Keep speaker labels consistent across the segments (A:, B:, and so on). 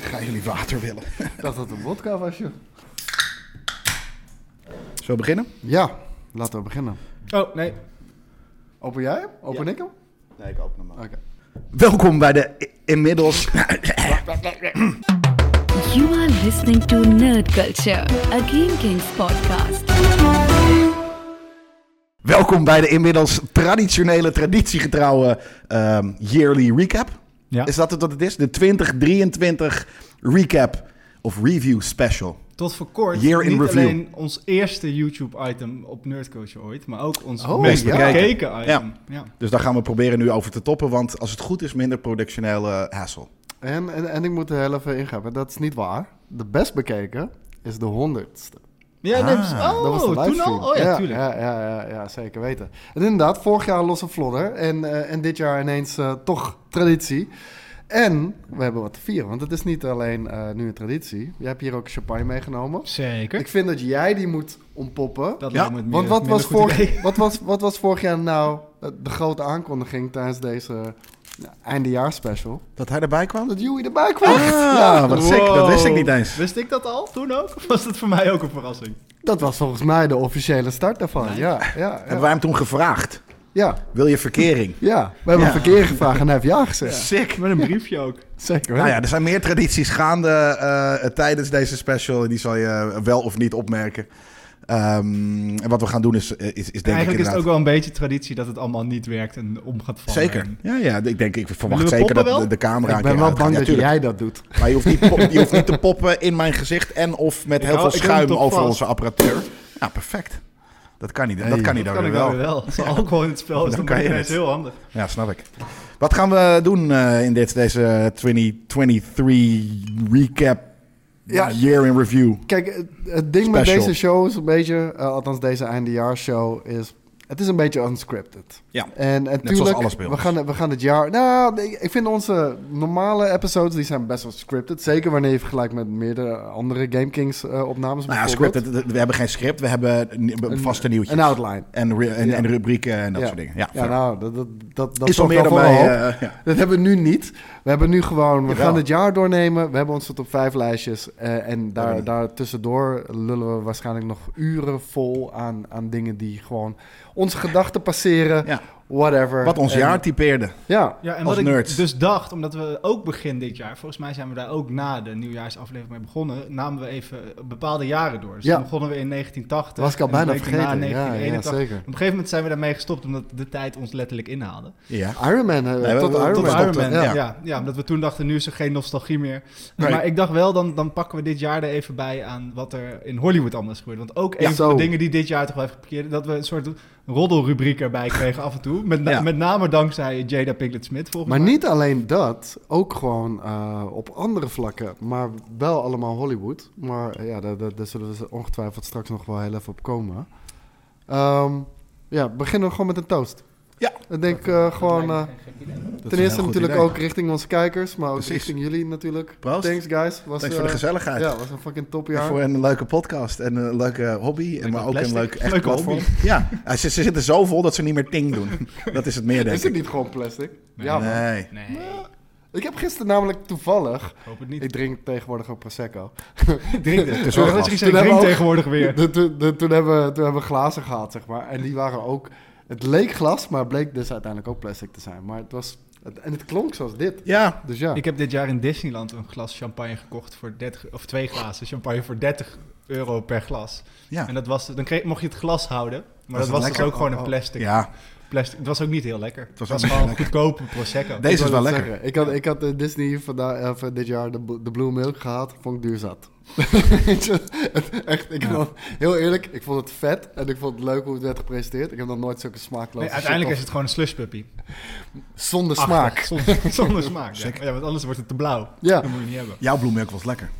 A: gaan jullie water willen.
B: Ik dacht dat het een vodka was, joh.
A: Zullen we beginnen?
B: Ja, laten we beginnen.
A: Oh, nee.
B: Open jij hem? Open
A: Ja.
B: ik hem?
A: Nee, ik open hem
B: Oké.
A: Welkom bij de i- inmiddels...
C: You are listening to Nerd Culture, a Game Kings podcast.
A: Welkom bij de inmiddels traditionele, traditiegetrouwe ehm, yearly recap.
D: Ja.
A: Is dat het wat het is? De 2023 recap of review special.
D: Tot voor kort
A: Year in
D: niet
A: review.
D: alleen ons eerste YouTube-item op Nerdcoach ooit, maar ook ons
B: Oh,
D: meest
A: ja.
D: bekeken item.
A: Ja.
D: Ja.
A: Dus daar gaan we proberen nu over te toppen, want als het goed is, minder productionele eh, hassle.
B: En, en, en ik moet er heel even ingaan, dat is niet waar. De best bekeken is de honderdste.
D: Ja, nee, dus-
A: Ah,
D: oh,
B: dat was de
D: toen
B: livestream.
D: al? Oh ja, tuurlijk.
B: Ja, ja, ja, ja, zeker weten. En inderdaad, vorig jaar losse vlodder en, eh, en dit jaar ineens eh, toch traditie. En we hebben wat te vieren, want het is niet alleen eh, nu een traditie. Je hebt hier ook champagne meegenomen.
D: Zeker.
B: Ik vind dat jij die moet ontpoppen.
D: Dat
A: Ja,
D: lijkt me het
B: Want
D: meer-
B: wat
D: minder
B: was,
D: goed idee.
B: vorig, wat, was, wat was vorig jaar nou de de grote aankondiging tijdens deze ja, eindejaarspecial?
A: Dat hij erbij kwam?
B: Dat Joey erbij kwam.
A: Ah, wat sick. Dat wist ik
D: Wow.
A: niet eens.
D: Wist ik dat al toen ook? Of was dat voor mij ook een verrassing?
B: Dat was volgens mij de officiële start daarvan. Ja, ja,
A: Hebben
B: ja,
A: wij hem toen gevraagd?
B: ja,
A: Wil je verkering?
B: ja. We hebben
A: Ja.
B: verkeer gevraagd en hij heeft ja gezegd.
A: Sick.
D: Met een briefje ook.
B: Zeker
A: Nou
B: weten.
A: ja, er zijn meer tradities gaande eh, eh, tijdens deze special. Die zal je wel of niet opmerken. Ehm, en wat we gaan doen is, eh, is, is denk
D: Eigenlijk
A: ik
D: is het
A: inderdaad...
D: ook wel een beetje traditie dat het allemaal niet werkt en om gaat vallen.
A: Zeker.
D: En-
A: Ja, ja, ik denk, ik
D: Willen
A: verwacht
D: we
A: zeker dat
D: poppen wel?
A: de, de camera
B: Ik
A: een
B: ben
A: keer
B: wel
A: uitgaat.
B: bang dat
A: Ja, tuurlijk.
B: jij dat doet.
A: Maar je hoeft, niet pop- je hoeft niet te poppen in mijn gezicht en of met
D: Ik
A: heel
D: hou-
A: veel
D: ik hou hem
A: schuim
D: toch
A: over
D: vast.
A: onze apparatuur. Ja, perfect. Dat kan niet. dat kan niet dan
D: Dat kan
A: weer
D: ik wel
A: wel.
D: weer wel. Als er alcohol in het spel is,
A: Dan
D: dan,
A: kan
D: kan
A: je
D: je
A: het.
D: heel handig.
A: Ja, snap ik. Wat gaan we doen eh, in dit, deze 2023 recap
B: Ja.
A: year in review?
B: Kijk, het- het ding met
A: Special.
B: deze show is een beetje, eh, althans deze eindejaarsshow, is het is een beetje unscripted.
A: Ja.
B: En, en
A: zoals
B: tuurlijk,
A: alles bij
B: we
A: ons.
B: gaan, we gaan het jaar... Nou, nee, ik vind onze normale episodes, die zijn best wel scripted. Zeker wanneer je vergelijkt met meerdere andere Game Kings eh, opnames
A: Nou ja,
B: bijvoorbeeld.
A: script, het- het- we hebben geen script, we hebben ni- vaste nieuwtjes.
B: Een outline.
A: en, ru- en,
B: Ja.
A: en rubrieken en dat
B: Ja.
A: soort dingen. Ja,
B: Ja,
A: fair.
B: nou, dat, dat, dat, dat
A: is al
B: zorgt
A: meer dan
B: voor een
A: wij...
B: hoop.
A: eh, ja.
B: Dat hebben we nu niet. We hebben nu gewoon, we
A: Jawel.
B: gaan het jaar doornemen. We hebben onze top 5 lijstjes. eh, en
A: Hebben we
B: daar,
A: niet.
B: daar tussendoor lullen we waarschijnlijk nog uren vol aan, aan dingen die gewoon onze gedachten passeren.
A: Ja.
B: Whatever.
A: Wat ons
B: En-
A: jaar typeerde.
B: Ja,
D: Ja, en
A: Als
D: wat
A: nerds.
D: ik dus dacht, omdat we ook begin dit jaar, volgens mij zijn we daar ook na de nieuwjaarsaflevering mee begonnen, namen we even eh, bepaalde jaren door. Dus
B: Ja.
D: dan begonnen we in 1980.
B: was ik al
D: en de
B: bijna
D: week
B: vergeten.
D: daarna
B: ja, ja,
D: 1981.
B: zeker.
D: Op een gegeven moment zijn we daarmee gestopt, omdat de tijd ons letterlijk inhaalde.
A: Ja.
B: Iron Man, eh,
A: Nee, we-
B: tot
A: we-
B: Iron
A: tot
B: Man.
A: Iron stopten,
D: ja.
A: ja.
D: Ja, omdat we toen dachten, nu is er geen nostalgie meer.
A: Nee.
D: Maar ik dacht wel, dan, dan pakken we dit jaar er even bij aan wat er in Hollywood allemaal is gebeurd. Want ook
B: Ja,
D: een van
B: zo.
D: de dingen die dit jaar toch wel heeft geparkeerd, dat we een soort roddelrubriek erbij kregen af en toe. Met, na-
A: Ja.
D: met name dankzij Jada Pinkett Smith, volgens
B: Maar
D: mij.
B: niet alleen dat, ook gewoon eh, op andere vlakken, maar wel allemaal Hollywood. Maar eh, ja, daar, daar, daar zullen we ongetwijfeld straks nog wel heel even op komen. Ehm, ja, beginnen we gewoon met een toast.
A: Ja.
B: Ik denk eh, gewoon, eh,
A: Dat is
B: ten
A: een
B: eerste
A: heel goed
B: natuurlijk
A: idee.
B: ook richting onze kijkers, maar ook
A: Precies.
B: richting jullie natuurlijk.
A: Proost.
B: Thanks guys. Was,
A: Thanks voor de
B: eh,
A: gezelligheid.
B: Ja, was een fucking
A: En
B: topjaar.
A: Voor een leuke podcast en een leuke hobby. En
D: Leuke
A: maar ook een
D: plastic.
A: leuk echt
D: Leuke
A: platform. Ja, Ah, ze, ze zitten zo vol dat ze niet meer ting doen. Dat is het meer, denk
B: Is het
A: ik.
B: niet gewoon plastic?
D: Nee.
B: Ja, man.
A: Nee.
D: Nee,
B: Ik heb gisteren namelijk toevallig,
D: hoop het niet.
B: ik drink tegenwoordig ook Prosecco.
D: Ik drink
A: Het
D: dit.
A: is
D: Zorg
A: wel
D: dat je
A: glas.
D: geen drink
B: Toen hebben we ook-
D: tegenwoordig weer.
B: De- de- de- toen, hebben, we- toen hebben we glazen gehad, zeg maar. En die waren ook... Het leek glas, maar het bleek dus uiteindelijk ook plastic te zijn. Maar het was... Het, en het klonk zoals dit.
A: Ja,
B: Dus ja.
D: Ik heb dit jaar in Disneyland een glas champagne gekocht voor 30... Of twee glazen champagne voor 30 euro per glas.
A: ja.
D: En dat was... Dan kreeg, mocht je het glas houden.
A: Was
D: Maar dat
A: het
D: was dus
A: lekker?
D: ook gewoon
B: Oh,
D: een
B: oh.
D: plastic.
A: ja.
D: plastic. Het was ook niet heel lekker. Het
A: was
D: was,
A: wel
D: gewoon
A: lekker.
D: goedkope Prosecco.
A: Deze is
B: Ik wou
A: wel
B: net
A: lekker.
B: zeggen, Ik had, ik had eh, Disney vandaag, of, eh, dit jaar de, bl- de Blue Milk gehad. Vond ik duur zat. Echt, ik
A: Ja.
B: vond- heel eerlijk, ik vond het vet. En ik vond het leuk hoe het werd gepresenteerd. Ik heb nog nooit zulke smaakloze
D: Nee,
B: shit
D: uiteindelijk is
B: op-
D: het gewoon een slushpuppy.
B: Zonder smaak.
D: Achtig, Zonder, zonder smaak, ja.
A: Zeker.
D: ja. Want anders wordt het te blauw.
B: Ja.
D: Dat moet je niet hebben.
A: Jouw bloemmerk was lekker.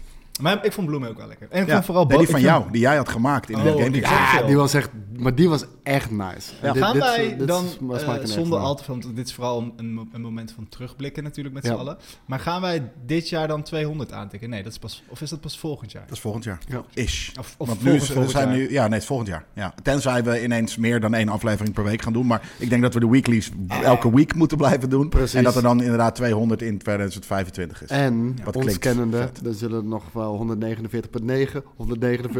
D: Maar ik vond Bloemen ook wel lekker. En ik
A: Ja.
D: vond vooral
A: nee, die
D: Bo-
A: van
D: ik
A: jou,
D: vond-
A: die jij had gemaakt in
D: Oh,
A: de
D: die
A: Game Geeks.
D: ga-
B: Ja,
D: Chill.
B: die was echt, maar die was echt nice. En dit-
D: Gaan
B: dit-
D: wij
B: dit
D: dan,
B: sma- smaakt
D: eh,
B: me echt
D: zonder
B: naar.
D: al te veel, want dit is vooral een, een, mo- een moment van terugblikken natuurlijk met
B: Ja.
D: z'n allen. Maar gaan wij dit jaar dan 200 aantikken? Nee, dat is pas, of is dat pas volgend jaar?
A: Dat is volgend jaar.
B: Ja.
A: Ish.
D: Of, of
A: Want nu
D: volgend,
A: is-
D: volgend
A: zijn
D: jaar.
A: nu, ja, nee, het is volgend jaar. Ja. Tenzij we ineens meer dan één aflevering per week gaan doen. Maar ik denk dat we de weeklies elke week moeten blijven doen.
B: Precies.
A: En dat er dan inderdaad 200 in 2025 is.
B: En
A: Wat
B: ons
A: klinkt
B: kennende,
A: vet.
B: er zullen nog wel 149.9,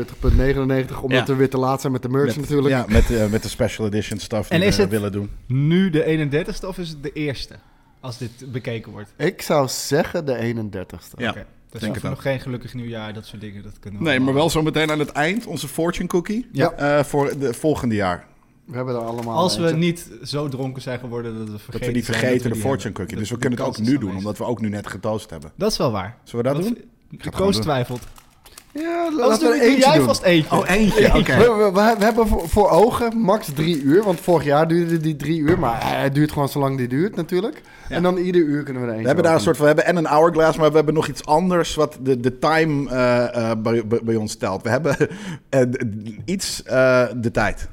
B: 149.99, omdat
A: Ja.
B: we weer te laat zijn met de merch
A: Met-
B: natuurlijk.
A: Ja, met, eh, met de special edition stuff die
D: En is
A: we
D: het-
A: willen doen.
D: Nu de 31ste of is het de eerste? Als dit bekeken wordt.
B: Ik zou zeggen de 31ste.
A: Ja,
D: Oké. Dus
A: denk
D: of
A: het ook.
D: nog geen gelukkig nieuwjaar, dat soort dingen, dat kunnen we
A: Nee, maar
D: allemaal.
A: wel zo meteen aan het eind onze fortune cookie.
B: Ja.
A: eh, voor de volgende jaar.
B: We hebben er allemaal
D: Als we
B: eentje.
D: niet zo dronken zijn geworden dat we vergeten
A: Dat we niet
D: zijn dat
A: vergeten
D: we
A: de
D: die
A: fortune
D: hebben.
A: cookie.
D: Dat-
A: Dus we
D: die
A: kunnen het
D: kans
A: ook
D: is
A: nu
D: aanwezig.
A: doen, omdat we ook nu net getoast hebben.
D: Dat is wel waar.
A: Zullen we dat
D: Want-
A: doen?
D: De
A: het
D: Koos
A: gewoon doen.
D: twijfelt.
B: Ja,
D: Anders
B: laten
D: doe,
B: we er
D: doe
B: eentje
D: jij
B: doen.
D: vast eentje.
A: eentje, oké.
B: We, we- we- we hebben voor, voor ogen max drie uur, want vorig jaar duurde die drie uur, maar eh, het duurt gewoon zolang die duurt natuurlijk. En dan ieder uur kunnen we er eentje
A: We hebben daar
B: over
A: een soort van, we hebben en een hourglass, maar we hebben nog iets anders wat de, de time eh, eh, bij, bij- bij ons telt. We hebben eh, d- d- iets eh, de tijd.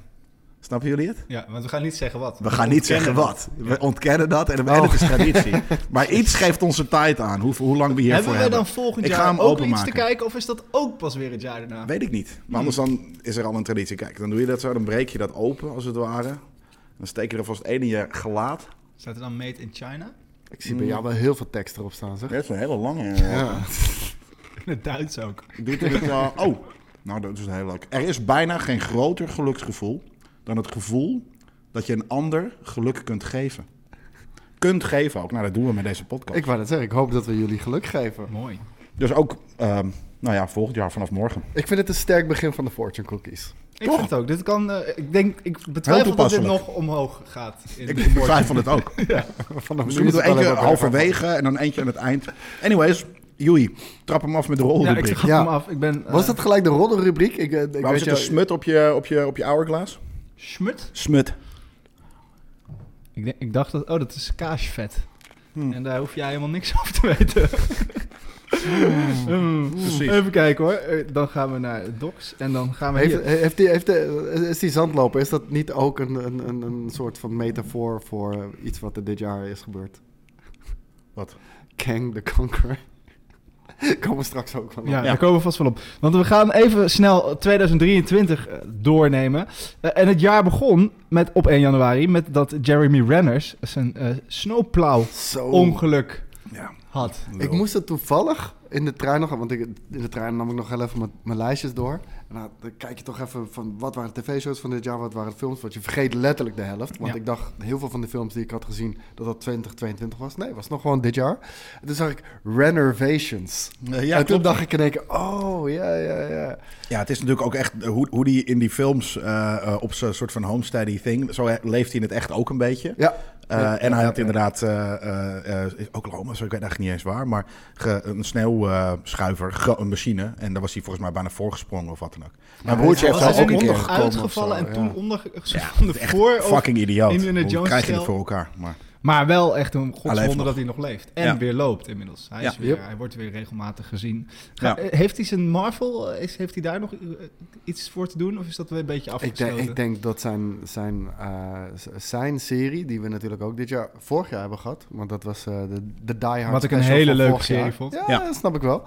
A: Snappen jullie het?
D: Ja, want we gaan niet zeggen wat.
A: We gaan niet zeggen
D: ontkennen Oh.
A: wat. We ontkennen dat en, en het is traditie. maar iets geeft onze tijd aan, hoe, hoe lang we
D: dat.
A: hiervoor
D: Hebben we
A: hebben.
D: dan volgend
A: Ik ga
D: jaar
A: hem
D: ook iets
A: openmaken.
D: te kijken of is dat ook pas weer het jaar daarna?
A: Weet ik niet. Maar anders dan is er al een traditie. Kijk, dan doe je dat zo, dan breek je dat open als het ware. Dan steek je er vast één in je gelaat.
D: Staat er dan Made in China?
B: doen. Ik zie bij jou wel heel veel tekst erop staan, zeg.
A: Dat is een hele lange.
B: Ja.
D: In het Duits ook.
A: Doet het, eh, oh, nou dat is heel leuk. Er is bijna geen groter geluksgevoel dan het gevoel dat je een ander geluk kunt geven. Kunt geven ook. Nou, dat doen we met deze podcast.
B: Ik wou dat zeggen, ik hoop dat we jullie geluk geven.
D: Mooi.
A: Dus ook, ehm, nou ja, volgend jaar vanaf morgen.
B: Ik vind het een sterk begin van de fortune cookies.
D: Ik vind het ook. Dit kan, eh, ik, denk, ik betwijfel dat dit
A: Oh. toepasselijk.
D: nog omhoog gaat. In
A: Ik
D: de fortune.
A: twijfel het ook.
B: Vanaf nu
A: Misschien moeten
B: is
A: we
B: het
A: eentje
B: alleen maar
A: halverwege en dan eentje aan het eind. Anyways, Joey, trap hem af met de
D: Ja, ik
A: rolrubriek.
D: schat
B: Ja.
D: hem af. Ik ben... eh,
B: Was dat gelijk de roddelrubriek? Ik, eh, ik
A: Waarom
B: weet
A: zit
B: jou-
A: er smut op je, op, je, op je hourglass?
D: Schmut?
A: Smut.
D: Ik, denk- ik dacht dat... Oh, dat is kaasvet.
A: Hmm.
D: En daar hoef jij helemaal niks over te weten. Hmm.
A: Precies.
D: Even kijken hoor. Eh, Dan gaan we naar Docs en dan gaan we
B: Heeft,
D: hier.
B: heeft die, heeft de, is die zandlopen, is dat niet ook een, een, een, een soort van metafoor voor eh, iets wat er dit jaar is gebeurd?
A: Wat?
B: Kang the Conqueror. Komen we straks ook wel op.
D: Ja, daar komen we vast wel op. Want we gaan even snel 2023 eh, doornemen. Eh, En het jaar begon met, op 1 januari met dat Jeremy Renners zijn eh snowplow-ongeluk
B: Zo.
A: Ja,
D: had.
A: lul.
B: ik moest het toevallig in de trein nog... Want ik, in de trein nam ik nog heel even mijn, mijn lijstjes door. En dan, dan kijk je toch even van wat waren de tv-shows van dit jaar, wat waren de films. Want je vergeet letterlijk de helft. Want
D: Ja.
B: ik dacht heel veel van de films die ik had gezien dat dat 2022 was. Nee, het was nog gewoon dit jaar. En toen zag ik Renovations.
A: Eh,
B: Ja,
A: ja,
B: en toen
A: klopt.
B: dacht ik in één keer, oh ja, ja, ja.
A: Ja, het is natuurlijk ook echt eh, hoe, hoe die in die films eh, eh, op zo'n soort van homesteady thing. Zo he- leeft hij in het echt ook een beetje.
B: Ja,
A: Eh, en hij had inderdaad eh, eh, eh, Oklahoma, zo ik weet eigenlijk niet eens waar, maar ge- een sneeuwschuiver, ge- een machine. En daar was hij volgens mij bijna voorgesprongen of wat dan ook. Mijn broertje
B: hij
A: heeft
B: was
A: zelf
B: er
A: ook een
B: niet
A: keer.
B: onder- gekomen
D: uitgevallen
B: of zo,
D: en toen
B: ja.
D: ondergevonden
A: Echt
D: voor. of-
A: fucking idioot.
D: Indiana
A: Hoe
D: Jones
A: krijg je het
D: stijl.
A: voor elkaar? Maar
D: maar wel echt een
A: Hij leeft
D: godswonder
A: nog.
D: dat hij nog leeft. En
A: Ja.
D: weer loopt inmiddels. Hij, is
A: Ja.
D: weer,
B: Yep.
D: hij wordt weer regelmatig gezien. Ga-
A: Ja.
D: eh, Heeft hij zijn Marvel, eh, is, heeft hij daar nog eh, iets voor te doen? Of is dat weer een beetje
B: Ik denk,
D: afgesloten?
B: ik denk dat zijn, zijn, eh, z- zijn serie, die we natuurlijk ook dit jaar, vorig jaar hebben gehad, want dat was eh, de, de Die Hard
D: Wat ik een
B: special
D: hele
B: van
D: leuke
B: vorig
D: serie
B: jaar.
D: vond.
B: Ja,
A: Ja.
B: dat snap ik wel.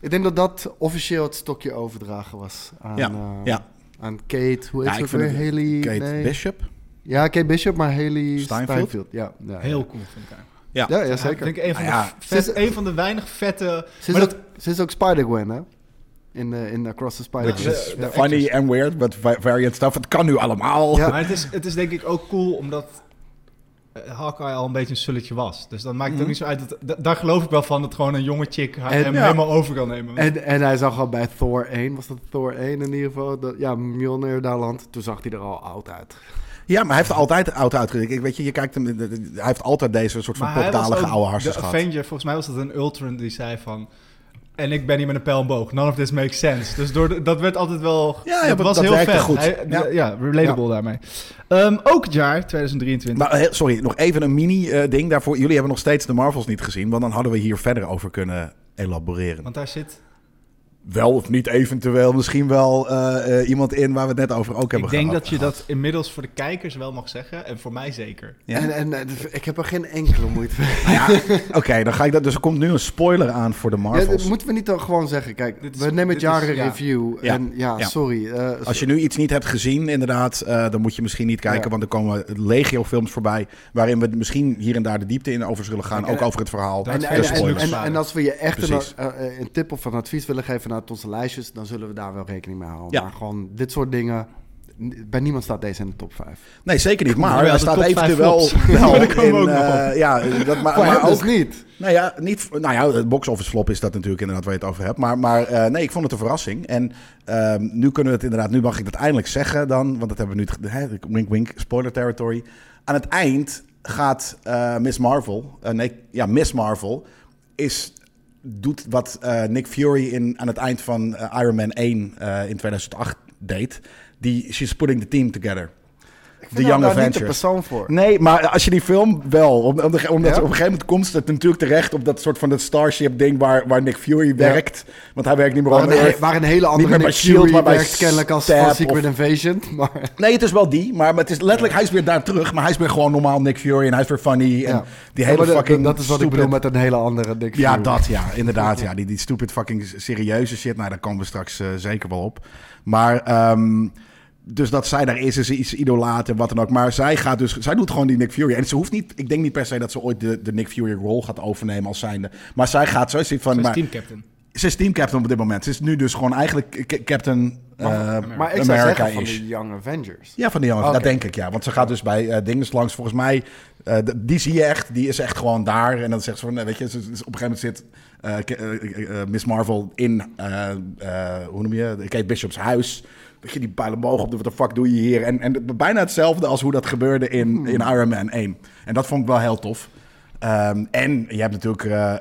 B: Ik denk dat dat officieel het stokje overdragen was aan,
A: ja,
B: eh,
A: ja.
B: aan Kate, hoe
A: Ja,
B: heet
A: ik
B: ze ook
A: vind
B: weer?
A: het-
B: Haley,
A: Kate
B: nee.
A: Bishop.
B: Ja, Kate Bishop, maar Haley
A: Steinfeld?
B: Steinfeld. Ja, ja, ja.
D: Heel cool vind ik haar.
A: Ja.
B: Ja, ja,
D: Ja, ik
B: zeker.
D: denk een van,
A: Nou
D: de
A: ja.
D: vet-
B: Ze is-
D: een van de weinig vette...
B: Ze is,
D: maar
B: ook, ze is ook Spider-Gwen, hè? In, eh, in Across the
A: Which
B: Spider-Verse.
A: is
D: de- de
A: funny and weird, but va- variant stuff. Het kan nu allemaal.
B: Ja.
D: Maar het is, het is denk ik ook cool omdat eh, Hawkeye al een beetje een sulletje was. Dus dan maakt het ook niet zo uit. Dat, da- daar geloof ik wel van dat gewoon een jonge chick haar,
B: En-
D: hem
B: ja.
D: helemaal over kan nemen.
B: En, en hij zag al bij Thor 1, was dat Thor 1 in ieder geval? Dat, ja, Mjolnir daar landt. Toen zag hij er al oud uit.
A: Ja, maar hij heeft altijd oud uitgedrukt. Ik weet je, je kijkt hem, hij heeft altijd deze soort van
D: Maar hij was
A: pokdalige
D: ook
A: oude harsjes
D: De
A: gehad.
D: Avenger, volgens mij was dat een Ultron die zei van... En ik ben hier met een pijl en boog. None of this makes sense. Dus door de- dat werd altijd wel...
A: Ja, ja,
D: dat
A: maar
D: was
A: dat
D: heel
A: werkte
D: vet.
A: goed.
D: Hij-
A: Ja.
D: ja. relatable daarmee. Ehm, ook het jaar 2023.
A: Maar eh, sorry, nog even een mini-ding daarvoor. Jullie hebben nog steeds de Marvels niet gezien, want dan hadden we hier verder over kunnen elaboreren.
D: want daar zit
A: wel of niet eventueel misschien wel eh, eh, iemand in waar we het net over ook
D: Ik
A: hebben
D: denk
A: gehad.
D: dat je dat inmiddels voor de kijkers wel mag zeggen. En voor mij zeker.
A: Ja?
B: En, en, en ik heb er geen enkele moeite mee.
A: Oké, dan ga ik dat. Dus er komt nu een spoiler aan voor de
B: Ja,
A: Marvels.
B: dat moeten we niet dan gewoon zeggen. Kijk,
D: Dit is-
B: we nemen het
D: dit is-
B: jaar in
D: ja.
B: review.
A: Ja.
B: En ja,
A: Ja.
B: sorry. eh,
A: Als je nu iets niet hebt gezien, inderdaad, eh, dan moet je misschien niet kijken.
B: Ja.
A: Want er komen legio-films voorbij. waarin we misschien hier en daar de diepte in over zullen gaan.
B: Oké,
A: ook
B: en-
A: over het verhaal.
D: dat
B: En,
D: is
A: en
B: en, en,
A: spoilers.
B: en, en als we je echt een,
A: Precies.
B: eh, eh, een tip of een advies willen geven vanuit onze lijstjes, dan zullen we daar wel rekening mee houden.
A: Ja.
B: Maar gewoon dit soort dingen, n- bij niemand staat deze in de top 5.
A: Nee, zeker niet. Maar
D: Jawel,
A: hij
D: de
A: staat
D: top vijf
A: eventueel
D: flops.
A: wel
D: Daar komen we
A: in,
D: ook nog
A: eh, ja, dat, maar,
B: Maar,
A: maar ook,
B: dus niet.
A: nou ja, niet, nou ja, het box-office flop is dat natuurlijk inderdaad waar je het over hebt. Maar, maar eh, nee, ik vond het een verrassing. En ehm, nu kunnen we het inderdaad, nu mag ik dat eindelijk zeggen dan. Want dat hebben we nu, het- hè, wink wink, spoiler territory. Aan het eind gaat eh, Miss Marvel, eh, nee, ja, Miss Marvel is, doet wat eh, Nick Fury in, aan het eind van eh, Iron Man 1 eh, in 2008 deed. Die, she's putting the team together.
B: Ik ben
A: Young
B: daar niet de
A: Avengers.
B: persoon voor.
A: Nee, maar als je die film wel, om- om de- omdat
B: Ja?
A: op een gegeven moment komt het natuurlijk terecht op dat soort van dat Starship ding waar, waar Nick Fury werkt. Want hij werkt niet meer
B: Waar
A: on
B: een,
A: Earth.
B: he- waar een hele
A: Niet
B: andere
A: meer bij
B: Nick
A: Shield,
B: Fury
A: maar bij
B: werkt kennelijk als
A: Stab
B: als Secret
A: of-
B: Invasion. Maar
A: Nee, het is wel die, maar maar het is letterlijk, hij is weer daar terug, maar hij is weer gewoon normaal Nick Fury en hij is weer funny en
B: Ja.
A: die hele
B: maar dat-
A: fucking
B: dat is wat ik
A: stupid-
B: bedoel met een hele andere Nick
A: Ja,
B: Fury.
A: dat ja, inderdaad. Ja, die, die stupid fucking serieuze shit. Nou, daar komen we straks eh, zeker wel op. Maar ehm, dus dat zij daar is, is ze iets idolaat en wat dan ook. Maar zij gaat dus, zij doet gewoon die Nick Fury. En ze hoeft niet, ik denk niet per se dat ze ooit de, de Nick Fury rol gaat overnemen als zijnde. Maar zij gaat zo zien van,
D: Zoals
A: maar,
D: teamcaptain.
A: ze is teamcaptain op dit moment. Ze is nu dus gewoon eigenlijk ca- captain eh,
B: Maar ik zou
A: America
B: zeggen van
A: is.
B: de Young Avengers.
A: Ja, van die jongen.
B: Oké.
A: Dat denk ik, ja. Want ze gaat dus bij eh dingen langs. Volgens mij, eh, d- die zie je echt. Die is echt gewoon daar. En dan zegt ze van, eh, weet je, ze- ze- op een gegeven moment zit eh, Ke- eh, eh, Miss Marvel in, eh, eh, hoe noem je, Kate Bishop's huis. Dat je die pijlen omhoog op, wat de fuck doe je hier? En, en het- bijna hetzelfde als hoe dat gebeurde in,
B: Hmm.
A: in Iron Man 1. En dat vond ik wel heel tof. Ehm, en je hebt natuurlijk... eh,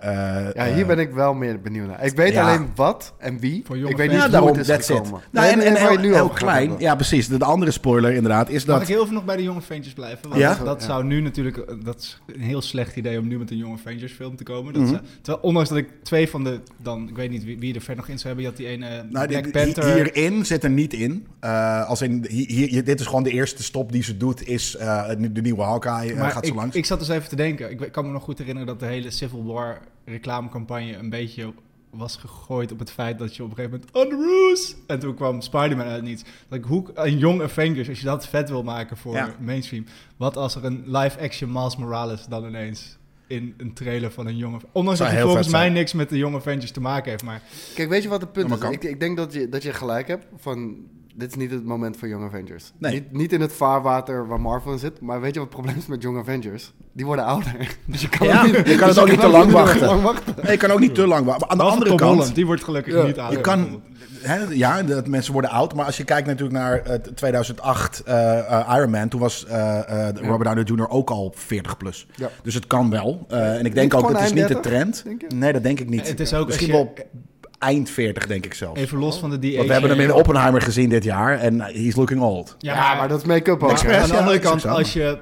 A: eh,
B: Ja, hier ben ik wel meer benieuwd naar. Ik weet
A: ja.
B: alleen wat en wie.
D: Voor jonge
B: ik weet
D: fans.
B: niet hoe
A: ja, daarom,
B: het is
A: that's it.
B: gekomen.
A: Nou,
B: Nee,
A: en
B: nee,
A: en
B: waar je
A: heel,
B: nu
A: heel
B: over gaat
A: klein.
B: hebben.
A: Ja, precies. De, de andere spoiler inderdaad is
D: Mag
A: dat...
D: ik heel even nog bij de jonge Avengers blijven? Want
A: Ja?
D: dat, dat
B: Ja.
D: zou nu natuurlijk... eh, Dat is een heel slecht idee om nu met een jonge Avengers film te komen. Dat
A: Mhm.
D: zou- terwijl, ondanks dat ik twee van de... Dan, ik weet niet wie, wie er verder nog in zou hebben. Je had die ene eh,
A: Nou,
D: Black
A: dit-
D: Panther.
A: hi- Hierin zit er niet in. Eh, als in hi- hier, hier- dit is gewoon de eerste stop die ze doet, is eh, de nieuwe Hawkeye eh,
D: Maar
A: gaat ze
D: ik,
A: langs.
D: ik zat dus even te denken. Ik we- kan me nog goed herinneren dat de hele Civil War reclamecampagne een beetje op- was gegooid op het feit dat je op een gegeven moment on the roofs en toen kwam Spider-Man uit niets. Dat ik hoe een jong Avengers als je dat vet wil maken voor
A: Ja.
D: mainstream. Wat als er een live action Miles Morales dan ineens in een trailer van een jonge ondanks
A: Zou
D: dat hij
A: heel
D: volgens
A: vet
D: mij
A: zijn.
D: niks met de jonge Avengers te maken heeft, maar
B: Kijk, weet je wat het punt
A: Ja,
B: is?
A: maar
B: Ik, ik denk dat je, dat je gelijk hebt van... Dit is niet het moment voor Young Avengers.
A: Nee.
B: Niet, niet in het vaarwater waar Marvel in zit. Maar weet je wat het probleem is met Young Avengers? Die worden ouder. Dus je kan,
A: Ja,
B: het, niet,
A: je kan
B: dus
A: het ook niet te lang wachten.
B: wachten.
A: Nee, ik kan ook niet te lang wachten. Maar aan de
D: Behalve
A: andere
D: Tom
A: kant,
D: Holland, die wordt gelukkig
B: Ja.
D: niet aan.
A: je kan... Hè, ja, dat mensen worden oud. Maar als je kijkt natuurlijk naar eh, 2008 eh, eh, Iron Man... toen was eh, eh, Robert Downey Jr. ook al 40 plus.
B: Ja.
A: Dus het kan wel. Eh, en ik
B: Niet
A: denk ook,
B: gewoon
A: dat is
B: eind
A: niet de
B: 30,
A: trend.
B: denk je?
A: Nee, dat denk ik niet.
D: Het is ook
A: Misschien
D: als je-
A: wel eind 40, denk ik zelf.
D: Even los van de DH.
A: Want we hebben hem in Oppenheimer gezien dit jaar. En eh, he's looking old.
B: Ja, maar dat is make-up ook.
A: Expert.
B: hè?
D: aan de
A: Ja,
D: andere
A: dat is
D: kant,
A: ook zo.
D: als je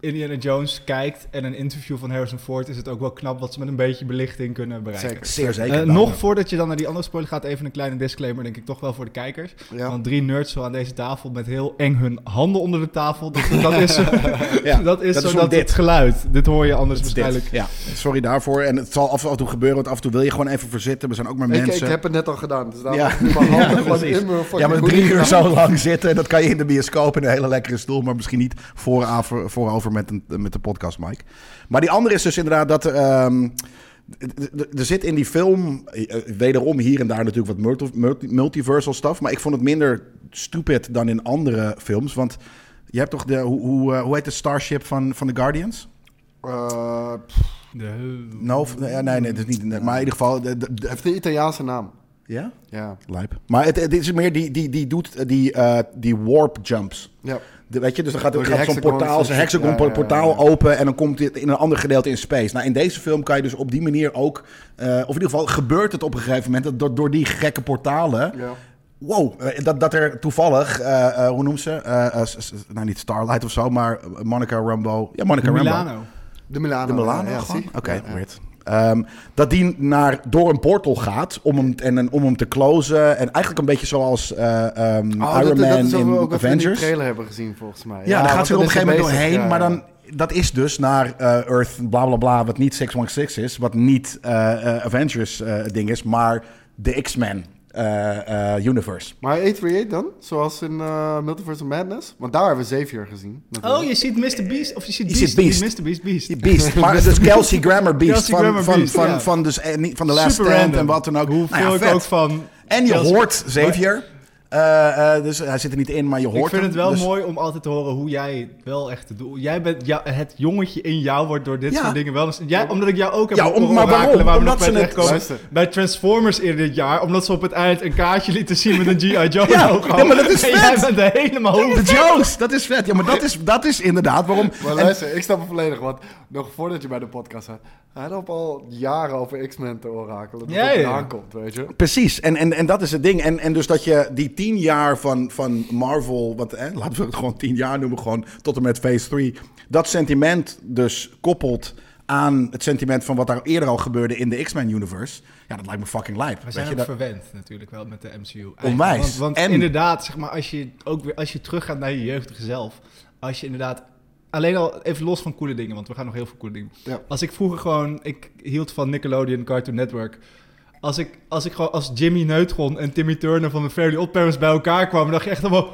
D: Indiana Jones kijkt en een interview van Harrison Ford, is het ook wel knap wat ze met een beetje belichting kunnen bereiken.
B: Zeker.
A: Zeer zeker.
D: Eh,
A: daarom.
D: nog voordat je dan naar die andere spoiler gaat, even een kleine disclaimer, denk ik toch wel voor de kijkers.
B: Ja.
D: Want drie nerds zo aan deze tafel met heel eng hun handen onder de tafel. Dus dat is, zo-
A: Ja,
D: dat is
A: dat
D: zo
A: is
D: dat
A: dit.
D: het geluid. Dit hoor je anders
A: Dit.
D: waarschijnlijk.
A: Ja, sorry daarvoor. En het zal af en toe gebeuren, want af en toe wil je gewoon even verzitten. We zijn ook maar
B: Ik,
A: mensen.
B: ik heb het net al gedaan. Dus daarom
A: Ja.
B: heb ik mijn handen
A: Ja,
B: gewoon
A: precies.
B: in mijn
A: ja,
B: fucking
A: maar
B: hoodie
A: drie uur
B: gedaan.
A: zo lang zitten, dat kan je in de bioscoop in een hele lekkere stoel, maar misschien niet vooraver, voorover met, een, met de podcast, Mike. Maar die andere is dus inderdaad dat ehm, d- d- d- er zit in die film, eh, eh, wederom hier en daar natuurlijk wat multi- multi- multiversal stuff, maar ik vond het minder stupid dan in andere films, want je hebt toch de, hoe, hoe, eh, hoe heet de starship van, van The Guardians?
B: Eh,
D: De-
A: No, of- nee, nee, nee, dat is niet. nee, Maar in ieder geval. de- de-
B: het
A: de-
B: heeft een Italiaanse naam.
A: ja?
B: Ja.
A: Lijp. Maar het, het is meer die, die, die doet eh, die, eh, die warp jumps.
B: ja.
A: De, weet je, dus dan gaat,
B: Door die
A: gaat zo'n
B: hexagons
A: portaal,
B: en
A: zo'n
B: shit.
A: hexagon
B: Ja, ja, ja,
A: portaal
B: ja.
A: open en dan komt dit in een ander gedeelte in space. Nou, in deze film kan je dus op die manier ook, eh, of in ieder geval gebeurt het op een gegeven moment, dat door, door die gekke portalen,
B: ja.
A: wow, eh, dat, dat er toevallig, eh, eh, hoe noemt ze? Eh, eh, s- s- nou, niet Starlight of zo, maar eh, Monica Rambo. Ja, Monica Rambo.
D: Milano.
B: De Milano.
A: De Milano
B: ja, ja,
A: gewoon?
B: zie.
A: Oké,
B: Ja, ja.
A: weird. Eh, Ehm, dat die naar, door een portal gaat om hem, en, en om hem te closen. En eigenlijk een beetje zoals eh, ehm,
B: Oh, dat,
A: Iron Man
B: dat is wat we ook
A: in
B: even in die
A: Avengers.
B: trailer hebben gezien, volgens mij.
A: Ja, daar gaat
B: want
A: ze er op
B: dat
A: een
B: is
A: gegeven moment
B: wel
A: doorheen.
B: bezig, ja,
A: Maar
B: ja.
A: dan, dat is dus naar eh, Earth bla bla bla, wat niet 616 is, wat niet eh, eh, Avengers eh, ding is, maar de X-Men eh, eh, universe.
B: Maar A38 dan? Zoals in eh, Multiverse of Madness? Want daar hebben we Xavier gezien. natuurlijk.
D: Oh, je ziet Mr. Beast. Of je ziet
A: Je
D: Beast.
A: ziet Beast.
D: Je ziet Mr. Beast Beast.
A: Die Beast, maar dat is Kelsey Grammer Beast
D: Kelsey
A: van,
D: Grammer
A: van,
D: Beast,
A: van,
D: ja.
A: van, dus, eh, niet- van de Last
D: Super
A: Stand
D: random.
A: en wat dan ook.
D: Hoeveel
A: Nou ja,
D: ik
A: vet.
D: ook van...
A: En je
D: Kelsey-
A: hoort Xavier. Eh, eh, dus hij zit er niet in, maar je hoort
D: Ik vind
A: hem.
D: het wel
A: Dus-
D: mooi om altijd te horen hoe jij het wel echt te doen. Jij bent ja, het jongetje in jou wordt door dit
A: Ja.
D: soort dingen wel eens. Jij, omdat ik jou ook heb
A: Ja, om-
D: horen
A: maar waarom?
D: rakelen, Waar we nog
A: Omdat ze
D: bij
A: het-
D: terechtkomen.
B: Luister.
D: Bij Transformers eerder dit jaar, omdat ze op het eind een kaartje lieten zien met een G.I. Joe
A: Ja,
D: logo.
A: ja, maar dat is
D: En
A: vet.
D: jij bent er helemaal
A: Oh, De jokes, dat is vet. Ja, maar dat is, dat is inderdaad waarom.
B: Maar
A: en-
B: luister, ik snap het volledig, want nog voordat je bij de podcast had, hij had al jaren over X-Men te orakelen. Dat
D: Ja,
B: het
D: ja.
B: eraan komt, weet je.
A: Precies, en, en, en dat is het ding. En, en dus dat je die tien jaar van, van Marvel, wat, hè, laten we het gewoon tien jaar noemen, gewoon tot en met Phase 3, dat sentiment dus koppelt aan het sentiment van wat daar eerder al gebeurde in de X-Men-universe. Ja, dat lijkt me fucking lijp.
D: We
A: Weet
D: zijn
A: je,
D: ook
A: dat-
D: verwend natuurlijk wel met de MCU. eigenlijk.
A: Onwijs.
D: Want, want
A: En-
D: inderdaad, zeg maar, als je, ook weer, als je teruggaat naar je jeugdige zelf. Als je inderdaad... Alleen al even los van coole dingen, want we gaan nog heel veel coole dingen.
B: Ja.
D: Als ik vroeger gewoon... Ik hield van Nickelodeon, Cartoon Network. Als ik, als ik gewoon als Jimmy Neutron en Timmy Turner van de Fairly Odd Parents bij elkaar kwamen... dacht je echt allemaal...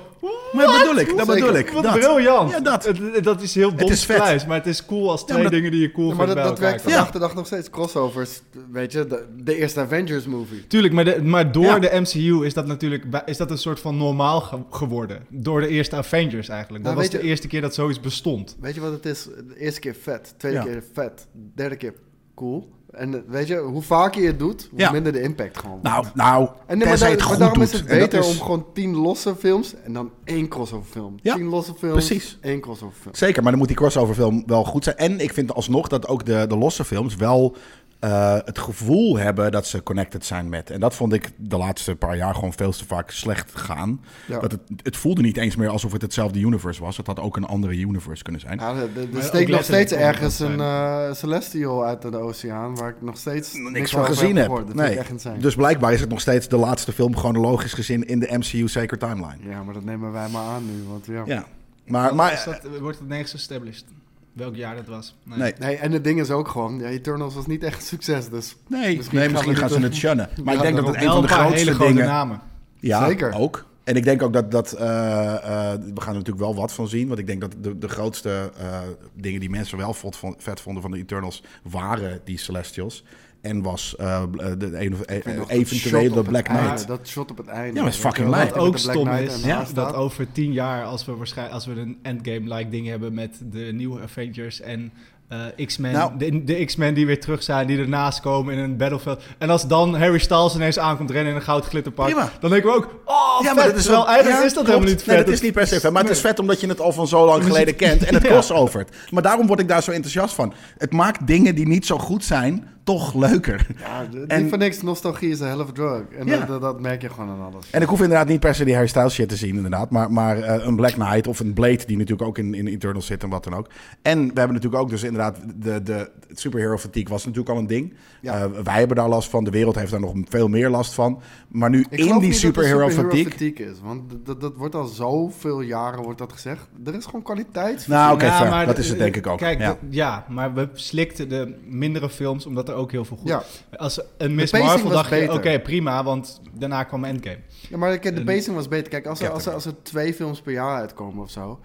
A: maar dat bedoel ik, dat
B: Zeker.
A: bedoel ik.
D: Wat
A: dat.
D: briljant.
A: Ja, dat.
D: Het- dat is heel dom
A: is vet.
D: splijs, maar het is cool als twee
A: maar dat-
D: dingen die je cool
B: maar
D: vindt
B: dat,
D: bij
B: dat
D: elkaar
B: werkt
D: komen.
B: vandaag de dag nog steeds. Crossovers, weet je, de, de eerste Avengers movie.
D: Tuurlijk, maar, de- maar door
A: Ja.
D: de MCU is dat natuurlijk bij- is dat een soort van normaal ge- geworden. Door de eerste Avengers eigenlijk. Dat
B: Nou,
D: was
B: weet
D: de
B: je-
D: eerste keer dat zoiets bestond.
B: Weet je wat het is? De eerste keer vet, tweede
A: Ja.
B: keer vet, derde keer cool. En eh, weet je, hoe vaker je het doet, hoe
A: Ja.
B: minder de impact gewoon. wordt.
A: Nou, nou,
B: En nee, maar,
A: tenzij
B: daar-
A: het
B: maar
A: goed
B: daarom
A: doet.
B: is het
A: En dat
B: beter
A: is-
B: om gewoon tien losse films en dan één crossover film.
A: Ja,
B: tien losse films,
A: precies.
B: één crossover film.
A: Zeker, maar dan moet die crossoverfilm wel goed zijn. En ik vind alsnog dat ook de, de losse films wel eh, het gevoel hebben dat ze connected zijn met. En dat vond ik de laatste paar jaar gewoon veel te vaak slecht gaan.
B: Ja.
A: Dat het, het voelde niet eens meer alsof het hetzelfde universe was. Het had ook een andere universe kunnen zijn.
B: Ja, er- er-
D: ook
B: er steekt nog steeds
D: letterlijk
B: ergens een
D: onderkant
B: eh, Celestial uit de oceaan waar ik nog steeds
A: Niks,
B: niks,
A: van
B: over heb.
A: gezien heb.
B: gehoord. Dat vind
A: nee.
B: ik echt insane.
A: Dus blijkbaar is het nog steeds de laatste film chronologisch gezien in de MCU Sacred Timeline.
B: Ja, maar dat nemen wij maar aan nu. Want ja.
A: Ja, maar, maar
D: Is dat, wordt het nergens established? Welk jaar dat was?
A: nee.
B: Nee, en het ding is ook gewoon, ja, Eternals was niet echt een succes. Dus
A: Nee,
B: Misschien
A: nee,
B: gaan
A: misschien
B: we
A: gaan
B: dit
A: ze
B: even-
A: het shunnen. Maar
B: Ja,
A: ik denk
B: daarom.
A: dat het
D: Wel
A: een van de
D: paar
A: grootste
D: hele grote
A: dingen...
D: namen.
A: Ja,
B: Zeker.
A: ook. En ik denk ook dat, dat eh, eh, we gaan er natuurlijk wel wat van zien. Want ik denk dat de, de grootste eh, dingen die mensen wel vot- van- vet vonden van de Eternals waren die Celestials. En was eh, de, een of-
B: ik vind nog dat shot
A: Eh, eventueel
B: op
A: de
B: het
A: Black
B: einde,
A: Knight.
B: dat shot op het einde.
A: Ja, maar
B: weet
A: is
B: je
A: fucking
B: wel,
A: lijp.
B: dat
D: Wat
B: hij
D: ook
B: met de Black
D: stom
B: Knight
D: is,
B: en
A: Ja.
B: haar
D: is dat
B: staat.
D: over tien jaar, als we, waarschijnlijk, als we een endgame-like ding hebben met de nieuwe Avengers en eh, X-Men,
A: Nou.
D: de, de X-Men die weer terug zijn, die ernaast komen in een battlefield. En als dan Harry Styles ineens aankomt rennen in een goud glitterpak,
A: Prima.
D: dan denken we ook, oh,
A: Ja,
D: vet.
A: maar dat is
D: Terwijl
A: wel-
D: eigenlijk
A: ja,
D: is dat
A: klopt.
D: helemaal niet vet.
A: Nee, dat is niet per se vet. Maar het is vet omdat je het al van zo lang geleden kent. En het
D: Ja.
A: crossovert. Maar daarom word ik daar zo enthousiast van. Het maakt dingen die niet zo goed zijn, toch leuker.
B: Ja, d-
A: En-
B: niet voor niks, nostalgie is een hell of a drug. En
A: Ja. Eh,
B: dat, dat, dat merk je gewoon aan alles.
A: En ik hoef inderdaad niet per se die hairstyle shit te zien, inderdaad. Maar, maar eh, een Black Knight of een Blade, die natuurlijk ook in, in Eternals zit en wat dan ook. En we hebben natuurlijk ook dus inderdaad, de, de het superhero fatigue was natuurlijk al een ding.
B: Ja.
A: Eh, wij hebben daar last van, de wereld heeft daar nog veel meer last van. Maar nu
B: Ik
A: in
B: geloof
A: die
B: niet dat er
A: superhero fatigue...
B: is, want d- dat, dat wordt al zoveel jaren wordt dat gezegd. Er is gewoon kwaliteit.
A: Nou oké,
D: Ja,
A: fair.
D: maar
A: dat
D: de-
A: is het denk ik ook.
D: Kijk,
A: ja.
D: dat- maar we slikten de mindere films omdat er ook heel veel goed
B: Ja.
D: Als een Miss
B: pacing
D: Marvel
B: was
D: dacht je, oké,
B: beter.
D: prima, want daarna kwam Endgame.
B: Ja, maar kijk, de
D: En-
B: pacing was beter. Kijk, als er, als, er, als er twee films per jaar uitkomen of zo,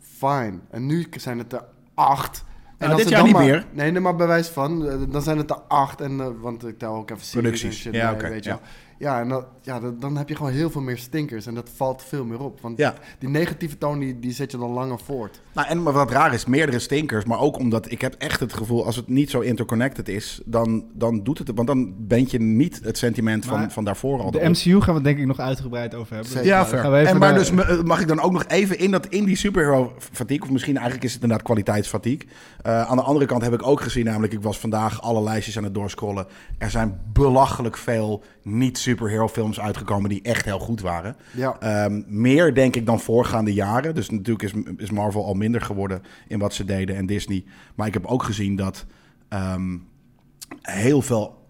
B: fine. En nu k- zijn het er acht. En
A: Nou,
B: als
A: dit
B: er
A: jaar
B: dan
A: niet
B: maar,
A: meer.
B: Nee, nee, maar bewijs van, eh, dan zijn het er acht. En, eh, want ik tel ook even series
A: Producties.
B: en shit
A: Ja,
B: mee,
A: oké,
B: weet je
A: ja.
B: wel. Ja, en dat, ja, dat- dan heb je gewoon heel veel meer stinkers. En dat valt veel meer op. Want
A: Ja.
B: die negatieve toon, die, die zet je dan langer voort.
A: Nou, en maar wat raar is, meerdere stinkers. Maar ook omdat ik heb echt het gevoel, als het niet zo interconnected is, dan, dan doet het... Want dan ben je niet het sentiment van,
D: Maar
A: van daarvoor al.
D: De
A: erop.
D: MCU gaan we het denk ik nog uitgebreid over hebben.
B: Zeker.
A: Ja,
D: Daar
A: fair.
D: gaan we even
A: En maar
D: naar-
A: dus me- mag ik dan ook nog even in dat in die superhero fatigue, of misschien eigenlijk is het inderdaad kwaliteitsfatigue. Eh, aan de andere kant heb ik ook gezien, namelijk ik was vandaag alle lijstjes aan het doorscrollen. Er zijn belachelijk veel niet superhero films uitgekomen die echt heel goed waren.
B: Ja.
A: Ehm, meer denk ik dan voorgaande jaren. Dus natuurlijk is, is Marvel al minder geworden in wat ze deden en Disney. Maar ik heb ook gezien dat ehm, heel veel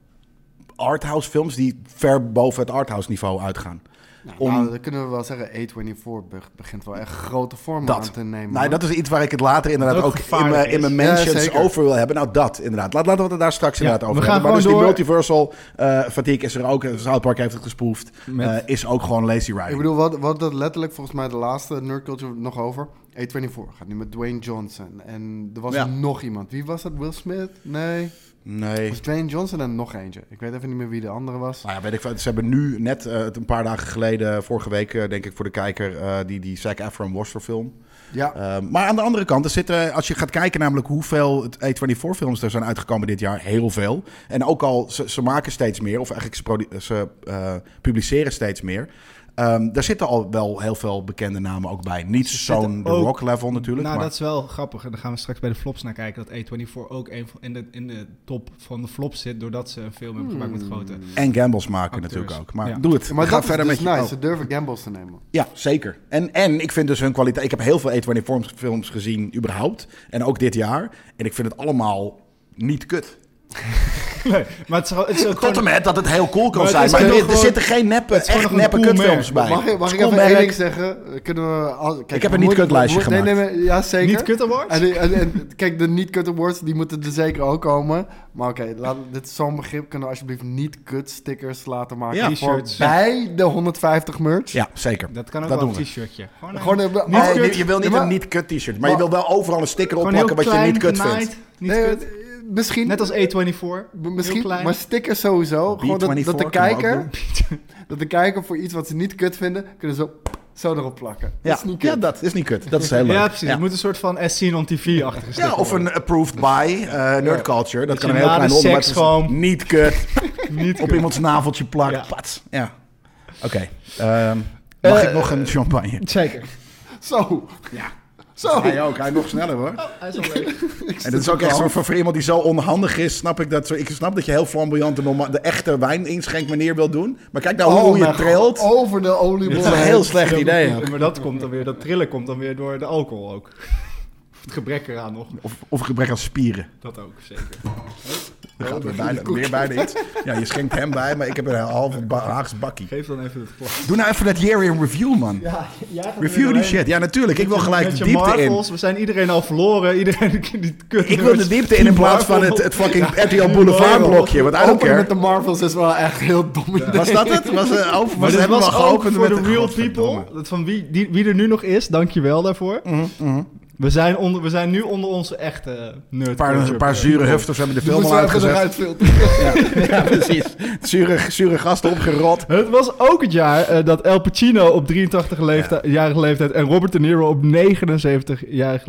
A: arthouse films die ver boven het arthouse niveau uitgaan.
B: Nou,
A: Om-
B: nou, dan kunnen we wel zeggen, A24 be- begint wel echt grote vormen
A: Dat.
B: aan te nemen.
A: Nou, dat is iets waar ik het later inderdaad
D: Wat ook
A: ook in
D: gevaarlijk
A: mijn, in mijn
B: is. Ja,
A: mentions
B: zeker.
A: over wil hebben. Nou, dat inderdaad. Laat, laten we het daar straks
E: Ja,
A: inderdaad over
E: we gaan
A: hebben. Maar dus
E: gewoon door.
A: die multiversal eh fatigue is er ook. eh, South Park heeft het gespoefd.
E: Met-
A: eh, is ook gewoon lazy riding.
B: Ik bedoel, wat, wat dat letterlijk volgens mij de laatste nerd culture nog over. A24 gaat nu met Dwayne Johnson. En er was
A: Ja.
B: nog iemand. Wie was dat? Will Smith? Nee.
A: nee.
B: Was Dwayne Johnson en nog eentje. Ik weet even niet meer wie de andere was.
A: Nou ja, weet ik veel. Ze hebben nu net eh, het een paar dagen geleden, vorige week eh, denk ik voor de kijker, eh, die, die Zac Efron Worcester film.
B: Ja.
A: Ehm, maar aan de andere kant, er zitten, als je gaat kijken namelijk hoeveel het A24-films er zijn uitgekomen dit jaar, heel veel. En ook al, ze, ze maken steeds meer, of eigenlijk ze, produ- ze eh, publiceren steeds meer. Ehm, daar zitten al wel heel veel bekende namen ook bij. Niet
D: Ze zitten
A: zo'n The
D: ook-
A: Rock level natuurlijk.
D: nou,
A: maar,
D: dat is wel grappig. En daar gaan we straks bij de flops naar kijken. Dat A24 ook een van- in, de, in de top van de flops zit. Doordat ze een film hebben gemaakt
A: Hmm.
D: met grote.
A: En gambles maken
D: Acteurs.
A: natuurlijk ook. Maar
D: Ja.
A: doe het.
B: maar
A: Ga
B: dat is
A: verder
B: dus
A: met je-
B: nice.
A: oh.
B: Ze durven gambles te nemen.
A: Ja, zeker. En, en ik vind dus hun kwaliteit... Ik heb heel veel A24 films gezien, überhaupt. En ook dit jaar. En ik vind het allemaal niet kut.
D: Nee, maar het is, gewoon- het is ook
A: Tot en
D: gewoon-
A: met dat het heel cool kan
D: Maar het
A: zijn.
D: is
A: Maar er,
D: gewoon
A: er
D: gewoon-
A: zitten geen neppe,
D: gewoon
A: echt
D: nog een
A: neppe
D: cool
A: kutfilms
D: merk.
A: bij.
B: Mag, ik- mag ik
A: Het is
B: even één
A: cool
B: ding
A: merk.
B: zeggen? Eh, Kunnen we... Als, kijk,
A: Ik heb
B: we
A: een niet-kut
B: moeten- we
A: lijstje
B: moeten- nee, nee, nee, ja, zeker.
D: Niet kut awards?
B: En, die- en- en kijk, de niet-kut awards, die moeten er zeker ook komen. Maar oké, laat- dit is zo'n begrip. Kunnen we alsjeblieft niet-kut stickers laten maken
A: Ja.
B: voor
D: T-shirts.
B: bij de 150 merch?
A: Ja, zeker.
D: Dat kan ook
A: Dat
D: wel
A: doen
D: een
A: we.
D: t-shirtje. Gewoon, een-
B: Gewoon een...
A: Nee,
B: oh,
A: eh, Ah, je, je wil niet
B: Ja, maar-
A: een niet-kut t-shirt. Maar, je
B: Maar-
A: wil wel overal een sticker op
D: gewoon heel
A: plakken wat je
D: klein,
A: niet kut
D: genaaid,
A: vindt.
D: Niet
B: nee,
D: kut.
B: eh, Misschien...
D: Net als A24.
B: M- Misschien,
D: Heel klein.
B: maar stickers sowieso. Gewoon dat, dat de
A: B24 kunnen we
B: kijker,
A: ook
B: dat de kijker voor iets wat ze niet kut vinden, kunnen zo, zo erop plakken.
A: Ja,
B: Dat is niet kut.
A: ja, dat is niet kut. Dat is heel leuk.
D: Ja, precies.
A: Ja.
D: Het moet een soort van SC on TV-achtige
A: Ja, of een approved by eh, nerd culture. Dat
D: Dat
A: kan
D: je
A: een heel
D: na
A: klein
D: de
A: onderwerp
D: seks
A: zijn.
D: gewoon-
A: Niet kut.
D: Niet
A: Op iemands naveltje plakken.
D: Ja. Eh,
A: Pats. Ja. Oké. ehm, mag ik nog een champagne?
E: Zeker.
B: Zo.
A: Ja.
B: Zo.
A: Hij ook. Hij nog sneller hoor.
E: Oh, Hij is al leuk.
A: En dat is ook echt zo voor, voor iemand die zo onhandig is, snap ik dat. Zo, ik snap dat je heel flamboyant de, norma- de echte wijn inschenk manier wil doen. Maar kijk
D: Oh,
A: nou hoe je
B: Oh mijn
A: trilt.
B: god, Over de
A: Dit
B: oliebol.
A: is een heel slecht idee.
D: Ja, maar dat komt dan weer, dat trillen komt dan weer door de alcohol ook. Of Het gebrek eraan nog.
A: Of, of gebrek aan spieren.
D: Dat ook, zeker.
A: Dan gaat
D: Oh,
A: weer bijna, weer bijna iets. Ja, je schenkt hem bij, maar ik heb een halve ba Haags bakkie.
D: Geef dan even het glas.
A: Doe nou even dat year in review, man. Review die shit. Ja, natuurlijk. Ik wil gelijk de
D: Met je
A: diepte in.
D: Marvels, we zijn iedereen al verloren. Iedereen die kut
A: Ik wil de diepte in in plaats van het, het fucking RTL Boulevard blokje. Want I don't
B: Openen met
A: care.
B: de Marvels is wel echt heel dom. idee.
A: Was dat het? Was, eh, open,
D: Maar
A: was,
D: dit
A: hebben we
D: was
A: al
D: ook
A: geopend
D: voor
A: met
D: de real
A: Godverdomme. Mhm,
D: people. Dat van wie, die, wie er nu nog is, dankjewel daarvoor. we, zijn onder, we zijn nu onder onze echte eh, nerd.
A: Een paar,
D: culture.
A: een paar zure hufters hebben de
B: Die
A: film
B: moeten
A: al
B: we even
A: uitgezet.
B: eruit filteren.
A: Ja, precies. Zure, zure gasten opgerot.
D: Het was ook het jaar eh, dat El Pacino op 83-jarige leeftijd, leeftijd en Robert De Niro op 79-jarige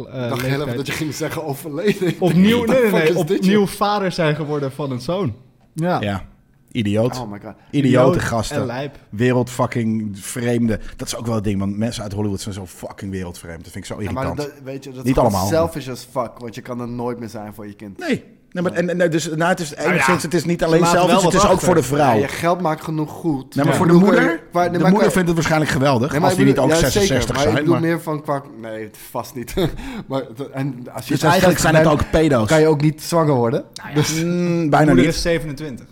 D: eh,
B: Ik dacht heel even
D: leeftijd
B: dat je ging zeggen overleden.
D: opnieuw,
B: What
D: nee,
B: the
D: nee,
B: fuck
D: nee,
B: is dit,
D: opnieuw vader zijn geworden van een zoon. Ja.
A: Ja, idioot.
B: joh? Oh my god.
A: Idiote
D: En
A: gasten.
D: lijp.
A: Wereldfucking vreemde. Dat is ook wel het ding, want mensen uit Hollywood zijn zo fucking wereldvreemd. Dat vind ik zo
B: Ja, maar
A: irritant.
B: dat, weet je, dat is
A: Niet
B: gewoon
A: allemaal.
B: selfish as fuck. Want je kan er nooit meer zijn voor je kind.
A: Nee. Nee, maar, en, en, dus, nou, het is enigszins, het is niet alleen
D: laten
A: zelf,
D: wel
A: het is
D: wat
A: ook
D: achter.
A: voor de
B: Ja,
A: vrouw.
B: je geld maakt genoeg goed.
A: Nee, maar
D: Ja.
A: voor de
B: Hoe kun je-
A: moeder,
B: waar- nee,
A: de
B: maar
A: moeder
B: kan-
A: vindt het waarschijnlijk geweldig,
B: Nee, maar
A: als
B: ik
A: die niet
B: bedoel-
A: ook
B: ja,
A: 66
B: zeker, maar
A: zijn.
B: Ik bedoel
A: maar-
B: meer van qua... Nee, vast niet. maar, en als je
A: dus
B: het
A: eigenlijk zijn het
B: gedaan-
A: ook pedo's.
B: Kan je ook niet zwanger worden?
A: Mm,
D: De
A: bijna
D: moeder
A: niet.
D: is 27.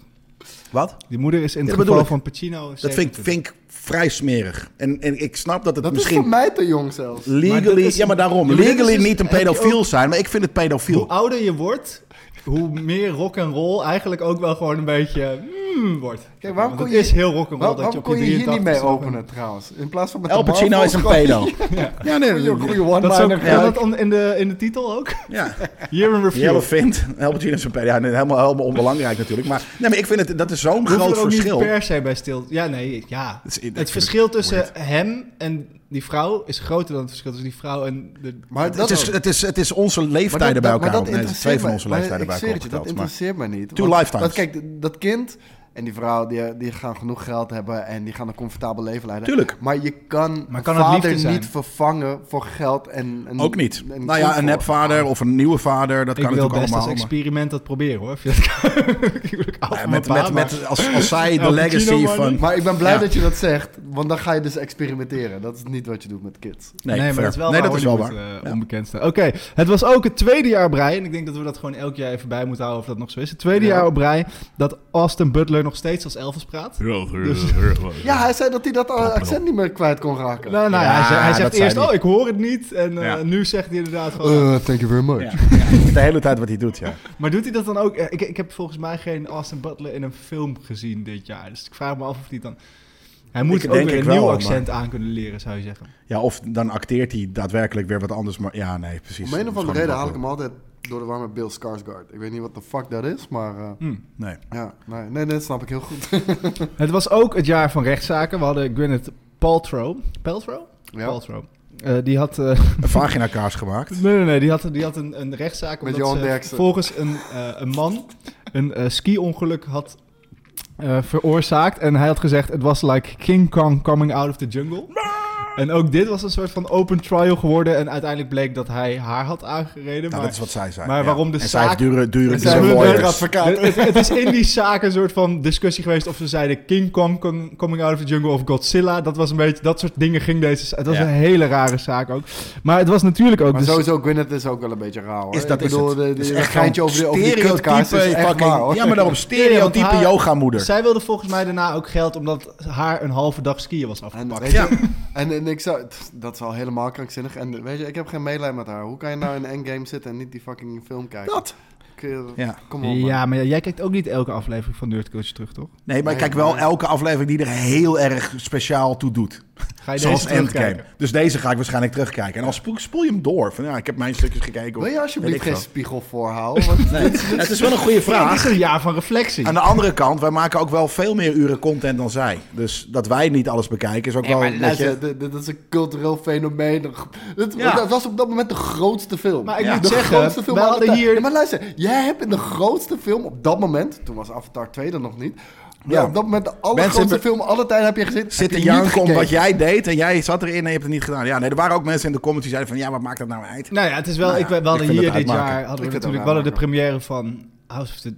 A: Wat?
D: Die moeder is in
A: Ja,
D: het
A: dat bedoel
D: geval
A: ik.
D: van Pacino
A: Dat vind, ik-
D: 27.
A: vind ik vrij smerig. En, en ik snap dat het
B: Dat
A: misschien...
B: is voor mij te jong zelfs.
D: Maar
A: Legally,
D: dit is-
A: ja, maar daarom.
D: Ja, maar dit is
A: legally
D: dus-
A: niet een
D: heb je
A: pedofiel zijn, maar ik vind het pedofiel.
D: Hoe ouder je wordt, hoe meer rock and roll eigenlijk ook wel gewoon een beetje mm, wordt.
B: Kijk, waarom
D: Want
B: kon
D: het
B: je-
D: is heel rock and
B: Waar-
D: roll dat je
B: waarom
D: op
B: kon je hier niet
D: 83
B: mee
D: staat.
B: openen trouwens? In plaats van met
A: El
B: de
A: Pacino
B: Marvel
A: is een
B: gewoon-
A: pedo. Ja, nee,
B: Goeie-
A: nee.
B: Goeie one-liner.
D: Dat is ook
A: Ja.
D: kan dat on- in, de, in de titel ook.
A: Ja,
D: Year in Review.
A: Jelle vindt. El Pacino is een pedo. Ja, nee, helemaal, helemaal onbelangrijk natuurlijk. Maar, nee, maar ik vind het, dat is zo'n
D: Hoef je
A: groot
D: er ook
A: verschil.
D: Niet per se bij stil. Ja, nee, ja.
A: is- ik vind
D: het verschil
A: het
D: tussen
A: weird.
D: hem en die vrouw is groter dan het verschil tussen die vrouw en de.
B: Maar
A: Het is, het, is, het is onze leeftijden bij
B: maar
A: elkaar.
B: dat
A: opgeteld. Nee, het is
B: interesseert
A: twee van
B: mij-
A: onze
B: maar
A: leeftijden bij
B: ik
A: elkaar.
B: zweer het je, Dat
A: opgeteld, maar-
B: interesseert mij niet.
A: Two
B: Want-
A: lifetimes.
B: want kijk, dat kind En die vrouwen die, die gaan genoeg geld hebben en die gaan een comfortabel leven leiden.
A: Tuurlijk.
B: Maar je kan,
D: Maar kan het
B: vader
D: liefde zijn?
B: niet vervangen voor geld en... en
A: Ook niet.
B: en
A: nou ja,
B: comfort.
A: een nepvader of een nieuwe vader, dat
D: ik
A: kan
D: wil
A: natuurlijk
D: best
A: allemaal.
D: als
A: maar-
D: experiment dat proberen hoor. Of je dat kan. ik wil ook af
A: Ja, met,
D: van mijn pa,
A: met,
D: maar-
A: met, als, als zij de
D: Pacino
A: legacy
D: money.
A: van...
B: Maar ik ben blij
A: Ja.
B: dat je dat zegt, want dan ga je dus experimenteren. Dat is niet wat je doet met kids.
A: Nee,
D: maar
A: fair.
D: dat is wel
A: nee,
D: waar
A: dat is wel waar.
D: Hollywood, eh,
A: Ja.
D: onbekend staat. Oké, het was ook het tweede jaar op rij. En ik denk dat we dat gewoon elk jaar even bij moeten houden of dat nog zo is. Het tweede
B: Ja.
D: jaar op rij dat Austin Butler nog steeds als Elvis praat.
B: Ja, hij zei dat hij dat accent niet meer kwijt kon raken.
D: Nou, nou,
A: Ja,
D: hij, zegt, hij
A: dat
D: zegt
A: zei
D: eerst,
A: hij.
D: oh, ik hoor het niet. En eh,
A: Ja.
D: nu zegt hij inderdaad van...
B: Eh, thank you very much.
A: Ja. De hele tijd wat hij doet, ja.
D: Maar doet hij dat dan ook? Eh, Ik, ik heb volgens mij geen Austin Butler in een film gezien dit jaar. Dus ik vraag me af of hij dan... Hij moet
A: Ik
D: ook
A: denk
D: weer
A: ik
D: een
A: wel,
D: nieuw
A: maar-
D: accent aan kunnen leren, zou je zeggen.
A: Ja, of dan acteert hij daadwerkelijk weer wat anders. Maar ja, nee, precies.
B: Om een of
A: Dat is
B: andere
A: gewoon
B: reden haal ik hem altijd door de war met Bill Skarsgård. Ik weet niet wat de fuck dat is, maar eh,
A: Nee.
B: ja, nee, nee, dat snap ik heel goed.
D: Het was ook het jaar van rechtszaken. We hadden Gwyneth Paltrow. Paltrow?
B: ja.
D: Paltrow. Eh, die had... eh,
A: Een vagina kaars gemaakt.
D: Nee, nee, nee. Die had, die had een, een rechtszaak.
B: Met
D: Omdat
B: Johan
D: ze
B: Derksen.
D: volgens een, eh, een man een eh, ski-ongeluk had eh, veroorzaakt. En hij had gezegd, het was like King Kong coming out of the jungle. En ook dit was een soort van open trial geworden. En uiteindelijk bleek dat hij haar had aangereden.
A: Nou,
D: maar
A: dat is wat zij zei.
D: maar
A: ja.
D: waarom de
A: en zij heeft
D: zaak-
A: dure, dure,
D: En
B: Zij
D: zij
A: dure
D: hebben
B: hebben een
A: lawyers.
B: advocaat.
D: het, het is in die zaak een soort van discussie geweest of ze zeiden King Kong com- coming out of the jungle of Godzilla. Dat was een beetje, dat soort dingen ging deze. Het was
A: Ja.
D: een hele rare zaak ook. Maar het was natuurlijk ook.
B: Maar
D: de-
B: sowieso, Gwyneth is ook wel een beetje raar hoor.
A: Is dat
B: ik bedoel,
A: is het.
B: de-
A: Het
B: de-
A: is
B: dat
A: echt
B: geintje
A: gewoon
B: over, die- over die kutkaars is
A: stereotype
B: echt
A: fucking-
B: waar hoor.
A: Ja, maar daarom
D: Ja,
A: stereotype
D: want haar-
A: yogamoeder.
D: Zij wilde volgens mij daarna ook geld omdat haar een halve dag skiën was
B: En,
D: afgepakt.
B: weet
A: Ja.
B: je, en, en ik zou, t- dat is al helemaal krankzinnig. En weet je, ik heb geen medelijden met haar. Hoe kan je nou in een endgame zitten en niet die fucking film kijken?
A: Dat.
B: Kun je-
A: Ja.
B: Kom op. man.
D: Ja, maar jij kijkt ook niet elke aflevering van Nerd Culture terug, toch?
A: Nee, maar ik kijk wel elke aflevering die er heel erg speciaal toe doet.
D: Ga je
A: Zoals
D: deze
A: Endgame.
D: terugkijken?
A: Dus deze ga ik waarschijnlijk terugkijken. En dan spoel, spoel je hem door. Van, ja, ik heb mijn stukjes gekeken. of
B: Wil je
A: weet
B: alsjeblieft
A: ik
B: geen
A: veel.
B: spiegel voorhouden? Want dit is-
A: Ja, Het is wel een goede
D: Ja, het
A: vraag.
D: is een jaar van reflectie.
A: Aan de andere kant, wij maken ook wel veel meer uren content dan zij. Dus dat wij niet alles bekijken is ook wel... een beetje-
B: Luister, dit, dit is een cultureel fenomeen. Dat,
A: Ja.
B: dat was op dat moment de grootste film.
D: Maar ik
A: Ja.
D: moet
B: de grootste
D: zeggen,
B: film
D: we
B: aller
D: hadden
B: tijden.
D: hier...
B: Ja, maar luister, jij hebt in de grootste film op dat moment... Toen was Avatar 2 er nog niet. Maar
A: Ja.
B: op dat moment de allergrootste
A: hebben-
B: film alle tijden heb je gezien.
A: Zit
B: heb je
A: in
B: niet
A: janken om
B: gekeken.
A: wat jij deed en jij zat erin en je hebt het niet gedaan. Ja, nee, er waren ook mensen in de comments die zeiden van... Ja, wat maakt dat nou uit?
D: Nou ja, het is wel...
A: Nou ja,
D: ik, we
A: ik
D: hadden
A: vind
D: hier
A: het
D: dit
A: uitmaken.
D: jaar... Hadden
B: Ik
D: we
B: vind het
D: natuurlijk wel de
B: uitmaken.
D: premiere van House of the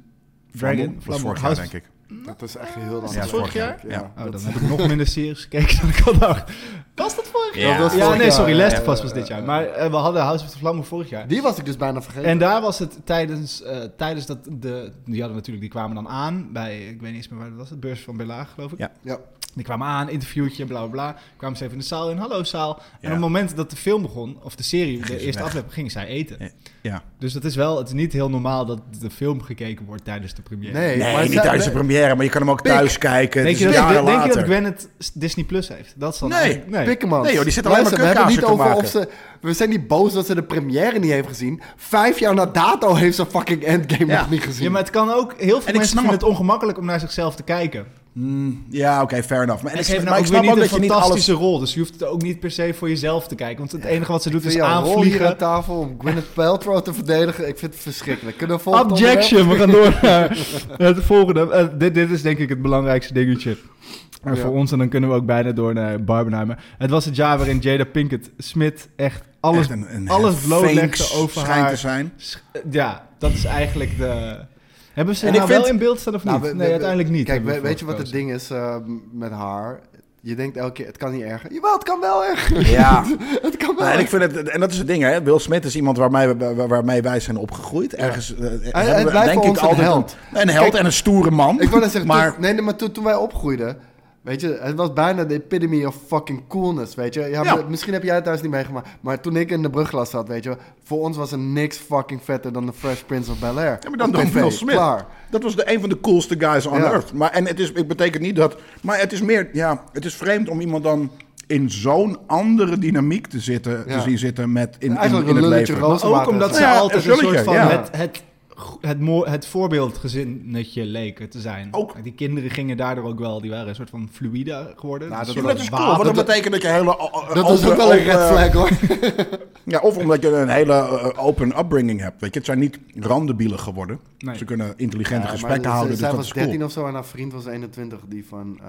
D: Dragon.
A: Dat was vorig
D: House
A: jaar,
D: of-
A: denk ik.
B: Dat is echt heel lang.
A: Ja,
B: geleden.
D: vorig jaar?
A: Ja.
B: Ja.
D: Oh, dan heb ik nog minder series gekeken dan ik had dacht. Was dat vorig
A: Ja.
D: jaar?
A: Dat was
D: Ja,
B: vorig
D: nee,
B: jaar,
D: sorry.
B: ja,
D: Last
B: ja,
D: of Us
B: ja,
D: was dit
B: ja,
D: jaar.
B: ja.
D: Maar eh, we hadden House of the Vlammen vorig jaar.
B: Die was ik dus bijna vergeten.
D: En daar was het tijdens, eh, tijdens dat de. Die hadden natuurlijk, die kwamen dan aan bij, ik weet niet eens meer waar dat was, het beurs van Belaag, geloof ik.
A: Ja.
B: Ja.
D: Die kwamen aan, interviewtje, bla bla bla. Kwamen ze even in de zaal in, hallo zaal. En
A: Ja.
D: op het moment dat de film begon, of de serie, de
A: Gingen ze
D: eerste
A: weg.
D: aflevering, gingen zij eten.
A: Ja. Ja.
D: Dus dat is wel, het is niet heel normaal dat de film gekeken wordt tijdens de première.
B: Nee,
A: Nee,
B: maar
A: niet
B: zij-
A: tijdens de
B: nee,
A: première, maar je kan hem ook thuis kijken.
D: Denk,
A: Het
D: je
A: is
D: dat,
A: jaren
D: denk je
A: later.
D: dat Gwyneth Disney Plus heeft? Dat is dan
A: Nee.
D: eigenlijk-
B: Pikkemans.
A: Nee, joh, die zitten alleen
B: Luister,
A: maar
B: we hebben het niet over
A: kutkaarsen
B: of ze. We zijn niet boos dat ze de première niet heeft gezien. Vijf jaar na dato heeft ze fucking Endgame
A: Ja.
B: nog niet gezien.
D: Ja, maar het kan ook. Heel veel
A: ik
D: mensen
A: snap
D: vinden het
A: het.
D: ongemakkelijk om naar zichzelf te kijken.
A: Ja, oké, fair enough. Maar,
D: En,
A: en ik,
D: ze heeft
A: maar ik
D: nou ook weer
A: snap
D: niet
A: ook
D: een
A: dat je niet alles...
D: fantastische rol. Dus je hoeft het ook niet per se voor jezelf te kijken. Want het enige wat ze doet
B: Vind
D: is
B: je een rol hier aan
D: aanvliegen.
B: tafel om Gwyneth Paltrow te verdedigen? Ik vind het verschrikkelijk. Kunnen we volgende
D: Objection, we gaan door naar het volgende. Eh, dit, dit is denk ik het belangrijkste dingetje eh,
B: Ja.
D: voor ons. En dan kunnen we ook bijna door naar Barbenheimer. Het was het jaar waarin Jada Pinkett Smith echt alles...
A: Echt een- een
D: alles
A: fake
D: blootlegde over
A: schijnt
D: haar-
A: te zijn.
D: sch- eh, Ja, dat is eigenlijk de... Hebben ze
A: En
D: nou
A: ik
D: wel
A: vind-
D: in beeld staan of niet?
B: Nou, we- we-
D: nee,
B: we-
D: uiteindelijk niet.
B: Kijk,
D: hebben
B: we-
D: we
B: weet je wat het
D: voorgekozen.
B: ding is eh, met haar? Je denkt elke keer, het kan niet erger. Jawel, het kan wel erger.
A: Ja.
B: het kan wel
A: Nou, en, ik
B: erger.
A: vind het, en dat is het ding, hè. Will Smith is iemand waarmee, we- waar- waarmee wij zijn opgegroeid. Ergens, eh, hebben
B: hij
A: we,
B: blijft
A: denk
B: voor
A: ik,
B: ons een
A: altijd
B: held.
A: Een, een held
B: Kijk,
A: en een stoere man.
B: Ik wil net zeggen,
A: maar
B: toen, nee, nee, maar toen, toen wij opgroeiden, weet je, het was bijna de epitome of fucking coolness, weet je. Ja,
A: Ja.
B: m- Misschien heb jij het thuis niet meegemaakt, maar toen ik in de brugglas zat, weet je, voor ons was er niks fucking vetter dan de Fresh Prince of Bel-Air.
A: Ja, maar dan
B: Op
A: dan
B: tv,
A: Will Smith.
B: Klaar.
A: Dat was de, een van de coolste guys on
B: Ja.
A: earth. Maar, en het, is, het betekent niet dat... Maar het is meer... Ja, het is vreemd om iemand dan in zo'n andere dynamiek te, zitten,
B: Ja.
A: te zien zitten met in, in,
B: Eigenlijk
A: in
B: een
A: het
B: lulletje
A: leven.
B: rood.
D: Maar ook omdat ze
A: Ja,
D: altijd
A: een
D: een soort
A: zulletje,
D: van
A: ja.
D: het, het go- het, mo- het voorbeeldgezinnetje leken te zijn.
A: Ook.
D: Die kinderen gingen daardoor ook wel, die waren een soort van fluïde geworden.
F: Nou,
D: Een
F: dat
D: soort
A: Ja, dat
D: van
A: is
D: wa-
A: cool, want dat, betekent dat je hele... o- o-
B: Dat is
A: open-
B: ook wel een red
A: open-
B: flag hoor.
A: Ja, of omdat je een hele eh, open upbringing hebt. Weet je, het zijn niet randebielen geworden.
D: Nee.
A: Ze kunnen intelligente
B: Ja,
A: gesprekken
B: maar
A: houden,
B: Zij
A: dus dat
B: was
A: is
B: 13
A: cool.
B: of zo en haar vriend was 21, die van... eh,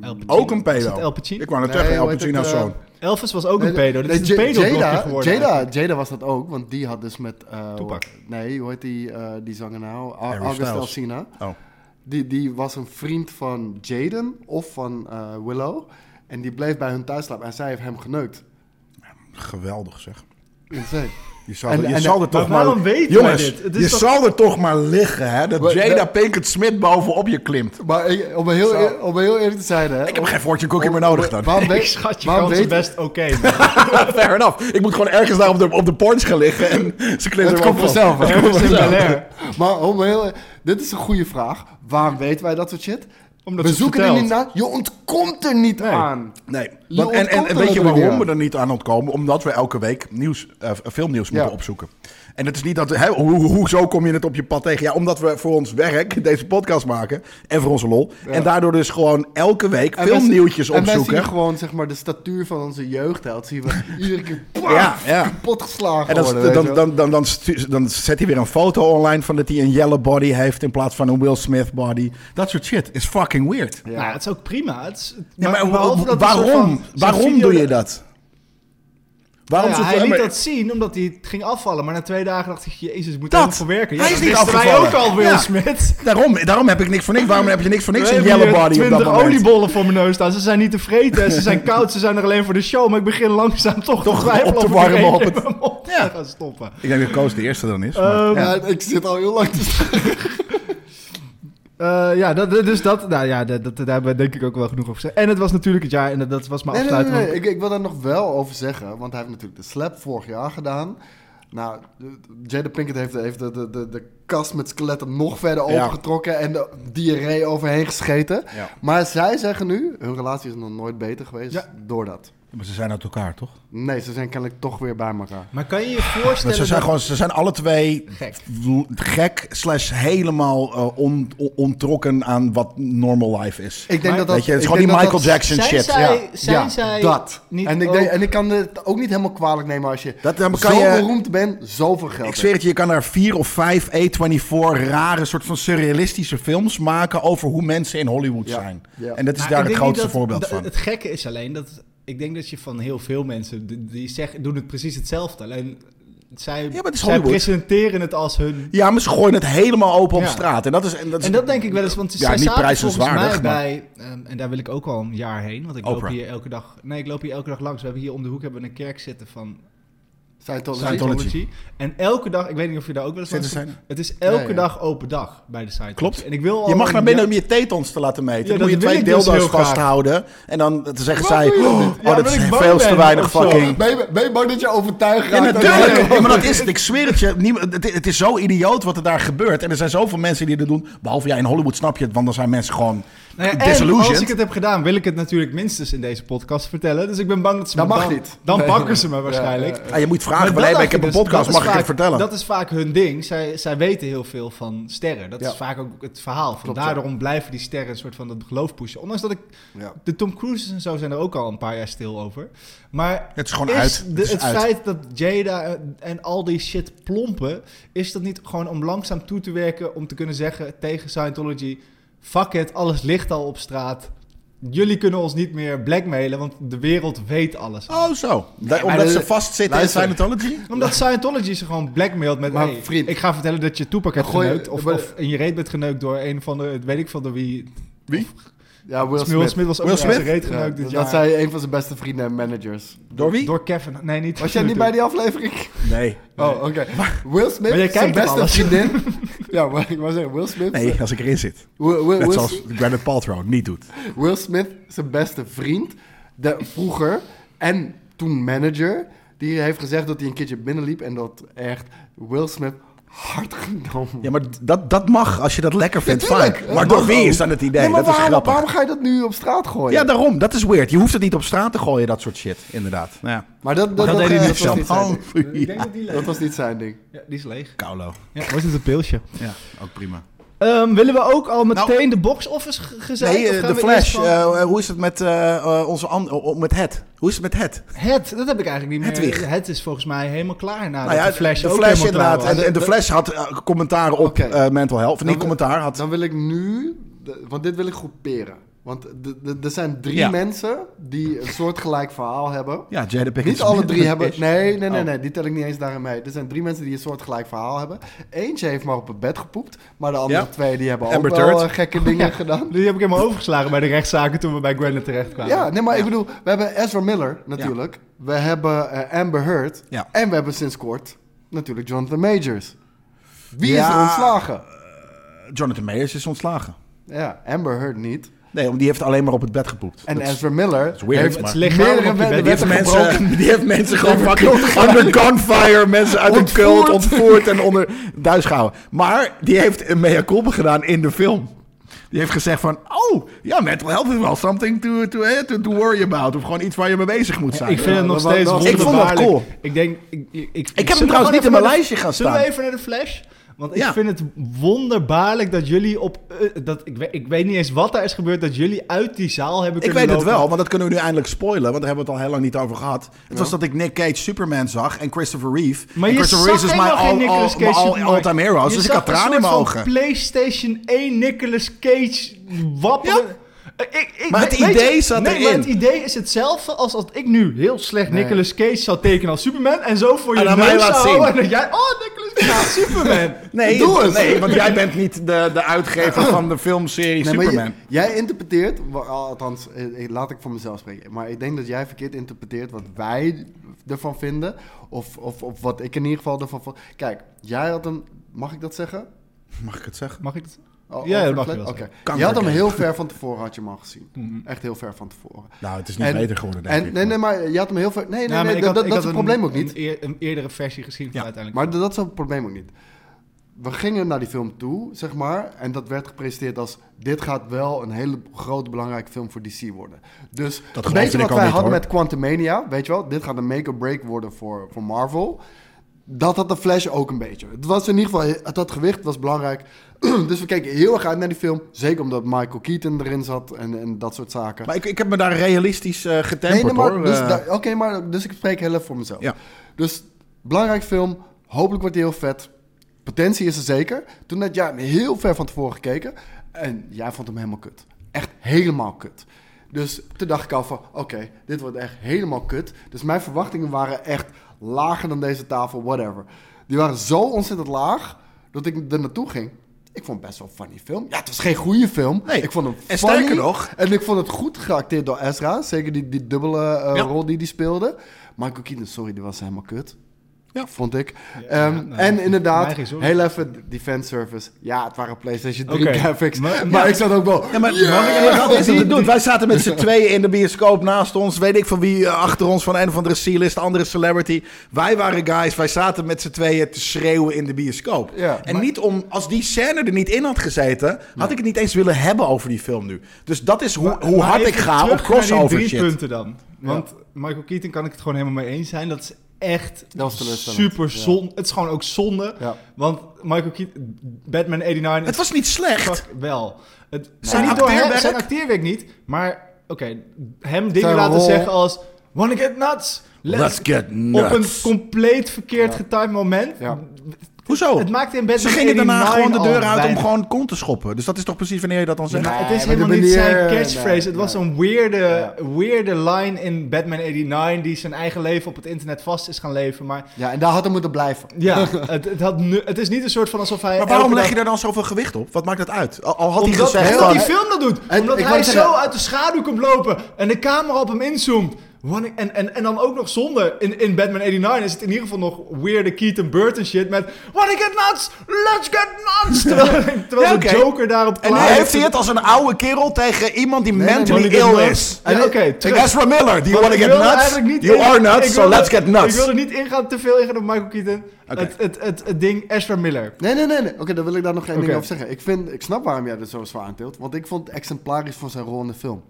D: El Pacino.
A: Ook een
D: Is
A: pedo.
D: het El Pacino?
A: Ik wou net
B: Nee,
A: zeggen, El
B: hoe heet het,
A: Pacino's
B: eh,
A: zoon.
D: Elvis was ook een
B: Nee,
D: pedo. Dit
B: nee,
D: is
B: Ja-
D: een pedo
B: Jada-
D: geworden.
B: Jada,
D: eigenlijk.
B: Jada was dat ook, want die had dus met... eh,
D: Tupac.
B: hoe- Nee, hoe heet die, eh, die zanger nou? Au-
A: Harry
B: August
A: Styles.
B: Alsina.
A: Oh.
B: Die, die was een vriend van Jaden of van eh, Willow. En die bleef bij hun thuis slapen en zij heeft hem geneukt.
A: Geweldig zeg.
B: Insane.
A: Je zal,
B: En-
A: je
B: en-
A: zal er toch
D: waarom
A: maar...
D: weten wij
A: Jongens,
D: dit? Het is
A: je
D: toch-
A: zal er toch maar liggen, hè? Dat
B: Maar-
A: Jada Pinkett Smith bovenop je klimt.
B: Maar ik- om heel, eer- om heel eerlijk te zijn, hè.
A: Ik heb geen fortune cookie meer nodig dan.
B: Waarom
D: Ik
B: weet-
D: schat je
B: waarom
D: kansen
B: weet-
D: best oké. man.
A: Fair enough. Ik moet gewoon ergens daar op de, op de porch gaan liggen en ze klimt
B: Het
A: er
B: komt vanzelf. hè.
D: Ergens in Bel Air.
B: Maar om heel, e- dit is een goede vraag. Waarom weten wij dat soort shit?
D: Omdat
B: we
D: ze het
B: zoeken er
D: vertelt.
B: niet naar. Je ontkomt er niet aan.
A: Nee.
B: Je
A: Want- en, en,
B: ontkomt er
A: en weet je
B: natuurlijk
A: waarom
B: niet
A: we er niet aan ontkomen? Omdat we elke week nieuws, eh, filmnieuws
B: Ja.
A: moeten opzoeken. En het is niet dat, hè, hoe, hoe- hoezo kom je het op je pad tegen? Ja, omdat we voor ons werk deze podcast maken en voor onze lol. En daardoor dus gewoon elke week
B: En wij-
A: filmnieuwtjes
B: En wij zien
A: opzoeken.
B: gewoon zeg maar, de statuur van onze jeugdheld. Zien we iedere keer
A: Ja, ja.
B: kapot geslagen
A: En dan,
B: worden. weet je
A: dan,
B: wel.
A: dan, dan, dan, stu- dan zet hij weer een foto online van dat hij een yellow body heeft in plaats van een Will Smith body. Dat soort shit is fucking weird.
B: Ja.
D: Nou, het is ook prima. Het is,
A: Ja, maar,
D: behalve dat die soort
A: waarom?
D: van- zo'n
A: Waarom
D: video-
A: doe je dat? Waarom
D: Nou
A: zo
D: ja, hij
A: maar-
D: liet dat zien omdat hij het ging afvallen. Maar na twee dagen dacht ik, jezus, ik moet
A: Dat!
D: er nog voor werken. Ja,
A: Hij is
D: dat
A: niet
D: wisten
A: afgevallen.
D: wij ook al, Will
A: Ja.
D: Smith.
A: Daarom, daarom heb ik niks voor niks. Waarom heb je niks voor niks een
D: We
A: yellow
D: hebben hier
A: body op dat
D: 20
A: moment?
D: oliebollen voor mijn neus staan. Ze zijn niet te vreten. Ze zijn koud. Ze zijn er alleen voor de show. Maar ik begin langzaam toch,
A: Toch
D: te twijfelen
A: op te
D: of ik er
A: warmen op
D: één
A: het-
D: keer op te
A: Ja.
D: gaan stoppen.
A: Ik denk dat Koos de eerste dan is.
D: Ehm,
A: maar, ja.
B: Ja, ik zit al heel lang te
F: Eh, ja, dat, dus dat, nou ja, dat, dat, daar hebben we denk ik ook wel genoeg over gezegd. En het was natuurlijk het jaar, en dat, dat was mijn
B: Nee, nee, nee,
F: afsluiting.
B: nee, Ik, ik wil daar nog wel over zeggen, want hij heeft natuurlijk de slap vorig jaar gedaan. Nou, de- de- Jada Pinkett heeft, heeft de, de, de, de kast met skeletten nog verder
A: Ja.
B: opengetrokken en de diarree overheen gescheten.
A: Ja.
B: Maar zij zeggen nu, hun relatie is nog nooit beter geweest
D: Ja.
B: door dat.
A: maar ze zijn uit elkaar, toch?
B: Nee, ze zijn kennelijk toch weer bij elkaar.
D: Maar kan je je
A: Maar
D: voorstellen...
A: ze, zijn
D: dat-
A: gewoon, ze zijn alle twee
D: Gek.
A: w- gek slash helemaal eh, on- on- ontrokken aan wat normal life is.
B: Ik denk
D: Maar-
B: dat dat...
A: Weet je, het is
B: ik
A: gewoon die
B: denk dat
A: Michael
B: dat-
A: Jackson
D: Zijn
A: shit.
D: zij-
A: ja.
D: zijn
B: ja,
D: zij
B: dat.
D: niet
B: en, ik
D: ook-
B: denk, en ik kan het ook niet helemaal kwalijk nemen als je
A: Dat- dan kan
B: zo
A: je-
B: beroemd bent, zoveel geld
A: Ik
B: hebt.
A: zweer het je, je kan er vier of vijf A24 rare soort van surrealistische films maken over hoe mensen in Hollywood
B: Ja.
A: zijn.
B: Ja.
A: En dat is
D: Maar
A: daar
D: ik
A: het
D: denk
A: grootste
D: niet dat-
A: voorbeeld
D: dat-
A: van.
D: Het gekke is alleen dat... Ik denk dat je van heel veel mensen... Die, die zeggen, doen het precies hetzelfde. Alleen zij,
A: maar het is
D: zij
A: Hollywood.
D: presenteren het als hun...
A: Ja, maar ze gooien het helemaal open op
D: Ja.
A: straat. En dat is, en dat is
D: En dat denk ik wel eens, want ze
A: Dus- Ja,
D: zij
A: niet
D: zaten volgens mij
A: prijzenswaardig, maar-
D: bij... ehm, en daar wil ik ook al een jaar heen, want ik
A: Oprah.
D: loop hier elke dag... Nee, ik loop hier elke dag langs. We hebben hier om de hoek hebben we een kerk zitten van
B: Scientology.
A: Scientology.
D: Scientology. En elke dag, ik weet niet of je daar ook wel eens
A: Zitten
D: langs-
A: zijn?
D: Het is elke
B: Ja, ja.
D: dag open dag bij de Scientology.
A: Klopt.
D: En ik wil al
A: Je mag
D: een
A: naar binnen
D: jaar-
A: om je tetons te laten meten.
D: Ja,
A: dan moet je
D: dat wil
A: twee
D: ik dus
A: deeldoos
D: heel graag.
A: vasthouden. En dan te zeggen
D: Waarom
A: zij...
D: doe je dat
A: Oh,
D: niet? Ja,
A: dat
D: omdat
A: is
D: ik bang
A: veel te
D: ben
A: weinig
D: of zo."
A: fucking...
B: Ben je, ben je bang dat je overtuigd
A: Ja,
B: raakt?
A: natuurlijk. Ja, maar dat is het. Ik zweer het je. Niemand- Het het is zo idioot wat er daar gebeurt. En er zijn zoveel mensen die dit doen. Behalve jij in Hollywood snap je het. Want dan zijn mensen gewoon
D: Nou ja, en
A: disillusioned.
D: als ik het heb gedaan, wil ik het natuurlijk minstens in deze podcast vertellen. Dus ik ben bang dat ze
B: Dat
D: me
B: mag
D: dan,
B: niet.
D: Dan
B: Nee.
D: pakken ze me waarschijnlijk.
A: Ja, je moet
D: Maar
A: vragen.
D: dat
A: Maar nee,
D: dacht
A: ik heb
D: ik
A: een
D: dus,
A: podcast.
D: dat
A: Mag
D: is
A: ik het
D: vaak-
A: vertellen?
D: Dat is vaak hun ding. Zij, zij weten heel veel van sterren. Dat
B: Ja.
D: is vaak ook het verhaal. Van
B: Klopt, ja.
D: daarom blijven die sterren een soort van dat geloof pushen. Ondanks dat ik...
B: Ja.
D: De Tom Cruises en zo zijn er ook al een paar jaar stil over. Maar
A: Het is gewoon
D: is
A: uit.
D: de-
A: Het
D: het
A: is uit.
D: feit dat Jada en- en al die shit plompen... is dat niet gewoon om langzaam toe te werken... om te kunnen zeggen tegen Scientology... fuck it, alles ligt al op straat... Jullie kunnen ons niet meer blackmailen, want de wereld weet alles. al.
A: Oh, zo. Da-
B: maar
A: Omdat
B: dat-
A: ze vastzitten in
B: luister.
A: Scientology?
D: Omdat Scientology ze gewoon blackmailt met...
B: Maar
D: hey,
B: vriend.
D: ik ga vertellen dat je Tupac hebt
B: Gooi-
D: geneukt... Of,
B: maar-
D: of in je reet bent geneukt door een van de... weet ik van de wie...
A: Wie?
B: Ja, Will
D: Will
B: Smith.
D: Smith was ook
A: Will
D: in zijn
A: Smith?
D: reet
B: Ja,
D: geneukt dit
B: dat
D: jaar.
B: dat zei een van zijn beste vrienden en managers.
A: Door wie?
D: Door Kevin. Nee, niet.
B: Was jij niet bij die aflevering?
A: Nee.
B: Oh, oké. Will Smith,
D: Maar jij
B: zijn
D: kijkt
B: beste
D: toch alles?
B: vriendin. ja, maar ik wou zeggen, Will Smith. eh,
A: Nee, als ik erin zit.
B: Will, Will-
A: Net
B: Will-
A: zoals Gwyneth Paltrow niet doet.
B: Will Smith, zijn beste vriend, de, vroeger en toen manager, die heeft gezegd dat hij een keertje binnenliep en dat echt Will Smith hard genomen.
A: Ja, maar d- dat, dat mag. Als je dat lekker vindt, fijn.
B: Tuurlijk,
A: Maar
B: dat
A: door
B: mag
A: wie
B: ook.
A: is dan het idee?
B: Nee, maar
A: dat is
B: waarom,
A: grappig.
B: waarom ga je dat nu op straat gooien?
A: Ja, daarom. Dat is weird. Je hoeft het niet op straat te gooien, dat soort shit. Inderdaad. Nou ja.
B: maar dat, dat,
A: dat deed hij
B: eh,
A: niet
B: was
A: zelf.
B: niet zijn
A: Oh,
B: ding.
G: Ik denk
A: ja.
G: dat die
B: Dat
G: leeg
B: was niet zijn ding.
G: Ja, die is leeg.
A: Kaulo.
D: Ja, wordt het een pilsje?
A: Ja, ook prima.
D: Ehm, willen we ook al meteen
A: Nou-
D: de box office g- gezegd?
A: Nee,
D: of
A: eh,
D: gaan
A: de
D: we eerst
A: Flash.
D: van-
A: eh, hoe is het met eh, eh, onze an- oh, met het? Hoe is het met het?
D: het, dat heb ik eigenlijk niet meer.
A: Hedwig.
D: Het is volgens mij helemaal klaar na
A: Nou ja,
D: de Flash.
A: de
D: ook
A: Flash
D: helemaal klaar
A: inderdaad.
D: was.
A: En, en de Flash had eh, commentaar op
B: Oké.
A: eh, mental health. Of niet
B: Dan-
A: commentaar had.
B: Dan wil ik nu, de- want dit wil ik groeperen. Want de- de- er zijn drie
A: Ja.
B: mensen die een soortgelijk verhaal hebben.
A: ja, Jada Pinkett
B: Niet alle drie
A: Smith.
B: hebben. Nee, nee, nee,
A: Oh.
B: nee, die tel ik niet eens daarin mee. Er zijn drie mensen die een soortgelijk verhaal hebben. Eentje heeft maar op het bed gepoept, maar de andere
A: Ja.
B: twee die hebben
A: Amber
B: ook wel
A: Turd.
B: eh, gekke dingen gedaan.
D: Die heb ik helemaal overgeslagen bij de rechtszaken toen we bij Gwennet terecht kwamen.
B: Ja, nee, maar ik bedoel, we hebben Ezra Miller natuurlijk. We hebben eh, Amber Heard.
A: Ja.
B: En we hebben sinds kort natuurlijk Jonathan Majors. Wie is
A: Ja.
B: er ontslagen?
A: Jonathan Mayers is ontslagen.
B: Ja, Amber Heard niet.
A: Nee, want die heeft alleen maar op het bed gepoept.
B: En
A: Dat is-
B: Ezra Miller
A: is weird,
B: heeft
A: maar-
D: Het is lichamelijk
B: meerdere
D: op je
B: wetten
D: bed.
A: Die heeft,
B: wetten gebroken.
A: mensen, die heeft mensen gewoon fucking under gunfire, mensen uit een
B: Ontvoerd.
A: cult ontvoerd en onder duis gehouden. Maar die heeft een mea culpa gedaan in de film. Die heeft gezegd van, oh, ja, mental health is wel something to, to, eh, to, to worry about. Of gewoon iets waar je mee bezig moet zijn.
D: Ik vind het nog
B: dat was-
D: steeds
B: dat was-
A: Ik vond dat
D: wonderbaarlijk.
A: cool.
D: Ik denk... Ik, ik, ik,
A: hem
D: Zullen we
A: trouwens
D: gewoon
A: niet in
D: even
A: mijn
D: naar de-
A: lijstje gaan
D: Zullen
A: staan?
D: we even naar de Flash? Want ik
A: Ja.
D: vind het wonderbaarlijk dat jullie op... eh, dat, ik, weet, ik weet niet eens wat daar is gebeurd, dat jullie uit die zaal hebben
A: Ik
D: kunnen
A: weet het
D: lopen.
A: wel, want dat kunnen we nu eindelijk spoilen. Want daar hebben we het al heel lang niet over gehad. Het was dat ik Nick Cage Superman zag en Christopher Reeve.
D: Maar
A: en
D: je
A: Christopher
D: zag
A: mijn
D: helemaal geen Nicolas Cage.
A: all-
D: Superman.
A: all-time heroes.
D: Je
A: Dus ik had
D: zag een
A: tranen in mijn
D: soort van
A: ogen.
D: PlayStation 1 Nicolas Cage wapperen. Ik, ik,
A: Maar het
D: weet
A: idee
D: je-
A: zat
D: nee, maar
A: erin.
D: het idee is hetzelfde als als ik nu heel slecht
B: Nee.
D: Nicolas Cage zou tekenen als Superman. En zo voor
A: En
D: je
A: aan mij
D: neus
A: laat
D: zou
A: zien.
D: houden. En dat jij, oh Nicolas Cage, Superman.
A: Nee,
B: Doe het.
A: nee, want jij bent niet de, de uitgever van de filmserie
B: Nee, maar
A: Superman.
B: j- jij interpreteert, wa- althans, eh, eh, laat ik voor mezelf spreken. Maar ik denk dat jij verkeerd interpreteert wat wij ervan vinden. Of, of, of wat ik in ieder geval ervan vond. Kijk, jij had hem, mag ik dat zeggen?
A: Mag ik het zeggen?
D: Mag ik het?
B: O-
D: Ja,
B: over
D: dat mag
B: de
D: je wel
B: flat?
D: zeggen. Mm-hmm.
B: Oké.
A: Kanker
B: Je had hem
A: game.
B: heel ver van tevoren had je hem al gezien. Echt heel ver van tevoren.
A: Nou, het is niet
B: En-
A: beter geworden, denk
B: En,
A: ik.
B: nee, nee, maar je had hem heel ver... Nee, nee,
D: Ja, Nou, maar
B: nee,
D: ik
B: dat,
D: had-
B: dat
D: ik
B: dat is
D: had
B: het
D: een-
B: probleem ook niet.
D: Een, eer- een eerdere versie gezien van
A: Ja,
D: uiteindelijk.
B: Maar dat is het probleem ook niet. We gingen naar die film toe, zeg maar. En dat werd gepresenteerd als... dit gaat wel een hele grote belangrijke film voor DC worden. Dus
A: Dat
B: een
A: geloofde
B: beetje
A: ik
B: wat
A: al
B: wij
A: niet,
B: hadden
A: hoor.
B: met Quantumania, weet je wel? Dit gaat een make-or-break worden voor, voor Marvel. Dat had de Flash ook een beetje. Het was in ieder geval... Het had gewicht, het was belangrijk. dus we keken heel erg uit naar die film. Zeker omdat Michael Keaton erin zat en, en dat soort zaken.
A: Maar ik, ik heb me daar realistisch eh getemperd,
B: nee, maar,
A: hoor.
B: Dus,
A: Eh,
B: da- Oké, maar dus ik spreek heel even voor mezelf.
A: Ja.
B: Dus belangrijk film. Hopelijk wordt die heel vet. Potentie is er zeker. Toen had jij hem heel ver van tevoren gekeken. En jij vond hem helemaal kut. Echt helemaal kut. Dus toen dacht ik al van, oké, dit wordt echt helemaal kut. Dus mijn verwachtingen waren echt lager dan deze tafel, whatever. Die waren zo ontzettend laag, dat ik er naartoe ging. Ik vond het best wel een funny film. Ja, het was geen goede film.
A: Nee.
B: Ik vond hem
A: En
B: funny.
A: sterker nog,
B: En ik vond het goed geacteerd door Ezra. Zeker die, die dubbele eh,
A: Ja.
B: rol die die speelde. Michael Keaton, sorry, die was helemaal kut.
A: Ja.
B: Vond ik.
D: ja,
B: Ehm,
D: nou,
B: en inderdaad,
D: mij geen zorgen.
B: heel even die fanservice. Ja, het waren PlayStation 3
D: Oké.
B: graphics.
D: Maar-
B: Maar, ik zat ook wel...
A: Ja, maar
B: "Yeah!"
A: dat is niet doen. Wij zaten met z'n tweeën in de bioscoop naast ons. Weet ik van wie eh, achter ons, van een of andere C-list, de andere celebrity. Wij waren guys, wij zaten met z'n tweeën te schreeuwen in de bioscoop.
B: Ja,
A: en niet om, als die scène er niet in had gezeten, had ik het niet eens willen hebben over die film nu. Dus dat is hoe, hoe
D: Maar
A: hard
D: even
A: ik ga
D: terug
A: op
D: naar die
A: crossover
D: drie
A: shit.
D: punten dan. Want Michael Keaton kan ik het gewoon helemaal mee eens zijn. Dat is echt
B: Dat is teleurstellend,
D: super
B: ja.
D: zonde. Het is gewoon ook zonde.
B: Ja.
D: Want Michael Keaton, Batman 89...
A: Het was niet slecht.
D: fuck wel. Het,
A: Zijn
D: niet door hem-
A: acteerwerk?
D: zijn acteerwerk niet. Maar oké, hem dingen
B: Zijn
D: laten
B: rol.
D: zeggen als... Wanna get nuts?
A: Let's get
D: Op een
A: nuts.
D: compleet verkeerd getimed moment.
B: Ja.
A: Hoezo?
D: Het Oh, maakte in Batman
A: Ze gingen daarna
D: 89
A: gewoon de deur
D: al
A: uit om
D: weinig.
A: gewoon kont te schoppen. Dus dat is toch precies wanneer je dat dan zegt?
D: Maar het
B: Nee,
D: is
B: maar de
D: helemaal niet zijn
B: manier-
D: catchphrase.
B: nee,
D: het was
B: nee.
D: een weirde, weirde line in Batman 89 die zijn eigen leven op het internet vast is gaan leven. Maar
B: Ja, en daar had hij moeten blijven.
D: ja, het, het, had nu, het is niet een soort van alsof hij.
A: Maar waarom
D: elke
A: leg
D: dag-
A: je daar dan zoveel gewicht op? Wat maakt dat uit? Al, al had hij
D: Omdat,
A: gezegd...
D: omdat
A: van-
D: die film dat doet.
B: En
D: omdat
B: ik
D: hij
B: wou
D: zo
B: zeggen-
D: uit de schaduw komt lopen en de camera op hem inzoomt. Wanneer- en, en, en dan ook nog zonder. In, in Batman 89 is het in ieder geval nog weirde Keaton Burton shit met... Wanna get nuts? Let's get nuts! Terwijl, terwijl
A: Ja, oké.
D: de Joker daarop
A: En nu
D: klaagt.
A: heeft hij het als een oude kerel tegen iemand die mentally
D: want ik
A: ill
D: heb
A: is.
D: nuts. Ja, oké,
A: Like
D: terug.
A: Ezra Miller, do you
D: Want
A: want to
D: ik
A: get
D: wilde
A: nuts?
D: eigenlijk niet
A: You
D: in-
A: are nuts,
D: ik
A: so
D: wilde-
A: let's get
D: Ik
A: nuts.
D: wilde niet ingaan, te veel ingaan op Michael Keaton.
A: Oké.
D: Het, het, het, het ding Ezra Miller.
B: Nee, nee, nee. nee. Oké, dan wil ik daar nog één
D: Oké.
B: ding over zeggen. Ik, vind, ik snap waarom jij er zo zwaar aan tilt. Want ik vond het exemplarisch van zijn rol in de film.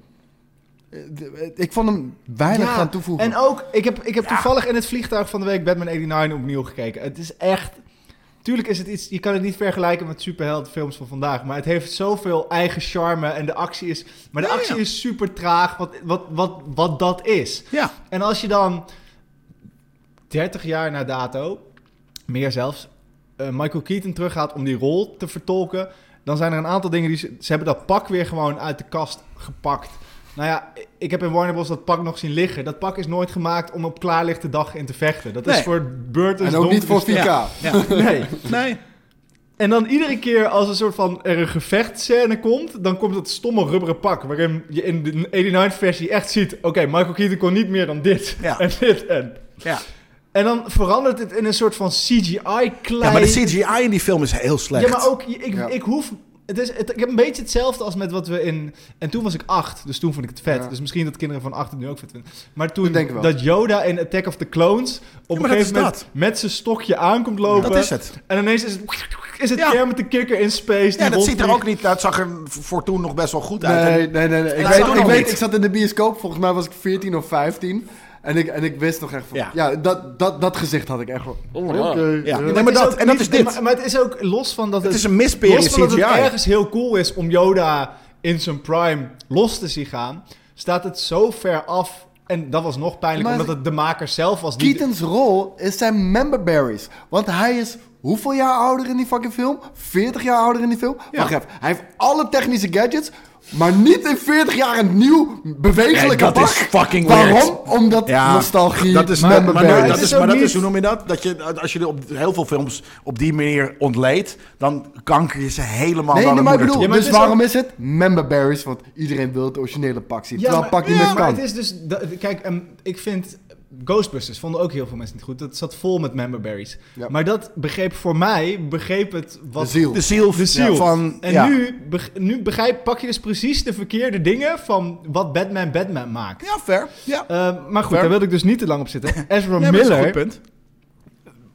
B: Eh, d- Ik vond hem weinig
D: Ja,
B: aan toevoegen.
D: En ook, ik heb, ik heb toevallig in het vliegtuig van de week Batman 89 opnieuw gekeken. Het is echt... Tuurlijk is het iets... Je kan het niet vergelijken met superheldenfilms van vandaag. Maar het heeft zoveel eigen charme en de actie is... Maar de
A: Ja, ja.
D: actie is super traag, wat, wat, wat, wat dat is.
A: Ja.
D: En als je dan 30 jaar na dato, meer zelfs, eh, Michael Keaton teruggaat om die rol te vertolken, dan zijn er een aantal dingen die ze, ze hebben dat pak weer gewoon uit de kast gepakt. Nou ja, ik heb in Warner Bros. dat pak nog zien liggen. Dat pak is nooit gemaakt om op klaarlichte dag in te vechten. Dat is
A: Nee.
D: voor Burton's
B: En ook niet voor
D: donkere
B: 4K.
A: Ja. Ja.
D: stijl. Nee.
A: Nee.
D: En dan iedere keer als een soort van er een gevechtscène komt, dan komt dat stomme rubberen pak. Waarin je in de 89-versie echt ziet: oké, Michael Keaton kon niet meer dan dit.
A: Ja.
D: En dit. En,
A: Ja.
D: en dan verandert het in een soort van CGI-klei.
A: ja, maar de CGI in die film is heel slecht.
D: Ja, maar ook, ik,
B: Ja.
D: ik hoef... Het is, het- ik heb een beetje hetzelfde als met wat we in... En toen was ik acht, dus toen vond ik het vet.
B: Ja.
D: Dus misschien dat kinderen van acht het nu ook vet vinden. Maar
B: Dat
D: toen
B: denk ik wel.
D: dat Yoda in Attack of the Clones... op
A: maar dat
D: een gegeven
A: is
D: moment
A: dat.
D: met zijn stokje aankomt lopen...
A: Dat is het.
D: En ineens is het... Is het
A: Ja.
D: Kermit de Kikker in space?
A: Ja,
D: die
A: dat ziet er
D: rondvliegt.
A: ook niet uit. Het zag er voor toen nog best wel goed uit. En-
B: Nee, nee, nee. nee. Ik,
A: dat
B: weet,
A: zou
B: ik,
A: nog
B: weet,
A: niet.
B: ik zat in de bioscoop, volgens mij was ik 14 of 15. En ik, en ik wist nog echt van...
A: Ja.
B: Ja, dat, dat, dat gezicht had ik echt wel... Oké.
A: Ja.
B: eh.
A: Nee, maar
D: Het
A: dat,
D: ook
A: en dat
D: niet-
A: is dit.
D: Maar, maar het is ook los van dat
A: Het
D: het...
A: is een mispeer in
D: Los van dat
A: CGI.
D: het ergens heel cool is om Yoda in zijn prime los te zien gaan... staat het zo ver af... En dat was nog pijnlijk,
B: Maar-
D: omdat het de maker zelf was. die-
B: Keaton's rol is zijn memberberries. Want hij is hoeveel jaar ouder in die fucking film? 40 jaar ouder in die film? Wacht even, hij heeft alle technische gadgets, maar niet in 40 jaar een nieuw bewegelijke
A: Nee, dat
B: pak.
A: is fucking
B: Waarom?
A: weird.
B: Omdat nostalgie,
A: Dat is, maar, maar,
B: memberberries.
A: nee, dat is,
D: Het is ook
A: maar dat
D: niet-
A: is, hoe noem je dat? dat je, als je op heel veel films op die manier ontleedt, dan kanker je ze helemaal
B: Nee, nee,
A: naar de
B: maar ik
A: moeder
B: bedoel,
A: toe.
D: Ja, maar
B: dus
D: het is
B: waarom is het memberberries? Want iedereen wil het originele pak zien. terwijl het pak niet
D: ja,
B: meer
D: maar
B: kan.
D: het is dus... dat- kijk, ehm, ik vind... Ghostbusters vonden ook heel veel mensen niet goed. Dat zat vol met memberberries.
B: Ja.
D: Maar dat begreep voor mij, begreep het wat...
B: De ziel.
A: De ziel,
D: de ziel.
A: van...
D: en
A: ja.
D: nu, beg- nu begrijp, pak je dus precies de verkeerde dingen van wat Batman Batman maakt.
A: Ja, fair. Ja.
D: Eh, maar goed,
A: Ver-
D: daar wilde ik dus niet te lang op zitten. Ezra
A: Nee, maar dat is een goed
D: Miller,
A: punt.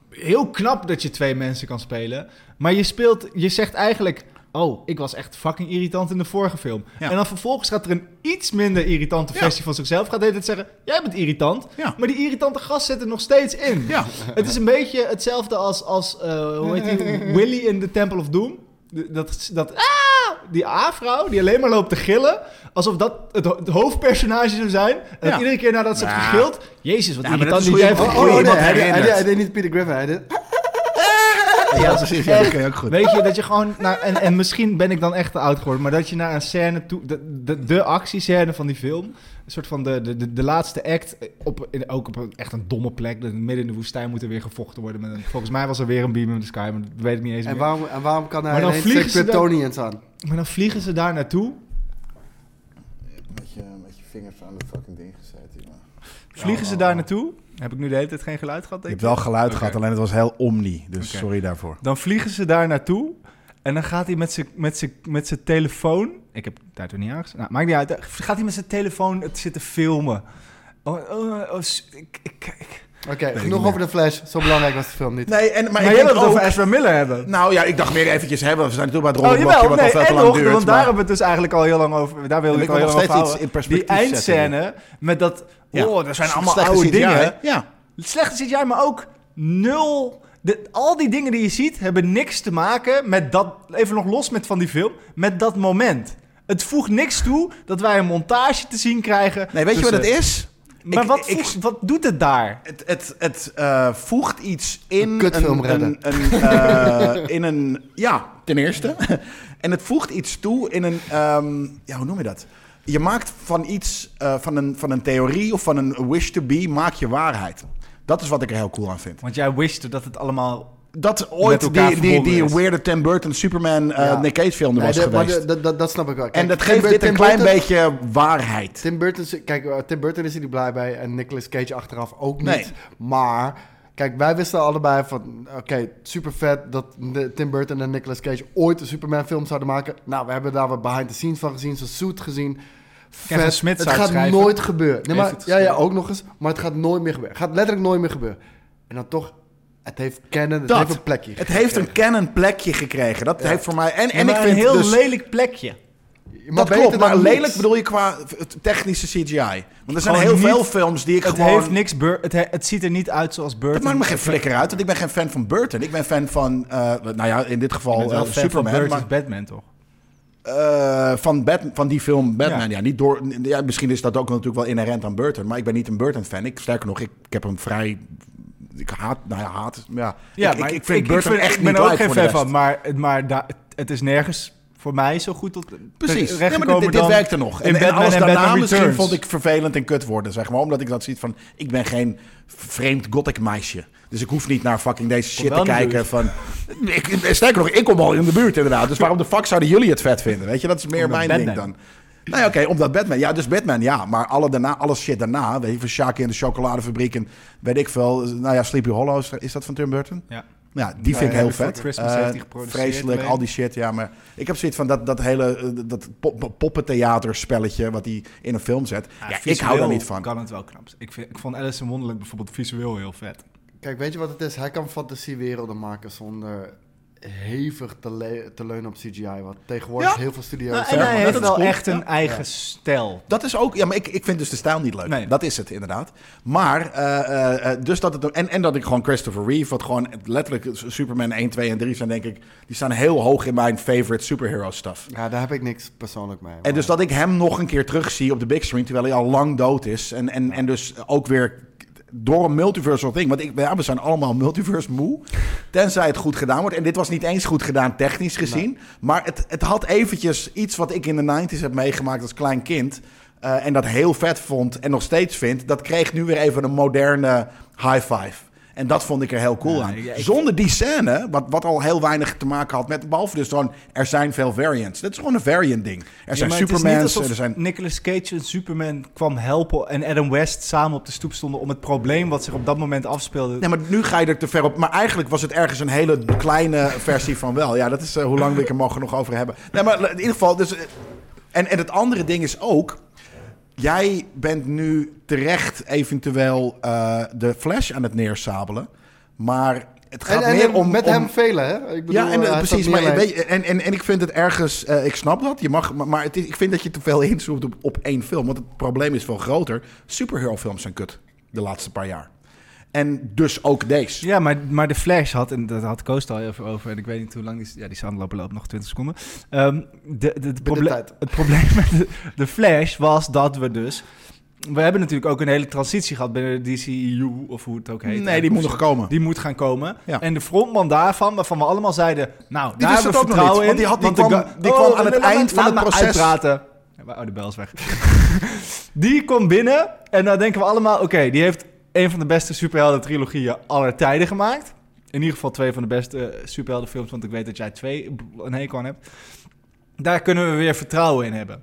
D: heel knap dat je twee mensen kan spelen. Maar je speelt, je zegt eigenlijk... Oh, ik was echt fucking irritant in de vorige film.
A: Ja.
D: En dan vervolgens gaat er een iets minder irritante
A: Ja.
D: versie van zichzelf. Gaat de hele tijd zeggen, jij bent irritant.
A: Ja.
D: Maar die irritante gast zit er nog steeds in.
A: Ja.
D: Het is een beetje hetzelfde als, als eh, hoe heet die, Willy in The Temple of Doom. De- Dat, dat ah, die A-vrouw die alleen maar loopt te gillen. Alsof dat het, ho- het hoofdpersonage zou zijn. En dat
A: Ja.
D: iedere keer nadat ze heeft
A: Ja.
D: gegild... Jezus, wat
A: Ja, maar dat
D: irritant
A: is
D: die
A: hoe je-
D: jij hebt
A: oh,
B: Oh,
A: Hoe
B: nee,
D: gegild."
A: iemand
B: hij, deed- hij
A: herinnert.
B: deed- hij deed niet Peter Griffin. Hij deed,
A: Ja, precies. Ja, dat kun je ook goed.
D: Weet je, dat je gewoon... Naar, en, en misschien ben ik dan echt te oud geworden, maar dat je naar een scène toe... De, de, de actiescène van die film, een soort van de, de, de, de laatste act, eh, op, in, ook op een, echt een domme plek, dat midden in de woestijn moet er weer gevochten worden. Met een, volgens mij was er weer een beam in the sky, maar dat weet ik niet eens
B: en,
D: meer.
B: waarom, en waarom kan hij
D: Maar dan
B: ineens
D: vliegen ze
B: twee
D: dan-
B: Kryptonians aan?
D: Maar dan vliegen ze daar naartoe,
H: Met
A: eh,
H: je, met je vingers aan het fucking ding gezet, jongen.
D: vliegen ze daar naartoe, heb ik nu de hele tijd geen geluid gehad,
A: Oh. Je
D: denk
A: hebt
D: ik.
A: wel geluid gehad, alleen het was heel omni. Dus
D: Oké.
A: sorry daarvoor.
D: Dan vliegen ze daar naartoe en dan gaat hij met zijn- met zijn- met zijn telefoon. Ik heb daar toen niet aangestaan. Nou, maakt niet uit. Dan Gaat hij met zijn telefoon het zitten filmen? Oh, oh, oh, s- ik, ik, ik.
B: Oké,
A: ik niet
B: genoeg over de Flash. Zo belangrijk was de film niet.
A: Nee, en, maar,
D: Maar
A: ik
D: jij
A: denk
D: wil het
A: ook...
D: over Ezra Miller hebben.
A: Nou ja, ik dacht meer eventjes hebben. We zijn natuurlijk bij
D: Oh
A: het rollenblokje,
D: jawel,
A: wat
D: nee,
A: al veel te
D: en
A: lang
D: nog,
A: duurt.
D: want daar
A: maar-
D: hebben we het dus eigenlijk al heel lang over. Daar wilde
A: En
D: ik
A: ik
D: al
A: wil
D: heel
A: nog
D: lang over
A: steeds iets
D: houden.
A: in
D: Die
A: perspectief
D: eindscène met dat,
A: Ja.
D: oh, er zijn
A: Slecht
D: allemaal
A: gezien,
D: oude dingen.
A: ja, hè? Ja.
D: Slecht zit jij, maar ook nul. De, al die dingen die je ziet hebben niks te maken met dat. Even nog los met van die film, met dat moment. Het voegt niks toe dat wij een montage te zien krijgen.
A: Nee, weet je wat
D: tussen-
A: het is?
D: Maar
A: Ik-
D: wat,
A: ik-
D: voegt- wat doet het daar?
A: Het, het, het eh, voegt iets in
B: Een kutfilm redden.
A: Een, eh, in een, ja, ten eerste. en het voegt iets toe in een, ehm, ja, hoe noem je dat? Je maakt van iets, eh, van, een, van een theorie of van een wish to be, maak je waarheid. Dat is wat ik er heel cool aan vind.
D: Want jij wist dat het allemaal
A: dat ooit
D: elkaar
A: die, die, die
D: verbonden is.
A: weirde Tim Burton Superman eh,
B: Ja.
A: Nick Cage film er
B: Nee,
A: was
B: dat- maar
A: geweest.
B: dat- dat- dat- Dat snap ik wel. Kijk,
A: en dat
B: Tim
A: geeft
B: Bur-
A: dit
B: Tim
A: een klein
B: Burton-
A: beetje waarheid.
B: Tim Burton, kijk, eh, Tim Burton is er niet blij bij en Nicolas Cage achteraf ook niet.
A: Nee.
B: Maar, kijk, wij wisten allebei van, oké, super vet dat de- Tim Burton en Nicolas Cage ooit een Superman film zouden maken. Nou, we hebben daar wat behind the scenes van gezien, zo'n suit gezien.
D: Kevin
B: Vet.
D: Smith
B: het
D: zou
B: gaat
D: het schrijven.
B: nooit gebeuren. Nee,
D: Heeft
B: maar,
D: het
B: ja, ja,
D: geschreven.
B: ook nog eens. Maar het gaat nooit meer gebeuren. Het gaat letterlijk nooit meer gebeuren. En dan toch, het heeft kennen, het
A: Dat.
B: heeft een plekje.
A: Het heeft een canon plekje gekregen. Dat heeft voor mij. En, en ik
D: maar
A: vind
D: een heel
A: dus,
D: lelijk plekje.
B: Maar
A: Dat
B: beter
A: klopt,
B: dan
A: maar
B: niets.
A: lelijk bedoel je qua eh, technische CGI. Want er zijn
D: Gewoon
A: heel
D: niet-
A: veel films die ik
D: Het,
A: gewoon...
D: heeft niks Bur- het, he- het ziet er niet uit zoals Burton.
A: Dat maakt me geen flikker uit, want ik ben geen fan van Burton. Ik ben fan van, eh, nou ja, in dit
D: Ik ben
A: geval
D: Oh, wel
A: eh,
D: fan
A: Superman.
D: van
A: Van,
D: Burton's Batman, toch?
A: maar, eh, van, Bat- van die film Batman, ja.
D: Ja.
A: niet door, ja. Misschien is dat ook natuurlijk wel inherent aan Burton. Maar ik ben niet een Burton-fan. Ik, sterker nog, ik, ik heb hem vrij... Ik haat, nou ja, haat. Ja, ik, ik, ik vind Burton echt
D: Ik ben
A: niet
D: er ook
A: leuk
D: geen
A: voor de
D: fan
A: rest.
D: van, maar, maar da- het is nergens voor mij zo goed tot
A: Precies.
D: terecht
A: Ja, maar dit-
D: gekomen
A: dit, dit
D: dan
A: werkte nog.
D: in
A: En, en
D: Batman
A: alles
D: en
A: daarna
D: Batman
A: misschien
D: Returns.
A: vond ik vervelend en kut worden, zeg maar. Omdat ik dat ziet van, ik ben geen vreemd gothic meisje. Dus ik hoef niet naar fucking deze shit
D: wel
A: te
D: in de
A: kijken
D: buurt.
A: van... Ik, sterker nog, ik kom al in de buurt inderdaad. Dus waarom de fuck zouden jullie het vet vinden? Weet je, dat is meer
D: Omdat
A: mijn ding
D: Batman.
A: dan. Nee, oké, omdat Batman. Ja, dus Batman, ja. Maar alle daarna, alles shit daarna. Weet je, van Shaki in de chocoladefabriek en weet ik veel. Nou ja, Sleepy Hollow, is- is dat van Tim Burton?
D: Ja.
A: Ja, die
D: Ja,
A: vind ik
D: Nou, ja,
A: heel
D: Before
A: vet.
D: Christmas
A: Eh,
D: heeft hij geproduceerd,
A: Vreselijk,
D: alleen.
A: al die shit. Ja, maar ik heb zoiets van dat, dat hele eh, dat pop- pop- poppentheaterspelletje wat hij in een film zet. Ja, ik hou daar
D: visueel
A: niet van.
D: kan het wel knap. zijn. Ik, vind, ik vond Alice in Wonderland bijvoorbeeld visueel heel vet.
B: Kijk, weet je wat het is? Hij kan fantasiewerelden maken zonder hevig te, le- te leunen op CGI. Wat tegenwoordig
A: Ja.
B: heel veel studio's
D: Nou, en
B: zeggen,
A: hij
D: hij
B: maar
A: heeft
D: heeft
B: dat
A: wel
D: wel
A: cool. echt
D: echt
A: een
D: een
A: Ja.
D: eigen stijl.
A: Dat is ook, ja, maar ik, ik vind dus de stijl niet leuk.
D: Nee.
A: Dat is het inderdaad. Maar, eh, eh, eh, dus dat het, en, en dat ik gewoon Christopher Reeve, wat gewoon letterlijk Superman 1, 2 en 3 zijn, denk ik, die staan heel hoog in mijn favorite superhero stuff.
B: Ja, daar heb ik niks persoonlijk mee.
A: En
B: maar-
A: dus dat ik hem nog een keer terugzie op de big screen, terwijl hij al lang dood is. En, en, en dus ook weer door een multiversal ding. Want ik, ja, we zijn allemaal multiverse moe. Tenzij het goed gedaan wordt. En dit was niet eens goed gedaan technisch gezien. Maar het, het had eventjes iets wat ik in de 90s heb meegemaakt als klein kind. eh, en dat heel vet vond en nog steeds vind. Dat kreeg nu weer even een moderne high five. En dat vond ik er heel cool
D: Ja,
A: aan.
D: ik- ik-
A: Zonder die scène, wat, wat al heel weinig te maken had met... behalve dus gewoon, er zijn veel variants. Dat is gewoon een variant ding. Er zijn Supermans, er zijn...
D: Nicolas Cage en Superman kwam helpen en Adam West samen op de stoep stonden om het probleem wat zich op dat moment afspeelde.
A: Nee, maar nu ga je er te ver op. Maar eigenlijk was het ergens een hele kleine versie van wel. Ja, dat is eh, hoe lang we ik er mogen nog over hebben. Nee, maar in ieder geval... Dus, eh, en, en het andere ding is ook... Jij bent nu terecht eventueel eh, de Flash aan het neersabelen. Maar het gaat
B: en, en
A: meer
B: hem-
A: om...
B: met
A: om-
B: hem velen, hè? Ik bedoel,
A: ja,
B: hij
A: en, eh,
B: staat
A: precies.
B: meer
A: Maar,
B: lijst.
A: weet je, en, en, en ik vind het ergens, eh, ik snap dat, je mag, maar, maar het is, ik vind dat je te veel inzoomt op, op één film. Want het probleem is veel groter. Superhero-films zijn kut de laatste paar jaar. En dus ook deze.
D: Ja, maar, maar de Flash had, en dat had Coast al even over, en ik weet niet hoe lang die, is- ja, die is aan het lopen, loopt nog 20 seconden. Ehm, de, de, het proble-
B: tijd.
D: het probleem met de, de Flash was dat we dus. We hebben natuurlijk ook een hele transitie gehad binnen de DCU, of hoe het ook heet.
A: nee, die moet nog komen.
D: Die moet gaan komen.
A: Ja.
D: En de frontman daarvan, waarvan we allemaal zeiden... Nou, daar
A: wist
D: hebben
A: het
D: we
A: ook nog
D: vertrouwen
A: niet, want die
D: in.
A: had- die
D: de
A: kwam-
D: ga-
A: die kwam aan het
D: laat me-
A: eind van
D: laat
A: het
D: me
A: proces.
D: uitpraten. Ja, maar- Oh, de bel is weg. die komt binnen en dan denken we allemaal... Oké, die heeft een van de beste superhelden-trilogieën aller tijden gemaakt. In ieder geval twee van de beste eh, superheldenfilms... want ik weet dat jij twee een hekel aan hebt. Daar kunnen we weer vertrouwen in hebben.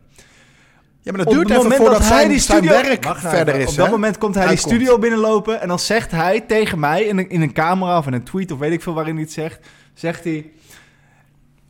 A: Ja, maar dat
D: Op
A: duurt
D: het
A: even
D: moment
A: voordat
D: dat hij
A: zijn,
D: die
A: zijn
D: studio
A: werk
D: Wacht nou
A: verder
D: even.
A: is.
D: Op dat
A: hè?
D: moment komt hij
A: Uitkomt.
D: die studio binnenlopen en dan zegt hij tegen mij in een, in een camera of in een tweet of weet ik veel waarin hij het zegt, zegt hij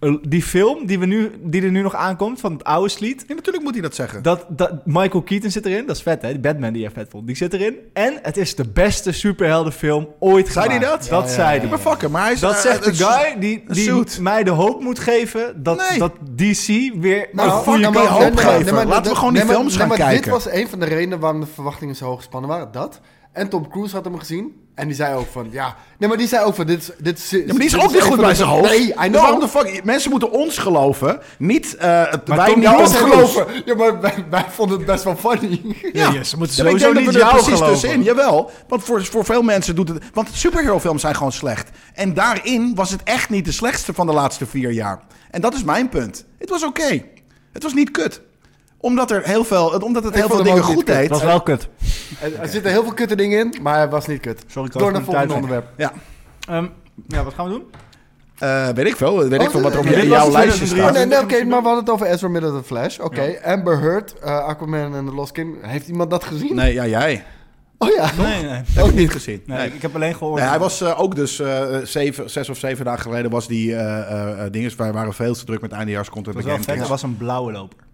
D: "Eh, die film die, we nu, die er nu nog aankomt van het oude sliet,
A: Ja, natuurlijk moet hij dat zeggen.
D: dat, dat Michael Keaton zit erin, dat is vet hè, die Batman die je vet vond, die zit erin en het is de beste superheldenfilm ooit
A: Zei hij
D: gemaakt.
A: dat?
D: Dat zei hij.
A: Maar fucken, maar hij is...
D: Dat
A: eh,
D: zegt de
A: het is-
D: guy die, die
A: suit.
D: mij de hoop moet geven dat,
A: Nee.
D: dat DC weer Oh.
A: Nou,
D: een
A: fuck
D: goede
A: hem,
D: kant
A: maar hoop
D: op
A: geven.
D: gaat.
A: Laten we
B: dat-
A: gewoon die
B: maar-
A: films gaan
B: maar
A: kijken.
B: Dit was een van de redenen waarom de verwachtingen zo hoog gespannen waren. Dat. En Tom Cruise had hem gezien. En die zei ook van, ja... Nee, maar die zei ook van, dit is... Dit is
A: Ja, maar die is ook niet goed bij zijn hoofd.
B: Nee, I know.
A: Dus waarom de fuck? Mensen moeten ons geloven, niet eh, het, wij
D: Tom
A: niet
B: Ja,
A: ons
B: ons
A: geloven.
B: geloven. Ja, maar wij, wij vonden het best wel funny.
A: Ja,
D: Ja, ze moeten
A: Ja, maar ik
D: sowieso
A: denk dat
D: niet
A: we er
D: jou
A: precies
D: geloven.
A: tussenin. Jawel, want voor, voor veel mensen doet het... Want superhero-films zijn gewoon slecht. En daarin was het echt niet de slechtste van de laatste vier jaar. En dat is mijn punt. Het was oké. Het was niet kut. Omdat, er heel veel, omdat het
B: Ik
A: heel
B: vond
A: veel
B: hem
A: dingen
B: ook niet
A: goed
B: kut.
A: deed.
D: was wel kut.
B: Er, er zitten heel veel kutte dingen in, maar hij was niet kut.
D: Sorry, ik was
B: Door naar
D: niet
B: volgende
D: thuis.
B: onderwerp.
A: Ja.
D: Ehm, Ja, wat gaan we doen?
A: Eh, weet ik veel. Weet ik
B: Oh,
A: veel wat er op
B: dit
A: je-
B: was
A: jouw
D: in
A: lijstje
D: 2003.
B: Oh,
A: staat.
B: nee, nee, oké, maar we hadden het over Ezra Miller The Flash. Oké, Amber Heard, eh, Aquaman en The Lost Kingdom. Heeft iemand dat gezien?
A: Nee, ja, jij.
B: Oh ja.
D: Nee, nee.
A: Heb ik niet gezien.
D: nee,
A: Nee.
D: Ik heb alleen gehoord.
A: Nee, hij was eh, ook dus eh, zeven, zes of zeven dagen geleden was die eh, eh, eh, dinges. Wij waren veel te druk met eindejaarscontent.
D: het was
A: bij
D: wel vet.
A: GameKings.
D: Hij was een blauwe loper.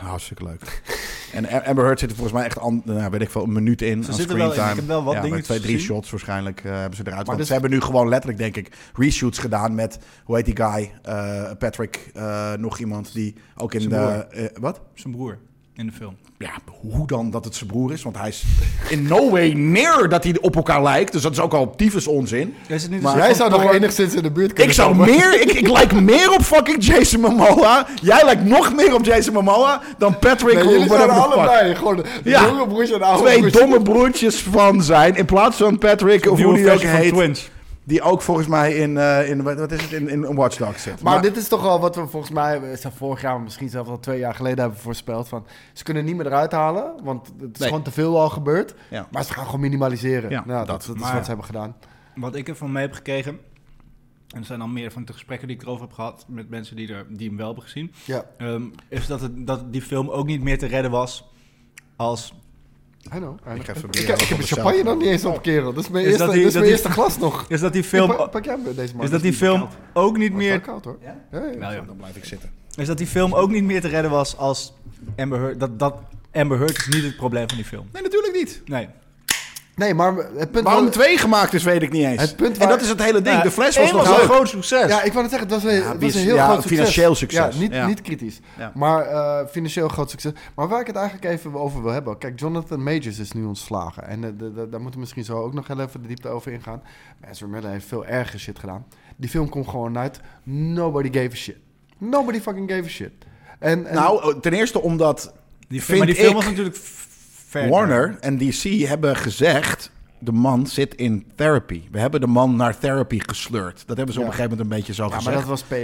A: Nou, Hartstikke leuk. En A- Amber Heard zit er volgens mij echt, an, nou, weet ik veel, een minuut in
D: Ze
A: aan
D: zitten wel in.
A: screentime.
D: Ik heb wel wat
A: ja, maar
D: dingetjes
A: twee, drie
D: gezien. dus
A: shots waarschijnlijk eh, hebben ze eruit. want
B: dit-
A: ze hebben nu gewoon letterlijk, denk ik, reshoots gedaan met, hoe heet die guy? Eh, Patrick, eh, nog iemand die ook in
D: Zijn
A: de... eh, wat?
D: Zijn broer in de film.
A: Ja, hoe dan dat het zijn broer is? Want hij is in no way near dat hij op elkaar lijkt. Dus dat is ook al tyfus onzin.
D: Is het niet
A: Maar-
D: een
B: Jij
D: soort
B: zou
D: van
B: nog
D: porn-
B: enigszins in de buurt kunnen
A: Ik zou
B: komen.
A: meer, ik, ik lijk meer op fucking Jason Momoa. Jij lijkt nog meer op Jason Momoa dan Patrick.
B: Nee,
A: hoe
B: jullie zijn
A: fuck.
B: allebei gewoon de
A: Ja.
B: jonge broers en de oude
A: twee
B: broers.
A: domme broertjes van zijn. In plaats van Patrick, of hoe
D: nieuwe
A: die ook
D: versie van
A: heet.
D: Twins?
A: Die ook volgens mij in, eh, in wat wat is het, in, in Watch Dogs zit.
B: Maar, dit is toch al wat we volgens mij eh, zo vorig jaar, misschien zelfs al twee jaar geleden hebben voorspeld. Van, ze kunnen niet meer eruit halen, want het is
A: Nee.
B: gewoon te veel al gebeurd.
A: Ja.
B: Maar ze gaan gewoon minimaliseren.
A: Ja,
B: Ja,
A: dat.
B: dat, dat is
D: Maar-
B: wat ze hebben gedaan.
D: Wat ik ervan mee heb gekregen. En er zijn al meer van de gesprekken die ik erover heb gehad. met mensen die, er, die hem wel hebben gezien.
B: Ja,
D: ehm, is dat, het, dat die film ook niet meer te redden was. als
B: I know. I know.
A: Ik ga even
B: Ik,
A: proberen
B: ik heb
A: om
B: de
A: mezelf-
B: champagne nog niet eens op, kerel. Dat is mijn
D: Is
B: eerste,
D: dat die-
B: dat is
D: dat
B: mijn
D: die-
B: eerste glas nog.
D: Is dat die film,
B: Ja, pak, pak jij hem, deze man.
D: is dat die film ook niet
B: meer...
D: meer...
B: koud hoor.
D: Ja?
B: Ja, ja.
D: Nou ja.
A: Dan blijf ik zitten.
D: Is dat die film ook niet meer te redden was als Amber Heard... Dat, dat Amber Heard is niet het probleem van die film.
A: Nee, natuurlijk niet.
D: Nee.
B: Nee, maar het punt...
A: Waarom
B: wel-
A: twee gemaakt is, weet ik niet eens.
B: Het punt
A: En
B: waar-
A: dat is het hele ding.
D: Nou,
A: de Flash was
D: één
A: nog
D: een
A: leuk.
D: groot succes.
B: Ja, ik wou net zeggen, het was een,
A: Ja,
B: het
A: wie
B: was
A: is-
B: een heel
A: ja,
B: groot succes.
A: financieel succes.
B: Ja, niet,
A: Ja.
B: niet kritisch.
A: Ja.
B: Maar eh, financieel groot succes. Maar waar ik het eigenlijk even over wil hebben. Kijk, Jonathan Majors is nu ontslagen. En eh, de- de- daar moeten we misschien zo ook nog heel even de diepte over ingaan. Maar Ezra Miller heeft veel erger shit gedaan. Die film komt gewoon uit. Nobody gave a shit. Nobody fucking gave a shit. En, en-
A: Nou, ten eerste omdat
D: Die
A: Vind
D: film, maar die film
A: ik-
D: was natuurlijk f- verder.
A: Warner en DC hebben gezegd... de man zit in therapy. We hebben de man naar therapy gesleurd. Dat hebben ze op
B: Ja.
A: een gegeven moment een beetje zo
B: ja, maar
A: gezegd.
B: dat was PR.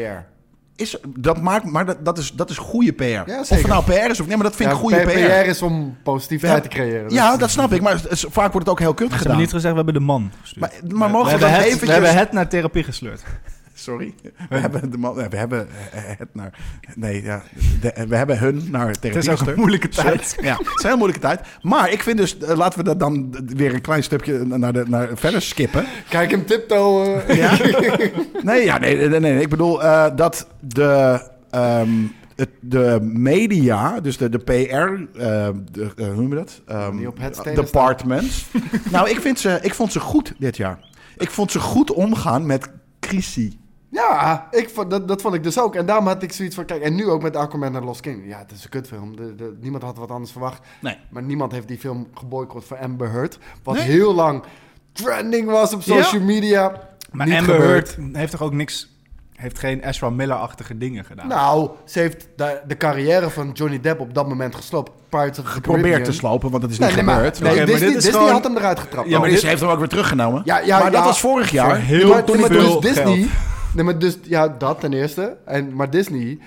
A: Is, dat maakt, maar dat, dat, is, dat is goede PR. of het
B: zeker.
A: nou PR is of nee, maar dat vind
B: Ja,
A: ik goede
B: P-
A: PR.
B: is om positiviteit te creëren.
A: Ja, dat snap ik. Maar het is- vaak wordt het ook heel kut
D: Ze hebben
A: gedaan.
D: niet gezegd, we hebben de man
A: Maar,
D: gestuurd.
A: maar
D: we,
A: mogen we,
D: hebben
A: dan
D: het,
A: eventjes...
D: we hebben het naar therapie gesleurd.
A: Sorry. We hebben, de man, we hebben eh, het naar... Nee, ja. de- eh, we hebben hun naar therapie
D: Het is ook een
A: gestuurd.
D: moeilijke
A: Sorry.
D: tijd.
A: Ja, het is een heel moeilijke tijd. Maar ik vind dus... eh, laten we dat dan weer een klein stukje naar, de, naar verder skippen.
B: Dus Kijk hem tiptoe. eh.
A: Ja? Nee, ja, nee, nee, nee, nee. Ik bedoel eh, dat de, ehm, het, de media, dus de, de PR, eh, de, eh, hoe noem je dat? Ehm,
B: Die op het stenen
A: departments. nou, ik, vind ze, ik vond ze goed dit jaar. Ik vond ze goed omgaan met crisis.
B: Ja, ik vond, dat, dat vond ik dus ook. En daarom had ik zoiets van, kijk, en nu ook met Aquaman en Lost King. Ja, het is een kutfilm. De, de- niemand had wat anders verwacht.
A: Nee.
B: Maar niemand heeft die film geboycott voor Amber Heard. Wat
A: Nee.
B: heel lang trending was op social media.
D: Maar
B: Niet
D: Amber
B: gebeurd.
D: Heard heeft toch ook niks... Heeft geen Ezra Miller-achtige dingen gedaan.
B: Nou, ze heeft de, de carrière van Johnny Depp op dat moment gesloopt. Pirates of the Caribbean.
A: Probeer te slopen, want dat is niet
B: Nee, nee, maar, nee,
A: gebeurd.
D: Oké, maar
B: Disney,
D: dit is
B: Disney
D: gewoon-
B: had hem eruit getrapt.
A: ja, maar
B: Oh.
A: ze heeft hem ook weer teruggenomen.
B: Ja, ja,
A: maar dat
B: ja.
A: was vorig jaar.
D: heel
B: maar,
D: veel
B: maar dus
D: geld.
B: Disney. Nee, maar dus, ja, dat ten eerste. En, maar Disney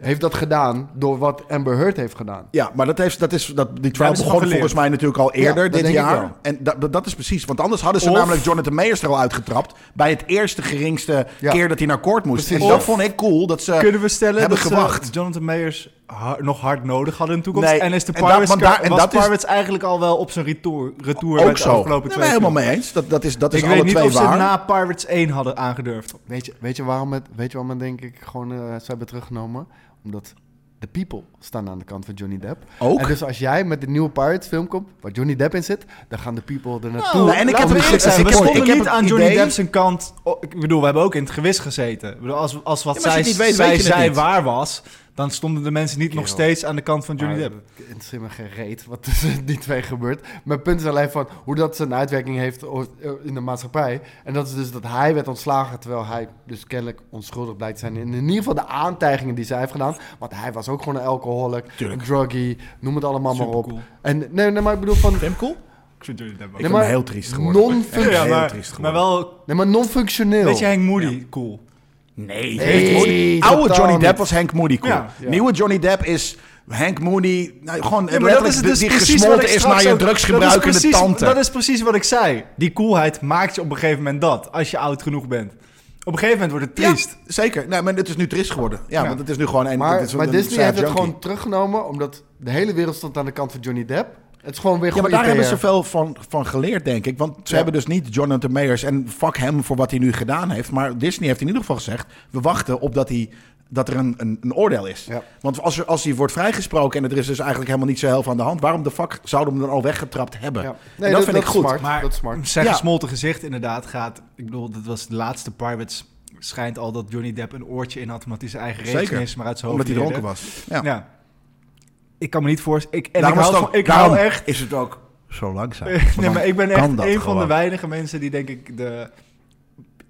B: heeft dat gedaan door wat Amber Heard heeft gedaan.
A: Ja, maar dat heeft, dat is, dat, die trial
D: hebben ze van
A: begon
D: geleerd.
A: volgens mij natuurlijk al
B: Ja,
A: eerder
B: dat
A: dit
B: denk ik
A: jaar.
B: wel.
A: En dat, dat, dat is precies. Want anders hadden ze
D: Of-
A: namelijk Jonathan Mayers er al uitgetrapt. Bij het eerste geringste
B: Ja.
A: keer dat hij naar koord moest.
B: Precies.
A: En dat
B: Of-
A: vond ik cool. Dat ze
D: Kunnen we stellen
A: hebben
D: dat ze
A: gewacht.
D: Eh, Jonathan Mayers ha- nog hard nodig hadden in de toekomst?
A: Nee,
D: en is de
A: en dat-
D: Pirates,
A: want daar- en
D: was
A: dat is-
D: Pirates eigenlijk al wel op zijn retour, retour
A: ook
D: met de
A: zo.
D: afgelopen
A: Nee,
D: twee
A: ben helemaal
D: films?
A: mee eens. Dat, dat is, dat is
D: Ik
A: alle
D: weet niet
A: twee
D: of ze
A: waar.
D: na Pirates 1 hadden aangedurfd.
B: Weet je, weet je waarom het, weet je waarom het denk ik gewoon eh, ze hebben teruggenomen? Omdat de people staan aan de kant van Johnny Depp.
A: Ook?
B: En dus als jij met de nieuwe Pirates film komt, waar Johnny Depp in zit, dan gaan de people er
D: Oh.
B: naartoe.
A: Nou, en ik heb
D: Laten we
A: het
D: eerlijk zijn,
A: gezien.
D: we
A: Ik heb-
D: stonden
A: ik heb
D: niet
A: het
D: aan Johnny
A: idee-
D: Depp's kant. Oh, ik bedoel, we hebben ook in het gewis gezeten. Ik bedoel, als, als wat
A: Ja, maar als je
D: zij,
A: het niet weet,
D: zij
A: weet je het
D: zei
A: niet.
D: waar was, dan stonden de mensen niet nog
B: Kerel.
D: steeds aan de kant van Johnny
B: Maar
D: Depp.
B: Het interesseert me geen reet wat tussen die twee gebeurt. Mijn punt is alleen van hoe dat zijn uitwerking heeft o- eh, in de maatschappij. En dat is dus dat hij werd ontslagen terwijl hij dus kennelijk onschuldig blijkt te zijn. In ieder geval de aantijgingen die zij heeft gedaan. Want hij was ook gewoon een alcoholic,
A: Tuurlijk.
B: een druggie, noem het allemaal maar op.
D: Supercool.
B: En nee, nee, maar ik bedoel van...
A: Tim cool?
D: Ik vind Johnny Depp ook.
A: Ik ben
B: maar
A: heel triest geworden.
B: non-
A: Echt heel
D: ja, maar,
A: triest
D: maar
A: geworden.
D: wel
B: Nee, maar non-functioneel.
D: een beetje Hank Moody cool.
A: Nee.
B: Nee,
A: Hank Moody- Oude
B: totaal
A: Johnny Depp
B: niet.
A: was Hank Moody cool.
D: Ja,
B: ja.
A: Nieuwe Johnny Depp is... Hank Moody, nou, gewoon
D: Ja, maar dat
A: letterlijk
D: is dus
A: die
D: precies wat ik
A: gesmolten is naar
D: straks
A: je
D: ook- dat is
A: drugsgebruikende
D: precies-
A: tante.
D: Dat is precies wat ik zei. Die coolheid maakt je op een gegeven moment dat, als je oud genoeg bent. een gegeven moment wordt het triest.
A: Ja, zeker. Nee, maar het is nu trist geworden. Ja,
D: Ja.
A: want het is nu gewoon een.
B: Maar,
A: het is
B: maar
A: een
B: Disney
A: sad
B: heeft het
A: junkie.
B: gewoon teruggenomen, omdat de hele wereld stond aan de kant van Johnny Depp. Het is gewoon weer
A: Ja, maar
B: gewoon
A: daar hebben ze
B: IPR.
A: veel van, van geleerd, denk ik. Want ze
B: Ja.
A: hebben dus niet Jonathan Mayers en fuck hem voor wat hij nu gedaan heeft. Maar Disney heeft in ieder geval gezegd: we wachten op dat, hij, dat er een, een, een oordeel is.
B: Ja.
A: Want als, er, als hij wordt vrijgesproken en er is dus eigenlijk helemaal niet zo heel veel aan de hand, waarom de fuck zouden we hem dan al weggetrapt hebben?
B: Ja.
A: En
B: Nee,
A: dat, vind ik
B: is
A: goed.
B: Smart.
D: Maar-
B: dat is smart.
D: Zijn
A: Ja.
D: gesmolten gezicht inderdaad gaat... Ik bedoel, dat was de laatste Pirates. Schijnt al dat Johnny Depp een oortje in had... omdat hij zijn eigen
A: Zeker.
D: rekening maar uit zijn hoofd
A: Omdat hij
D: leerde.
A: dronken was. Ja.
D: Ja. Ik kan me niet voorstellen... Ik, en ik
A: Daarom is
D: hou,
A: het ook-
D: van- ik
A: daarom
D: hou echt...
A: Is het ook zo langzaam?
D: nee, maar ik ben echt
A: kan
D: een
A: dat
D: van de
A: gewoon.
D: weinige mensen die denk ik de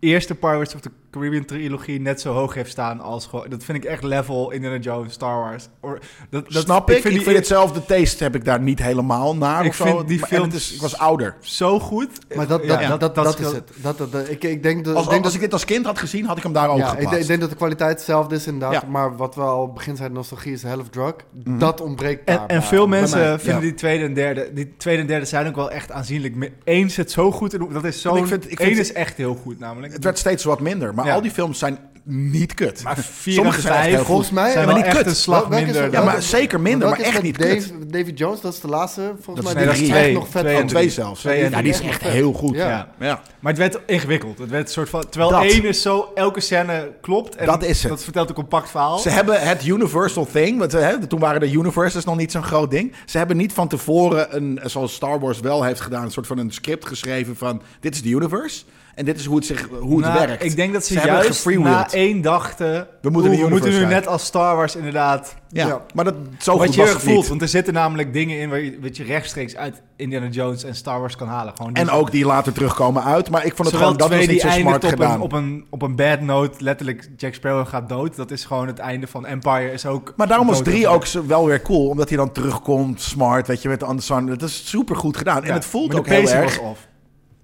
D: eerste Pirates of the Caribbean trilogie net zo hoog heeft staan als gewoon... Dat vind ik echt level Indiana Jones, Star Wars. Or- dat, dat,
A: Snap ik. Ik vind,
D: die eer-
A: hetzelfde taste heb ik daar niet helemaal naar.
D: Ik
A: of zo.
D: vind die
A: Maar- en het
D: films-
A: is- ik was ouder.
D: zo goed.
B: Maar dat,
D: Ja,
B: dat,
D: ja,
B: dat, dat, is
D: scheelt-
B: het. Dat, dat, dat- ik, ik denk dat,
A: Als,
B: ik denk
A: als ik
B: dat,
A: dit als kind had gezien, had ik hem daar ook
B: ja, ik,
A: geplaatst.
B: denk- ik denk dat de kwaliteit hetzelfde is inderdaad.
A: Ja. Mhm.
B: Maar wat we al begin zijn, nostalgie is half drug. Dat ontbreekt
D: En,
B: daar
D: en
B: bij-
D: veel
B: bij
D: mensen
B: mij.
D: vinden
A: ja.
D: die tweede en derde. Die tweede en derde zijn ook wel echt aanzienlijk. me- Eén zit zo goed in. Dat is zo.
A: Ik vind- ik vind-
D: Eén is echt heel goed namelijk.
A: Het werd steeds wat minder. Maar
D: Ja.
A: al die films zijn niet kut.
D: maar vier
A: sommige
D: Sommige
A: zijn
D: zijn
A: echt heel goed.
B: Volgens mij
D: zijn
A: maar
D: wel
A: niet
D: echt
A: kut.
D: een slag
B: Welke is
D: minder.
B: het?
A: ja,
D: dan-
A: maar zeker minder.
B: Want
A: Maar
B: dat is
A: echt niet
B: met
A: kut.
B: Dave- David Jones, dat is de laatste. Volgens
A: Dat
B: mij die
A: is
B: is
A: drie.
B: echt
D: Twee.
B: nog vet
D: Twee en
A: Oh,
B: anders.
A: twee zelfs.
D: Twee en
A: ja, die is
D: drie.
A: echt heel goed. Ja.
B: Ja.
D: ja.
A: Ja.
D: Maar het werd ingewikkeld. Het werd een soort van. Terwijl
A: Dat.
D: één is zo. Elke scène klopt. En
A: Dat is het.
D: Dat vertelt een compact verhaal.
A: Ze hebben het Universal thing, want eh, hè, toen waren de Universals nog niet zo'n groot ding. Ze hebben niet van tevoren, een, zoals Star Wars wel heeft gedaan, een soort van een script geschreven van dit is de universe en dit is hoe het, zich, hoe het
D: Nou,
A: werkt.
D: Ik denk dat ze,
A: Ze hebben
D: juist na
A: gefreewheeled.
D: één dachten.
A: We moeten
D: oeh,
A: de
D: we moeten nu
A: universe uit.
D: net als Star Wars inderdaad
A: ja,
B: ja.
A: maar dat, zo
D: wat
A: goed
D: je
A: was
D: erg
A: het
D: voelt,
A: niet.
D: want er zitten namelijk dingen in waar je, wat je rechtstreeks uit Indiana Jones en Star Wars kan halen. Gewoon die-
A: En ook die later terugkomen uit, maar ik vond het
D: Zowel
A: gewoon, dat
D: twee
A: was niet
D: die
A: zo smart
D: eindigt op
A: gedaan.
D: een, op, een, op een bad note, letterlijk Jack Sparrow gaat dood. Dat is gewoon het einde van Empire is ook...
A: Maar daarom was
D: dood.
A: 3 ook zo- wel weer cool. Omdat hij dan terugkomt, smart, weet je, met de Anderson. Dat is super goed gedaan.
D: Ja,
A: En het voelt
D: maar
A: ook
D: de pacing
A: heel erg.
D: was off.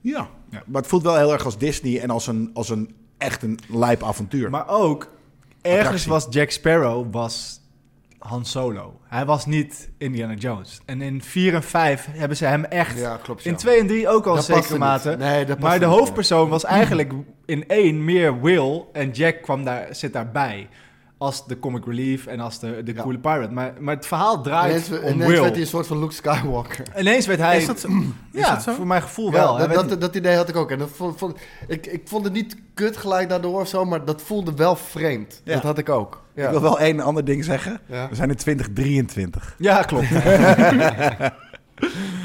A: Ja.
D: Ja.
A: maar het voelt wel heel erg als Disney en als een, als een echt een lijp avontuur.
D: Maar ook, ergens
A: Attractie.
D: was Jack Sparrow was Han Solo. Hij was niet Indiana Jones. En in 4 en 5 hebben ze hem echt...
B: Ja, klopt. ja.
D: in 2 en 3 ook al
B: Dat
D: in
B: paste
D: zekere
B: niet.
D: mate.
B: Nee, dat paste
D: Maar de
B: niet.
D: hoofdpersoon was eigenlijk in één meer Will en Jack kwam daar, zit daarbij. Als de comic relief en als de, de
B: Ja.
D: coole pirate. Maar, maar het verhaal draait
B: Ineens,
D: om
B: ineens
D: Will.
B: werd hij een soort van Luke Skywalker.
D: Ineens werd hij...
A: Is dat zo?
D: ja,
A: Is dat zo?
D: voor mijn gevoel
B: Ja,
D: wel. Hij
B: dat,
D: werd-
B: dat, dat idee had ik ook. En dat vond, vond- ik, ik vond het niet kut gelijk daardoor of zo, maar dat voelde wel vreemd.
A: Ja.
B: Dat had ik ook. Ja.
A: Ik wil wel één ander ding zeggen.
B: Ja.
A: We zijn in 2023.
D: ja, klopt.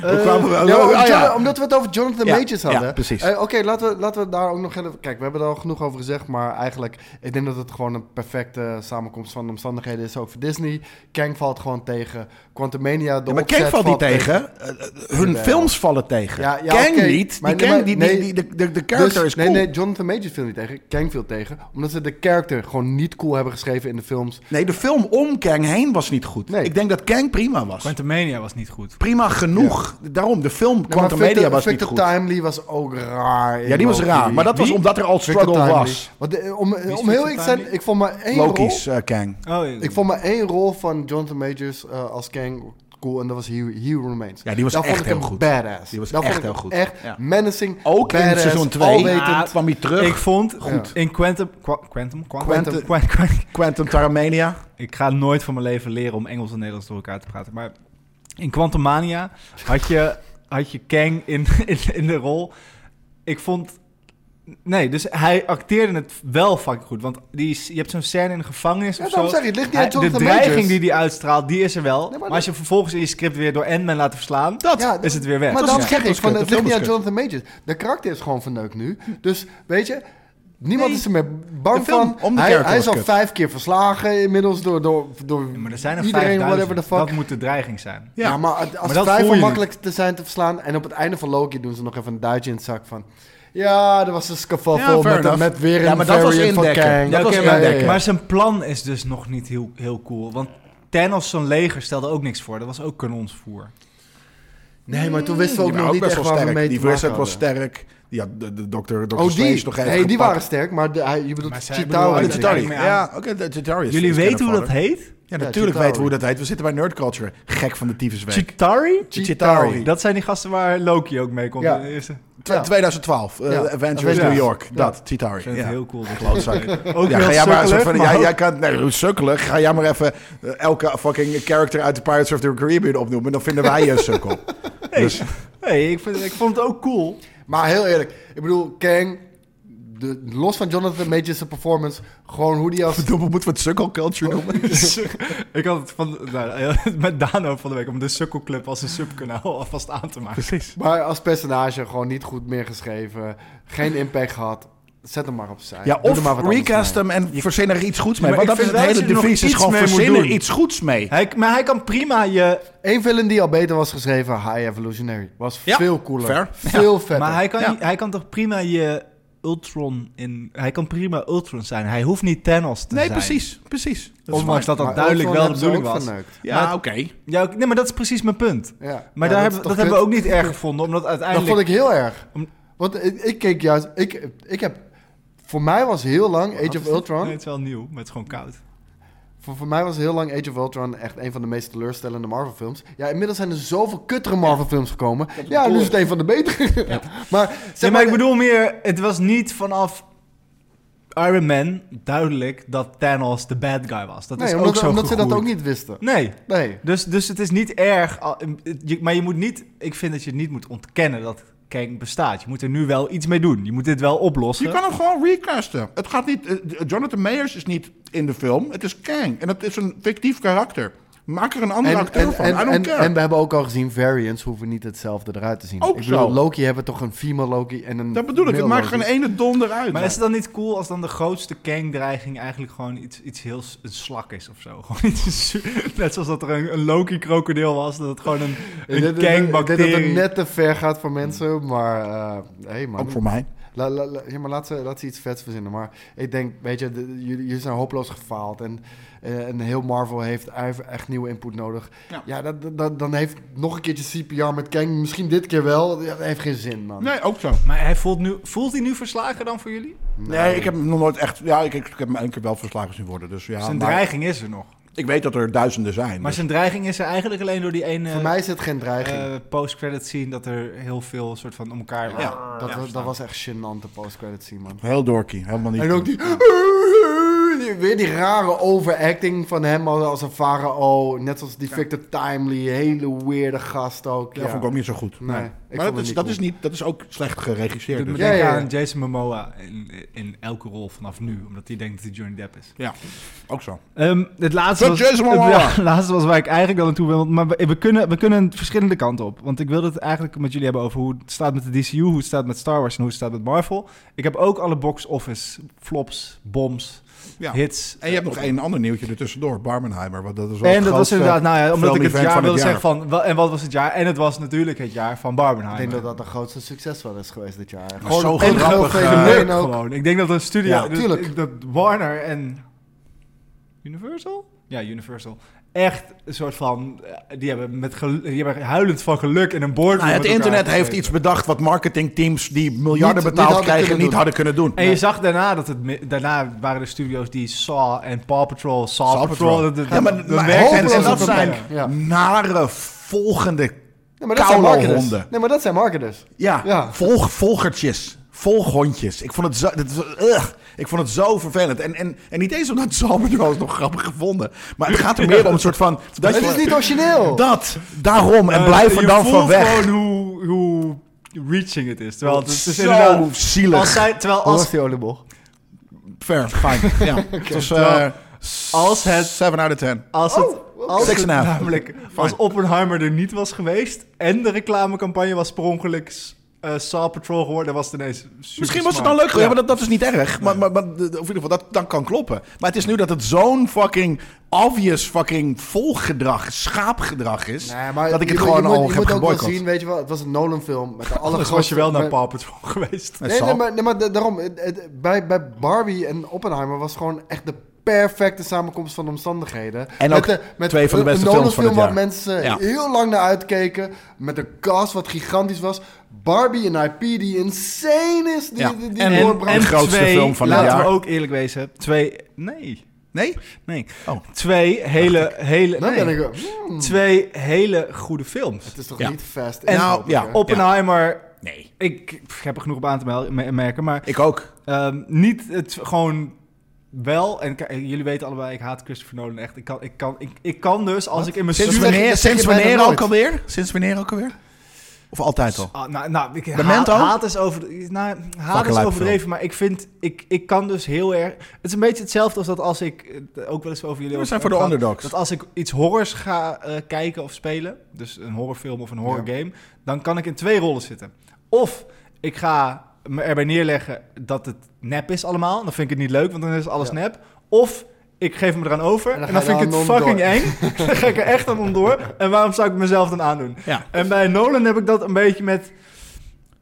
A: Hoe kwamen we...
B: Eh, Ja, maar
A: oh,
B: om-
A: ja.
B: Omdat we het over Jonathan
A: Ja,
B: Majors hadden.
A: ja, precies.
B: Eh, Oké, laten, we, laten we daar ook nog even... Kijk, we hebben er al genoeg over gezegd, maar eigenlijk... Ik denk dat het gewoon een perfecte samenkomst van omstandigheden is, ook voor Disney. Kang valt gewoon tegen. Quantumania, de
A: Ja, maar Kang
B: opzet
A: valt niet tegen. Eh, eh, hun
B: Jawel.
A: films vallen tegen.
B: Ja, ja,
A: Kang
B: oké.
A: niet. Die
B: Maar-
A: Kang,
B: maar-
A: die,
B: nee.
A: die, die- de, de, de character
B: Dus-
A: is cool.
B: Nee, nee, Jonathan Majors viel niet tegen. Kang viel tegen. Omdat ze de character gewoon niet cool hebben geschreven in de films.
A: Nee, de film om Kang heen was niet goed.
B: Nee.
A: Ik denk dat Kang prima was.
D: Quantumania was niet goed.
A: Prima genoeg. Daarom, de film
B: Nee, maar
A: Quantum Media
B: Victor-
A: was niet
B: Victor
A: goed.
B: Timely was ook raar. in
A: Ja, die was
B: Loki.
A: raar. Maar dat was
D: Wie?
A: omdat er al
B: Victor
A: struggle
B: Timely.
A: was.
B: Want, eh, om
D: is
B: om heel
D: Victor
B: eerlijk te zijn,
D: Timely?
B: ik vond maar één rol...
A: Loki's eh, Kang.
D: Oh,
B: Ik vond maar één rol van Jonathan Majors eh, als Kang cool en dat was He, He Remains.
A: Ja, die was
B: Daar
A: echt
B: vond ik hem
A: heel goed.
B: badass.
A: Die was
B: Daar
A: echt
B: vond ik
A: heel
B: hem
A: goed.
B: Echt
A: Ja.
B: menacing,
A: Ook in
B: badass,
A: seizoen 2
B: alwetend.
A: kwam hij terug.
D: Ik vond
B: Goed.
D: in Quantum... Qua- Quantum? Qua-
A: Quantum.
D: Qua- Qua-
A: Quantum Taramania.
D: Ik ga nooit van mijn leven leren om Engels en Nederlands door elkaar te praten. Maar in Quantumania had je, had je Kang in, in, in de rol. Ik vond... Nee, dus hij acteerde het wel fucking goed. Want die, is- je hebt zo'n scène in de gevangenis
B: Ja,
D: of
B: daarom
D: zo.
B: zeg ik, het ligt niet aan
D: Hij- de
B: Jonathan
D: dreiging
B: Majors.
D: die hij uitstraalt, die is er wel.
B: maar
D: maar,
B: dat-
D: als je vervolgens in je script weer door Ant-Man laat verslaan...
A: Dat.
B: Ja,
D: is het weer weg.
B: Maar
A: Dat
B: dan
A: is
B: zeg
A: kut,
B: ik, van,
A: dat
B: het
A: is
B: ligt niet aan
A: kut.
B: Jonathan Majors. De karakter is gewoon verneukt nu. Dus, weet je, niemand
A: Nee.
B: is er meer bang
A: De film
B: van.
A: om de
B: hij,
A: character
B: hij
A: was
B: is al
A: kut.
B: vijf keer verslagen inmiddels door, door, door
D: Ja, maar er zijn er
B: iedereen, whatever the
D: 5000.
B: fuck.
D: Dat moet de dreiging zijn.
B: Ja,
A: Ja.
B: maar als
D: Maar
B: het
D: dat
B: vijf
D: voel
B: om
D: je
B: makkelijk te zijn te verslaan. En op het einde van Loki doen ze nog even een duitje in het zak van... Ja, er was een
A: Ja,
B: scafaffel
A: fair
B: met,
A: enough.
B: met weer een
A: Ja, maar dat was
B: variant van
A: indekken.
B: Kang.
A: Ja,
D: Ja,
A: Dat
D: oké,
A: was
D: maar,
A: indekken.
D: maar zijn plan is dus nog niet heel, heel cool. Want Thanos, zijn leger, stelde ook niks voor. Dat was ook kanonsvoer.
B: Nee, maar toen wisten we ook
A: Die waren
B: nog niet
A: best
B: echt
A: wel
B: waar we
A: sterk.
B: mee
A: Die
B: te maken
A: Wizard
B: hadden.
A: was sterk. Die had de, de dokter, dokter
B: Oh, die?
A: Strange nog even
B: nee, die
A: gepakt.
B: waren sterk, maar de, hij- je bedoelt
D: Maar zij
B: Chitauri.
A: Oh, de
D: bedoelen-
B: natuurlijk.
A: Chitauri.
D: Kijk me aan.
A: Ja, oké, de Chitauri is-
D: Jullie
A: is
D: weten hoe dat
A: Godfather.
D: heet?
A: Ja,
B: Ja,
A: natuurlijk weten we
B: Chitauri.
A: hoe dat heet. We zitten bij Nerd Culture. Gek van de tyfusweek.
D: Chitari?
A: Chitauri.
D: Dat zijn die gasten waar Loki ook mee komt
B: Ja.
D: in de eerste.
A: Tw- 2012, eh,
B: Ja.
A: Avengers
B: Ja.
A: New York.
B: Ja.
A: Dat, Titari.
D: Ik vind het
A: Ja.
D: heel cool. dat-
A: Klootzak.
D: Ook
A: Ja,
D: heel
A: ga jij maar een soort
D: sukkelig,
A: van,
D: maar
A: jij,
D: ook-
A: jij kan, nee, hoe sukkelig. Ga jij maar even eh, elke fucking character uit de Pirates of the Caribbean opnoemen. Dan vinden wij je een sukkel. Dus,
D: Hey, ik, vind, ik vond het ook cool.
B: Maar heel eerlijk, ik bedoel, Kang, de, los van Jonathan Majors' performance, gewoon hoe die als...
A: verdomme, moeten we het sukkelculture noemen?
D: ik had het van, nou, met Dano van de week om de Sukkelclub als een subkanaal alvast aan te maken.
A: Precies.
B: Maar als personage gewoon niet goed meer geschreven, geen impact gehad. Zet hem maar opzij.
A: Ja,
B: Doe er maar
A: of
B: wat anders
A: recast
B: mee.
A: hem en verzin er iets goeds mee.
D: Maar
A: Want
D: ik
A: dat is
D: vind
A: het
D: wel
A: hele
D: dat je er
A: devies,
D: nog
A: is
D: iets
A: gewoon
D: mee moet
A: verzin er
D: doen.
A: iets goeds mee.
D: Hij, maar hij kan prima je...
B: Eén villain die al beter was geschreven, High Evolutionary. Was
A: Ja,
B: veel cooler.
A: fair.
B: Veel vetter.
D: Maar hij kan,
A: Ja.
D: niet- hij kan toch prima je Ultron in... Hij kan prima Ultron zijn. Hij hoeft niet Thanos te
A: Nee,
D: zijn.
A: precies. precies.
D: Dat is Ondanks
B: Maar
D: dat dat duidelijk
B: Ultron
D: wel
B: hebben
D: de
B: ze
D: bedoeling
B: ook
D: was.
B: verneukt.
A: Ja,
D: Maar-
A: oké.
D: Ja, ook- nee, maar dat is precies mijn punt.
B: Ja. Ja,
D: Maar
B: dat
D: daar
B: is
D: hebben,
B: toch
D: dat hebben
B: kut?
D: we ook niet erg gevonden, omdat uiteindelijk...
B: Dat vond ik heel erg.
D: Om-
B: Want ik, ik keek juist... Ik, ik heb... Voor mij was heel lang Age of Ultron...
D: Nee, het is wel nieuw, maar het is gewoon koud.
B: Voor, voor mij was heel lang Age of Ultron echt een van de meest teleurstellende Marvel films. Ja, inmiddels zijn er zoveel kuttere Marvel films gekomen. Ja, nu is het een van de betere. maar, zeg
D: Ja, maar ik bedoel meer, het was niet vanaf Iron Man duidelijk dat Thanos de bad guy was. Dat is
B: Nee,
D: ook
B: omdat,
D: zo
B: omdat ze dat
D: gegroeid.
B: ook niet wisten.
D: Nee,
B: Nee.
D: dus, dus het is niet erg, al- je- maar je moet niet, ik vind dat je niet moet ontkennen dat Kang bestaat. Je moet er nu wel iets mee doen, je moet dit wel oplossen.
A: Je kan hem gewoon recasten. Het gaat niet, eh, Jonathan Mayers is niet in de film. Het is Kang. En dat is een fictief karakter. Maak er een andere
B: En,
A: acteur
B: en,
A: van.
B: en,
A: I don't
B: en,
A: care.
B: en we hebben ook al gezien, variants hoeven niet hetzelfde eruit te zien.
A: Ook
B: ik bedoel,
A: zo.
B: Loki hebben toch een female Loki en een
A: dat bedoel ik. Het
B: male
A: maakt
B: Loki.
A: geen e- ene donder uit.
D: maar is het dan niet cool als dan de grootste Kang-dreiging eigenlijk gewoon iets, iets heel s- een slak is of zo? Gewoon iets su- Net zoals dat er een, een Loki-krokodil was, dat het gewoon een,
B: Ik denk
D: een
B: dat- Ik denk dat
D: Kang-bacterie...
B: het net te ver gaat voor mensen, maar... eh hey man.
A: Ook voor mij.
B: La, la, la- ja, maar laat ze, laat ze iets vets verzinnen. Maar ik denk, weet je, de- jullie, jullie zijn hopeloos gefaald. En, eh, en heel Marvel heeft eif- echt nieuwe input nodig.
A: Ja.
B: Ja, dat, dat- dat- dan heeft nog een keertje CPR met Kang. Misschien dit keer wel. Ja, dat heeft geen zin, man.
A: Nee, ook zo.
D: Maar hij voelt, nu, voelt hij nu verslagen dan voor jullie?
A: Nee, ik heb hem nog nooit echt... Ja, ik, ik, ik heb hem één keer wel verslagen zien worden. Dus ja,
D: zijn
A: maar
D: dreiging is er nog.
A: ik weet dat er duizenden zijn.
D: Maar
A: dus-
D: zijn dreiging is er eigenlijk alleen door die ene
B: Voor mij is het geen dreiging.
D: eh, post-credit scene dat er heel veel soort van om elkaar...
A: Ja.
B: dat, was- dat was echt gênant, de post-credit scene, man.
A: Heel dorky. Helemaal niet.
B: En ook die... Weer die rare overacting van hem als, als een farao. Net zoals die Victor Timely. Hele weirde gast ook.
A: Ja,
B: Ja,
A: vond ik ook niet zo goed.
B: Nee, ik vond
A: Maar dat,
B: het
A: is,
B: niet
A: dat,
B: cool.
A: is niet, dat is ook slecht geregisseerd.
D: Doet me
A: Dus.
B: Ja,
D: denken
B: ja, ja.
D: aan Jason Momoa in, in elke rol vanaf nu. Omdat hij denkt dat hij Johnny Depp is.
A: Ja, ook zo.
I: Ehm, het laatste
A: Tot
I: was,
A: Jason Momoa.
I: het la- laatste was waar ik eigenlijk al naartoe wil. Maar we, we kunnen, we kunnen verschillende kanten op. Want ik wilde het eigenlijk met jullie hebben over hoe het staat met de DCU, hoe het staat met Star Wars en hoe het staat met Marvel. Ik heb ook alle box office flops, bombs, eh,
A: Ja.
D: hits.
A: En je hebt nog één ander nieuwtje ertussendoor. Barmenheimer. Want dat is wel
I: En
A: het
I: dat was
A: grootste
D: eh,
I: inderdaad, nou ja, omdat ik het
A: film-event
I: jaar
A: van
I: wilde
A: het
I: zeggen van, wa- en wat was het jaar? En het was natuurlijk het jaar van
B: Ik
I: Barbenheimer.
B: denk dat dat de grootste succes wel is geweest dit jaar.
A: zo
B: een
A: grappig,
B: groot
A: eh,
B: fenomeen
I: Leuk
B: ook.
I: gewoon. Ik denk dat een studio,
B: Ja,
I: dat-
B: tuurlijk.
I: dat Warner en
D: Universal? Ja, Universal. Echt een soort van... eh, Die hebben, met gelu- die hebben huilend van geluk in een boardroom
A: Nou, het
D: met elkaar
A: internet heeft
D: gezeten.
A: iets bedacht wat marketingteams die
B: Niet-
A: miljarden
B: niet
A: betaald
B: hadden
A: krijgen
B: kunnen
A: niet
B: doen.
A: hadden kunnen doen.
D: En je zag daarna dat het... mi- Daarna waren de studio's die Saw en Paw Patrol... Saw,
A: Saw
D: Patrol...
A: Patrol.
D: "Oh, dat- dat-
A: Ja, maar-
D: dat
A: maar
D: werkt-
A: hopeloos
D: en
A: dat
D: dat
A: zijn
D: zijn...
B: Ja.
A: Nare volgende
B: Nee, maar dat zijn marketers.
A: Kauwhonden.
B: Nee, maar dat zijn marketers.
A: ja,
B: Ja.
A: Volg, volgertjes. Volghondjes. Ik vond het zo, dit is- ugh. ik vond het zo vervelend. En, en, en niet eens omdat Salvador was nog grappig gevonden. Maar het gaat er meer om een soort van... Dat,
B: Het is niet origineel.
A: dat, daarom. En
D: Eh,
A: blijf er dan van
D: Je
A: weg.
D: voelt gewoon hoe, hoe reaching het is. Terwijl het, het is
A: Zo
D: inderdaad... Als
A: zielig.
D: zij, terwijl
B: Hoe
D: als,
B: was die oliebol?
A: Fair, fijn. Ja. Het was eh
D: Terwijl nou, als het-
A: 7 out of 10.
D: als
B: Oh,
D: het, als
A: Six
D: het
A: and a half.
D: namelijk, als Oppenheimer er niet was geweest en de reclamecampagne was per ongeluk eh Saw Patrol geworden, was het ineens super
A: Misschien was het dan
D: smart.
A: leuk. Ja, maar dat, dat is niet erg. Maar, maar, maar, de- of in ieder geval, dat, dat kan kloppen. Maar het is nu dat het zo'n fucking obvious fucking volgedrag, schaapgedrag is. dat ik het gewoon al
B: je
A: heb
B: moet ook wel
A: geboycott.
B: zien, weet je wel, het was een Nolan-film met de
D: Anders
B: allergrootste...
D: was je wel naar
B: met-
D: Paw Patrol geweest.
A: Het
B: Nee,
A: zal.
B: nee, maar, nee, maar da- daarom, het- het- bij, bij Barbie en Oppenheimer was gewoon echt de perfecte samenkomst van omstandigheden.
A: En ook twee van de
B: een-
A: beste
B: een
A: films van het
B: Nolan-film
A: jaar.
B: waar mensen heel lang naar uitkeken, met een cast wat gigantisch was. Barbie, een IP die insane is, die,
A: Ja.
B: die, die
A: En-
B: doorbrak.
A: en- grootste film van het
D: laten
A: jaar.
D: we ook eerlijk wezen, twee, nee. Nee? Nee.
A: Oh.
D: Twee hele, hele,
B: Dan
D: nee.
B: ben ik wel- hmm.
D: twee hele goede films.
B: Het is toch
A: Ja.
B: niet fast
A: En-
B: en
A: Nou, ja,
B: hè?
D: Oppenheimer,
A: Nee.
D: ik pff, heb er genoeg op aan te mel- me- merken, maar
A: Ik ook.
D: ehm, niet het gewoon wel. En k- jullie weten allebei, ik haat Christopher Nolan echt. Ik kan, ik kan, ik, ik kan dus, als ik in mijn
A: Sinds
D: zuur-
B: wanneer-
A: wanneer,
B: dat zeg je
A: sinds
B: bijna
A: wanneer ook
B: nooit.
A: alweer? Sinds wanneer ook alweer? Of altijd al?
D: Ah, nou, nou, ik haat,
A: Memento?
D: haat is, over, nou, haat
A: Fucking
D: is
A: leuk
D: overdreven, maar ik vind, ik, ik kan dus heel erg... Het is een beetje hetzelfde als dat als ik, eh, ook wel eens over jullie...
A: We
D: over-
A: zijn voor de
D: gaat,
A: underdogs.
D: Dat als ik iets horrors ga eh, kijken of spelen, dus een horrorfilm of een horrorgame, dan kan ik in twee rollen zitten. Of ik ga me erbij neerleggen dat het nep is allemaal, dan vind ik het niet leuk, want dan is alles
B: Ja.
D: nep. Of... Ik geef me eraan over en
B: En
D: dan,
B: dan ga je
D: vind ik
B: er
D: het
B: aan
D: fucking eng. Dan ga ik er echt aan onderdoor. En waarom zou ik mezelf dan aandoen?
A: Ja.
D: En bij Nolan heb ik dat een beetje met.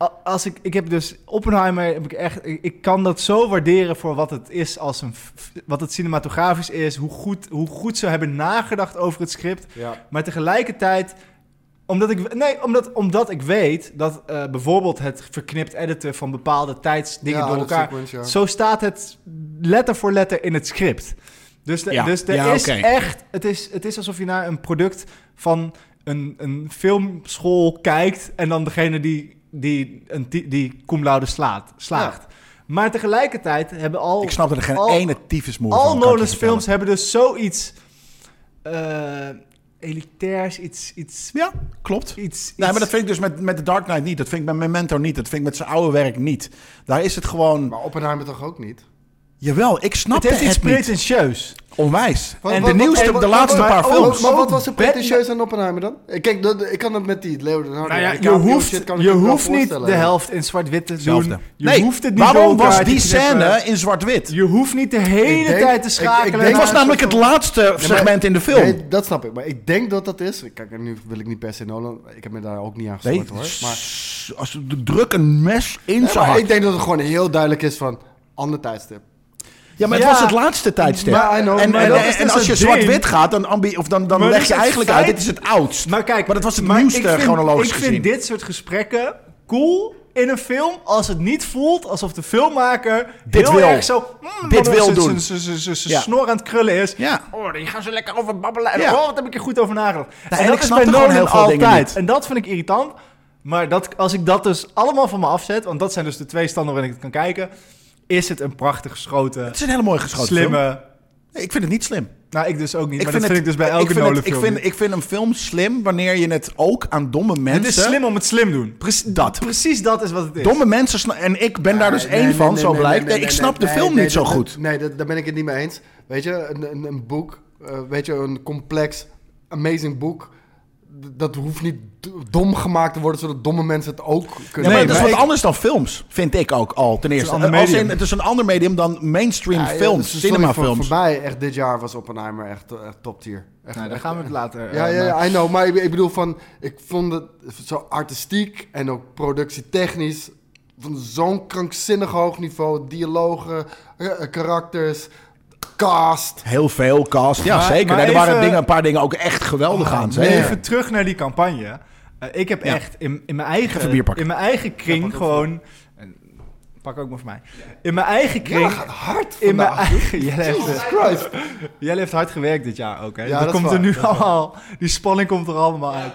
D: a- Als ik, ik heb dus Oppenheimer, heb ik echt. Ik, ik kan dat zo waarderen voor wat het is als een. f- f- Wat het cinematografisch is, hoe goed, hoe goed ze hebben nagedacht over het script.
B: Ja.
D: Maar tegelijkertijd, omdat ik, nee, omdat, omdat ik weet dat eh, bijvoorbeeld het verknipt editen van bepaalde tijdsdingen
B: Ja,
D: door
B: dat
D: elkaar.
B: sequence, ja.
D: Zo staat het letter voor letter in het script. Dus, de-
A: Ja.
D: dus er
A: Ja,
D: is
A: oké.
D: echt, het is, het is alsof je naar een product van een, een filmschool kijkt en dan degene die, die, een, ti- die cum laude slaat, slaagt. Maar tegelijkertijd hebben al
A: Ik snap dat er geen
D: al-
A: ene tyfusmoer
D: al
A: van kan ik je
D: Nolan's
A: vertellen.
D: films hebben dus zoiets eh, elitairs, iets, iets,
A: Ja, klopt.
D: iets,
A: Nee,
D: iets-
A: maar dat vind ik dus met, met The Dark Knight niet. Dat vind ik met Memento niet. Dat vind ik met zijn oude werk niet. Daar is het gewoon...
B: Maar Oppenheimer toch ook niet?
A: Jawel, ik snap
D: het
A: het,
D: heeft iets
A: niet.
D: pretentieus.
A: Onwijs.
B: Wat-
A: en
B: wat-
A: de
B: wat-
A: nieuwste,
B: wat-
A: de
B: wat-
A: laatste
B: wat-
A: paar
B: wat-
A: films.
B: Maar wat was er
D: Batman-
B: pretentieus aan Oppenheimer dan? Eh, Kijk, dat, ik kan dat met die Leonardo
D: Nou ja, je
B: DiCaprio
D: hoeft,
B: shit kan ik
D: je
B: me wel
D: hoeft niet
B: voorstellen.
D: de helft in zwart-wit te
A: Hetzelfde.
D: doen. Je
A: nee,
D: hoeft het niet
A: waarom
D: door elkaar
A: was
D: te
A: die
D: knippen.
A: scène in zwart-wit?
D: Je hoeft niet de hele
B: Ik denk-
D: tijd te
B: ik- ik
D: schakelen.
B: denk-
A: Het
B: Ja,
A: was
B: maar-
A: namelijk het laatste segment in de film.
B: Nee, dat snap ik. Maar ik denk dat dat is. Kijk, en nu wil ik niet per se Nolan. Ik heb me daar ook niet aan
A: Nee,
B: gestoord hoor. Maar,
A: s- als de druk een mes in
B: Nee,
A: zijn
B: maar
A: hart.
B: ik denk dat het gewoon heel duidelijk is van ander tijdstip.
A: Ja, maar het
D: Ja.
A: was het laatste tijdstip.
B: Maar I know,
A: en
B: maar
A: en,
B: dat
A: en,
B: is
D: dus
A: als je
D: het ding.
A: zwart-wit gaat, dan, ambi- of dan, dan
D: Maar
A: leg
D: dus
A: je
D: het
A: eigenlijk
D: feit-
A: uit, dit is het oudst.
D: Maar kijk,
A: Maar dat was het
D: maar
A: nieuwste,
D: ik vind-
A: chronologisch
D: Ik
A: gezien.
D: vind dit soort gesprekken cool in een film als het niet voelt alsof de filmmaker
A: Dit
D: heel
A: wil.
D: erg zo mm,
A: Dit wil
D: z'n-
A: doen.
D: z'n- z'n- z'n- z'n
A: Ja.
D: snor aan het krullen is.
A: Ja.
D: Oh, die gaan ze lekker over babbelen. En
A: Ja.
D: oh, wat heb ik er goed over nagedacht.
A: en ik snap er gewoon heel veel dingen niet.
D: En dat vind ik irritant. Maar dat, als ik dat dus allemaal van me afzet, want dat zijn dus de twee standen waarin ik het kan kijken, is het een prachtig geschoten,
A: Het is een hele mooie geschoten
D: slimme.
A: film. Nee, ik vind het niet slim.
D: Nou, ik dus ook niet.
A: Ik
D: maar dat vind ik dus bij elke
A: ik vind,
D: Nolan
A: het- ik,
D: film
A: vind,
D: niet.
A: ik vind een film slim wanneer je het ook aan domme mensen...
D: Het is slim om het slim doen.
A: Precies dat.
D: Precies dat is wat het is.
A: Domme mensen... sna- En ik ben daar dus
B: Nee,
A: één
B: nee,
A: van,
B: nee,
A: zo
B: nee,
A: blijkt.
B: nee,
A: Nee,
B: nee,
A: ik
B: nee,
A: snap
B: nee,
A: de film
B: nee,
A: niet zo
B: dat-
A: goed.
B: Nee, dat- daar ben ik het niet mee eens. Weet je, een, een, een boek, eh, weet je, een complex, amazing boek. d- Dat hoeft niet d- dom gemaakt te worden, zodat domme mensen het ook
A: Ja,
B: kunnen.
A: maar
D: Nee,
A: het is
D: maar
A: wat
D: ik-
A: anders dan films, vind ik ook al, ten eerste.
D: ander
A: Als in-
D: medium.
A: het is een ander medium dan mainstream
B: Ja, ja,
A: films,
B: sorry, Voor,
A: cinemafilms.
B: voor mij, echt dit jaar was Oppenheimer echt, eh, echt top tier. Echt,
D: Nou, daar
B: echt-
D: gaan we het later.
B: Ja,
D: eh,
B: ja,
D: maar-
B: ja, I know. Maar ik, ik bedoel van, ik vond het zo artistiek en ook productietechnisch van zo'n krankzinnig hoog niveau. Dialogen, eh, eh, karakters, cast.
A: Heel veel cast, ja
D: Maar-
A: zeker.
D: maar
A: Nee, er waren
D: even-
A: dingen, een paar dingen ook echt geweldig aan.
D: Maar
A: zeker.
D: Even terug naar die campagne. Eh, ik heb
A: Ja.
D: echt in, in, mijn
A: even
D: eigen,
A: bier pakken.
D: in mijn eigen kring gewoon. en pak ook maar voor mij. In mijn eigen
B: Ja,
D: kring.
B: dat gaat hard
D: in mijn
B: vandaag.
D: eigen. eh, Jelle
B: Jesus
D: heeft,
B: Christ.
D: Jelle heeft hard gewerkt dit jaar ook. Hè?
B: Ja,
D: dat,
B: dat is
D: komt er
B: waar,
D: nu
B: dat is waar.
D: allemaal. Die spanning komt er allemaal uit.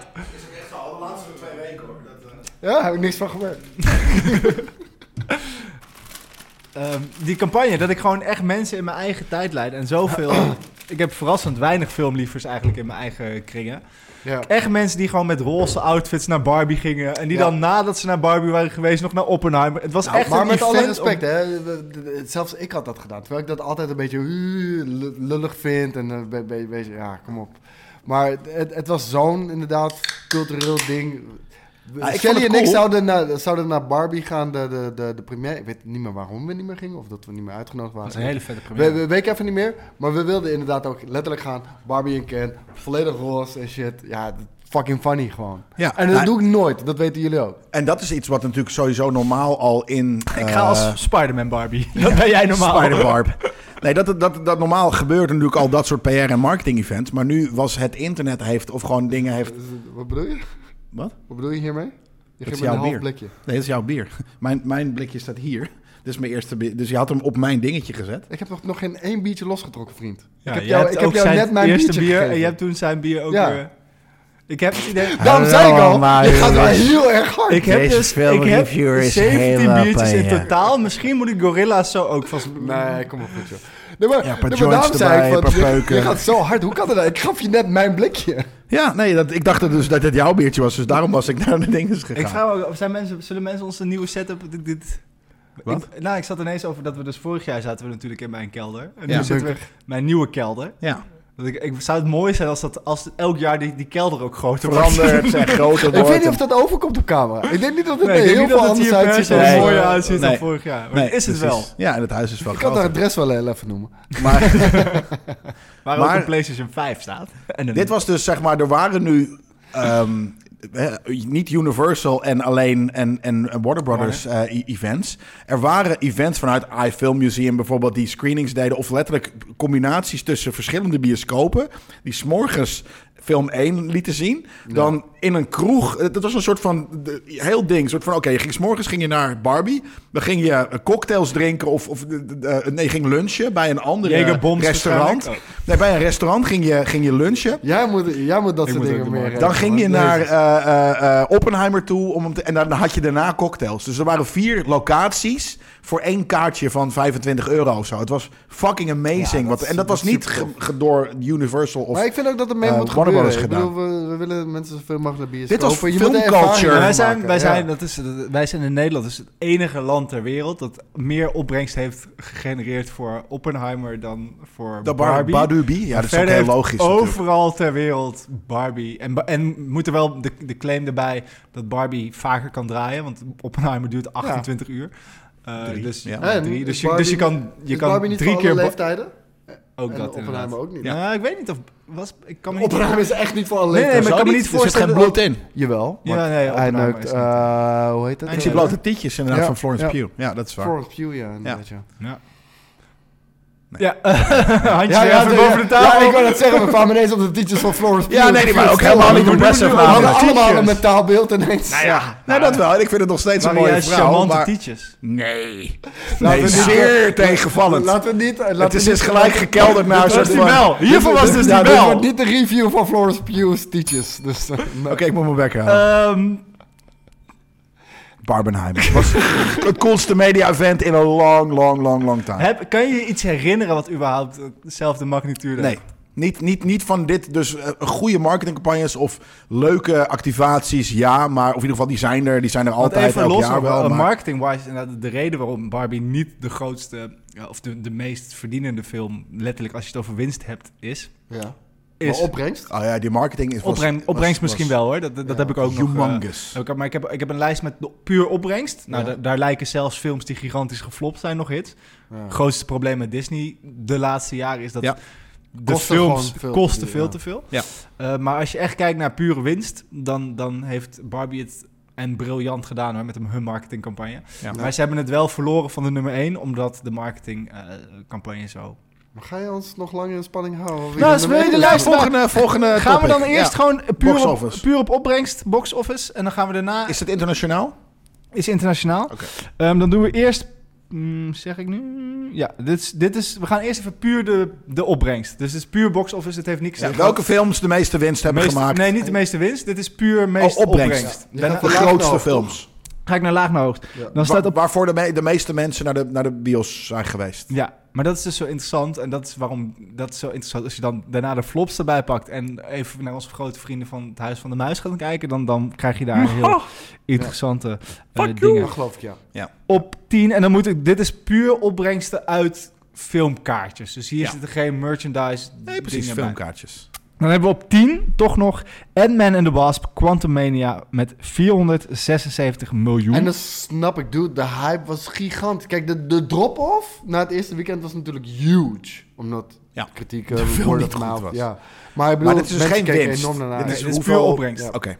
B: Ja, daar heb ik niks van gemerkt.
D: Ehm, die campagne, dat ik gewoon echt mensen in mijn eigen tijd leid. En zoveel. ik heb verrassend weinig filmliefers eigenlijk in mijn eigen kringen.
B: Ja.
D: Echt mensen die gewoon met roze outfits naar Barbie gingen. En die
B: Ja.
D: dan nadat ze naar Barbie waren geweest nog naar Oppenheimer. Het was echt
B: Nou, maar
D: een
B: met alle
D: event om-
B: respect, hè, we- de- de- zelfs ik had dat gedaan. Terwijl ik dat altijd een beetje uh, lu- lullig vind en eh, een beetje, ja, kom op. Maar het, het was zo'n inderdaad cultureel ding.
A: Ah, ik vond
B: Kelly
A: het
B: en ik
A: cool.
B: zouden naar, zouden naar Barbie gaan, de, de, de, de première. Ik weet niet meer waarom we niet meer gingen of dat we niet meer uitgenodigd
D: Dat is
B: waren.
D: een hele vette
B: We,
D: première.
B: we weet ik even niet meer, maar we wilden inderdaad ook letterlijk gaan. Barbie en Ken, volledig roze en shit. Ja, fucking funny gewoon.
A: Ja,
B: en dat
A: nou-
B: doe ik nooit, dat weten jullie ook.
A: En dat is iets wat natuurlijk sowieso normaal al in... eh,
D: ik ga als
B: Eh,
D: Spider-Man Barbie. Dat ben jij normaal.
A: Spider-Barb. Nee, dat, dat, dat, dat normaal gebeurt natuurlijk al dat soort PR en marketing events. Maar nu was het internet heeft, of gewoon dingen heeft...
B: Dus, Wat bedoel je?
A: Wat?
B: Wat bedoel je hiermee? Je
A: Dat is
B: geeft me een
A: jouw
B: half
A: bier.
B: blikje.
A: Nee, dat is jouw bier. Mijn, mijn blikje staat hier. Dit is mijn eerste... bi- Dus je had hem op mijn dingetje gezet.
B: Ik heb nog, nog geen één biertje losgetrokken, vriend.
D: Ja,
B: ik heb
D: je
B: jou,
D: hebt
B: ik heb
D: ook
B: jou
D: zijn
B: net mijn
D: eerste
B: biertje
D: bier
B: gegeven.
D: en je hebt toen zijn bier ook
B: Ja.
D: weer... Ik heb het idee...
B: Daarom zei ik al, je gaat wel heel erg hard.
D: Ik heb
J: Deze
D: dus ik heb
J: filmreviewer is
D: 17
J: helemaal
D: biertjes in
J: pijn, ja.
D: totaal. Misschien moet ik gorilla's zo ook vast...
B: Nee, kom op goed, joh. Nee, maar,
A: Ja, een paar
B: nee, maar daarom
A: joints
B: zei
A: erbij,
B: ik,
A: een paar
B: van, je,
A: peuken.
B: je gaat zo hard. Hoe kan dat nou? Ik gaf je net mijn blikje.
A: Ja, nee, dat, ik dacht dus dat het jouw biertje was. Dus daarom was ik naar de dinges gegaan.
D: Ik vraag me ook, af, zijn mensen, zullen mensen onze nieuwe setup... Dit, dit,
A: Wat?
D: Ik- nou, ik zat ineens over dat we dus vorig jaar zaten we natuurlijk in mijn kelder. En nu
A: Ja.
D: zitten we mijn nieuwe kelder.
A: Ja.
D: Dat ik, ik zou het mooi zijn als, dat, als elk jaar die, die kelder ook groter wordt.
A: Veranderd en groter
B: Ik
A: wordt.
B: weet niet of dat overkomt op camera. Ik denk niet dat het
D: Nee,
B: er
D: ik denk
B: heel
D: niet dat
B: veel
D: het
B: anders
D: hier per
B: uitziet.
D: se
B: dan
A: Nee.
D: mooier
B: eh,
D: uitziet dan
A: Nee.
D: vorig jaar. Maar
A: Nee,
D: het is het
A: precies.
D: wel.
A: Ja, en het huis is wel
B: Ik had
A: groter.
B: haar adres wel heel even noemen.
A: Maar
D: Waar ook
A: Maar-
D: een PlayStation 5 staat. En een-
A: Dit was dus zeg maar, er waren nu ehm, eh, niet Universal en alleen en, en Warner Brothers eh, e- events. Er waren events vanuit iFilm Museum bijvoorbeeld die screenings deden of letterlijk combinaties tussen verschillende bioscopen die s'morgens film 1 lieten zien, dan in een kroeg. eh, Dat was een soort van de- heel ding, soort van oké, je ging s'morgens ging je naar Barbie, dan ging je eh, cocktails drinken of, of eh, eh, nee, je ging lunchen bij een ander eh,
D: Jägerbombs
A: restaurant.
D: waarschijnlijk
A: Nee, bij een restaurant ging je, ging je lunchen.
B: Jij moet, jij moet dat
D: Ik
B: soort
D: moet
B: dingen
D: ook de
B: meer...
D: markt.
A: Dan ging je
B: Jezus.
A: naar eh, eh, eh, Oppenheimer toe om hem te- en dan had je daarna cocktails. Dus er waren vier locaties voor één kaartje van 25 euro of zo. Het was fucking amazing.
B: Ja,
A: wat,
B: dat
A: en dat
B: is-
A: was
B: dat is
A: niet ge- ge- door Universal of...
B: Maar ik vind ook dat er mee moet
A: eh, Warner
B: gebeuren.
A: Brothers
B: Ik bedoel, we, we willen mensen zoveel mogelijk naar bioscoop.
A: Dit was
B: Je moet er
A: filmculture.
B: ervaring
A: Maar
D: wij
B: van
D: zijn,
B: maken,
D: wij,
B: ja.
D: zijn, dat is, dat- wij zijn in Nederland dus het enige land ter wereld dat meer opbrengst heeft gegenereerd voor Oppenheimer dan voor
A: de bar,
D: Barbie.
A: Badubi. Ja, dat is ook
D: Verder
A: heel
D: heeft
A: logisch natuurlijk.
D: Overal ter wereld Barbie. En, ba- en moet er wel de, de claim erbij dat Barbie vaker kan draaien, want Oppenheimer duurt 28 uur. Eh,
A: Drie,
D: dus,
A: ja.
D: ja,
B: En
D: drie. Dus,
B: is
D: je, dus je
B: Barbie-
D: kan, je
B: Is
D: kan
B: Barbie niet
D: drie
B: voor
D: keer
B: alle
D: Ba-
B: leeftijden?
D: ook
B: En
D: dat inderdaad.
B: Oppenheimer ook niet.
D: Nou, ik weet niet of was ik kan me niet
B: Oppenheimer is echt niet voor alle
D: Nee, nee,
B: leeftijden.
D: maar ik kan me niet
A: Er zit
D: voorstellen
A: geen bloed in.
B: Jawel.
D: Ja,
B: want
D: nee,
B: hij
D: Oppenheimer
B: neukt,
D: is niet.
B: eh, hoe heet dat?
D: Hij
A: Ik zie
B: Eh,
A: blote tietjes inderdaad
B: Ja.
A: van Florence
B: Ja.
A: Pugh. Ja, dat is waar.
B: Florence Pugh, ja. inderdaad, ja.
D: Ja, handje
B: Ja, ja,
D: even
B: ja,
D: boven de tafel.
B: Ja, ik wou dat zeggen, we kwamen ineens op de tietjes van Florence Pugh.
A: Ja, nee, die waren ook helemaal niet impressive
B: We hadden
A: namelijk.
B: allemaal een
A: Tietjes.
B: mentaal beeld ineens.
A: Nou ja, nou, dat wel. En ik vind het nog steeds een
D: Waren
A: mooie
D: juist
A: vrouw.
D: charmante
A: maar-
D: tietjes.
A: Nee.
B: Laten
A: Nee,
B: we niet-
A: zeer tegenvallend.
B: Laten we niet... Laten
A: het
B: we
A: is
B: niet-
A: dus gelijk gekelderd naar...
D: Dat
A: een
D: was
A: soort
D: die
A: van-
D: bel. Hiervan was dus die
B: Ja, dit
D: bel.
B: wordt niet de review van Florence Pugh's tietjes. Dus, eh, nee.
A: Oké, ik moet mijn bek houden.
D: Ehm,
A: Barbenheimer. Het was het coolste media-event in a long, long, long, long time.
D: heb, kan je je iets herinneren wat überhaupt dezelfde magnitude
A: Nee.
D: heeft?
A: Niet, niet, niet van dit. Dus eh, goede marketingcampagnes of leuke activaties, ja. Maar of in ieder geval, die zijn er. Die zijn er
D: Want
A: altijd,
D: even
A: elk
D: los,
A: jaar
D: nog eh,
A: wel.
D: wel,
A: maar-
D: marketing-wise, is inderdaad de reden waarom Barbie niet de grootste ja, of de, de meest verdienende film, letterlijk als je het over winst hebt, is.
B: Ja.
D: is
B: Maar opbrengst?
A: Oh ja, die marketing is... was-
D: opbreng-
A: was-
D: opbrengst
A: was-
D: misschien wel hoor, dat, dat, dat heb ik ook nog. eh,
A: Humongous.
D: heb ik- maar ik heb, ik heb een lijst met de- puur opbrengst. Nou,
B: Ja.
D: da- daar lijken zelfs films die gigantisch geflopt zijn nog hits.
B: Ja.
D: grootste probleem met Disney de laatste jaren is dat
A: Ja.
D: de
B: Kosten
D: films
B: gewoon veel te
D: kosten
B: duur,
D: veel
B: ja.
D: te veel.
A: Ja.
D: Eh, maar als je echt kijkt naar pure winst, dan, dan heeft Barbie het en briljant gedaan hoor, met hem- hun marketingcampagne.
A: Ja.
D: Maar ze hebben het wel verloren van de nummer 1, omdat de marketingcampagne zo...
B: Maar ga je ons nog langer in spanning houden? Wie
D: Nou,
B: er
D: is
B: mee
D: weer de
B: is?
D: lijst.
A: Volgende, volgende
D: eh, gaan we
A: topic.
D: dan eerst
A: Ja.
D: gewoon
A: Box
D: puur op,
A: office.
D: puur op opbrengst, box office, en dan gaan we daarna...
A: Is het internationaal?
D: is internationaal.
A: Oké.
D: Ehm, dan doen we eerst. mm, zeg ik nu? Ja, dit is, dit is. We gaan eerst even puur de, de opbrengst. Dus het is puur box office. Het heeft niks.
A: Ja, welke films de meeste winst hebben
D: Meest-
A: gemaakt?
D: Nee, niet de meeste winst. Dit is puur meest
A: Oh, opbrengst.
D: opbrengst.
B: Ja.
D: Daarna-
B: Ja,
A: de
B: laag naar
A: grootste
B: hoog,
A: films.
D: ga ik naar laag naar hoog.
B: Ja.
D: nou Dan staat
A: Wa-
D: op.
A: Waarvoor de, me- de meeste mensen naar de, naar de bios zijn geweest.
D: Ja, maar dat is dus zo interessant. En dat is waarom dat is zo interessant. Als je dan daarna de flops erbij pakt. en even naar onze grote vrienden van het Huis van de Muis gaat kijken. dan, dan krijg je daar een heel interessante eh, dingen.
B: Dat geloof ik, ja.
D: op 10. En dan moet ik. Dit is puur opbrengsten uit filmkaartjes. Dus hier
A: Ja.
D: zitten geen merchandise.
A: Nee, precies.
D: dingen bij.
A: Filmkaartjes.
D: Dan hebben we op 10 toch nog Ant-Man and the Wasp Quantumania met 476 miljoen.
B: En dat snap ik, dude. De hype was gigantisch. Kijk, de, de drop-off na het eerste weekend was natuurlijk huge. Omdat
A: Ja.
B: de kritiek
A: De
B: uh,
A: film
B: wordt
A: niet goed
B: gemaakt.
A: was.
B: Ja. Maar ik bedoel,
A: dit is dus
B: mensen
A: geen
B: keken
A: winst.
B: enorm naar
A: Dit
B: uit.
D: Nee,
A: is
D: dit is
A: hoeveel-
D: puur opbrengst.
B: Ja.
A: Oké.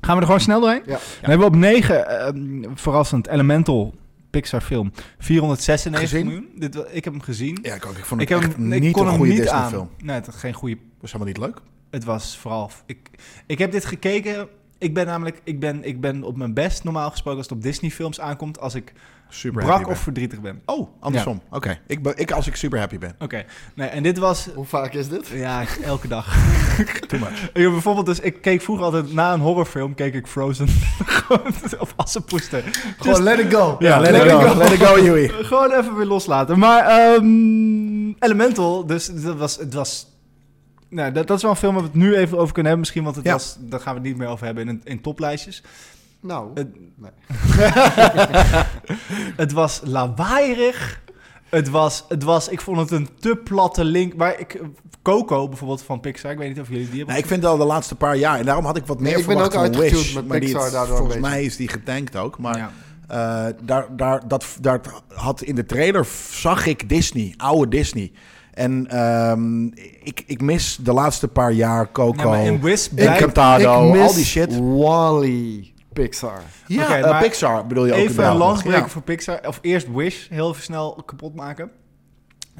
D: Gaan we er gewoon snel doorheen?
B: Ja.
D: Dan hebben we op 9, ehm, verrassend, Elemental Pixar film. 496
A: Gezien?
D: miljoen. Dit, wa- ik heb hem gezien.
A: Ja, ik ook. Ik vond
D: ik
A: het
D: heb
A: echt
D: hem, ik
A: niet
D: kon
A: een
D: hem
A: goede
D: niet aan.
A: Disney-film.
D: Nee, het was geen goede
A: Was helemaal niet leuk.
D: Het was vooral. Ik, ik heb dit gekeken. Ik ben namelijk, ik ben, ik ben op mijn best normaal gesproken als het op Disney films aankomt, als ik
A: Super
D: brak
A: happy
D: of verdrietig ben.
A: ben. Oh, andersom. Oké. Ik, ben- ik als ik super happy ben.
D: Oké, nee, en dit was,
B: Hoe vaak is dit?
D: ja, elke dag.
A: Too much.
D: Ik heb bijvoorbeeld dus, ik keek vroeger altijd, na een horrorfilm keek ik Frozen, Gewoon, of Assepoester.
B: Gewoon let it go.
A: Ja, let, it go. Let it go, Yui.
D: Gewoon even weer loslaten. Maar ehm, Elemental, dus dat was, het was... Nou, dat, dat is wel een film waar we het nu even over kunnen hebben misschien, want het
A: Ja.
D: was, daar gaan we het niet meer over hebben in, in toplijstjes.
B: Nou,
D: Het,
B: nee.
D: het was lawaaierig. Het was, het was, ik vond het een te platte link. Maar ik, Coco bijvoorbeeld van Pixar, ik weet niet of jullie die hebben.
A: Nou, ik vind al de laatste paar jaar. En daarom had ik wat meer
B: Nee, ik ben
A: verwacht
B: ook
A: van
B: uitgetuned
A: Wish.
B: met
A: maar die
B: Pixar
A: het-
B: daardoor een
A: volgens
B: beetje.
A: mij is die getankt ook. Maar
D: Ja.
A: eh, daar, daar, dat, daar had in de trailer zag ik Disney, oude Disney. En ehm, ik, ik mis de laatste paar jaar
D: Ja,
A: Coco,
D: maar in Wish blijkt-
A: Encantado,
B: ik mis
A: al die shit.
B: Wally Pixar.
A: Ja,
D: Oké,
A: eh,
D: maar
A: Pixar bedoel je ook.
D: Even een
A: inderdaad nog.
D: landsbreker
A: Ja.
D: voor Pixar. Of eerst Wish, heel even snel kapot maken.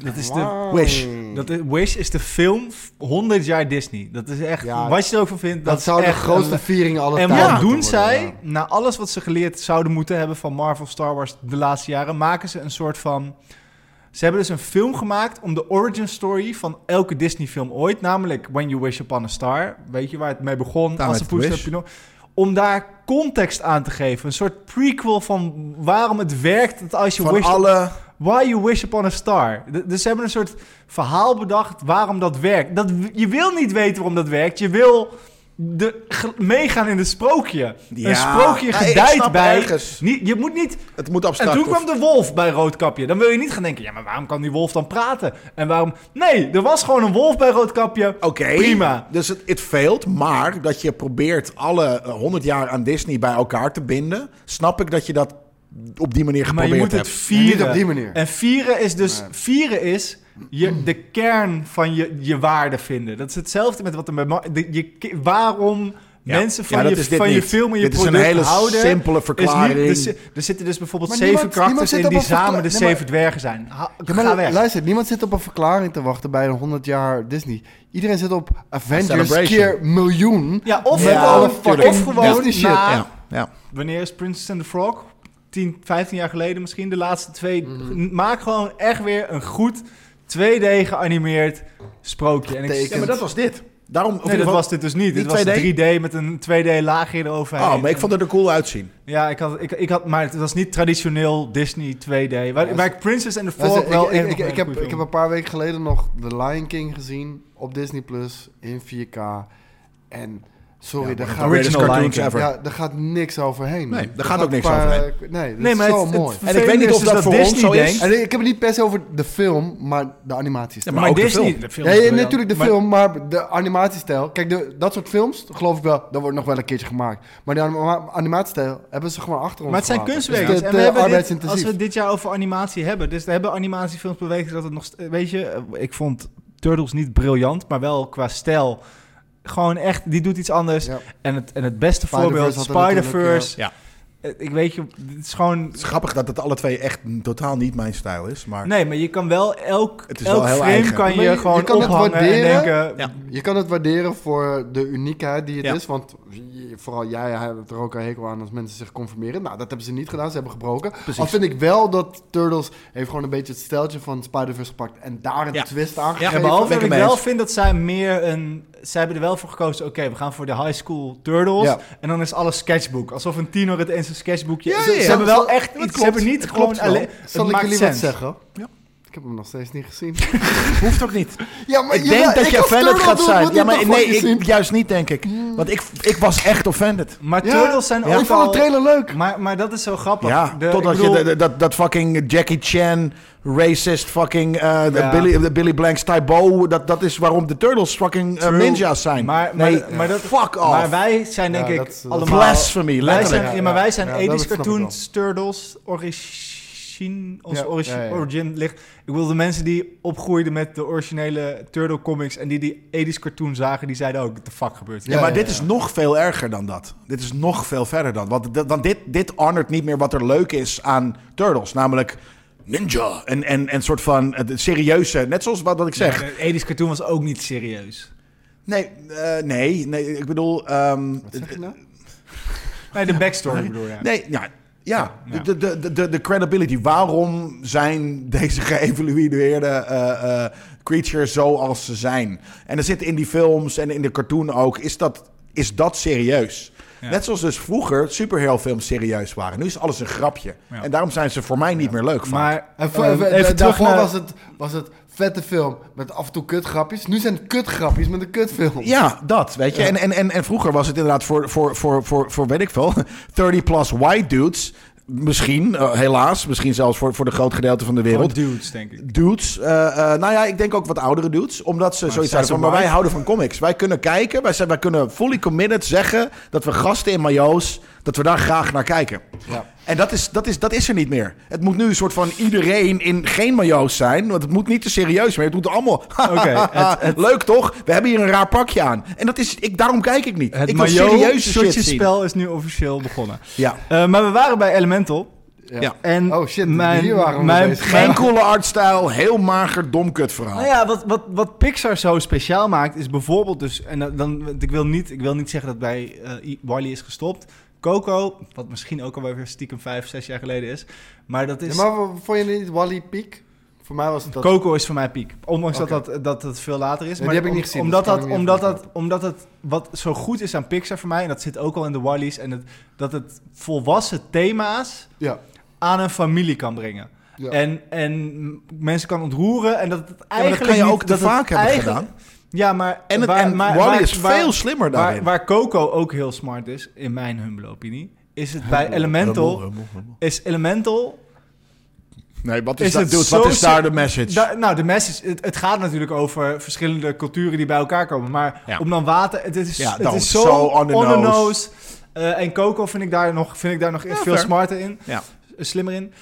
D: Dat is de,
B: Wow.
A: Wish.
D: dat is, Wish is de film f- 100 jaar Disney. Dat is echt,
B: Ja,
D: wat je er ook van vindt, dat,
B: Dat zou
D: is
B: de
D: echt
B: grootste
D: een-
B: viering aller
D: En
B: tijden moeten
D: wat doen
B: worden,
D: zij?
B: ja.
D: Na alles wat ze geleerd zouden moeten hebben van Marvel, Star Wars de laatste jaren, maken ze een soort van. Ze hebben dus een film gemaakt om de origin story van elke Disney-film ooit, namelijk When You Wish Upon a Star. Weet je waar het mee begon?
A: Daar
D: Als
A: met
D: de Poes
A: Wish.
D: heb je nog- Om daar context aan te geven. Een soort prequel van waarom het werkt dat als je
A: Van
D: wish
A: alle...
D: Why You Wish Upon a Star. D- dus ze hebben een soort verhaal bedacht waarom dat werkt. Dat, w- je wil niet weten waarom dat werkt. Je wil de, ge- meegaan in het sprookje.
A: Ja.
D: Een sprookje
A: Nee, ik
D: gedijt
A: snap
D: bij.
A: ergens.
D: Niet, je moet niet.
A: Het moet
D: En
A: abstract.
D: toen
A: of-
D: kwam de wolf bij Roodkapje. Dan wil je niet gaan denken: ja, maar waarom kan die wolf dan praten? En waarom. Nee, er was gewoon een wolf bij Roodkapje.
A: Oké,
D: Prima.
A: dus het it failed, maar dat je probeert alle eh, 100 jaar aan Disney bij elkaar te binden, snap ik dat je dat op die manier
D: Maar
A: geprobeerd
D: je moet het
A: hebt.
D: vieren.
B: Nee, niet op die manier.
D: En vieren is dus... Vieren is je, de kern van je, je waarde vinden. Dat is hetzelfde met wat er met... ma- de- je, ki- waarom
A: Ja.
D: mensen
A: Ja,
D: van,
A: dat
D: je,
A: is dit
D: van je
A: niet.
D: film en je
A: Dit is een
D: product
A: hele
D: houden...
A: simpele
D: is niet-
A: verklaring.
D: er zi- er zitten dus bijvoorbeeld
B: Maar
D: zeven
B: niemand- niemand
D: karakters
B: zit
D: in
B: op
D: die
B: een verkla-
D: samen de
B: Nee, maar-
D: zeven dwergen zijn. Ha-
B: Ja, maar
D: ga weg.
B: luister, niemand zit op een verklaring te wachten bij een 100 jaar Disney. Iedereen zit op Avengers
A: celebration.
B: keer miljoen.
D: ja, of
A: Ja,
D: gewoon,
A: tuurlijk.
D: of gewoon
B: Disney shit.
D: na-
A: Ja, ja.
D: Wanneer is Princess and the Frog? 10, 15 jaar geleden misschien, de laatste twee.
A: Mm.
D: Maak gewoon echt weer een goed 2D geanimeerd sprookje. En ik,
B: Teken.
A: ja, maar dat was dit. Daarom,
D: nee, dat was dit dus niet. Dit
A: Niet
D: was
A: 2D?
D: 3D met een 2D laagje eroverheen.
A: Oh, maar ik vond het er cool uitzien.
D: Ja, ik had, ik, ik had, maar het was niet traditioneel Disney 2D. Waar, waar ik Princess and the Frog
B: Luister,
D: wel
B: ik,
D: echt
B: ik,
D: nog
B: ik,
D: een
B: heb,
D: goeie
B: ik heb
D: film.
B: een paar weken geleden nog The Lion King gezien op Disney Plus in 4K. En sorry, daar,
A: The
B: gaat,
D: Original
A: greatest cartoons
D: Lion
A: ever.
B: ja, daar gaat niks overheen.
A: Nee,
B: man.
A: daar
B: Er
A: gaat ook niks
B: een
A: overheen.
B: Nee, dat
D: Nee,
B: is
D: maar
B: zo
D: het- het-
B: mooi.
D: het-
A: En ik weet niet of
D: Vervelend is dus
A: dat
D: dat
A: voor ons
D: Disney
A: zo is.
D: denkt-
B: En ik heb het niet per se over de film, maar de animaties.
A: Ja,
B: Ja,
A: maar ook de film.
D: de film
B: ja,
D: is briljant.
B: natuurlijk de
D: Maar-
B: film, maar de animatiestijl. Kijk, de, dat soort films, geloof ik wel, dat wordt nog wel een keertje gemaakt. Maar de anima- animatiestijl hebben ze gewoon achter ons
D: Maar het zijn
B: gelaten.
D: kunstwerken.
B: Dus dit,
D: en we
B: eh,
D: hebben dit, als
B: arbeidsintensief.
D: we het dit jaar over animatie hebben. Dus we hebben animatiefilms bewezen dat het nog... st- Weet je, eh, ik vond Turtles niet briljant, maar wel qua stijl. Gewoon echt, die doet iets anders.
B: Ja.
D: En, het, en het beste
B: Spider-Verse
D: voorbeeld,
B: had er natuurlijk,
D: Spider-Verse.
A: ja.
D: Eh, Ik weet je, het is gewoon...
A: Het is grappig dat het alle twee echt totaal niet mijn stijl is, maar...
D: Nee, maar je kan wel elk,
A: Het is wel
D: elk
A: heel
D: frame
A: eigen.
D: kan je,
B: Maar je- je
D: gewoon
B: kan het
D: ophangen en
B: waarderen.
D: denken...
A: Ja.
B: Je kan het waarderen voor de uniekheid die het
A: Ja.
B: is. Want je- vooral jij hebt er ook een hekel aan als mensen zich conformeren. Nou, dat hebben ze niet gedaan. Ze hebben gebroken. Al vind ik wel dat Turtles heeft gewoon een beetje het steltje van Spider-Verse gepakt. En daar een
A: Ja.
B: twist
A: Ja,
B: aangegeven.
D: En
A: gegeven.
D: behalve
A: Ben ik
D: dat ik
A: ermee
D: wel
A: eens.
D: vind dat zij meer een... Zij hebben er wel voor gekozen, oké, we gaan voor de high school turtles.
B: Ja.
D: En dan is alles sketchbook. Alsof een tiener het in zijn sketchboekje...
A: Ja,
D: ze,
A: ja,
D: ze
A: ja.
D: hebben wel
A: Dat
D: echt
A: klopt.
D: iets... Ze hebben niet
A: Het
D: gewoon
A: klopt wel.
D: alleen...
B: Zal
D: het
B: ik
D: maakt
B: jullie wat
D: sens.
B: zeggen?
A: Ja.
B: Ik heb hem nog steeds niet gezien.
A: Hoeft ook niet.
B: ja, maar
A: Ik denk dat je
B: als
A: offended
B: Turtle
A: gaat
B: doe,
A: zijn.
B: moet
A: Ja,
B: ik
A: maar
B: toch
A: nee,
B: fucking
A: ik,
B: zien?
A: juist niet, denk ik. Want ik, ik was echt offended.
D: Maar
B: Ja, Oh,
D: turtles zijn
B: Ik
D: ook
B: vond de
D: al...
B: trailer leuk.
D: Maar, maar dat is zo grappig.
A: Ja,
D: De-
A: totdat
D: ik bedoel,
A: je de- de- dat, dat fucking Jackie Chan, racist fucking eh, de
D: Ja.
A: Billy, de Billy Blanks, Tybo, dat, dat is waarom de Turtles fucking eh,
D: True.
A: ninjas zijn.
D: Maar, maar,
A: nee,
D: maar dat,
A: fuck off.
D: Maar wij zijn denk
B: Ja,
D: ik
B: dat is- dat is
D: allemaal...
A: Blasphemy,
D: Wij
A: letterlijk.
D: zijn, ja, maar wij zijn
B: Ja,
D: 80s
B: dat snap ik
D: cartoons, turtles, origine, onze
B: Ja,
D: origin,
B: ja, ja.
D: origin ligt. Ik wil de mensen die opgroeiden met de originele turtle comics en die die 80s cartoon zagen, die zeiden ook, what the fuck gebeurt hier?
A: Ja, maar
B: ja,
A: dit
B: ja.
A: is nog veel erger dan dat. Dit is nog veel verder dan. Want, dit- want dit, dit honort niet meer wat er leuk is aan Turtles. Namelijk ninja. En een en, en soort van het serieuze. Net zoals wat, wat ik zeg.
D: De 80s Eh, cartoon was ook niet serieus.
A: Nee, eh, nee, nee. Ik bedoel... ehm,
B: Wat zeg je nou?
D: Nee, de backstory bedoel je.
A: Nee, ja. Ja,
D: Ja.
A: De, de, de- de, de credibility. Waarom zijn deze geëvalueerde eh, eh, creatures zoals ze zijn? En er zit in die films en in de cartoon ook, is dat, is dat serieus?
D: Ja.
A: Net zoals dus vroeger superhero-films serieus waren. Nu is alles een grapje.
D: Ja.
A: En daarom zijn ze voor mij niet meer leuk. vaak.
D: Maar
B: En voor-
D: ehm,
B: even
D: even terug
B: Eh, daarvoor
D: naar...
B: was, het, was het vette film met af en toe kutgrapjes. Nu zijn het kutgrapjes met een kutfilm.
A: Ja, dat, weet je. En, en, en, en vroeger was het inderdaad voor, voor, voor, voor, voor weet ik veel, 30-plus white dudes... Misschien, eh, helaas, misschien zelfs voor, voor de groot gedeelte van de wereld.
D: Gewoon dudes, denk ik.
A: dudes. eh, eh, nou ja, ik denk ook wat oudere dudes. Omdat ze zoiets
D: zijn
A: hadden van,
D: ze
A: maar wij
D: white?
A: houden van comics. Wij kunnen kijken, wij, zijn, wij kunnen fully committed zeggen... dat we gasten in majo's, dat we daar graag naar kijken.
B: Ja.
A: En dat is, dat, is, dat is er niet meer. Het moet nu een soort van iedereen in geen majo's zijn. Want het moet niet te serieus meer. Het moet allemaal...
D: Oké, het-
A: Leuk toch? We hebben hier een raar pakje aan. En dat is... Ik, daarom kijk ik niet.
D: Het
A: ik wil serieuze shit zien.
D: spel is nu officieel begonnen.
A: Ja.
D: Eh, maar we waren bij Elemental.
A: Ja.
D: En
B: Oh shit,
D: mijn,
B: hier waren we
D: mijn,
B: bezig.
A: Geen coole artstijl. Heel mager, domkut verhaal.
D: Nou ja, wat, wat, wat Pixar zo speciaal maakt is bijvoorbeeld dus... En dan- dan, want ik, wil niet, ik wil niet zeggen dat bij eh, I- Wall-E is gestopt. Coco, wat misschien ook alweer stiekem vijf, zes jaar geleden is. Maar dat
B: Ja,
D: is...
B: maar v- vond je niet Wally Peak? Voor mij was het dat...
D: Coco is voor mij piek. Ondanks dat,
B: Oké.
D: dat, dat het veel later is.
B: Nee,
D: maar
B: die heb ik
D: om-
B: niet gezien,
D: Omdat,
B: dus kan
D: dat,
B: ik niet
D: omdat,
B: even
D: dat, omdat het wat zo goed is aan Pixar voor mij... en dat zit ook al in de Wallies... en het, dat het volwassen thema's
B: Ja.
D: aan een familie kan brengen.
B: ja.
D: En, en mensen kan ontroeren en dat het
A: Ja, maar
D: eigenlijk
A: dat kan je
D: niet-
A: ook te
D: het
A: vaak hebben
D: eigenlijk-
A: gedaan.
D: Ja, maar...
A: En, het,
D: waar-
A: en
D: maar-
A: Wally
D: waar-
A: is
D: waar-
A: veel slimmer daarin.
D: Waar, waar Coco ook heel smart is, in mijn humble opinie... is het bij Elemental... Is Elemental
A: Nee, wat is,
D: Is
A: dat,
D: het
A: dude,
D: zo
A: wat is daar de
D: ser-
A: message?
D: Da- nou, de message, het, het gaat natuurlijk over verschillende culturen die bij elkaar komen. Maar
A: Ja.
D: om dan water, het is,
A: Ja,
D: het
A: don't.
D: is zo
A: Zo on the nose.
D: Eh, en Coco vind ik daar nog, vind ik daar nog
A: Ja,
D: veel
A: fair.
D: smarter in, eh,
A: Ja.
D: slimmer in.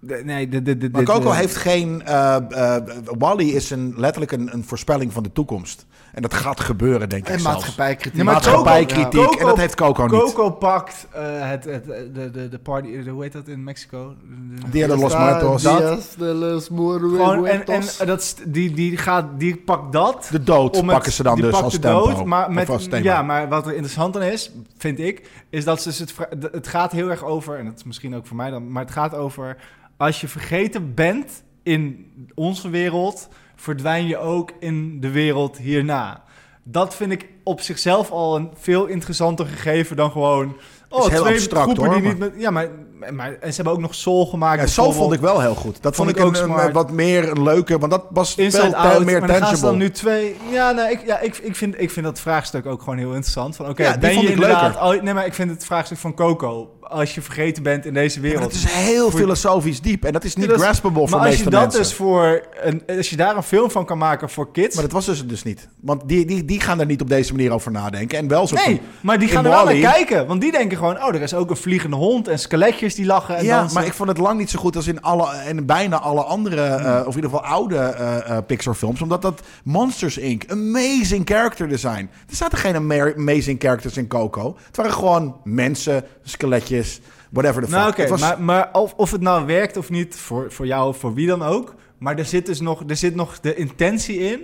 D: De- nee, dit, dit, dit,
A: maar
D: dit,
A: Coco
D: eh,
A: heeft geen... eh, eh, Wally is een, letterlijk een, een voorspelling van de toekomst. En dat gaat gebeuren, denk ik
B: En
A: zelfs.
B: maatschappijkritiek.
D: Ja, maar
A: Maatschappijkritiek.
D: Coco-
A: en dat heeft Coco, niet.
D: Coco pakt eh, het, het, de, de, de party, de, hoe heet dat in Mexico? De-
A: Dia de los
B: Está
A: Muertos.
D: eh,
B: Dias de los
D: Gewoon, en, en
B: Muertos.
D: dat, is- die, die, gaat, die pakt dat.
A: De dood
D: Om het-
A: pakken ze dan
D: die
A: dus
D: pakt
A: als
D: de
A: tempo.
D: dood, maar
A: Of
D: met,
A: als thema.
D: Ja, maar wat er interessant aan is, vind ik, is dat ze dus het, vra- de- het gaat heel erg over, en dat is misschien ook voor mij dan, maar het gaat over als je vergeten bent in onze wereld, verdwijn je ook in de wereld hierna. Dat vind ik op zichzelf al een veel interessanter gegeven dan gewoon. Oh,
A: heel
D: twee
A: abstract,
D: groepen
A: hoor,
D: die
A: maar-
D: niet met. Ja, maar, maar en ze hebben ook nog Soul gemaakt.
A: Ja, Soul vond
D: bijvoorbeeld.
A: ik wel heel goed. Dat vond,
D: Vond
A: ik
D: ik
A: een,
D: ook
A: een,
D: smart.
A: eh, wat meer een leuke... Want dat was veel
D: Inside
A: te-
D: Out,
A: meer
D: maar dan gaan ze
A: tangible.
D: dan nu twee... Ja, nou, ik, ja ik, ik, vind, ik vind dat vraagstuk ook gewoon heel interessant. Van, oké,
A: Ja, die
D: ben
A: vond
D: je
A: ik leuker.
D: inderdaad... Oh, nee, maar ik vind het vraagstuk van Coco... als je vergeten bent in deze
A: Ja,
D: wereld.
A: maar dat is heel
D: Voor-
A: filosofisch diep. En dat is niet
D: Ja, dat is-
A: graspable voor
D: maar als
A: meeste
D: je dat
A: mensen.
D: dus voor... Een, als je daar een film van kan maken voor kids...
A: Maar dat was dus het dus niet. Want die, die, die gaan er niet op deze manier over nadenken. En wel zo
D: nee, maar die
A: in
D: gaan er wel naar
A: Wall-E-
D: kijken. Want die denken gewoon... oh, er is ook een vliegende hond en skeletjes die lachen en
A: ja,
D: dansen.
A: maar ik vond het lang niet zo goed als in, alle, en bijna alle andere, eh, of in ieder geval oude eh, eh, Pixar-films. Omdat dat Monsters Inc. amazing character design. Er zaten geen ama- amazing characters in Coco. Het waren gewoon mensen, skeletjes, whatever the fuck.
D: Nou, oké,
A: Het was-
D: maar, maar of, of het nou werkt of niet, voor, voor jou of voor wie dan ook. Maar er zit dus nog, er zit nog de intentie in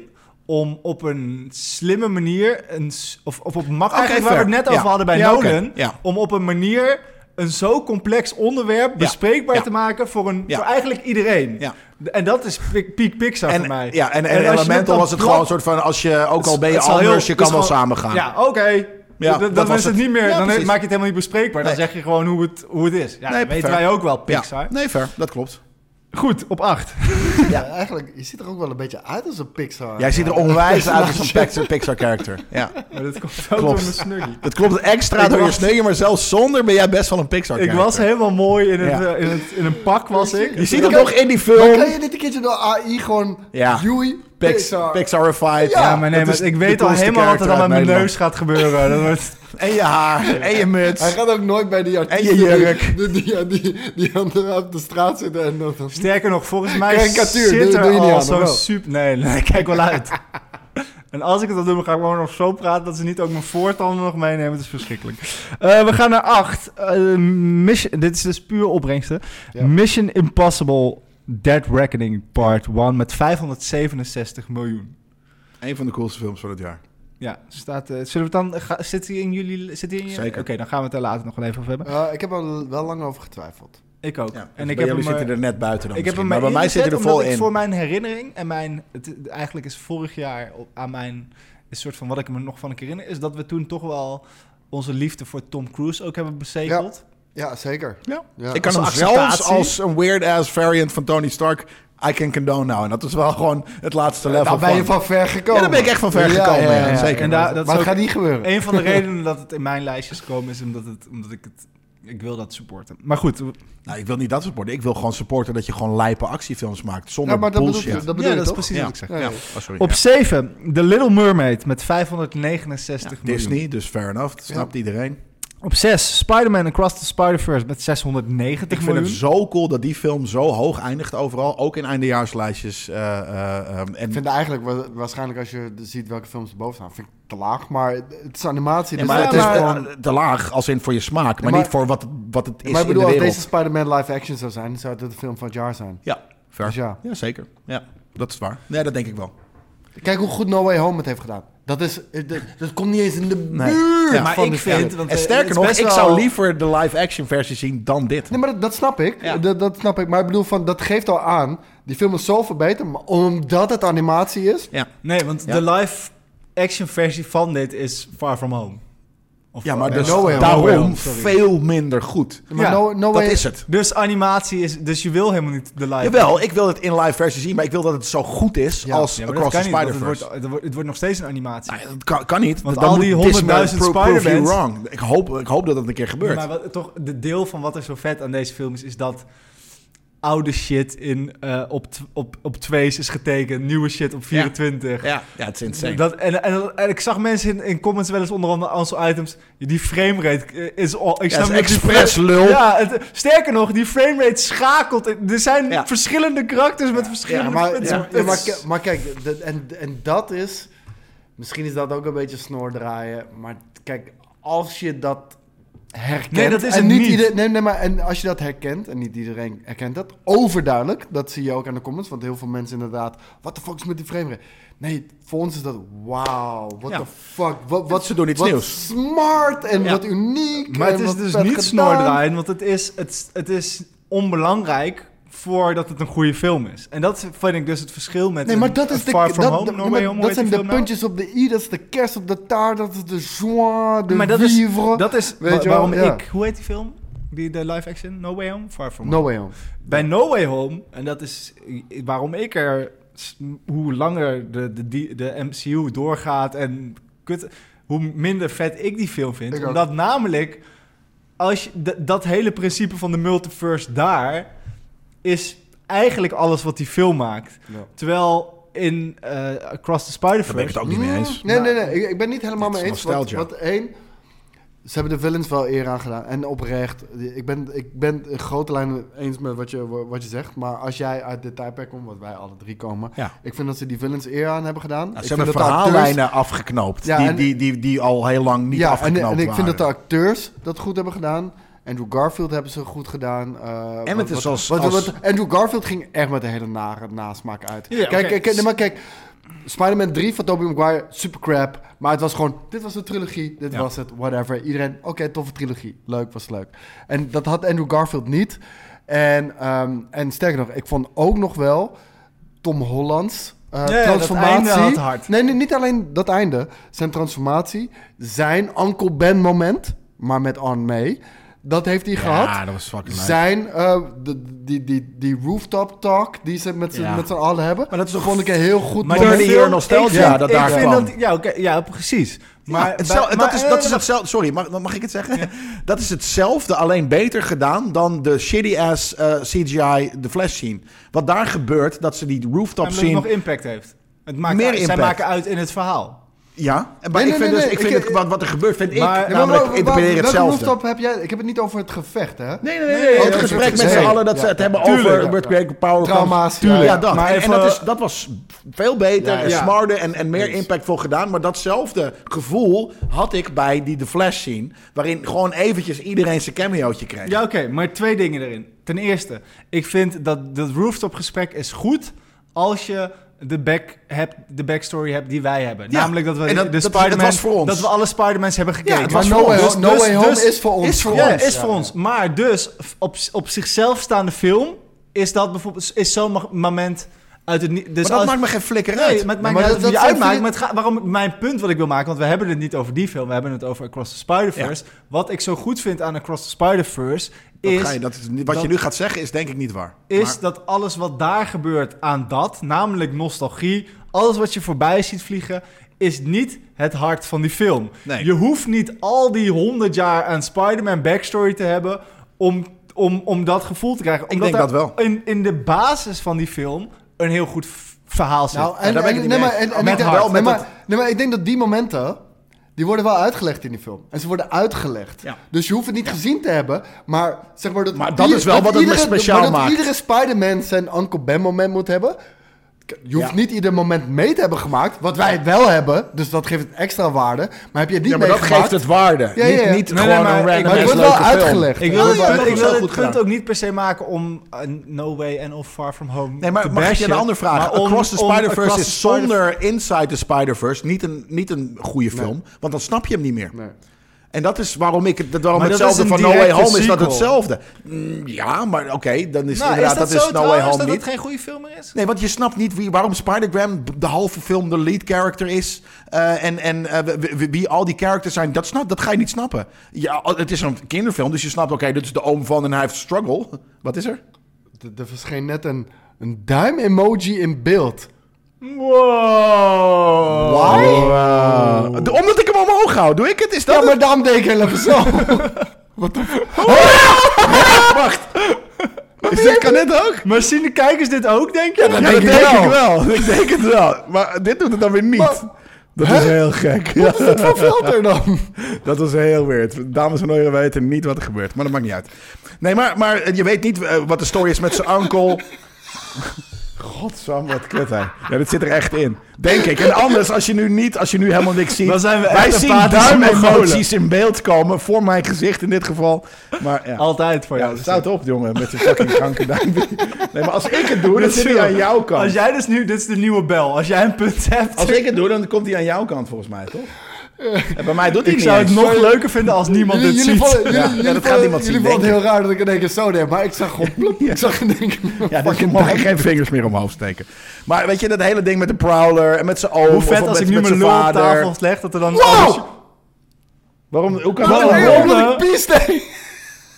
D: om op een slimme manier, een, s- of, of op een mak-
A: Oké,
D: eigenlijk waar we
A: fair.
D: het net over
A: Ja.
D: hadden bij
A: Ja, oké,
D: Nolan,
A: ja.
D: om op een manier een zo complex onderwerp bespreekbaar
A: ja.
D: te maken voor, een,
A: Ja.
D: voor eigenlijk iedereen.
A: Ja,
D: En dat is pi- peak Pixar
A: en,
D: voor mij.
A: ja, en, en,
D: als je dat
A: Elemental
D: dan
A: was het
D: plat-
A: gewoon een soort van, als je, ook al
D: het-
A: ben je
D: het zal heel-
A: anders, je
D: het
A: kan
D: is
A: wel
D: gewoon-
A: samen gaan.
D: Ja, oké.
A: Ja,
D: D- d-
A: dat
D: dan
A: was
D: is het
A: het.
D: niet meer.
A: Ja,
D: dan he-
A: precies.
D: maak je het helemaal niet bespreekbaar. Dan
A: Nee.
D: zeg je gewoon hoe het, hoe het is. Ja,
A: Nee,
D: dat weten
A: fair.
D: wij ook wel,
A: Ja.
D: Pixar.
A: Nee, ver. Dat klopt.
D: Goed, op 8.
B: Ja, eigenlijk, je ziet er ook wel een beetje uit als een Pixar.
A: Jij ziet er onwijs uit als een Pixar- Pixar-character. Ja.
D: Maar dat komt ook
A: Klopt.
D: door mijn snuggie.
A: Het klopt extra
D: Ik
A: door je
D: was-
A: sneugen, maar zelfs zonder ben jij best wel een Pixar
D: Ik was helemaal mooi in, het,
A: eh, Ja.
D: eh, in, het, in een pak, was ik.
A: Je ziet
B: Ik
A: het
B: kan-
A: nog in die
B: Maar kan
A: film.
B: je dit een keertje door AI gewoon...
A: Ja.
B: Joey,
A: Pix-
B: Pixar.
A: Pixarified.
D: Ja, maar nee,
A: dat is
D: maar ik
A: de
D: weet al
A: coolste
D: helemaal wat er dan met
A: character
D: mijn
A: uit
D: neus gaat gebeuren. Dat wordt...
A: Nederland. En je haar, en je muts.
B: Hij gaat ook nooit bij die artiesten...
A: En je jurk.
B: Die, die, die, die, die anderen op de straat zitten en dan... dan-
D: Sterker nog, volgens mij
B: Karikatuur,
D: zit
B: doe-
D: er
B: doe je niet
D: al
B: aan, of
D: zo'n
B: wel?
D: super... Nee, nee, kijk wel uit. En als ik het al doe, dan ga ik gewoon nog zo praten... dat ze niet ook mijn voortanden nog meenemen. Dat is verschrikkelijk. Eh, we gaan naar 8. mission, dit is dus puur opbrengsten.
B: Ja.
D: Mission Impossible Dead Reckoning Part 1 met 567 miljoen.
A: Een van de coolste films van het jaar.
D: Ja, staat, eh, zullen we het dan... Ga, zit hij in jullie... Zit hij in je-
A: Zeker.
D: Oké, dan gaan we het daar later nog wel even over hebben.
B: Eh, ik heb er wel lang over getwijfeld.
D: Ik ook.
A: Ja,
D: en
A: dus
D: ik
A: bij
D: heb
A: jullie
D: hem,
A: zitten
D: eh,
A: er net buiten dan
D: ik heb
A: Nou, misschien, maar bij
D: hem
A: mij
D: ingezet
A: zit hij er
D: omdat
A: vol
D: ik
A: in.
D: voor mijn herinnering en mijn... Het, eigenlijk is vorig jaar op, aan mijn... Een soort van wat ik me nog van ik herinner... is dat we toen toch wel onze liefde voor Tom Cruise ook hebben bezegeld.
B: Ja, zeker.
A: Ja.
B: Ja. Nou,
A: Ik kan hem
D: Als
A: zelfs
D: acceptatie.
A: als een weird-ass variant van Tony Stark... I can condone now. En dat is wel gewoon het laatste
D: Eh,
A: level
D: nou,
B: Daar ben je
A: van...
B: van ver gekomen.
A: Ja, daar ben ik echt van ver gekomen, ja, zeker.
D: En daar, dat
B: maar
D: is
B: het
D: ook
B: gaat niet gebeuren.
D: een van de redenen dat het in mijn lijstje is gekomen... is omdat, het, omdat ik het... Ik wil dat supporten. Maar goed,
A: Nou, ik wil niet dat supporten. Ik wil gewoon supporten dat je gewoon lijpe actiefilms maakt zonder
B: Ja, maar dat bedoel,
A: bullshit.
B: je- dat bedoel
D: ja,
B: je
D: dat is
B: toch?
D: precies
A: Ja.
D: wat ik zeg.
A: Ja,
B: Ja.
A: Oh, sorry.
D: Op
A: Ja.
D: 7, The Little Mermaid met 569 miljoen.
A: Disney, dus fair enough. Dat snapt iedereen.
D: Op 6, Spider-Man Across the Spider-Verse met 690
A: Ik vind
D: miljoen.
A: het zo cool dat die film zo hoog eindigt overal. Ook in eindejaarslijstjes. eh, eh, ehm, en
B: Ik vind eigenlijk, wa- waarschijnlijk als je ziet welke films erboven staan, vind ik te laag. Maar het is animatie,
A: Ja,
B: dus
A: maar
B: het
A: het
B: is
A: is
B: gewoon...
A: eh, te laag als in voor je smaak, maar,
B: Ja, maar-
A: niet voor wat, het- wat het is
B: maar ik bedoel,
A: in de
B: als
A: wereld.
B: deze Spider-Man live action zou zijn, zou het een film van het jaar zijn.
A: Ja, fair.
B: Dus
A: ja.
B: ja.
A: zeker. Ja, dat is waar. Nee, dat denk ik wel.
B: Kijk hoe goed No Way Home het heeft gedaan. Dat is, eh, dat, dat komt niet eens in de
A: Nee.
B: buurt
A: Ja,
B: ja,
D: maar
B: van
D: ik
B: de
D: vind-
B: film.
D: want, eh,
A: en
D: het
A: sterker
D: is
A: nog, ik
D: best wel-
A: zou liever de live-action versie zien dan dit.
B: Nee, maar dat, dat snap ik.
A: Ja.
B: Dat, dat snap ik. Maar ik bedoel, van, dat geeft al aan. Die film is zo verbeterd, maar omdat het animatie is...
A: Ja.
D: Nee, want
A: Ja.
D: de live action versie van dit is Far From Home. Of
A: ja, maar
D: eh,
A: dus
B: No Way Home.
A: daarom
D: No Way Home, sorry.
A: veel minder goed.
B: Nou, Maar
D: Ja,
B: no, no
A: dat
B: way,
A: is het.
D: Dus animatie is... Dus je wil helemaal niet de live...
A: Jawel, ik wil het in live versie zien, maar ik wil dat het zo goed is
B: Ja.
A: als
D: Ja, maar dat
A: Across the
D: kan niet, want
A: Spider-Verse. Ah,
D: het wordt, het, wordt, het wordt nog steeds een animatie.
A: Nee, dat kan, kan niet.
D: Want
A: Dan
D: al
A: moet
D: die
A: Disney
D: 100.000
A: pro- prove you
D: Spider-Mans-
A: wrong. Ik hoop, ik hoop dat dat een keer gebeurt.
D: Maar wat, toch, de deel van wat er zo vet aan deze film is, is dat oude shit in, eh, op, tw- op, op twees is getekend, nieuwe shit op 24.
A: ja, ja, het is insane.
D: Dat, en, en, en ik zag mensen in, in comments wel eens onder andere onze items, die framerate eh, is al... Ik
A: Ja, dat is
D: niet of die
A: expres
D: fra-
A: lul.
D: Ja, het- sterker nog, die framerate schakelt. Er zijn
A: Ja.
D: verschillende karakters met
B: Ja,
D: verschillende...
B: maar,
D: met-
B: ja,
D: met-
B: ja, maar, k- maar kijk, dat- en, en dat is... Misschien is dat ook een beetje snoordraaien. Maar kijk, als je dat herkent...
D: Nee, dat is
B: en
D: het niet.
B: ieder- nee, nee, maar en als je dat herkent, en niet iedereen herkent dat... Overduidelijk, dat zie je ook aan de comments. Want heel veel mensen inderdaad... Wat de fuck is met die frame rate? Nee, voor ons is dat... Wauw, what
A: Ja.
B: the fuck? Wat, wat,
A: Ze doen iets
B: wat
A: nieuws.
B: smart en
A: Ja.
B: wat uniek.
D: Maar
B: en
D: het is
B: wat
D: dus
B: vet
D: niet
B: gedaan.
D: snoordraaien, want het is, het, het is onbelangrijk voordat het een goede film is. En dat vind ik dus het verschil met
B: Nee,
D: een-
B: maar dat
D: een
B: is de,
D: Far
B: dat,
D: From Home,
B: dat-
D: No
B: maar
D: Way Home, hoe
B: dat
D: heet
B: zijn
D: die
B: de
D: film nou?
B: puntjes op de i, dat is de kerst op de taart, dat is de joie, de
D: maar dat is,
B: vivre.
D: dat is
B: Weet
D: wa-
B: je wel,
D: waarom
B: ja.
D: ik... Hoe heet die film? Die, de live action? No Way Home? Far From
B: No
D: Home.
B: way home.
D: Bij No Way Home, en dat is i- waarom ik er... s- Hoe langer de, de, die- de MCU doorgaat en kut, hoe minder vet ik die film vind.
B: Ik ook.
D: omdat namelijk... Als je, d- dat hele principe van de multiverse daar... is eigenlijk alles wat die film maakt.
B: Ja.
D: Terwijl in eh, Across the
A: Daar ben ik het
D: Spider-Verse...
A: ook niet mee eens.
B: Nee, nee, nee, ik, ik ben niet helemaal
A: Dit
B: mee
A: is
B: eens. Want,
A: nostalgia.
B: want één, ze hebben de villains wel eer aan gedaan en oprecht. Ik ben, ik ben in grote lijnen eens met wat je, wat je zegt, maar als jij uit dit tijdperk komt, wat wij alle drie komen,
A: Ja.
B: ik vind dat ze die villains eer aan hebben gedaan.
A: Nou,
B: Ik
A: ze
B: vind
A: hebben
B: dat de acteurs-
A: verhaallijnen afgeknoopt.
B: Ja,
A: die,
B: en-
A: die, die, die al heel lang niet
B: ja, en,
A: afgeknoopt
B: en ik vind
A: waren.
B: dat de acteurs dat goed hebben gedaan. Andrew Garfield hebben ze goed gedaan. eh,
A: het
B: wat-
A: is
B: wat-
A: als-
B: wat-
A: als-
B: wat- Andrew Garfield ging echt met een hele nare nasmaak uit.
D: Ja,
B: kijk,
D: oké.
B: kijk, nee, maar kijk. Spider-Man 3 van Tobey Maguire, super crap. Maar het was gewoon, dit was de trilogie, dit
A: Ja.
B: was het, whatever. Iedereen, oké, toffe trilogie. Leuk, was leuk. En dat had Andrew Garfield niet. En, ehm, en sterker nog, ik vond ook nog wel Tom Hollands eh,
D: Ja, ja, dat
B: transformatie.
D: einde had hard.
B: Nee, nee, niet alleen dat einde. Zijn transformatie, zijn Uncle Ben moment, maar met Aunt May. Dat heeft hij
A: Ja,
B: gehad.
A: dat was fucking leuk.
B: Zijn, eh, de, die, die, die rooftop talk die ze met z'n
A: Ja.
B: met z'n allen hebben.
A: Maar dat is toch-
B: vond ik een heel goed
A: Maar
B: moment.
A: die-
D: film-
A: year nostalgia
D: ik vind-
A: dat
D: ik
A: daar
D: vind
A: kwam.
D: dat- ja, oké, ja, precies. Maar,
A: Maar, hetzel-
D: maar- eh,
A: dat, is,
D: maar-
A: dat is hetzelfde. Sorry, mag, mag ik het zeggen? Dat is hetzelfde, alleen beter gedaan dan de shitty ass eh, CGI, de flash scene. Wat daar gebeurt, dat ze die rooftop
D: omdat het nog
A: scene.
D: impact heeft. Het maakt
A: Meer
D: uit- zij
A: impact.
D: maken uit in het verhaal.
A: Ja, maar
B: nee,
A: ik vind,
B: nee,
A: dus,
B: nee,
A: ik vind
B: ik-
A: het, wat, wat er gebeurt, vind
D: Maar-
A: ik.
D: Nee,
B: Nee, maar
A: Namelijk,
B: waar-
A: eh, ik
B: waar-
A: probeer
B: welke
A: hetzelfde.
B: rooftop heb jij? Ik heb het niet over het gevecht, hè?
A: Nee, nee, nee.
D: Nee,
A: het
D: ja,
A: gesprek
B: ja,
A: met z'n
B: ja,
A: allen dat
B: ja,
A: ze het
B: ja,
A: hebben
B: tuurlijk,
A: over
B: ja.
A: Bird Creator Power.
B: Trauma's,
A: Tuurlijk. Ja,
B: tuurlijk.
A: dat.
D: Maar
A: en, en
D: even-
A: dat, is, dat was veel beter
B: Ja,
A: en
D: ja.
A: smarter en, en meer impactvol gedaan. Maar datzelfde gevoel had ik bij die The Flash scene. Waarin gewoon eventjes iedereen zijn cameootje kreeg.
D: Ja, oké, maar twee dingen erin. Ten eerste, ik vind dat dat rooftop gesprek is goed als je de, back heb, de backstory heb die wij hebben.
A: Ja,
D: Namelijk dat we
A: en dat-
D: de
A: dat- dat
D: Spider-Man-
A: was voor ons.
D: Dat we alle Spider-Mans hebben gekeken. nou dus-
A: het
B: Maar
A: was
B: No
A: voor
B: Way,
A: ons.
B: Ho- No Way Home is voor ons.
D: Is voor
A: Ja,
D: ons. Is
K: ja,
D: voor
K: ja.
D: ons. Maar dus, f- op, z- op zichzelf staande film, is dat bijvoorbeeld is zo'n ma- moment uit het niet. Dus
A: maar dat
D: als-
A: maakt me geen flikker uit.
D: Nee, maar het maakt
B: maar
D: niet uit
B: dat-
D: of je
B: dat-
D: uitmaakt.
B: dat-
D: Maar het gaat- waarom mijn punt wat ik wil maken, want we hebben het niet over die film, we hebben het over Across the Spider-Verse. Wat ik zo goed vind aan Across the Spider-Verse
A: Dat
D: is
A: ga je, dat is, niet- wat je
D: dat-
A: nu gaat zeggen is denk ik niet waar.
D: is
A: Maar-
D: dat alles wat daar gebeurt aan dat, namelijk nostalgie, alles wat je voorbij ziet vliegen, is niet het hart van die film.
A: Nee.
D: Je hoeft niet al die honderd jaar aan Spider-Man backstory te hebben om, om, om dat gevoel te krijgen. Omdat
A: denk
D: daar
A: dat
D: In, in de basis van die film een heel goed v- verhaal zit.
B: Nou, en,
A: daar ben ik
B: en-
A: het niet
B: nee,
A: mee
B: maar, en,
A: eens. Oh,
B: en
A: Met
B: ik denk,
A: hart,
B: nee,
A: met
B: maar,
A: dat-
B: nee, maar ik denk dat die momenten, die worden wel uitgelegd in die film. En ze worden uitgelegd.
A: Ja.
B: Dus je hoeft het niet gezien te hebben, maar zeg maar dat...
A: Maar dat is wel wat het speciaal
B: maar dat
A: maakt.
B: iedere Spider-Man zijn Uncle Ben moment moet hebben. Je hoeft
A: Ja.
B: niet ieder moment mee te hebben gemaakt, wat wij wel hebben. Dus dat geeft het extra waarde. Maar heb je het niet
A: ja, maar dat
B: meegemaakt...
A: geeft het waarde.
B: Ja, ja, ja.
A: Niet, niet
D: Nee,
A: gewoon
D: nee, maar
A: een random
D: ik-
B: maar het
A: ass
B: wordt wel
A: leuke film.
B: uitgelegd.
D: ik
A: Ja,
D: wil,
A: dat
D: het
A: wordt
D: punt- ik
A: wel
D: wil
A: goed
D: het punt
A: gedaan.
D: ook niet per se maken om eh, No Way en of Far From Home
A: Nee, maar
D: te
A: mag ik je
D: bashen,
A: een andere vraag?
D: maar om-
A: Across the
D: om
A: Spider-Verse
D: Across the Nou,
A: is zonder Inside the Spider-Verse niet een, niet een goede film. Want dan snap je hem niet meer.
B: Nee.
A: En dat is waarom ik het, dat- waarom
D: Maar dat
A: hetzelfde
D: is een
A: van No Way
D: directe
A: Home is dat
D: sequel.
A: hetzelfde. Mm, ja, maar oké, dan is
D: Nou,
A: inderdaad,
D: is dat,
A: dat,
D: zo
A: is No Way
D: trouwens
A: Home
D: dat
A: niet.
D: het geen goede film meer is?
A: Nee, want je snapt niet wie, waarom Spider-Gram de halve film de lead character is. eh, en en eh, wie- wie, wie al die characters zijn, dat, snap, dat ga je niet snappen. Ja, het is een kinderfilm, dus je snapt, oké, dit is de oom van en hij heeft struggle. Wat is er?
B: Er- Er verscheen net een, een duim-emoji in beeld.
D: Wow.
A: Why? De- Omdat ik hem omhoog hou, doe ik het? Is dat
B: Ja,
A: het?
B: maar daarom deed ik heel even zo.
A: Wacht. Oh, Is dit, kan dit ook?
D: Maar zien de kijkers dit ook, denk je?
A: Ja, dat denk ik wel. Ik denk het wel. Maar dit doet het dan weer niet. dat is heel gek. Ja,
B: Wat filter dan?
A: dat was heel weird. Dames en heren weten niet wat er gebeurt. Maar dat maakt niet uit. Nee, maar, maar je weet niet eh, wat de story is met zijn onkel. Godsam, wat kut hè. Ja, dit zit er echt in. Denk ik. En anders, als je nu niet, als je nu helemaal niks ziet.
D: Dan zijn we echt
A: wij
D: een
A: zien
D: paar
A: duimemoties in beeld komen. Voor mijn gezicht in dit geval. Maar ja.
D: Altijd voor
A: Ja,
D: jou.
A: dat staat op, jongen, met je fucking kanker Nee, maar als ik het doe, dan
D: Dit
A: zit
D: is
A: hij aan
D: zo.
A: jouw kant.
D: Als jij dus nu, dit is de nieuwe bel. Als jij een punt hebt,
A: Als ik het doe, dan komt hij aan jouw kant, volgens mij, toch? En bij mij doet hij
D: Eh, ik
A: niet
D: zou het
A: eens.
D: nog leuker vinden als niemand dit ziet.
B: vonden- jullie,
A: Ja,
B: jullie
A: ja, dat gaat
B: vonden-
A: niemand zien,
B: jullie vonden
A: denk
B: het heel raar dat ik in één keer zo deed, maar ik zag gewoon ploep.
A: Ja.
B: Ik zag in één keer...
A: Ja, dus je mag geen vingers meer omhoog steken. Maar weet je, dat hele ding met de prowler en met zijn oom...
D: Hoe
A: of
D: vet
A: met-
D: als ik
A: met
D: nu
A: zijn
D: mijn lul op
A: vader.
D: tafel leg, dat er dan... Oh,
B: Wow!
A: Waarom? Hoe kan
B: Oh, Wat
A: dat
B: een
D: Waarom?
A: nou?
B: heel
D: Waarom?
B: leuke piece deed.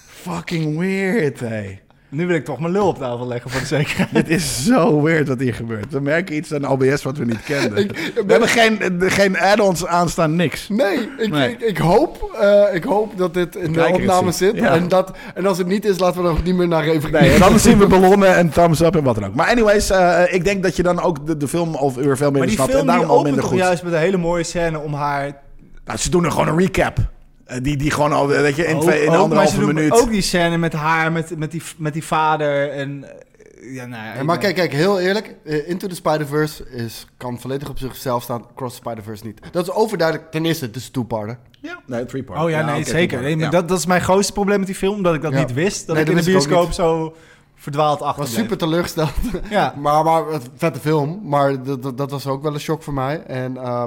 A: Fucking weird, hé.
D: Nu wil ik toch mijn lul op tafel leggen, voor de zekerheid.
A: Dit is zo weird wat hier gebeurt. We merken iets aan OBS wat we niet kenden. We hebben geen, eh, geen add-ons aanstaan, niks.
B: Nee, ik,
A: Nee.
B: Ik, ik, hoop, eh, ik hoop dat dit in de
A: Kijker het
B: opname
A: ziet.
B: zit.
A: Ja.
B: En, dat, en als het niet is, laten we er ook niet meer naar refereren.
A: Nee, en dan zien we ballonnen en thumbs up en wat dan ook. Maar anyways, eh, ik denk dat je dan ook de, de film of uur veel
D: Maar
A: minder
D: die
A: snapt en
D: film die
A: daarom al
D: opent
A: minder
D: toch
A: goed.
D: juist met een hele mooie scène om haar
A: Nou, ze doen er gewoon een recap. Eh, die, die gewoon al, weet je, in,
D: Ook-
A: twee, in
D: ook, Oh, maar ze
A: anderhalve
D: doen
A: minuut.
D: Ook die scène met haar, met, met, die, met die vader en... eh, Ja, nou ja,
B: Ja,
D: ik
B: maar
D: ben-
B: kijk, kijk, heel eerlijk. eh, Into the Spider-Verse is, kan volledig op zichzelf staan. Cross the Spider-Verse niet. Dat is overduidelijk. Ten eerste, het is two-parter.
A: Nee, three part.
D: Oh ja, nee, zeker. Nee, maar dat, dat is mijn grootste probleem met die film, omdat ik dat
B: Ja.
D: niet wist. Dat
B: Nee,
D: ik in
B: dat
D: de
B: wist ik ook
D: bioscoop zo verdwaald achter
B: was super teleurgesteld.
D: Ja.
B: maar, maar het- vette film. Maar dat, dat, dat was ook wel een shock voor mij. En eh,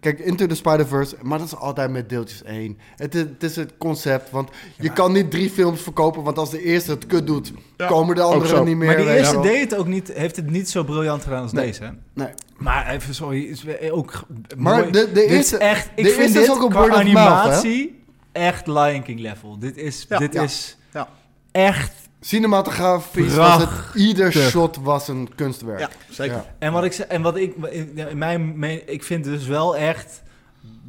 B: kijk, Into the Spider-Verse, maar dat is altijd met deeltjes één. Het is het, is het concept, want je kan niet drie films verkopen, want als de eerste het kut doet,
A: Ja,
B: komen de
A: ook
B: anderen
A: zo.
B: niet meer.
D: Maar die
B: weet je
D: eerste
B: wel.
D: deed het ook niet, heeft het niet zo briljant gedaan als
B: Nee.
D: deze. hè?
B: Nee.
D: Maar even, sorry, is we- ook... g-
B: Maar
D: mooi.
B: de- de
D: Dit is
B: eerste-
D: echt, ik
B: de
D: vind
B: eerste is
D: dit
B: ook een
D: qua
B: word of mouth, hè?
D: animatie echt Lion King level. Dit is,
A: Ja.
D: dit
A: Ja.
D: is
A: Ja.
D: echt
B: Cinematografisch was het, ieder shot was een kunstwerk.
A: Ja, zeker.
B: Ja.
D: En wat ik, ze- en wat ik in mijn, me- ik vind dus wel echt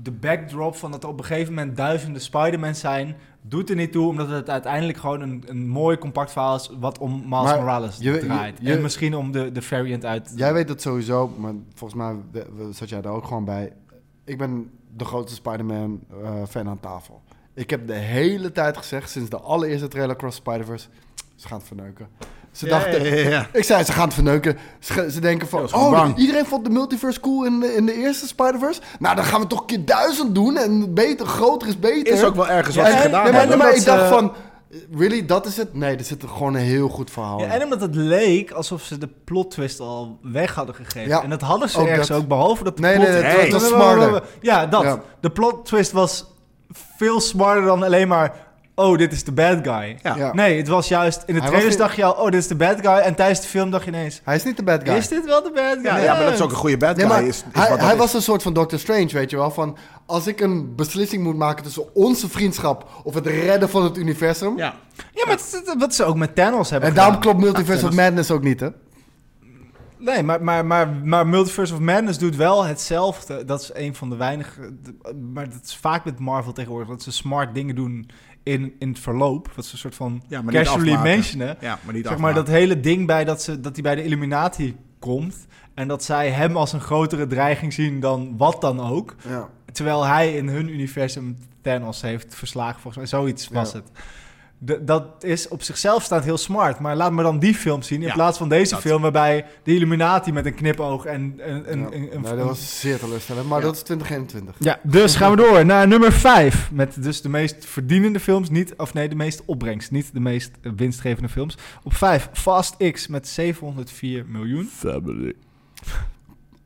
D: de backdrop van dat er op een gegeven moment duizenden Spider-Man zijn, doet er niet toe, omdat het uiteindelijk gewoon een, een mooi compact verhaal is wat om Miles
B: Maar
D: Morales
B: je- je-
D: draait.
B: je-
D: en misschien om de, de variant uit.
B: Jij weet dat sowieso, maar volgens mij we- we- zat jij daar ook gewoon bij. Ik ben de grootste Spider-Man eh, fan aan tafel. Ik heb de hele tijd gezegd, sinds de allereerste trailer Cross Spider-Verse, ze gaan het verneuken. Ze dachten, ik zei ze gaan het verneuken. Ze, ge- ze denken van,
A: Ja, ze
B: oh,
A: waren bang.
B: iedereen vond de multiverse cool in de, in de eerste Spider-Verse. Nou, dan gaan we toch keer duizend doen en beter, groter is beter.
A: Is ook wel ergens
D: Ja,
A: wat ze
D: en-
A: gedaan
B: Nee, maar,
A: hebben.
B: nee, maar
D: Dat
B: ik
D: ze-
B: dacht van, Really, dat is het? Nee, er zit gewoon een heel goed verhaal
D: Ja,
B: in.
D: en omdat het leek alsof ze de plot twist al weg hadden gegeven.
B: Ja,
D: en dat hadden ze
B: ook
D: ergens
B: dat.
D: ook, behalve dat de
B: Nee,
D: plot
B: nee, nee,
A: het was-
B: het was smarter.
D: Ja, dat.
B: Ja.
D: De plot twist was veel smarter dan alleen maar... Oh, dit is de bad guy.
A: Ja.
B: Ja.
D: Nee, het was juist... In
B: Hij
D: de trailers
B: was niet-
D: dacht je al... Oh, dit is de bad guy. En tijdens de film dacht je ineens...
B: Hij is niet de bad guy.
D: Is dit wel de bad guy?
A: Ja, ja, maar dat is ook een goede bad guy.
B: Nee, maar
A: is, is wat
B: hij,
A: dat
B: hij
A: is.
B: was een soort van Doctor Strange, weet je wel. Van, als ik een beslissing moet maken tussen onze vriendschap of het redden van het universum.
A: Ja.
D: Ja, maar het is- wat ze ook met Thanos hebben
B: En daarom
D: gedaan.
B: klopt Multiverse of Madness ook niet, hè?
D: Nee, maar, maar, maar, maar Multiverse of Madness doet wel hetzelfde. Dat is een van de weinige... de- Maar dat is vaak met Marvel tegenwoordig. Dat ze smart dingen doen in, in het verloop. Wat ze een soort van
A: Ja, maar niet
D: casually
A: afmaken.
D: mentionen.
A: Ja, maar niet
D: Zeg maar dat
A: afmaken.
D: hele ding bij dat, ze, dat hij bij de Illuminati komt. En dat zij hem als een grotere dreiging zien dan wat dan ook.
B: Ja.
D: Terwijl hij in hun universum Thanos heeft verslagen, volgens mij. Zoiets was
B: Ja.
D: het. D- dat is op zichzelf staand heel smart. Maar laat me dan die film zien. In
A: Ja,
D: plaats van deze
A: dat.
D: film waarbij de Illuminati met een knipoog en een... een,
B: Ja.
D: een, een-
B: Nee, dat was zeer teleurstellend, maar
A: Ja.
B: dat is 2021.
D: Ja, dus gaan we door naar nummer 5. Met dus de meest verdienende films. Niet, of nee, de meest opbrengst. Niet de meest eh, winstgevende films. Op 5, Fast X met 704 miljoen.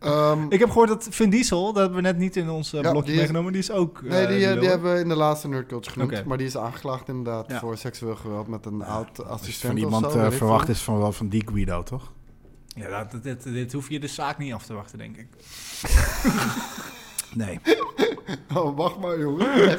B: Ehm,
D: Ik heb gehoord dat Vin Diesel, dat hebben we net niet in ons eh,
B: Ja,
D: blokje
B: die is-
D: meegenomen, die is ook...
B: nee,
D: eh,
B: die, eh, die
D: lul.
B: hebben we in de laatste Nerdculture genoemd.
D: Oké.
B: Maar die is aangeklaagd inderdaad
A: Ja.
B: voor seksueel geweld met een oud
A: Als
B: assistent
A: van iemand
B: of zo,
A: eh,
B: weet ik
A: verwacht
B: veel.
A: is van wel van die Guido, toch?
D: Ja, dat- dit, dit, dit hoef je de zaak niet af te wachten, denk ik.
A: Nee.
B: Oh, wacht maar, jongen.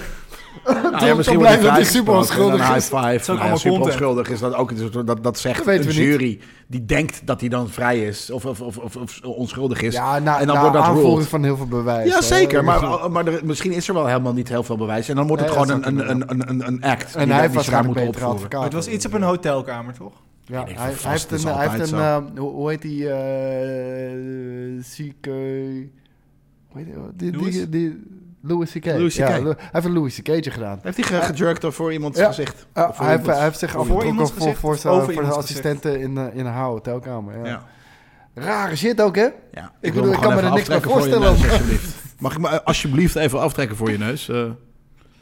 A: Nou,
B: dan
A: ja, misschien wordt
B: blijft dat hij
A: vijf
B: super
A: gesproken
B: onschuldig
A: en een
B: is.
A: High five.
D: is ook
A: Nou ja,
D: allemaal
A: super
D: content.
A: onschuldig is dat ook. Dus dat, dat zegt
B: Dat weten
A: een
B: we niet.
A: jury die denkt dat hij dan vrij is of, of, of, of, of onschuldig is.
B: Ja, na,
A: en dan
B: na
A: wordt dat
B: aanvoering
A: ruled.
B: van heel veel bewijs.
A: Ja,
B: hè.
A: zeker. Maar, maar er, misschien is er wel helemaal niet heel veel bewijs. En dan wordt het
B: Nee,
A: gewoon
B: dat zou
A: een,
B: kunnen,
A: een, een, een, een act.
B: En hij
A: die- die
B: heeft
A: ze
B: waarschijnlijk
A: moeten
B: betere
A: opvoeren.
B: advocaat.
D: het was iets op een hotelkamer, toch?
B: Ja,
A: Ik denk
B: hij, hij
A: van vast
B: heeft
A: is
B: een, hij
A: altijd
B: heeft een
A: zo.
B: eh, hoe, hoe heet die, eh zieke... Hoe heet die- oh, die?
D: Louis?
B: die, die Louis C.K.
A: Louis
B: Ja,
A: CK.
B: Lu- hij heeft een Louis C.K.'tje gedaan.
A: Heeft hij ge- gejerkt door voor iemands
B: Ja.
A: gezicht?
B: Eh,
A: Of
B: hij,
A: voor
B: heeft,
A: iemands-
B: hij heeft zich
A: voor
B: afgetrokken
D: iemands
B: voor,
D: gezicht
B: voor,
D: of
B: zijn-
D: over
B: voor de
D: iemands gezicht?
B: assistenten in, eh, in haar hotelkamer. Ja.
A: Ja.
B: Rare shit ook, hè?
A: Ja, ik,
B: bedoel, ik
A: hem
B: kan
A: gewoon
B: me er
A: even
B: niks bij
A: aftrekken voor je
B: voorstellen.
A: neus, alsjeblieft. Mag ik me eh, alsjeblieft even aftrekken voor je neus? eh?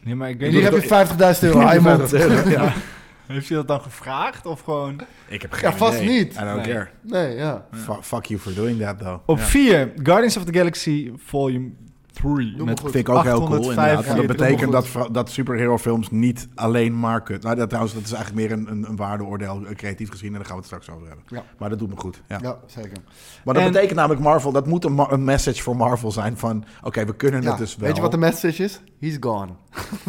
D: Nee, maar ik weet
B: Hier
D: niet.
B: heb
A: e-
B: je 50.000 euro aan je mond.
A: ja.
D: Heeft hij dat dan gevraagd of gewoon...
A: Ik heb geen
B: Ja, vast
A: idee.
B: niet.
A: I don't
D: Nee.
A: care.
B: Nee, ja.
A: Fu- Fuck you for doing that, though.
D: Op
A: Ja.
D: 4, Guardians of the Galaxy Volume 3.
B: Doe
D: Met
B: maar goed.
A: Vind ik ook heel cool. inderdaad. Want
D: 845.
A: dat betekent
B: helemaal
A: dat,
B: goed.
A: vra- dat superhero-films niet alleen maar kut. Nou, dat, trouwens, dat is eigenlijk meer een, een, een waardeoordeel, eh, creatief gezien. En daar gaan we het straks over hebben.
B: Ja.
A: Maar dat doet me goed. Ja.
B: Ja, zeker.
A: Maar dat
D: En-
A: betekent namelijk Marvel. Dat moet een, ma- een message voor Marvel zijn van... Oké, we kunnen
B: Ja,
A: het dus wel.
B: Weet je wat de message is? He's gone.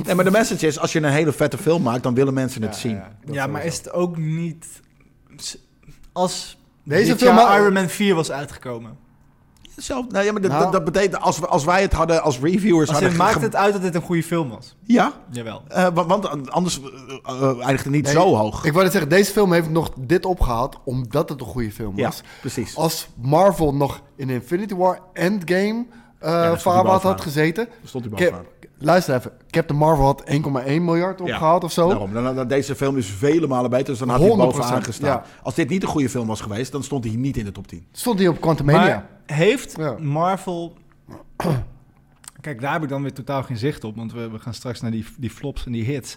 A: nee, maar de message is, als je een hele vette film maakt... dan willen mensen het zien.
D: Ja, maar is het ook niet... Als
B: Deze
D: dit
B: film-
D: jaar Iron Man 4 was uitgekomen.
A: Zelf, nou ja, maar dat,
B: Nou.
A: dat, dat betekent... Als, we- als wij het hadden als reviewers...
D: Als
A: hadden
D: in, maakt
A: ge-
D: het uit dat dit een goede film was?
A: Ja,
D: Jawel.
A: eh, wa- want, anders eh, eh, eindigt het niet
B: Nee,
A: zo hoog.
B: Ik wou net zeggen, deze film heeft nog dit opgehaald omdat het een goede film
A: ja,
B: was.
A: precies.
B: Als Marvel nog in Infinity War Endgame eh
A: hij stond
B: vaarwater
A: bovenaan.
B: had gezeten.
A: Stond hij
B: Cap-
A: bovenaan.
B: luister even, Captain Marvel had 1,1 miljard opgehaald of zo.
D: Oh.
A: Daarom. Dan- dan- deze film is vele malen beter, dus dan had hij
B: 100%,
A: bovenaan gestaan.
B: ja.
A: Als dit niet een goede film was geweest, dan stond hij niet in de top 10.
B: Stond hij op Quantumania.
D: Maar heeft
B: Ja.
D: Marvel... Kijk, daar heb ik dan weer totaal geen zicht op. Want we, we gaan straks naar die, die flops en die hits.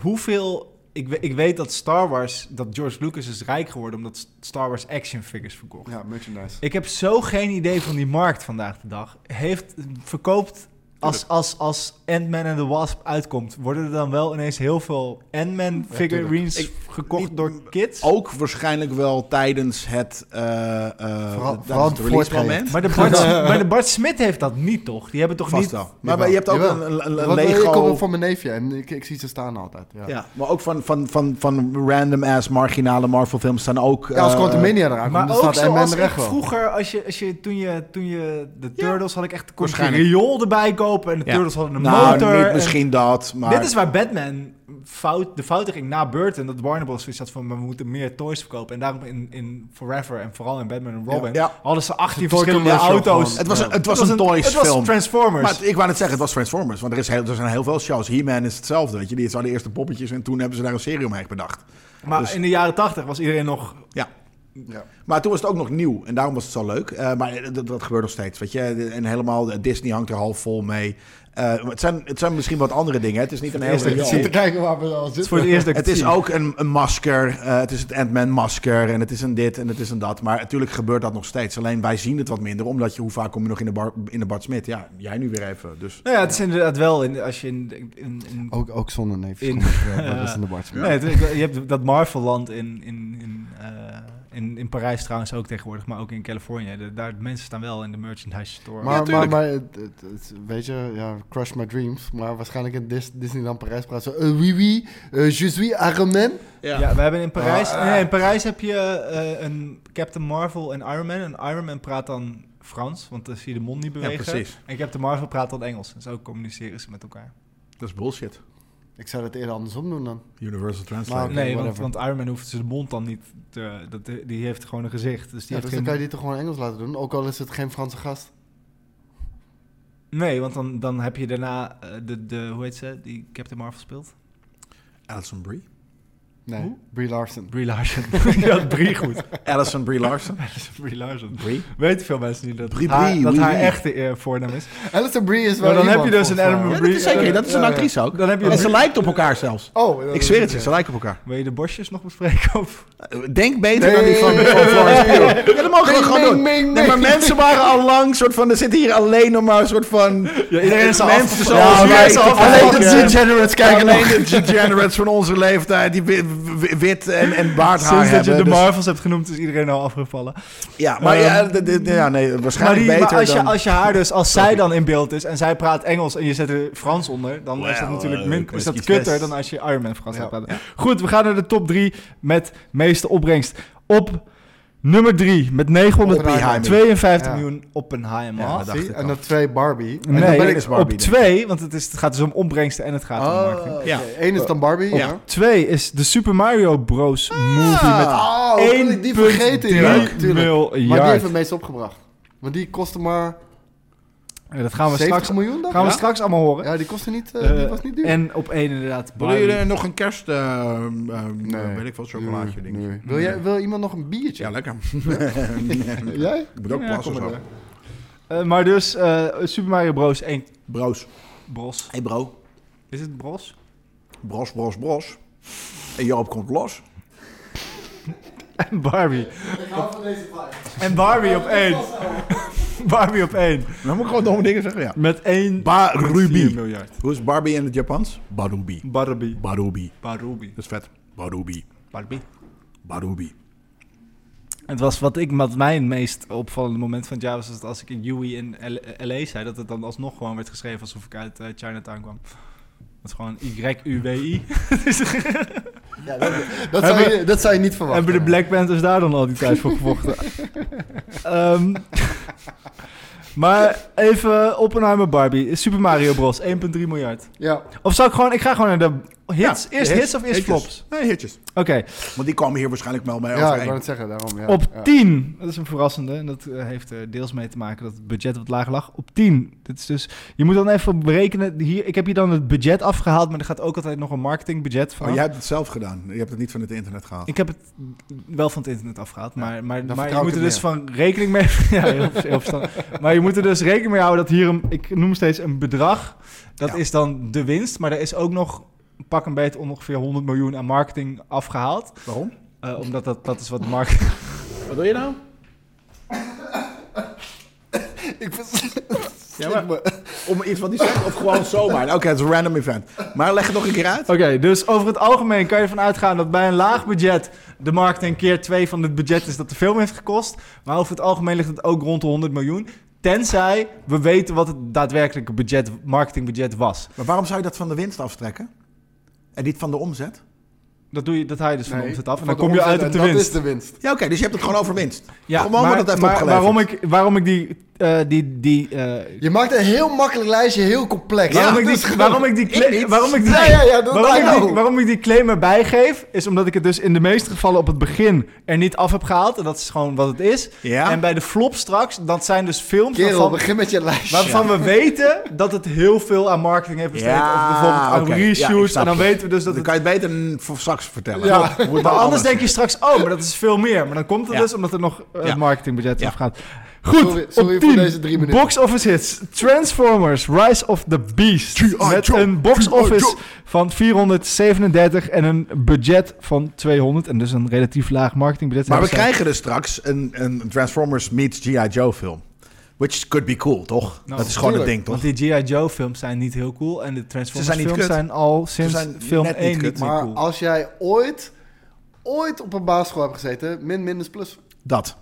D: Hoeveel... Ik, we- ik weet dat Star Wars... Dat George Lucas is rijk geworden omdat Star Wars action figures verkocht.
B: Ja, merchandise.
D: Ik heb zo geen idee van die markt vandaag de dag. Heeft, verkoopt... Als, als, als Ant-Man en the Wasp uitkomt... worden er dan wel ineens heel veel Ant-Man figurines
A: Ik- Oh.
D: gekocht
A: niet-
D: door kids?
A: Ook waarschijnlijk wel tijdens het, eh eh, tijdens
B: vooral
A: het release
B: voortgeven.
A: moment.
D: Maar de, Bart, maar de Bart Smit heeft dat niet, toch? Die hebben toch
A: Vast
D: niet...
A: wel. Maar, maar je hebt ook
B: Jawel.
A: een, een- een
B: Want, eh, Ik kom
A: Lego...
B: ook van mijn neefje en ik, ik zie ze staan altijd. Ja.
A: Ja, maar ook van, van, van, van random-ass marginale Marvel-films staan ook...
B: Ja, als
A: eh,
B: Quantumania eraan komt,
D: Maar
B: dan
D: ook
B: staat Ant-Man
D: zoals
B: er
D: ik
B: echt wel.
D: vroeger, als je, als je, toen, je, toen je de Turtles had ik echt kon ik een
A: Waarschijnlijk.
D: riool erbij kopen en de
A: Ja.
D: Turtles hadden een
A: nou,
D: motor.
A: niet
D: en-
A: misschien dat, maar...
D: Dit is waar Batman fout, de fouten ging na Burton. Dat Warner Bros. zoiets had van, we moeten meer toys verkopen. En daarom in, in Forever en vooral in Batman en Robin
A: Ja.
D: hadden ze 18
B: Toy
D: verschillende
B: commercial
D: auto's.
B: gewoon.
A: Het was, een- het was
D: Het
A: een
D: het was
A: Toys-film.
D: Transformers.
A: Maar het- ik wou net zeggen, het was Transformers. Want er, is heel, er zijn heel veel shows. He-Man is hetzelfde, weet je. Die waren de eerste poppetjes en toen hebben ze daar een serie omheen bedacht.
D: Maar
A: Dus-
D: in de jaren 80 was iedereen nog
A: Ja.
B: Ja.
A: Maar toen was het ook nog nieuw en daarom was het zo leuk. Eh, maar dat, dat gebeurt nog steeds, weet je. En helemaal, Disney hangt er half vol mee. Eh, het, zijn, het zijn misschien wat andere dingen. Het is niet een
D: Eerst dat
A: hele...
D: ik
B: Ik
D: het
B: zit te kijken waar we al
D: Het is
B: zitten.
D: voor het eerst dat ik
A: Het
D: het
A: is
D: zie.
A: ook een, een masker. eh, het is het Ant-Man masker. En het is een dit en het is een dat. Maar natuurlijk gebeurt dat nog steeds. Alleen wij zien het wat minder. Omdat je, hoe vaak kom je nog in de, bar, in de Bart Smit? Ja, jij nu weer even. Dus
D: Nou ja, het is inderdaad wel in, als je in... in, in-
B: Ook, ook zonder neefjes.
D: In-
B: In, ja, dat is in de Bart Smit.
D: Nee, het- je hebt dat Marvel-land in, in, in, eh, in, in Parijs trouwens ook tegenwoordig, maar ook in Californië. De- daar, mensen staan wel in de merchandise store.
B: Maar, maar,
A: tuurlijk.
B: maar het, het- het- weet je, ja, crush my dreams. Maar waarschijnlijk in Dis- Disneyland Parijs praat ze... eh, oui, oui, eh, je suis Aramen.
D: ja. we hebben in Parijs... nee, in Parijs heb je eh, een Captain Marvel en Iron Man. En Iron Man praat dan Frans, want dan zie je de mond niet
A: ja,
D: bewegen.
A: precies.
D: En Captain Marvel praat dan Engels. En zo communiceren ze met elkaar.
A: Dat is bullshit.
B: Ik zou dat eerder andersom doen dan.
A: Universal Translate.
B: Maar- Oké,
D: nee, want,
B: whatever.
D: want Iron Man hoeft zijn mond dan niet te... Dat, die heeft gewoon een gezicht. Dus die
B: Ja,
D: heeft
B: dus dan
D: geen-
B: kan je die toch gewoon Engels laten doen. Ook al is het geen Franse gast.
D: Nee, want dan, dan heb je daarna eh, de, de... Hoe heet ze? Die Captain Marvel speelt?
A: Alison Brie.
B: Nee,
D: Hoe?
B: Brie Larson.
D: Brie Larson. die had Brie goed.
A: Alison Brie Larson.
D: Brie Larson.
A: Brie?
D: Weten veel mensen niet dat
A: Brie,
D: haar,
A: Brie,
D: dat
A: Brie,
D: haar
A: Brie.
D: echte eh, voornaam is.
B: Alison Brie is wel
D: Maar dan heb
B: iemand,
D: je dus een
B: volgens mij.
A: Ja,
D: Adam
A: dat is zeker. Dat is een
B: Ja, ja.
A: actrice ook.
D: Dan heb je
A: En
D: Brie.
A: ze lijkt op elkaar zelfs.
B: Oh, dat
A: Ik
B: is-
A: zweer het je, ze lijken op elkaar.
D: Wil je de bosjes nog bespreken? Of?
A: Denk beter
B: Nee.
A: dan die van, van Florence Pugh. Ja, dat mogen we
B: Ming,
A: gewoon
B: ming,
A: doen.
B: ming,
A: Nee, maar
B: ming.
A: mensen waren al lang soort van. Er zitten hier alleen nog maar een soort van.
D: iedereen is al
A: mensen
D: afgevallen.
A: zoals
D: Ja,
A: wij.
D: wij zijn al
A: Alleen de
D: afgevallen.
A: degenerates kijken alleen de degenerates van onze leeftijd die wit, wit en, en baardhaar
D: Sinds dat
A: hebben.
D: je de
A: dus-
D: Marvels hebt genoemd, is iedereen al afgevallen.
A: ja, maar ja,
D: Ehm,
A: de- de- ja, nee,
D: Maar,
A: waarschijnlijk
D: die, maar
A: beter
D: als, je,
A: dan.
D: als je haar dus, als zij dan in beeld is en zij praat Engels en je zet er Frans onder, dan is dat
A: Well,
D: natuurlijk
A: eh,
D: min, is
A: kwestie
D: dat
A: is
D: kutter
A: best.
D: dan als je Iron Man Frans
B: Ja.
D: gaat praten. Goed, we gaan naar de top 3 met meeste opbrengst. Op nummer 3 met 952
B: Ja.
D: miljoen Oppenheimer.
A: Ja, dat Ah, dacht
B: Zie,
A: ik
B: en
A: al.
B: dat twee Barbie. En
D: Nee,
B: dan ben
A: één
B: ik...
A: is Barbie,
D: op
A: denk ik.
D: twee, want het, is, het gaat dus om opbrengsten en het gaat om
B: Oh,
D: marketing.
B: oké.
A: Ja.
B: Eén is dan Barbie, ja.
D: Twee is de Super Mario Bros. movie met
B: Ah.
A: Ah,
B: Oh, hoe kon ik die
D: 1,3
B: vergeten? Ja, tuurlijk. Maar die heeft
D: miljard.
B: het meest opgebracht. Want die kostte maar
D: Ja, dat gaan we,
B: 70
D: straks, gaan
B: miljoen dan?
D: we
B: ja?
D: straks allemaal horen.
B: Ja, die kostte niet, eh, die
D: Eh,
B: was niet duur.
D: En op één inderdaad
A: Willen jullie
D: Barbie.
A: eh, nog een kerst? eh, eh,
B: Nee.
A: Weet ik veel, chocolaatje ding.
B: Nee. Wil, jij, wil iemand nog een biertje?
A: Ja, lekker.
B: Jij?
A: ik moet ook
D: Ja,
A: plassen
B: kom
A: zo.
B: maar
D: Eh, maar dus eh, Super Mario Bros. 1
A: Broos.
D: Bros.
A: Hey bro.
D: Is het Bros?
A: Bros, bros, bros. En Joop komt los.
D: En Barbie. En Barbie op één. Barbie op één.
A: Dan moet ik gewoon domme dingen zeggen, ja.
D: Met 1
A: Barubi.
D: miljard.
A: Hoe is Barbie in het Japans? Barubi.
D: Barbie.
A: Barubi.
D: Barbie.
A: Dat is vet. Barubi.
D: Barbie.
A: Barubi.
D: Het was wat, ik, wat mijn meest opvallende moment van het jaar was, dat als ik in Yui in L- LA zei, dat het dan alsnog gewoon werd geschreven alsof ik uit eh, Chinatown kwam. Dat is gewoon Y-U-W-I.
B: Ja, dat, dat, zou je, dat zou je niet verwachten.
D: Hebben de Black Panthers daar dan al die tijd voor gevochten? Ehm, maar even Oppenheimer Barbie. Super Mario Bros. 1,3 miljard.
B: Ja,
D: Of zou ik gewoon... Ik ga gewoon naar de hits.
A: Ja,
D: eerst
A: hits,
D: hits, of eerst
A: hitjes.
D: flops?
A: Nee, hitjes.
D: Oké.
A: Want die kwamen hier waarschijnlijk wel mee
B: ja ik wou
A: overeen.
B: het zeggen, daarom. Ja.
D: Op
B: ja.
D: 10, dat is een verrassende, en dat eh, heeft er deels mee te maken dat het budget wat lager lag. Op 10, dit is dus, je moet dan even berekenen, hier, ik heb hier dan het budget afgehaald, maar er gaat ook altijd nog een marketingbudget van.
A: Oh, jij hebt het zelf gedaan. Je hebt het niet van het internet gehaald.
D: Ik heb het wel van het internet afgehaald, maar, maar, maar je
B: vertrouw ik
D: moet er
B: het
D: dus van rekening mee. ja, heel, heel verstandig. maar je moet er dus rekening mee houden dat hier, een, ik noem steeds een bedrag, dat
A: Ja.
D: is dan de winst, maar er is ook nog pak een beetje ongeveer 100 miljoen aan marketing afgehaald,
A: Waarom?
D: eh, omdat dat, dat is wat marketing.
A: Wat doe je nou?
B: Ik vers-
A: Ja, maar, om iets wat hij zegt of gewoon zomaar. Oké, het is een random event. Maar leg het nog een keer uit.
D: Oké, dus over het algemeen kan je ervan uitgaan dat bij een laag budget de marketing keer 2 van het budget is dat de film heeft gekost. Maar over het algemeen ligt het ook rond de 100 miljoen. Tenzij we weten wat het daadwerkelijke budget, marketingbudget was.
A: Maar waarom zou je dat van de winst aftrekken? En niet van de omzet?
D: Dat, doe je, dat haal je dus van de
B: Nee,
D: omzet af en
B: van
D: dan
B: de
D: kom je
B: omzet
D: uit
B: en
D: op de
B: dat
D: winst.
B: is de winst.
A: Ja, oké. dus je hebt het gewoon over winst. Gewoon wat het heeft
D: maar
A: opgeleverd.
D: waarom ik, waarom ik die eh, die... die eh,
B: Je maakt een heel makkelijk lijstje, heel complex.
D: waarom,
B: Ja,
D: ik
B: dus
D: die,
B: gewoon-
D: waarom ik die cla-
B: niet.
D: waarom ik die-
B: Ja, ja, ja, dat-
D: waarom
B: I
D: ik die-
B: know.
D: waarom ik die claim erbij geef, is omdat ik het dus in de meeste gevallen op het begin er niet af heb gehaald. En dat is gewoon wat het is.
A: Ja?
D: En bij de flop straks, dat zijn dus films
B: Kerel,
D: waarvan,
B: begin met je lijstje.
D: waarvan we weten dat het heel veel aan marketing heeft besteed.
A: Ja,
D: of bijvoorbeeld aan
A: oké. Ja, ik
D: reshoots.
A: snap
D: en dan
A: je.
D: weten we dus dat
A: Dan
D: het...
A: kan je het beter mm, voor straks vertellen.
D: Ja.
A: Hoe het
D: Maar
A: allemaal
D: anders
A: zit.
D: denk je straks, oh, maar dat is veel meer. Maar dan komt het
A: Ja.
D: dus omdat er nog eh,
A: Ja.
D: het marketingbudget
A: Ja.
D: afgaat. Goed,
B: Sorry- sorry
D: op
B: voor
D: 10,
B: deze drie minuten.
D: box office hits. Transformers, Rise of the Beast.
A: G.I.
D: met
A: Joe,
D: een box
A: G.I.
D: office
A: Joe.
D: van 437 en een budget van 200. En dus een relatief laag marketingbudget.
A: Maar we
D: Hebben zij-
A: krijgen dus straks een, een Transformers meets G.I. Joe film. Which could be cool, toch?
G: Nou,
A: dat is gewoon het
B: tuurlijk.
A: ding, toch?
D: Want die G.I. Joe films zijn niet heel cool. En de Transformers
A: Ze zijn niet
D: films
A: kut.
D: zijn al sinds
A: zijn
D: film
A: net niet
D: 1 niet,
A: kut.
D: meer
B: maar
D: cool.
B: als jij ooit, ooit op een basisschool hebt gezeten, min minus plus.
A: Dat.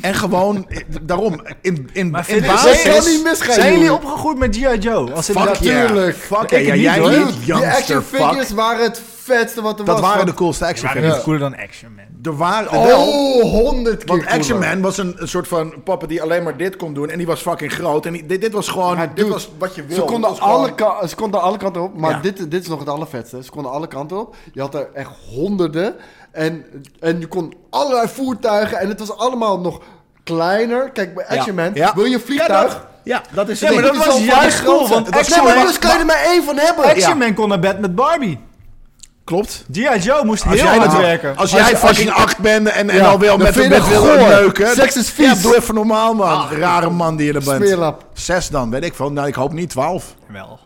A: en gewoon, eh, daarom, in, in,
D: Maar
A: in
D: vind je-
A: basis...
B: Zij kan niet misgaan,
D: Zijn jullie
B: jongen.
D: opgegroeid met G.I. Joe? Als in
A: Fuck
D: dat-
A: yeah.
B: Natuurlijk.
A: Fuck
D: Ik
A: yeah, ja,
D: niet,
A: jij
D: hoor.
A: niet,
B: die action
A: youngster, fuck.
B: figures waren het vetste wat er
A: Dat
B: was.
A: waren de
B: want-
A: coolste action
D: Ja,
A: figures.
D: niet cooler dan Action Man.
A: Er waren... wel-
B: Oh, honderd keer
A: Want Action
B: cooler.
A: Man was een, een soort van papa die alleen maar dit kon doen. En die was fucking groot. En die- dit, dit was gewoon...
B: Maar
A: dit
B: dude,
A: was wat je wilde.
B: Ze konden,
A: Het was gewoon-
B: alle ka- ze konden alle kanten op, maar
A: Ja.
B: dit, dit is nog het allervetste. Ze konden alle kanten op. Je had er echt honderden. En, en je kon allerlei voertuigen. En het was allemaal nog kleiner. Kijk, bij Action Man
A: Ja.
B: wil je een vliegtuig.
A: Ja, dat, ja, dat is
D: Ja,
A: het
D: maar
A: ding.
D: dat was juist cool, want
A: Dat was
D: Action
B: Nee, maar
D: Man-
B: anders kan je er maar één van hebben.
D: Action
A: Ja.
D: Man kon naar bed met Barbie.
A: Klopt.
D: G.I. Joe moest
A: Als
D: heel
A: jij,
D: hard
A: dat,
D: werken.
A: als jij fucking acht bent en, en al wil
B: dan
A: met
B: vind
A: een
B: je
A: met
B: dat
A: wil
B: goor.
A: neuken.
B: Seks
A: dat-
B: is vies. Ah.
A: Ja, doe even normaal, man. Rare man die je er bent.
B: Smeerlap.
A: Zes dan, weet ik veel. Nou, ik hoop niet twaalf.
D: Wel.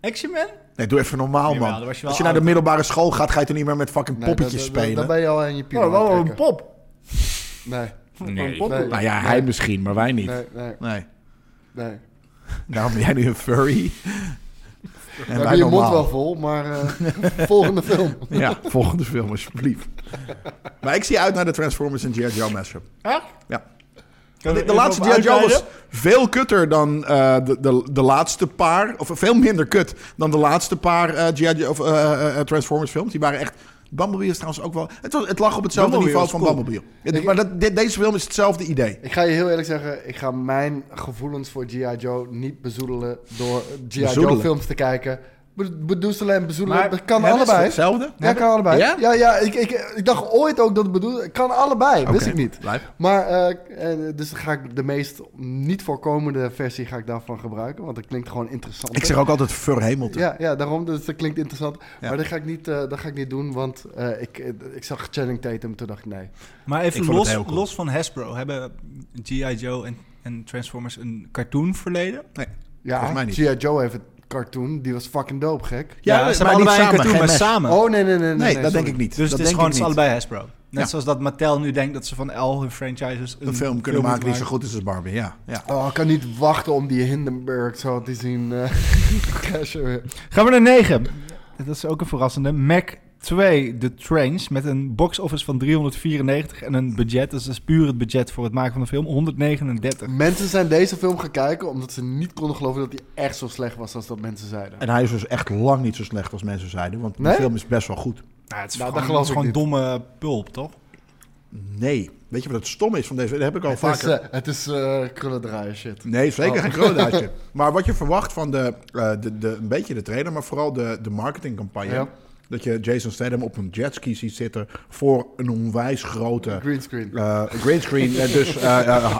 D: Action Man?
A: Nee, doe even normaal,
D: Jawel,
A: man.
D: dan was je wel
A: Als je naar de
D: oud.
A: middelbare school gaat, ga je er niet meer met fucking
B: Nee,
A: poppetjes
B: dan- dan-
A: spelen.
B: Dan ben je al aan je piemel
D: Oh, wel
B: aan het
D: een
B: trekken.
D: pop.
B: Nee,
A: Nee.
B: pop? Nee.
A: Nou ja, hij misschien, maar wij niet.
B: nee, nee,
A: Nee.
B: nee.
A: Daarom ben jij nu een furry. En
B: Dan
A: wij
B: heb je mond
A: normaal.
B: wel vol, maar eh, volgende film.
A: Ja, volgende film alsjeblieft. maar ik zie uit naar de Transformers en G.I. Joe mashup.
D: Echt?
A: Ja.
D: Kan
A: De,
D: ik
A: de
D: er
A: laatste
D: op
A: G.I. Joe was
D: uitweiden?
A: veel kutter dan eh, de, de, de laatste paar... Of veel minder kut dan de laatste paar eh, G.I. Joe- of, eh, eh, eh, Transformers films. Die waren echt... Bumblebee is trouwens ook wel... Het, was, het lag op hetzelfde
D: Bumblebee
A: niveau
D: was
A: van
D: cool.
A: Bumblebee. Het- maar dat, dit- deze film is hetzelfde idee.
B: Ik ga je heel eerlijk zeggen, ik ga mijn gevoelens voor G.I. Joe niet bezoedelen door G.I. Joe
A: Bezoedelen?
B: films te kijken. Be- Bedoezelen en bezoedelen,
D: Maar
B: dat kan
D: hebben ze
B: allebei.
A: Hetzelfde?
B: Ja, kan allebei.
A: Ja?
B: Ja, ja, ik, ik, ik dacht ooit ook dat het bedoelde. Kan allebei, wist
A: Oké,
B: ik niet.
A: blijf.
B: Maar, eh, eh, dus ga ik de meest niet voorkomende versie ga ik daarvan gebruiken, want dat klinkt gewoon interessant.
A: Ik zeg ook altijd Fur Hamilton.
B: Ja, ja, daarom. Dus dat klinkt interessant.
A: Ja.
B: Maar dat ga, ik niet, eh, dat ga ik niet doen, want eh, ik, eh, ik zag Channing Tatum. Toen dacht ik, nee.
D: Maar
A: Ik
D: even
A: vond het
D: los,
A: heel cool.
D: los van Hasbro. Hebben G.I. Joe en, en Transformers een cartoon verleden?
A: Nee. Volgens mij
B: Ja,
A: niet.
B: G.I. Joe heeft een cartoon. Die was fucking dope, gek.
A: Ja, maar
D: ze hebben
A: niet
D: allebei
A: samen,
D: een cartoon,
A: geen
D: maar
A: mes.
D: samen.
B: Oh, nee, nee, nee.
A: Nee, dat
B: sorry.
A: denk ik niet.
D: dus
A: dat
D: het is
A: denk
D: gewoon
A: ik
D: het is
A: niet.
D: allebei Hasbro. Net
A: Ja.
D: zoals dat Mattel nu denkt dat ze van al hun franchises
A: een film kunnen maken die zo goed is als Barbie, ja. ja.
B: Oh, ik kan niet wachten om die Hindenburg zo te zien. eh, crashen weer.
D: Gaan we naar 9. Dat is ook een verrassende. Mac 2, The Trains, met een box office van 394 en een budget. Dus dat is puur het budget voor het maken van de film, 139.
B: mensen zijn deze film gaan kijken omdat ze niet konden geloven dat die echt zo slecht was als dat mensen zeiden.
A: En hij is dus echt lang niet zo slecht als mensen zeiden, want
B: Nee?
A: de film is best wel goed.
D: Nou, het is
B: Nou, dat
D: gewoon,
B: geloof
D: het is
B: ik
D: gewoon domme pulp, toch?
A: Nee. Weet je wat het stom is van deze? Dat heb ik al
B: Het is,
A: vaker.
B: eh, het is eh, krullendraaier shit.
A: Nee, zeker
B: Oh.
A: geen coronaatje. maar wat je verwacht van de, eh, de, de, een beetje de trailer, maar vooral de, de marketingcampagne.
B: Ja.
A: Dat je Jason Statham op een jetski ziet zitten voor een onwijs grote
B: Green screen.
A: eh greenscreen. eh, dus eh eh, eh,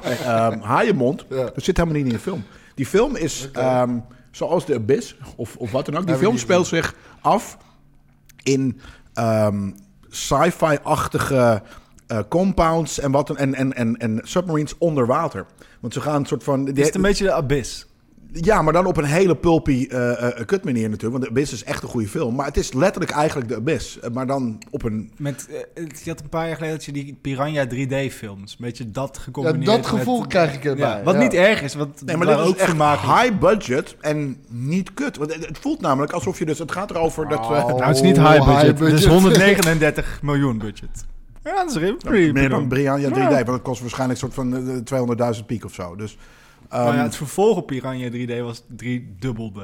A: eh, haaienmond.
B: Ja.
A: Dat zit helemaal niet in de film. Die film is ehm, zoals The Abyss of, of wat dan ook. Die
B: Heb ik
A: film
B: niet
A: speelt zich af in ehm, sci-fi-achtige eh, compounds en, wat, dan- en, en, en, en submarines onder water. Want ze gaan een soort van...
D: Het is een beetje de abyss.
A: Ja, maar dan op een hele pulpy eh eh, kut manier natuurlijk. Want The Abyss is echt een goede film. Maar het is letterlijk eigenlijk The Abyss. eh, Maar dan op een...
D: Met, eh, het- je had een paar jaar geleden dat je die Piranha 3D-films, een beetje dat
B: Ja,
D: gecombineerd
B: dat gevoel
D: met,
B: krijg ik erbij.
D: Ja, wat
B: ja.
D: niet erg is, want
A: Nee, maar
D: dat
A: dit is
D: ook
A: ook echt
D: vermaken.
A: high budget en niet kut. Want het het voelt namelijk alsof je dus... Het gaat erover dat... eh, we
B: Oh.
D: Nou, het is niet high
B: Oh,
D: budget.
B: high
D: Het is
B: budget.
D: 139 miljoen budget. Ja, dat is re- pretty
A: meer dan
D: bedoeld.
A: Brianna 3D.
D: Ja.
A: Want dat kost waarschijnlijk een soort van eh, 200.000 piek of zo. Dus, ehm,
D: Maar ja, het vervolg op Piranha 3D was 3 dubbel D.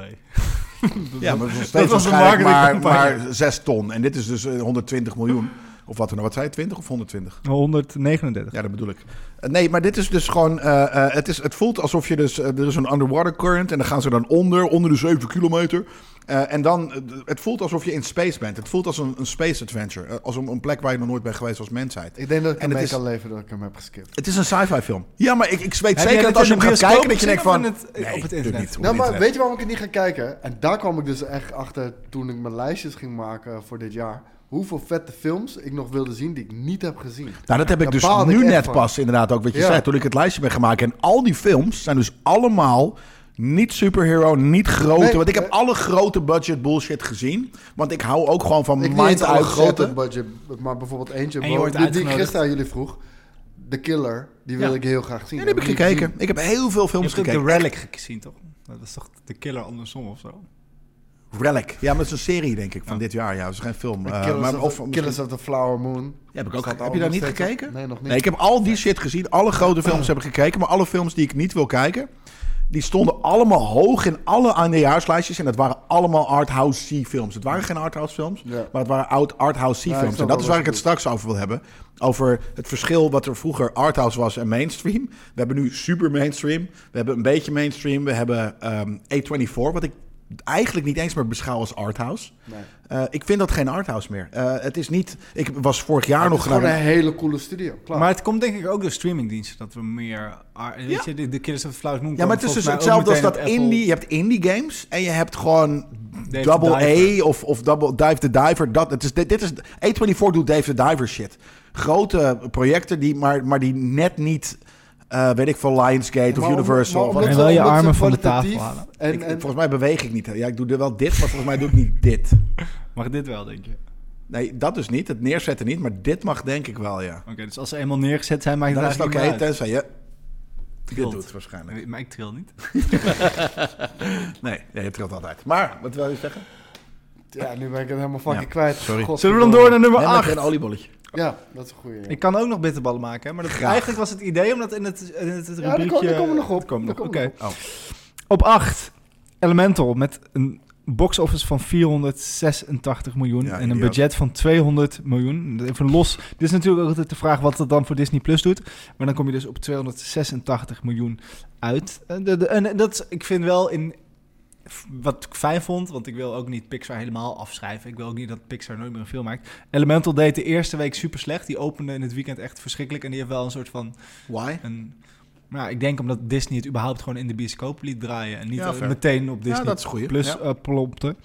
A: ja, maar het is nog steeds
D: was een
A: waarschijnlijk maar,
D: marketingcampagne.
A: maar 6 ton. En dit is dus eh, 120 miljoen. Of wat dan ook. Wat zei je, 20 of 120?
D: 139.
A: Ja, dat bedoel ik. Eh, Nee, maar dit is dus gewoon... eh, eh, het, is, het voelt alsof je dus... eh, er is een underwater current en dan gaan ze dan onder, onder de 7 kilometer. Eh, en dan... eh, het voelt alsof je in space bent. Het voelt als een, een space adventure. Eh, als een, een plek waar je nog nooit bent geweest als mensheid.
B: Ik denk dat ik
A: En
B: ermee
A: het is-
B: kan leven dat ik hem heb geskipt.
A: Het is een sci-fi film. Ja, maar ik, ik weet
D: Heb jij
A: zeker
D: dit
A: dat als je
D: in
A: hem
D: de
A: gaat
D: bioscoop
A: kijken... dat je denkt van...
D: gezien of in het- op het
A: tuurlijk
D: internet?
A: niet, op
B: Nou,
A: het
B: maar
A: internet.
B: weet je waarom ik het niet ga kijken? En daar kwam ik dus echt achter toen ik mijn lijstjes ging maken voor dit jaar. Hoeveel vette films ik nog wilde zien die ik niet heb gezien.
A: Nou, dat heb ik
B: Daar
A: dus
B: baalde ik
A: nu
B: echt
A: net
B: van.
A: pas inderdaad ook wat je
B: Ja.
A: zei. Toen ik het lijstje ben gemaakt. En al die films zijn dus allemaal niet superhero, niet grote.
B: Nee, eh,
A: want ik heb
B: nee.
A: alle grote budget bullshit gezien. Want ik hou ook gewoon van
B: Ik niet eens
A: mind
B: alle
A: uit
B: grote
A: grote.
B: budget, maar bijvoorbeeld eentje
G: En je
B: bro,
G: wordt
B: die, die ik
G: uitgenodigd.
B: gisteren aan jullie vroeg. The Killer, die wil
G: Ja.
B: ik heel graag zien.
A: Ja, die heb ik
B: niet
A: gekeken.
B: gezien.
A: Ik heb heel veel
G: Je
A: films
G: hebt ook de
A: gekeken.
G: Relic gezien, toch? Dat is toch de killer andersom of zo?
A: Relic. Ja, maar dat is een serie, denk ik, van
G: Ja.
A: dit jaar. Ja, dat is geen film.
B: The
A: Eh,
B: Killers,
A: maar,
B: of,
A: of,
B: the-
A: misschien-
B: Killers of the Flower Moon.
A: Ja, heb ik ook
B: Staat
A: ge- heb
B: ook
A: je daar
B: nog
A: niet
B: steeds op.
A: gekeken?
B: Nee, nog niet.
A: Nee, ik heb al die shit gezien. Alle grote films heb ik gekeken. Maar alle films die ik niet wil kijken... die stonden allemaal hoog in alle eindejaarslijstjes. En dat waren allemaal arthouse C-films. Het waren geen arthouse films,
B: Ja.
A: maar het waren oud arthouse
B: Ja, ik
A: C-films. en
B: snap
A: dat
B: wel
A: is
B: wat
A: waar ik
B: je
A: het straks over wil hebben. Over het verschil wat er vroeger arthouse was en mainstream. We hebben nu super mainstream. We hebben een beetje mainstream. We hebben ehm, A24, wat ik eigenlijk niet eens meer beschouw als arthouse.
B: Nee.
A: Eh, ik vind dat geen arthouse meer. Eh, het is niet... Ik was vorig jaar
B: Het is
A: nog
B: gewoon
A: naar...
B: een hele coole studio. Klaar.
D: Maar het komt denk ik ook door streamingdiensten dat we meer... ar- Weet
A: Ja.
D: je, de, de Killers of the Flower Moon
A: Ja, maar het is dus hetzelfde als dat indie. Je hebt indie games en je hebt gewoon
D: Dave
A: Double
D: the Diver.
A: A of, of Double Dive the Diver. Dat, het is, dit, dit is, A24 doet Dave the Diver shit. Grote projecten, die, maar, maar die net niet, eh, weet ik veel, Lionsgate of
B: Maar om-
A: Universal.
B: maar
A: of-
B: omdat
D: En
B: ze-
D: wel je
B: omdat ze
D: armen van de
B: kwalitatief
D: tafel halen.
B: En,
A: Ik-
B: en,
A: volgens mij beweeg ik niet. Ja, ik doe er wel dit, maar volgens mij doe ik niet dit.
D: Mag dit wel, denk je?
A: Nee, dat dus niet. Het neerzetten niet, maar dit mag denk ik wel, ja.
D: Oké, dus als ze eenmaal neergezet zijn, maakt het
A: Dan is het
D: eigenlijk
A: oké,
D: niet meer
A: tenzij je dit
D: Tilt.
A: doet waarschijnlijk.
D: uit. Maar ik tril niet.
A: Nee, ja, je trilt altijd. Maar, wat wil je zeggen?
B: ja, nu ben ik het helemaal fucking
A: Ja,
B: kwijt.
A: sorry.
B: God,
D: Zullen we dan door naar nummer
A: Nee, met
D: 8?
A: een oliebolletje.
B: Ja, dat is een goeie. ja.
D: Ik kan ook nog bitterballen maken, hè, maar dat,
A: Graag.
D: eigenlijk was het idee omdat in het, in het, het
B: Ja, daar kom-
D: rubriekje...
B: daar komen we nog op.
D: Dat komen we
B: Daar
D: nog,
B: komen we
D: oké. Op 8, Elemental met een box office van 486 miljoen
A: Ja,
D: en een
A: idioot.
D: budget van 200 miljoen. Even los. Dit is natuurlijk ook altijd de vraag wat dat dan voor Disney Plus doet. Maar dan kom je dus op 286 miljoen uit. En, de- de- en dat is- ik vind wel in wat ik fijn vond, want ik wil ook niet Pixar helemaal afschrijven. Ik wil ook niet dat Pixar nooit meer een film maakt. Elemental deed de eerste week super slecht. Die opende in het weekend echt verschrikkelijk en die heeft wel een soort van
A: Why?
D: en, maar ja, ik denk omdat Disney het überhaupt gewoon in de bioscoop liet draaien. En niet
A: Ja,
D: eh,
A: fair.
D: meteen op
A: Ja,
D: Disney
A: dat is goed.
D: Plus eh, plompte.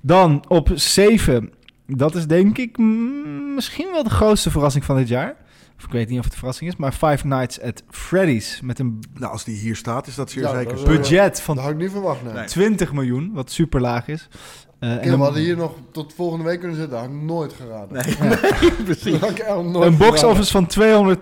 D: Dan op 7. Dat is denk ik mm, misschien wel de grootste verrassing van dit jaar. Of ik weet niet of het een verrassing is. Maar Five Nights at Freddy's. Met een
A: Nou, als die hier staat, is eh, dat zeer
B: Ja,
A: zeker.
B: dat is-
D: budget
B: Dat
D: van
B: had ik niet verwacht, Eh, nee.
A: Nee.
D: 20 miljoen. Wat super laag is. Eh,
B: Oké,
D: en
B: we
D: een,
B: hadden hier nog tot volgende week kunnen zitten. Dat had ik nooit geraden.
A: Nee,
B: Dat had ik echt nooit
D: een box
B: geraden.
D: office van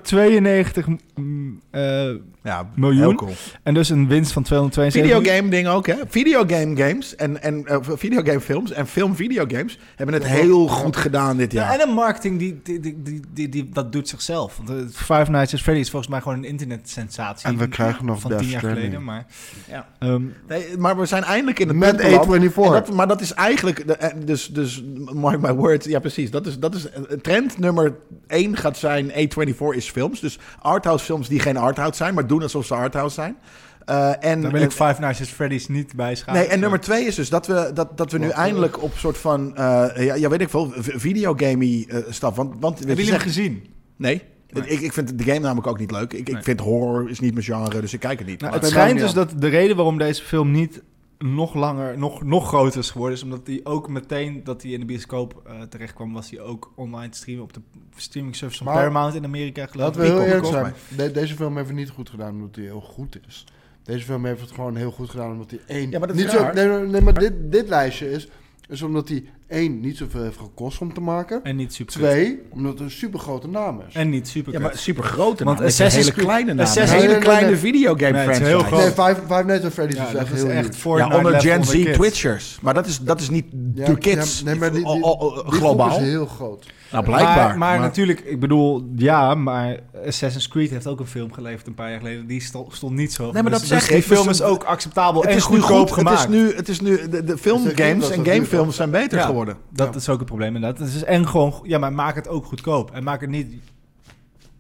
D: 292 mm, eh,
A: Ja,
D: Miljoen.
A: heel cool.
D: en dus een winst van 272 miljoen.
A: Videogame ding ook, hè? Videogame games en, en eh, videogame films en film videogames hebben het heel goed gedaan dit
D: Ja.
A: jaar.
D: en een marketing die, die, die, die, die, die- dat doet zichzelf. Want eh, Five Nights at Freddy's is volgens mij gewoon een internetsensatie.
B: En we krijgen nog
D: van
B: Death
D: tien jaar
B: Stranding.
D: geleden. Maar,
A: Ja.
D: ehm,
A: Nee, maar we zijn eindelijk in het
B: Met
A: punt beland.
B: A24.
A: En dat- maar dat is eigenlijk, de- eh, dus, dus mark my words, ja precies. Dat is, dat is eh, trend nummer 1 gaat zijn, A24 is films. Dus arthouse films die geen arthouse zijn, maar doen alsof ze arthouse zijn. Eh, en,
D: daar wil
A: en-
D: ik Five Nights at Freddy's niet bij scharen.
A: Nee, en nummer twee is dus dat we, dat, dat we nu
B: Wat
A: eindelijk op soort van, eh, ja, ja weet ik veel, v- videogamey eh stap. Want, want
D: Hebben
A: je
D: jullie hem
A: zegt-
D: gezien?
A: nee, Ik, ik vind de game namelijk ook niet leuk. Ik, ik
D: Nee.
A: vind horror is niet mijn genre, dus ik kijk het niet.
D: Nou,
A: Maar-
B: ben
D: het
B: daar
D: schijnt
B: niet
D: dus
B: aan.
D: dat de reden waarom deze film niet nog langer, nog, nog groter is geworden... is omdat hij ook meteen dat hij in de bioscoop eh, terecht kwam... was hij ook online te streamen op de streaming service van
B: Maar-
D: Paramount in Amerika. geloof
B: Laten we
D: ik.
B: heel
A: Peacock,
B: eerlijk zijn.
A: volgens
B: De- deze film heeft het niet goed gedaan omdat hij heel goed is. Deze film heeft het gewoon heel goed gedaan omdat hij één...
A: Ja, maar dat is
B: niet zo,
A: raar.
B: nee, nee, nee, maar dit, dit lijstje is, is omdat hij één, niet zoveel heeft gekost om te maken.
D: En niet super.
B: Twee, omdat het een supergrote naam is.
D: En niet super.
A: ja, maar super grote
D: Want
A: naam. Het is een
D: Assassin's
A: hele
D: Creed-
A: kleine naam.
D: Assassin's-
A: een hele
B: Nee, nee, nee,
A: kleine
B: nee.
A: videogame
D: Nee, het is
A: franchise.
D: heel groot.
B: nee, Five, five Nights at Freddy's is
D: ja,
B: echt
D: dat is
B: heel
D: echt
B: nieuw.
D: voor
A: ja, onder Gen Z Twitchers. Maar dat is, dat is niet
B: Ja,
A: de kids.
B: ja, nee, maar die, die,
A: O- o- o-
B: die groep
A: globaal.
B: is heel groot.
A: Nou, blijkbaar.
D: Maar, maar natuurlijk, ik bedoel, ja, maar Assassin's Creed heeft ook een film geleverd een paar jaar geleden. Die sto- stond niet zo.
A: Nee, maar dat
D: dus
A: zeg
D: die
A: ik.
D: film
A: Dus
D: is ook acceptabel
A: het
D: en
A: is nu
D: goedkoop
A: goed. Het
D: gemaakt.
A: is nu, het is nu de, de
B: Dus ik denk
A: filmgames
B: dat
A: en
B: dat duurt.
A: gamefilms zijn beter
D: Ja, worden. Dat
B: Ja.
D: is ook het probleem inderdaad. Dus, en gewoon, ja, maar maak het ook goedkoop. En maak het niet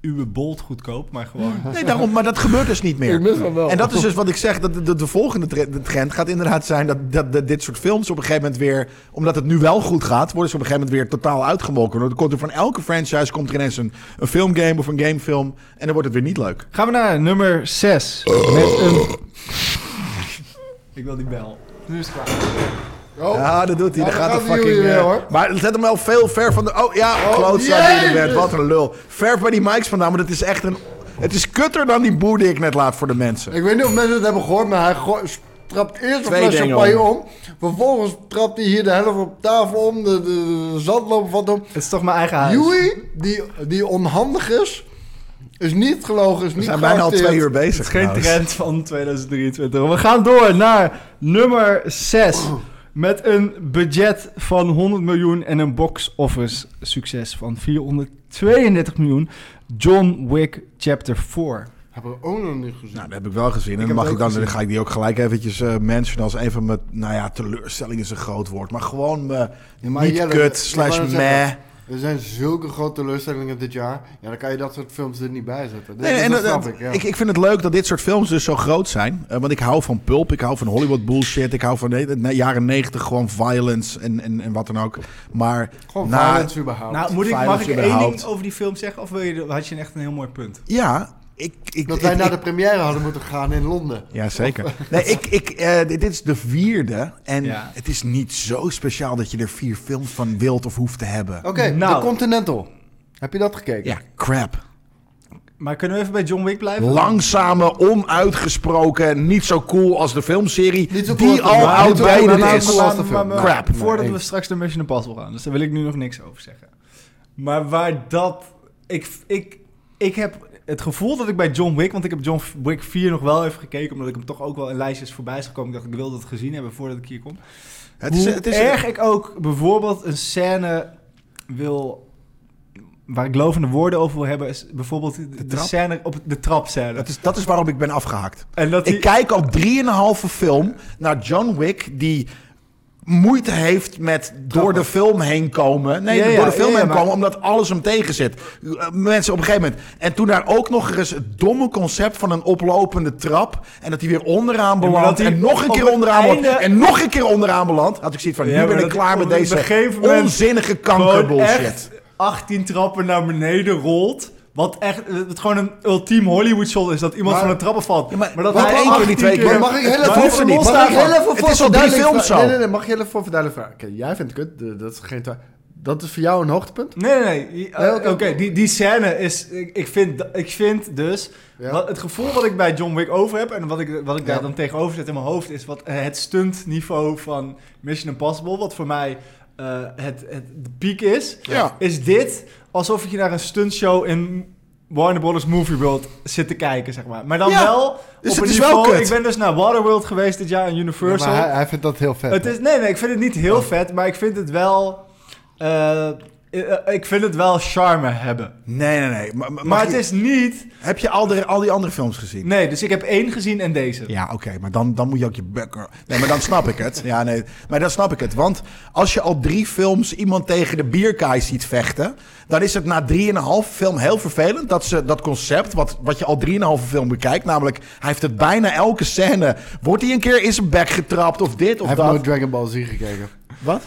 D: uwe bolt goedkoop, maar gewoon...
A: Nee, daarom, maar dat gebeurt dus niet meer.
B: Inmiddels wel.
A: En dat is dus wat ik zeg, dat de, de, de volgende tre- de trend gaat inderdaad zijn dat, dat, dat dit soort films op een gegeven moment weer, omdat het nu wel goed gaat, worden ze op een gegeven moment weer totaal uitgemolken. Dan komt er van elke franchise komt er ineens een, een filmgame of een gamefilm en dan wordt het weer niet leuk.
D: Gaan we naar nummer 6. Met een... ik wil die bel.
B: Nu is het klaar. Oh,
A: Ja, dat doet hij.
B: Ja,
A: Dan gaat
B: dan
A: de
B: gaat
A: fucking...
B: hij weer,
A: eh,
B: hoor.
A: maar zet hem wel veel ver van de... Oh ja, klootzak die er werd. Wat een lul. Ver bij die mics vandaan, maar dat is echt een... Het is kutter dan die boer die ik net laat voor de mensen.
B: Ik weet niet of mensen het hebben gehoord, maar hij gooi- trapt eerst een
A: Twee
B: fles
A: dingen
B: champagne om. Vervolgens trapt hij hier de helft op tafel om, de, de, de zandloper valt om.
D: Het is toch mijn eigen huis.
B: Joey, die, die onhandig is, is niet gelogen, is
A: We
B: niet
A: zijn bijna al
B: geacteerd.
A: twee uur bezig.
D: Het is geen
A: trouwens.
D: trend van 2023. We gaan door naar nummer 6. Met een budget van 100 miljoen en een box office succes van 432 miljoen. John Wick Chapter 4.
B: Hebben we ook nog niet gezien.
A: Nou, dat heb ik wel gezien. En
D: heb
A: dan, mag
D: het
A: ik
D: ook
A: dan,
D: gezien.
A: dan ga ik die ook gelijk eventjes eh mentionen als een van mijn... Nou ja, teleurstelling is een groot woord. Maar gewoon me
B: maar
A: niet
B: Jelle, ik
A: kut
B: wou
A: slash
B: net
A: meh.
B: zeggen, Er zijn zulke grote teleurstellingen dit jaar. Ja, dan kan je dat soort films er niet bij zetten.
A: Nee,
B: dat,
A: en
B: dat
A: dat-
B: snap
A: dat-
B: ik, ja.
A: ik, ik vind het leuk dat dit soort films dus zo groot zijn. Eh, want ik hou van pulp, ik hou van Hollywood bullshit, ik hou van de, de jaren negentig gewoon violence en, en, en wat dan ook. Maar
B: Gewoon
A: na-
B: violence überhaupt.
D: Nou, moet ik, mag
A: Violence
D: ik één
A: überhaupt.
D: ding over die film zeggen? Of wil je, had je echt een heel mooi punt?
A: ja, ik... ik
B: dat wij
A: ik-
B: naar
A: ik-
B: de première hadden moeten gaan in Londen.
A: Ja, zeker. Nee, ik, ik, eh, dit dit is de vierde. En
D: Ja.
A: het is niet zo speciaal dat je er vier films van wilt of hoeft te hebben.
B: Oké,
D: Nou.
B: The Continental. Heb je dat gekeken?
A: Ja, crap.
D: Maar kunnen we even bij John Wick blijven?
A: Langzame, onuitgesproken, niet zo cool als de filmserie.
B: Niet zo cool
A: die
B: als de-
A: al
B: maar niet zo cool
A: outdated
B: als de-
A: is.
B: cool als de film.
D: maar-
A: Crap.
D: Voordat
B: Nee.
D: we straks naar Mission Impossible gaan. Dus daar wil ik nu nog niks over zeggen. Maar waar dat... Ik, ik, ik heb het gevoel dat ik bij John Wick... Want ik heb John Wick 4 nog wel even gekeken. Omdat ik hem toch ook wel in lijstjes voorbij is gekomen. Ik dacht, ik wil dat gezien hebben voordat ik hier kom.
A: Het is,
D: Hoe
A: het is,
D: erg ik ook bijvoorbeeld een scène wil... Waar ik lovende woorden over wil hebben... is bijvoorbeeld de, de
A: trap?
D: scène op de trap scène.
A: dat, is, dat is waarom ik ben afgehaakt.
D: En dat
A: Ik kijk al drieënhalve film naar John Wick die moeite heeft met door de film heen komen. Nee,
D: Ja, ja,
A: door de film
D: ja, ja,
A: heen
D: maar-
A: komen, omdat alles hem tegenzit. Eh, Mensen op een gegeven moment. En toen daar ook nog eens het domme concept van een oplopende trap. En dat hij weer onderaan
D: maar
A: belandt.
D: dat hij
A: En nog een
D: op
A: keer
D: het
A: onderaan belandt.
D: einde-
A: En nog een keer onderaan belandt. Had ik zoiets van,
D: Ja,
A: nu
D: maar
A: ben ik
D: dat-
A: klaar met
D: op een
A: deze
D: gegeven moment
A: onzinnige
D: gewoon
A: kankerbullshit.
D: echt 18 trappen naar beneden rolt. Wat echt, het gewoon een ultiem Hollywood shot is dat iemand
B: Maar-
D: van een trappen valt.
A: maar-
D: dat
A: maar
D: hij
A: één keer,
D: 18
A: niet twee keer.
B: Maar mag ik heel
A: Het
B: even
A: hoeft er niet.
B: Mag
A: Mag
B: ik
A: ik
B: heel even voor
A: Het is al drie
B: verduidelijking
A: films
B: vra-
A: zo.
B: Nee, nee, nee, mag je heel even voor verduidelijking vragen? Oké, jij vindt het kut, de- dat is geen twa- Dat is voor jou een hoogtepunt?
D: Nee, nee, nee. Eh,
B: Nee,
D: Oké,
B: oké.
D: die, die scène is... Ik, ik, vind, ik vind dus...
B: Ja.
D: Wat, het gevoel wat ik bij John Wick over heb... en wat ik, wat ik daar
B: Ja.
D: dan tegenover zet in mijn hoofd... is wat, eh, het stuntniveau van Mission Impossible... wat voor mij eh, het, het de piek is...
A: Ja.
D: is dit alsof je naar een stuntshow in... Warner Brothers Movie World zit te kijken, zeg maar. Maar dan
A: Ja.
D: wel
A: Dus
D: op
A: het
D: een
A: is wel
D: niveau...
A: kut.
D: Ik ben dus naar Waterworld geweest dit jaar in
B: Ja,
D: Universal.
B: maar hij, hij vindt dat heel vet.
D: Het is, nee, nee, ik vind het niet
A: Oh.
D: heel vet, maar ik vind het wel. eh, eh, ik vind het wel charme hebben.
A: Nee, nee, nee. Maar, maar-
D: maar
A: mag
D: het
A: je-
D: is niet.
A: Heb je al, de, al die andere films gezien?
D: Nee, dus ik heb één gezien en deze.
A: Ja, oké, maar dan, dan moet je ook je bukker. Nee, maar dan snap ik het. Ja, nee, maar dan snap ik het. Want als je al drie films iemand tegen de bierkaai ziet vechten, dan is het na drieënhalve film heel vervelend dat ze dat concept, wat, wat je al drieënhalve film bekijkt, namelijk hij heeft het bijna elke scène. Wordt hij een keer in zijn bek getrapt of dit of
B: hij heeft
A: dat?
B: nooit Dragon Ball Z gekeken.
A: Wat?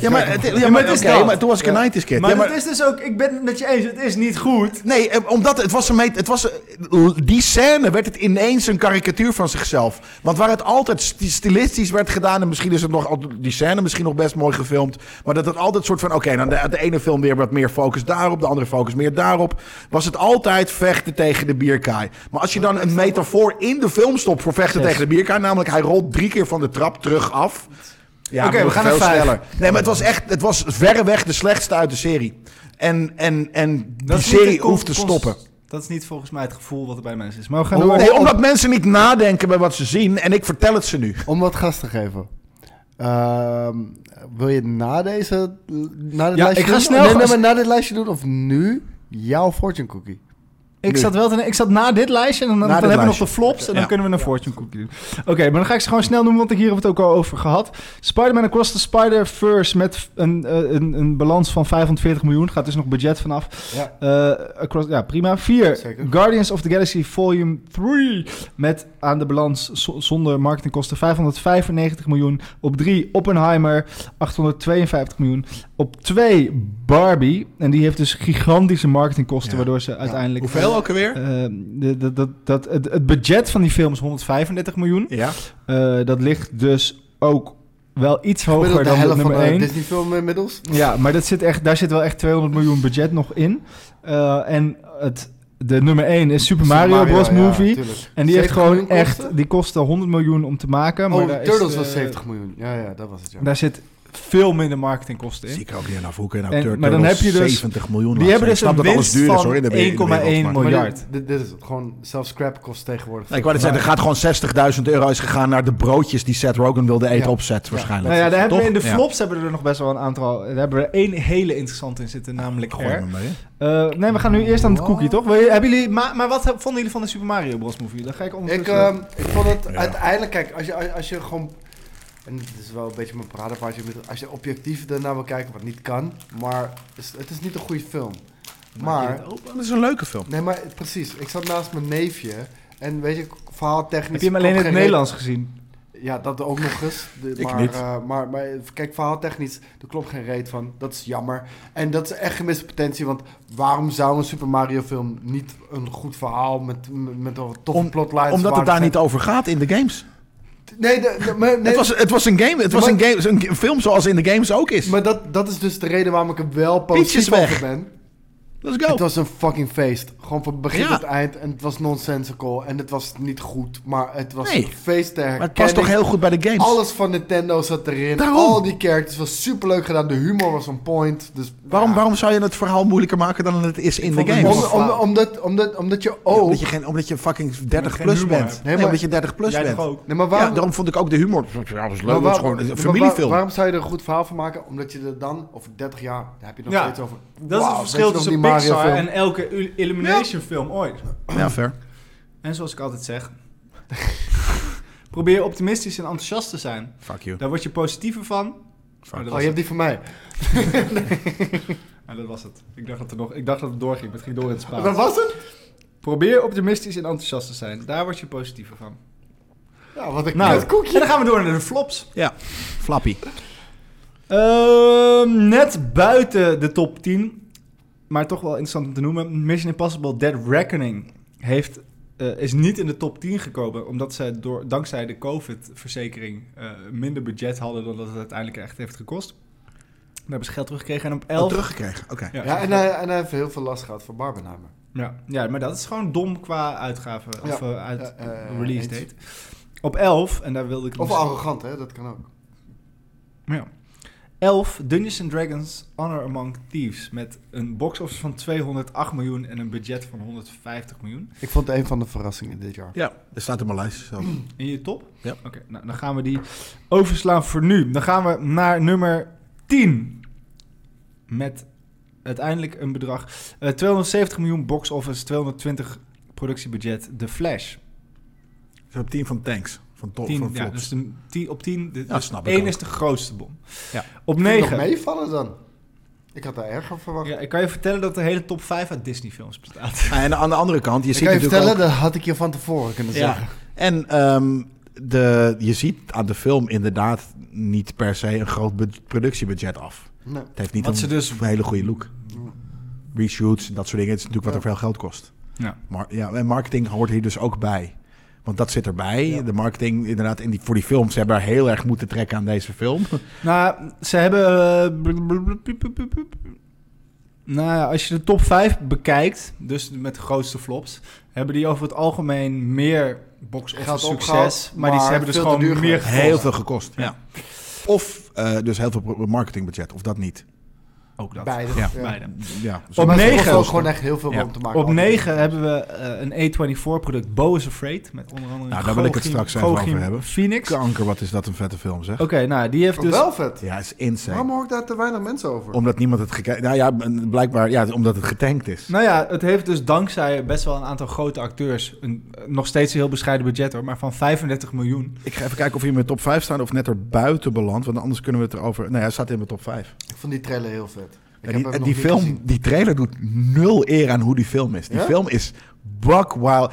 A: Ja, maar, het, ja,
D: maar
A: maar,
D: het is
A: oké,
D: dat.
A: maar toen was ik een 90s kid.
D: Maar
A: Ja,
D: het is dus ook. Ik ben het met je eens, het is niet goed.
A: Nee, eh, omdat het was een meet, het was eh, die scène werd het ineens een karikatuur van zichzelf. Want waar het altijd sti- stilistisch werd gedaan en misschien is het nog al- die scène misschien nog best mooi gefilmd, maar dat het altijd soort van oké, dan de, de ene film weer wat meer focus daarop, de andere focus meer daarop, was het altijd vechten tegen de bierkaai. Maar als je dan een metafoor in de film stopt voor vechten tegen de bierkaai, namelijk hij rolt drie keer van de trap terug af. Ja,
D: Oké,
A: maar
D: we gaan naar
A: veel
D: vijf.
A: sneller. Nee, maar het was echt, het was verreweg de slechtste uit de serie. En, en, en die
D: is niet
A: serie
D: het con-
A: hoeft te
D: cons-
A: stoppen. Oh.
D: Dat is niet volgens mij het gevoel wat er bij de mensen is. Maar we gaan door.
A: Nee, omdat mensen niet nadenken bij wat ze zien en ik vertel het ze nu.
B: Om wat gas te geven. Ehm, wil je na deze na dit
D: Ja,
B: lijstje
D: ik ga
B: doen?
D: snel
B: Nee,
D: gaan-
B: nee, maar na dit lijstje doen of nu jouw fortune cookie?
D: Ik
A: Nu.
D: zat, wel te- ik zat na dit lijstje en dan, dan
A: dit
D: hebben we nog
A: lijstje.
D: de flops... en dan
A: Ja.
D: kunnen we een fortune cookie doen. Oké, maar dan ga ik ze gewoon snel noemen, want ik hier hebben we het ook al over gehad. Spider-Man Across the Spider-Verse met een, eh, een, een balans van 540 miljoen. Gaat dus nog budget vanaf.
B: Ja.
D: Eh, across, ja, prima. 4.
B: Zeker.
D: Guardians of the Galaxy Volume 3. Met aan de balans zo- zonder marketingkosten 595 miljoen. Op 3 Oppenheimer 852 miljoen. Op 2 Barbie. En die heeft dus gigantische marketingkosten,
A: Ja.
D: waardoor ze uiteindelijk.
A: Hoeveel ook alweer?
D: Ehm, de- dat, dat, dat, het, het budget van die film is 135 miljoen.
A: ja.
D: Eh, dat ligt dus ook wel iets hoger
B: Gemiddeld de
D: dan de
B: helft van
D: nummer
B: de
D: 1.
B: Disney-film inmiddels.
D: Ja, maar dat zit echt, daar zit wel echt 200 miljoen budget nog in. Eh, en het, de nummer 1 is Super Mario, Bros.
B: ja,
D: Movie.
B: tuurlijk.
D: en die heeft
B: 70
D: gewoon
B: miljoen
D: echt,
B: kosten?
D: die kostte 100 miljoen om te maken. Maar
B: Oh,
D: daar is,
B: Turtles
D: eh,
B: was 70 miljoen. Ja, ja, dat was het. Ja.
D: Daar zit veel minder marketingkosten in.
A: Zie ik er ook niet aan af. Hoe kun je nou
D: En-
A: Tur-
D: Eh, maar dan
A: Turtles
D: heb je dus-
A: 70 miljoen
D: die
A: laten
D: hebben
A: zien?
D: dus
A: Ik snap
D: een
A: dat alles
D: winst
A: duur is
D: van
A: hoor, in de wer- in de wereld,
D: 1,1
A: maar-
D: miljoen.
B: Maar
D: miljard.
B: dit, dit, dit is het. Gewoon zelfs scrap kost tegenwoordig.
A: Nee, ik wou net zeggen, er gaat gewoon 60.000 euro is gegaan naar de broodjes die Seth Rogen wilde eten
B: Ja.
A: op set waarschijnlijk.
D: Nou ja, daar hebben we in de
A: Toch? Ja.
D: flops hebben we er nog best wel een aantal. Daar hebben we er één hele interessante in zitten, namelijk
A: Gooi
D: R.
A: me mee.
D: Eh, nee, we gaan nu eerst aan het
A: Wow.
D: cookie, toch? Wil je- hebben jullie, maar, maar wat vonden jullie van de Super Mario Bros. movie? Dan ga ik
B: Ik,
D: ondertussen...
B: ehm, ik vond het
A: Ja.
B: uiteindelijk, kijk, als je, als, als je gewoon. En dit is wel een beetje mijn paradepaardje. Als je objectief ernaar wil kijken, wat niet kan. Maar is- het is niet een goede film. Maar.
A: Dat is een leuke film.
B: Nee, maar precies. Ik zat naast mijn neefje. En weet je, verhaaltechnisch.
D: heb je hem
B: kon
D: alleen in het
B: geen
D: Nederlands gezien?
B: reet- Ja, dat ook nog eens. De-
A: Ik
B: maar,
A: niet.
B: eh, maar, maar kijk, verhaaltechnisch, er klopt geen reet van. Dat is jammer. En dat is echt gemiste potentie. Want waarom zou een Super Mario film niet een goed verhaal met, met, met een toffe
A: Om-
B: plotlines...
A: Omdat
B: waar
A: het daar
B: zijn-
A: niet over gaat in de games.
B: Nee, de, de- maar, nee
A: het, was, het was een game, het was
B: Maar-
A: een, game, een film zoals in de games ook is.
B: maar dat, dat is dus de reden waarom ik er wel
A: Peach is
B: positief
A: weg.
B: over ben.
A: Let's go.
B: Het was een fucking feest. Gewoon van begin
A: Ja.
B: tot eind. En het was nonsensical. En het was niet goed. Maar het was
A: Nee.
B: een feest ter
A: maar het past toch
B: herkenning.
A: heel goed bij de games.
B: Alles van Nintendo zat erin.
A: Daarom.
B: Al die characters was superleuk gedaan. De humor was on point. Dus,
A: Waarom,
B: ja.
A: waarom zou je het verhaal moeilijker maken dan het is in de
D: vond het
A: games?
D: mooi. Oh.
B: Om- om- omdat, omdat, omdat je Oh. ook...
A: Ja, omdat, je geen, omdat je fucking 30
D: geen
A: plus
D: humor
A: bent.
D: hebt.
A: Nee,
B: maar-
A: omdat je 30 plus
D: Jij
A: bent.
D: toch ook?
B: Nee, maar
A: Ja,
B: waarom,
A: daarom vond ik ook de humor. Ja, dat was leuk.
B: maar
A: Het was
B: waar-
A: gewoon
B: maar
A: een
B: waar-
A: familiefilm.
B: waarom zou je er een goed verhaal van maken? Omdat je er dan over 30 jaar... Daar heb je nog
D: Ja.
B: steeds over.
D: Dat is
B: Wauw,
D: het
B: weet
D: verschil
B: je nog
D: tussen
B: die Mario
D: Pixar
B: film?
D: en elke il- Illumination film ooit.
A: Ja, fair.
D: En zoals ik altijd zeg... probeer optimistisch en enthousiast te zijn.
A: Fuck you.
D: Daar word je positiever van.
A: Fuck.
D: Oh, dat
B: Oh,
D: was
B: je hebt
D: het.
B: die van mij.
D: En dat was het. Ik dacht dat, er nog, ik dacht dat het doorging, maar het ging door in het Spaans.
B: Dat was het?
D: Probeer optimistisch en enthousiast te zijn. Daar word je positiever van.
B: Ja, wat ik
D: Nou,
B: het koekje.
D: en dan gaan we door naar de flops.
A: Ja, flappy.
D: Ehm, net buiten de top 10, maar toch wel interessant om te noemen. Mission Impossible Dead Reckoning heeft, eh, is niet in de top 10 gekomen, omdat ze door, dankzij de COVID-verzekering eh, minder budget hadden dan dat het uiteindelijk echt heeft gekost. Daar hebben ze geld teruggekregen en op 11...
A: Al teruggekregen. Oké.
D: Ja.
B: Ja, en eh, hij, en hij heeft heel veel last gehad van Barbenheimer.
D: Ja, ja, maar dat is gewoon dom qua uitgaven
B: Ja.
D: of eh, uit
B: Ja, eh,
D: release
B: eens.
D: date. Op 11, en daar wilde ik...
B: Of
D: nog-
B: arrogant, hè? Dat kan ook.
D: Ja. 11 Dungeons and Dragons Honor Among Thieves met een box-office van 208 miljoen en een budget van 150 miljoen.
B: Ik vond het een van de verrassingen dit jaar.
A: Ja, dat staat in mijn lijst. Zo.
D: In je top?
A: Ja.
D: Oké, nou dan gaan we die overslaan voor nu. Dan gaan we naar nummer 10 met uiteindelijk een bedrag eh, 270 miljoen box-office, 220 productiebudget The Flash.
A: Het is op 10 van Tanks. Van, to-
D: 10,
A: Oh, van
D: ja,
A: Flops.
D: dus de, 10 op 10, de,
A: Ja,
D: dus
A: snap ik
D: één
A: ook.
D: is de grootste bom.
A: Ja.
D: Op
B: Vind je nog
D: 9.
B: meevallen dan? Ik had daar erger verwacht.
D: Ja, ik kan je vertellen dat de hele top 5 uit Disney films bestaat.
A: Ah, En aan de andere kant, je
B: ik
A: ziet
B: kan je
A: natuurlijk
B: vertellen,
A: ook...
B: dat had ik je van tevoren kunnen
A: Ja.
B: zeggen.
A: En ehm, de, je ziet aan de film inderdaad niet per se een groot bud- productiebudget af.
B: Nee.
A: Het heeft niet
D: Wat
A: een
D: ze dus-
A: hele goede look. Reshoots en dat soort dingen. Het is natuurlijk wat er veel geld kost.
D: Ja.
A: Maar, ja, en marketing hoort hier dus ook bij. Want dat zit erbij. De marketing inderdaad in die, voor die films hebben er heel erg moeten trekken aan deze film.
D: Nou, ze hebben. eh, blub, blub, blub, blub, blub, blub, blub. Nou, ja, als je de top 5 bekijkt, dus met de grootste flops, hebben die over het algemeen meer
B: Geld
D: box-office
B: opgehaald,
D: succes. Maar, die
B: maar
D: ze hebben dus
B: veel te
D: gewoon meer
B: duur geweest.
D: gekost.
A: Heel veel gekost. Ja. Of eh, dus heel veel pro- marketingbudget. Of dat niet.
D: Ook dat.
B: Beide.
A: Ja.
B: Ja.
G: Beide.
A: Ja,
B: Op
D: Op negen-
B: negen. ook gewoon echt heel veel
A: Ja.
B: om te maken.
D: Op
B: Altijd.
D: 9 hebben we eh, een A24-product, Bo is Afraid. Met onder andere
A: Nou, daar wil ik het
D: Gogim-
A: straks even over
D: Gogim
A: hebben.
D: Phoenix. Oké,
A: Kanker, wat is dat een vette film, zeg.
D: nou, die heeft dus...
B: Wel vet.
A: Ja, is insane.
B: Waarom hoor ik daar te weinig mensen over?
A: Omdat niemand het gekeken... Nou ja, blijkbaar ja, omdat het getankt is.
D: Nou ja, het heeft dus dankzij best wel een aantal grote acteurs... Een, eh, nog steeds een heel bescheiden budget hoor, maar van 35 miljoen.
A: Ik ga even kijken of je in mijn top 5 staat of net er buiten belandt. Want anders kunnen we het erover... Nou ja, hij staat in mijn top 5.
B: Ik vond die trailer heel vet. Ik
A: Ja,
B: heb
A: die
B: hem nog
A: en die
B: niet
A: film,
B: gezien.
A: die trailer doet nul eer aan hoe die film is. Die
B: Ja?
A: film is buck wild.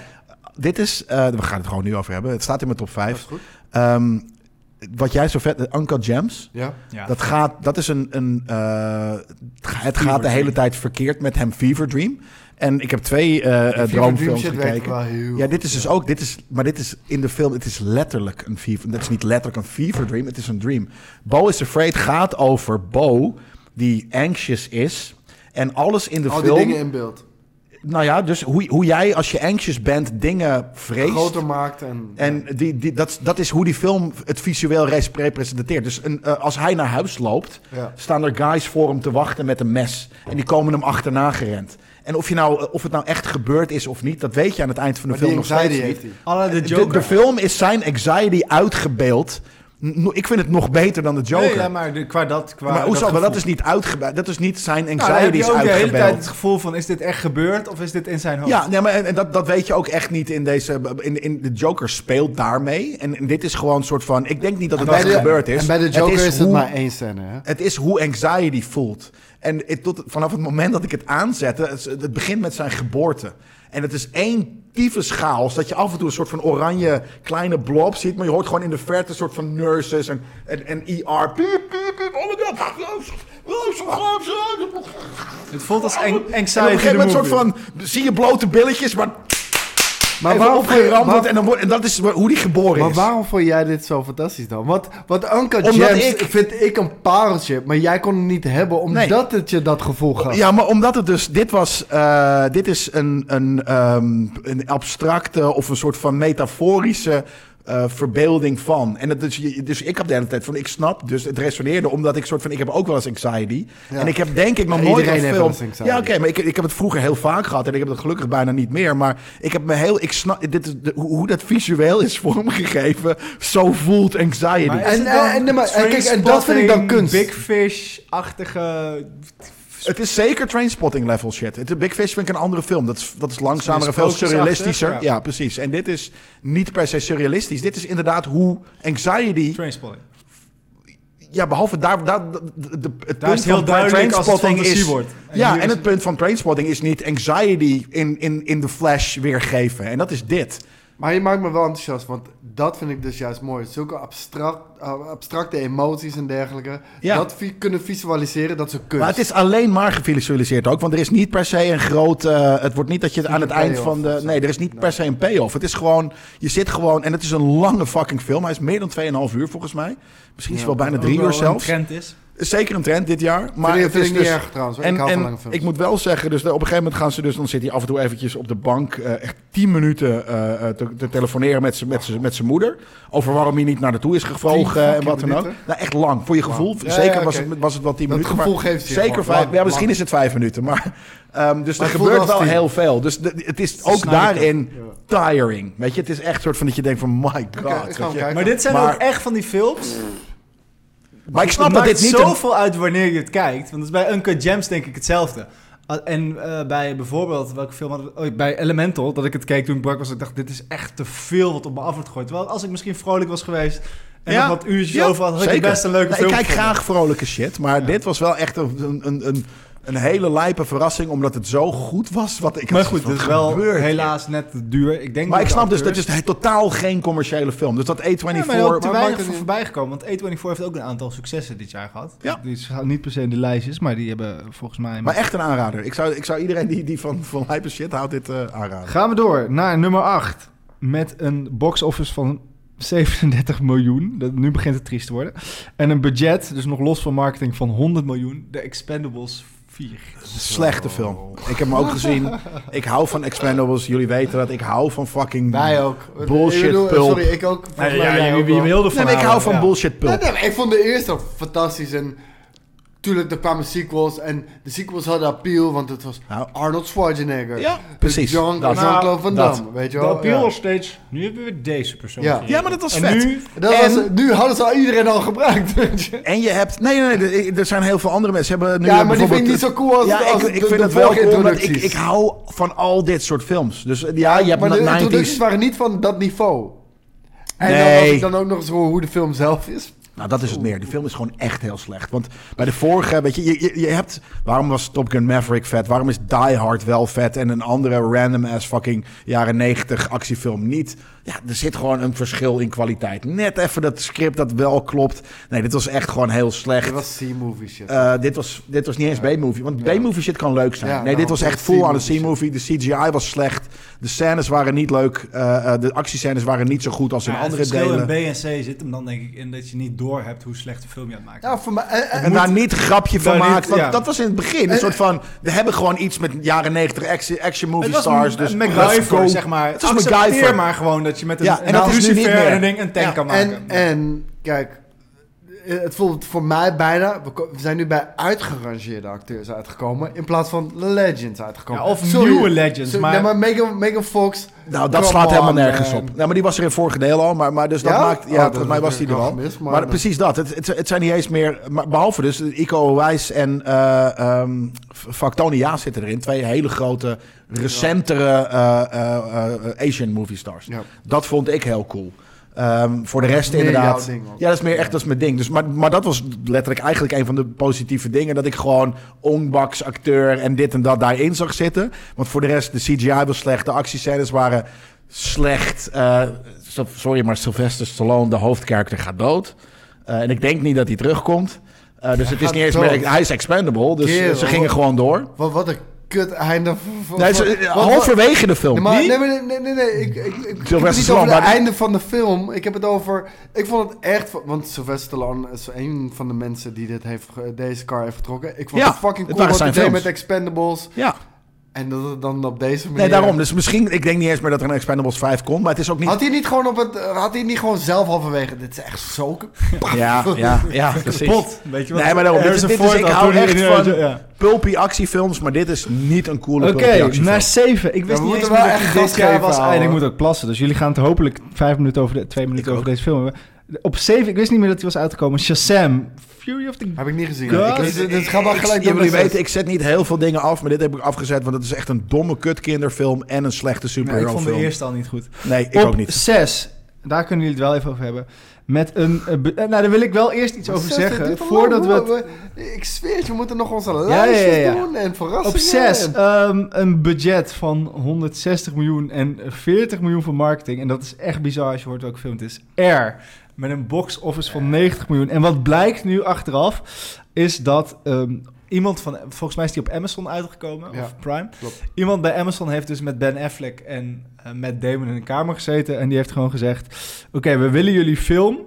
A: Dit is, eh, we gaan het gewoon nu over hebben. Het staat in mijn top
B: Dat is
A: 5.
B: goed.
A: Ehm, wat jij zo vet, Uncle Gems.
B: Ja.
D: Ja.
A: Dat, gaat, dat is een. een eh, het ga- het gaat de hele
D: Dream.
A: tijd verkeerd met hem, Fever Dream. En ik heb twee eh,
B: Die
A: eh,
B: Fever Dream
A: droomfilms
B: shit werkt
A: gekeken.
B: wel heel
A: Ja, dit is
B: goed,
A: dus ook, dit is, maar dit is in de film, het is letterlijk een fever, dat is niet letterlijk een fever dream, het is een dream. Bo is Afraid gaat over Bo, die anxious is. En alles in de
B: Al die
A: film,
B: dingen in beeld.
A: nou ja, dus hoe, hoe jij als je anxious bent dingen vreest.
B: Groter maakt en...
A: En die, die, dat, dat is hoe die film het visueel res- representeert. Dus een, eh, als hij naar huis loopt,
B: Ja.
A: staan er guys voor hem te wachten met een mes. En die komen hem achterna gerend. En of, je nou, eh, of het nou echt gebeurd is of niet, dat weet je aan het eind van de
B: maar die
A: film nog steeds
B: anxiety
A: niet.
B: heeft hij.
D: Alla de
A: Eh, De,
D: Joker.
A: de film is zijn anxiety uitgebeeld. N- Ik vind het nog beter dan de Joker.
D: Nee, ja,
A: maar,
D: maar de- qua dat... Qua
A: hoezo?
D: dat
A: Maar dat
D: gevoel.
A: is niet uitgebeeld. Dat is niet zijn
D: Nou, dan
A: anxiety
D: heb je
A: is
D: ook de hele tijd het
A: uitgebeeld.
D: gevoel van, is dit echt gebeurd of is dit in
B: Oh.
D: zijn hoofd?
A: Ja, nee, maar en, en dat, dat weet je ook echt niet in deze. In, in de Joker speelt daarmee. En, en dit is gewoon een soort van. Ik denk niet dat het
B: bij
A: echt
B: de-
A: gebeurd is.
B: En bij de Joker is, het
A: hoe-
B: maar één scène, hè?
A: Het is hoe anxiety voelt. En het- tot, vanaf het moment dat ik het aanzette, het, het begint met zijn geboorte. En het is één tyfus chaos, dat je af en toe een soort van oranje kleine blob ziet, maar je hoort gewoon in de verte een soort van nurses en, en, en ER. Piep, piep, piep, oh my god. En
D: Het voelt als ang- anxiety
A: op een gegeven moment
D: the
A: soort
D: movie.
A: van, zie je blote billetjes, maar,
B: Maar
A: even
B: waarom, vond,
A: opgeramd
B: waar-
A: wordt en, dan wordt, en dat is hoe die geboren
B: maar
A: is.
B: waarom vond jij dit zo fantastisch dan? Want, want Uncle
A: Omdat
B: James
A: ik-
B: vind ik een pareltje, maar jij kon hem niet hebben omdat het je dat gevoel gaf.
A: Ja, maar omdat het dus... Dit, was, eh, dit is een, een, ehm, een abstracte of een soort van metaforische eh, verbeelding van. En het is, je- dus ik had de hele tijd van... Ik snap, dus het resoneerde omdat ik soort van... Ik heb ook wel eens anxiety.
B: Ja.
A: En ik heb denk ik nog
B: Ja,
A: nooit
B: iedereen
A: een
B: heeft
A: film...
B: wel eens anxiety.
A: ja, oké, maar ik, ik heb het vroeger heel vaak gehad. En ik heb het gelukkig bijna niet meer. Maar ik heb me heel... Ik snap dit is de- hoe, hoe dat visueel is vormgegeven. Zo voelt anxiety.
D: Maar
B: En-
D: is het
B: en-
D: dan
B: en- nee,
A: eh,
B: maar- en kijk, en dat vind ik dan
D: Trainspotting,
B: kunst.
D: Big Fish-achtige...
A: Het is zeker Trainspotting level shit. Het, Big Fish vind ik een andere film. Dat is, dat is langzamer en
D: Het is
A: veel
D: sprookjesachtig,
A: surrealistischer. Ja.
D: ja.
A: precies. En dit is niet per se surrealistisch. Dit is inderdaad hoe anxiety...
D: Trainspotting.
A: Ja, behalve daar... daar de, de- het
D: Daar
A: punt
D: is het heel
A: van
D: duidelijk als het
A: Trainspotting
D: fantasie
A: is...
D: wordt.
A: ja,
D: hier
A: en
D: is
A: het punt van Trainspotting is niet anxiety in, in, in de flash weergeven. En dat is dit.
B: Maar je maakt me wel enthousiast, want dat vind ik dus juist mooi. Zulke abstract, eh, abstracte emoties en dergelijke,
A: Ja.
B: dat vi- kunnen visualiseren, dat is een kunst.
A: Maar het is alleen maar gevisualiseerd ook. Want er is niet per se een groot. eh, het wordt niet dat je het aan het
B: een
A: eind
B: payoff
A: van de.
B: of zo.
A: Nee, er is niet per se een payoff. Het is gewoon. Je zit gewoon. En het is een lange fucking film. Hij is meer dan 2,5 uur volgens mij. Misschien is
B: Ja.
A: het wel bijna
D: Ook
A: drie
D: wel
A: uur
D: een
A: zelfs.
D: trend is.
A: Zeker een trend dit jaar. Maar
B: vind ik,
A: het
B: vind
A: is
B: ik niet
A: dus-
B: erg trouwens, hoor. ik
A: en,
B: hou van
A: en
B: lange films.
A: ik moet wel zeggen, dus op een gegeven moment gaan ze dus, dan zit hij af en toe eventjes op de bank, eh, echt tien minuten eh, eh, te, te telefoneren met zijn met z'n- met zijn moeder. Over waarom hij niet naar naartoe is gevlogen en
B: fucking
A: wat dan ook.
B: minuten?
A: Nou, echt lang. Voor je gevoel,
B: Ja,
A: zeker
B: ja,
A: was,
B: oké.
A: het, was het wel tien
B: Dat
A: minuten.
B: gevoel
A: maar
B: geeft je
A: Zeker
B: gewoon.
A: vijf,
B: Lang,
A: ja, misschien
B: lang.
A: is het vijf minuten, maar ehm, dus
B: Maar
A: er
B: het voelde
A: gebeurt
B: als
A: wel
B: tien.
A: heel veel. Dus de- het is ook
D: snap ik
A: daarin tiring. Weet je, het is echt soort van dat je denkt van my
B: Oké,
A: god.
B: ik ga
A: weet
B: hem
A: je.
B: kijken.
D: Maar dit zijn
A: Maar-
D: ook echt van die films.
A: Maar ik snap
D: het
A: dat
D: maakt
A: dit niet een
D: zoveel uit wanneer je het kijkt. Want dat is bij Uncut Gems denk ik hetzelfde. A- En eh, bij bijvoorbeeld, welke film hadden we- oh, bij Elemental, dat ik het keek toen ik brak was, ik dacht, dit is echt te veel wat op me af wordt gegooid. Terwijl als ik misschien vrolijk was geweest en
A: Ja,
D: nog wat uurtjes
A: ja,
D: over had, had ik
A: zeker.
D: best een leuke
A: Nou,
D: film
A: Ik kijk
D: gevonden.
A: graag vrolijke shit, maar dit was wel echt een, een, een, een hele lijpe verrassing, omdat het zo goed was. Wat ik
D: Maar
A: had
D: goed,
A: van,
D: het is wel
A: gebeurt.
D: helaas net te duur. Ik denk
A: Maar ik
D: de
A: snap dus, dat
D: acteurs-
A: is totaal geen commerciële film. Dus dat A24...
D: Ja, maar ook te
A: maar-
D: weinig
B: maakt het
D: voor
B: niet-
D: voorbij gekomen. Want A24 heeft ook een aantal successen dit jaar gehad.
A: Ja.
D: Die staan niet per se in de lijstjes, maar die hebben volgens mij...
A: maar echt een aanrader. Ik zou, ik zou iedereen die, die van, van lijpe shit houdt dit eh, aanraden.
D: Gaan we door naar nummer 8. Met een box office van 37 miljoen. Dat, nu begint het triest te worden. En een budget, dus nog los van marketing, van 100 miljoen. De Expendables 4.
A: Slechte film. Ik heb hem ook gezien. Ik hou van Expendables. Jullie weten dat. Ik hou van fucking...
B: Wij ook.
A: Bullshit
B: Ik bedoel, eh,
A: pulp.
B: Sorry, ik ook. Volgens mij jij ook wel.
D: wilde
A: Nee, maar ik hou van bullshit pulp.
B: Nee, nee, maar ik vond de eerste fantastisch en tuurlijk, er kwamen sequels en de sequels hadden appeal, want het was
A: Nou.
B: Arnold Schwarzenegger.
A: Ja,
B: Het
A: precies.
B: Jean-
A: Dat.
G: Nou,
B: Jean-Claude Van
A: Dat.
B: Damme, weet je
J: De
B: wel.
J: appeal
B: Ja.
J: was steeds, nu hebben we deze persoon
B: Ja.
J: geregeld.
A: Ja, maar dat was
J: en
A: vet.
J: Nu,
B: Dat
A: En-
B: was, nu hadden ze al iedereen al gebruikt, weet je.
A: En je hebt... Nee, nee, nee, er zijn heel veel andere mensen. Ze Hebben nu
B: Ja, maar die
A: bijvoorbeeld-
B: vind ik niet zo cool als,
A: Ja,
B: als
A: ik, ik
B: de,
A: vind
B: de
A: het wel cool, omdat ik,
B: introducties.
A: ik hou van al dit soort films. Dus eh, ja, je hebt
B: maar de
A: na- 90s.
B: introducties waren niet van dat niveau. En dan
A: Nee.
B: als ik dan ook nog eens hoor hoe de film zelf is.
A: Nou, dat is het meer. Die film is gewoon echt heel slecht. Want bij de vorige, weet je, je, je, je hebt... Waarom was Top Gun Maverick vet? Waarom is Die Hard wel vet? En een andere random ass fucking jaren 90 actiefilm niet? Ja, er zit gewoon een verschil in kwaliteit. Net even dat script dat wel klopt. Nee, dit was echt gewoon heel slecht.
B: Het was C-movie shit.
A: Eh, dit, was, dit was niet eens B-movie. Want B-movie shit kan leuk zijn.
B: Ja,
A: nee,
G: nou,
A: dit
B: daarom
A: was
B: vond
A: echt
B: ik
A: full aan de
B: C-movie
A: C-movie. De CGI was slecht. De scènes waren niet leuk. Eh, eh, de actiescènes waren niet zo goed als in
G: Ja,
A: andere
G: het verschil
A: delen.
G: in B en C zit hem dan denk ik in dat je niet door hebt hoe slecht de film je aan het maken
B: ja,
G: bent.
B: voor mij... eh, en- en-
A: En daar niet een grapje van
G: Daar niet,
A: maken. Want
G: ja.
A: dat was in het begin.
B: Eh,
A: Een soort van, we hebben gewoon iets met jaren 90 action, action movie stars. Dus let's go.
G: MacGyver, zeg maar.
A: Het is
G: Accepteer
A: MacGyver.
G: maar gewoon dat je met een,
A: Ja, en
G: en
A: dat
G: dat
A: is nu niet meer.
G: en een ding een tank
A: Ja,
G: kan maken.
B: En, en kijk, eh, het voelt voor mij bijna. We ko- we zijn nu bij uitgerangeerde acteurs uitgekomen. In plaats van legends uitgekomen.
G: Ja, of nieuwe legends,
B: sorry,
G: maar-
B: nee, maar Megan, Megan Fox.
A: Nou, dat
B: come
A: slaat
B: on,
A: helemaal nergens
B: man.
A: op. Nou, maar die was er in het vorige deel al. Maar, maar dus dat
B: eh, Ja?
A: maakt...
B: Oh,
A: Ja,
B: dat
A: volgens mij
B: heb
A: was
B: ik
A: die er
B: al
A: al.
B: gemist,
A: maar
B: maar-
A: precies dat. Het, het, het zijn niet eens meer... Maar behalve dus Ico Wijs en eh ehm, fuck, Tony Ja zitten erin. Twee hele grote, recentere eh, eh, eh, Asian movie stars.
B: Ja.
A: Dat vond ik heel cool. Ehm, voor de rest
B: Meer
A: inderdaad.
B: jouw ding ook.
A: Ja, dat is meer echt dat is mijn ding. Dus, maar, maar dat was letterlijk eigenlijk een van de positieve dingen. Dat ik gewoon onbaks acteur en dit en dat daarin zag zitten. Want voor de rest, de CGI was slecht. De actiescènes waren slecht. Eh, so- sorry, maar Sylvester Stallone, de hoofdkarakter, gaat dood. Eh, en ik denk niet dat hij terugkomt. Eh, dus het is
B: gaat
A: niet eens
B: dood.
A: meer... Hij is expendable, dus
B: Kerel.
A: ze gingen gewoon door.
B: Wat, wat een kut einde. van- van-
A: Nee,
B: van-
A: ze- eh,
B: wat-
A: halverwege de film.
B: Nee, maar,
A: Die-
B: nee, maar nee, nee, nee, nee, Ik, ik, ik, ik heb
A: Sylvester
B: het niet
A: Stallone,
B: over het
A: maar die-
B: einde van de film. Ik heb het over... Ik vond het echt... van- Want Sylvester Stallone is een van de mensen die dit heeft, ge- deze car heeft getrokken. Ik vond
A: Ja,
B: het fucking
A: het
B: cool
A: waren
B: wat
A: zijn
B: hij deed
A: films.
B: met Expendables.
A: Ja,
B: En dat het dan op deze manier...
A: nee, daarom. Dus misschien, ik denk niet eens meer dat er een Expendables 5 komt. Maar het is ook niet
B: Had hij niet gewoon op het... Had hij niet gewoon zelf halverwege... Dit is echt zo...
A: Ja, ja, ja, precies.
G: Kapot, weet je wat?
A: Nee, maar daarom, dit is-
G: Harrison
A: dit is-
G: Ford
A: ik
G: had
A: hou
G: toen
A: echt
G: die-
A: van-
G: ja.
A: Pulpy actiefilms, maar dit is niet een coole
D: Oké,
A: pulpy actiefilm.
D: naar 7. Ik wist
B: we
D: niet eens
B: moeten
D: meer
B: wel
D: dat
B: echt
D: dit
B: gas
D: jaar
B: geven,
D: was. En ik
B: ouwe.
D: moet ook plassen. Dus jullie gaan het hopelijk vijf minuten over de, twee minuten
A: Ik
D: over deze film hebben. Op 7, ik wist niet meer dat hij was uitgekomen. Shazam. Fury of the...
B: Heb ik niet gezien.
D: Ja,
B: Ik-
D: ik-
B: dit, dit gaat wel
A: Ik-
B: gelijk
A: ja,
B: door
A: jullie
B: mijn
A: weten, ik zet niet heel veel dingen af, maar dit heb ik afgezet, want het is echt een domme kut kinderfilm en een slechte
G: Nee, ik
A: superhero
G: vond de
A: film.
G: eerste al niet goed.
A: Nee, ik
D: op
A: ook niet.
D: 6, daar kunnen jullie het wel even over hebben. Met een... eh, be- eh, nou, daar wil ik wel eerst iets
B: zes.
D: over
B: Zes, dit
D: zeggen.
B: duurt al
D: Voordat we
B: lang,
D: het
B: hoor. We- Ik zweer het, we moeten nog onze
D: ja,
B: lijstjes
D: ja.
B: doen en verrassingen.
D: Op 6
B: en-
D: een budget van 160 miljoen en 40 miljoen voor marketing. En dat is echt bizar als je hoort welke film het is. Air, met een box office van 90 miljoen. En wat blijkt nu achteraf, is dat ehm, iemand van... Volgens mij is die op Amazon uitgekomen,
B: Ja,
D: of Prime.
B: klopt.
D: Iemand bij Amazon heeft dus met Ben Affleck en eh, met Matt Damon in een kamer gezeten. En die heeft gewoon gezegd, oké, we willen jullie film.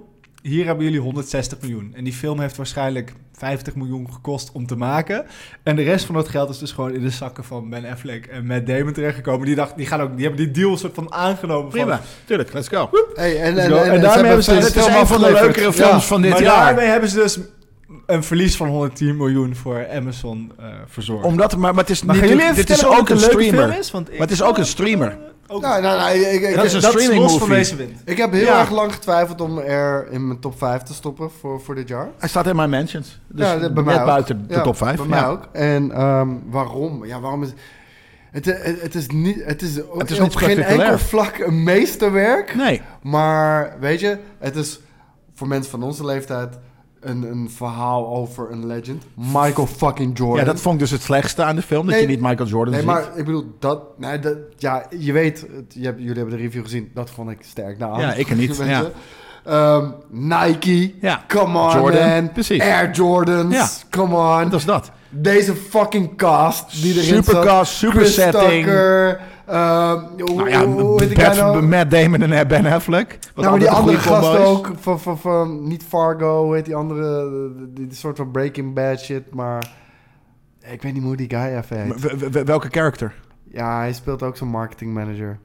D: Hier hebben jullie 160 miljoen. En die film heeft waarschijnlijk 50 miljoen gekost om te maken. En de rest van dat geld is dus gewoon in de zakken van Ben Affleck en Matt Damon terechtgekomen. Die, dacht, die, gaan ook, die hebben die deal soort van aangenomen.
A: Prima,
D: Van,
A: tuurlijk, let's go.
B: Hey, en,
D: Let's
B: en,
D: go. En
B: en,
D: daarmee hebben ze- dus
B: vijf
A: Dit
D: dit
A: is
B: films
A: een van de
B: afgeleverd.
A: leukere
B: Ja.
A: films van dit
D: maar
A: jaar.
D: daarmee hebben ze dus een verlies van 110 miljoen voor Amazon eh verzorgd.
A: Omdat, maar, maar het is,
D: maar
A: niet,
D: gaan jullie even
A: dit is
D: vertellen wat
A: ook
D: het
A: een
D: een leuke
A: streamer.
D: film is? Want
A: Maar het is ook een streamer.
D: Ook,
B: Nou, nou, nou, ik, ik,
A: Het is
B: ik-
A: een
D: dat is
A: streaming
D: los van
A: movie.
D: deze wind.
B: ik heb heel
A: Ja.
B: erg lang getwijfeld om er in mijn top 5 te stoppen voor, voor dit jaar.
A: Hij staat in mijn mentions. Dus
B: Ja, dat- bij mij
A: net
B: ook.
A: buiten de
B: Ja,
A: top 5.
B: Bij mij ook. En ehm, waarom? Ja, waarom is... Het, eh, het, het is niet... Het is,
A: Het is
B: op
A: niet
B: geen
A: spectaculair.
B: enkel vlak een meesterwerk.
A: Nee,
B: Maar weet je, het is voor mensen van onze leeftijd een, een verhaal over een legend. Michael fucking
A: ja,
B: Jordan.
A: dat vond ik dus het slechtste aan de film. Dat
B: Nee.
A: je niet Michael Jordan
B: Nee,
A: ziet.
B: maar ik bedoel, dat... Nee, dat ja, je weet, het- je hebt, jullie hebben de review gezien. Dat vond ik sterk. Nou,
A: Ja, ik er niet,
B: mensen.
A: ja.
B: Ehm, Nike.
A: Ja.
B: Come on,
A: Jordan,
B: man.
A: precies.
B: Air Jordans.
A: Ja.
B: Come on.
A: Dat is dat.
B: Deze fucking cast die erin
A: Super
B: zat.
A: cast, super
B: Chris
A: setting.
B: Tucker. ehm, hoe-
A: Nou ja,
B: hoe- hoe heet die guy
A: Bad-
B: nou?
A: Matt Damon en eh, Ben Affleck. Wat
B: nou, maar die
A: altijd een
B: andere
A: goede combo
B: gasten
A: is.
B: ook. Van, van, van, niet Fargo, hoe heet die andere? Die, die soort van Breaking Bad shit, maar... Ik weet niet hoe die guy even heet.
A: Maar w- w- w- Welke character?
B: Ja, hij speelt ook zo'n marketing manager.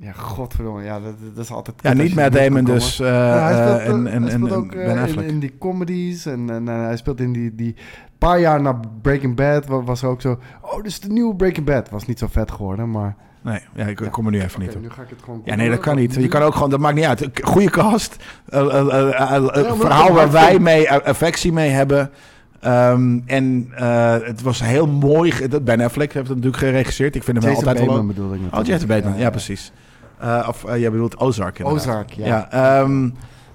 B: Ja, godverdomme. Ja, dat, dat is altijd... kut
A: Ja,
B: als
A: niet
B: je
A: Matt
B: niet kan
A: Damon
B: komen.
A: dus. eh,
B: Ja, hij speelt, eh,
A: eh, en, en,
B: hij
A: en,
B: speelt
A: en
B: ook eh,
A: Ben
B: in,
A: Affleck.
B: in die comedies en, en, eh, hij speelt in die, die paar jaar na Breaking Bad wa- was er ook zo, oh dit is de nieuwe Breaking Bad. Was niet zo vet geworden, maar...
A: Nee, ja, ik
B: Ja.
A: ik kom er nu even niet
B: Oké,
A: op.
B: nu ga ik het gewoon...
A: Ja, nee, dat kan niet. Je kan ook gewoon, dat maakt niet uit. Goede cast, eh, eh, eh, eh, eh,
B: dat
A: verhaal waar
B: maakt
A: wij
B: niet.
A: mee eh, affectie mee hebben. Ehm, en eh, het was heel mooi. ge- dat- Ben Affleck heeft het natuurlijk geregisseerd. Ik vind hem wel
B: Jason
A: altijd wel
B: Bateman
A: leuk.
B: bedoelde ik
A: Oh,
B: natuurlijk.
A: Jason Bateman, ja,
B: ja.
A: precies. Eh, of eh, jij bedoelt Ozark inderdaad.
B: Ozark, ja.
A: Ja, ehm,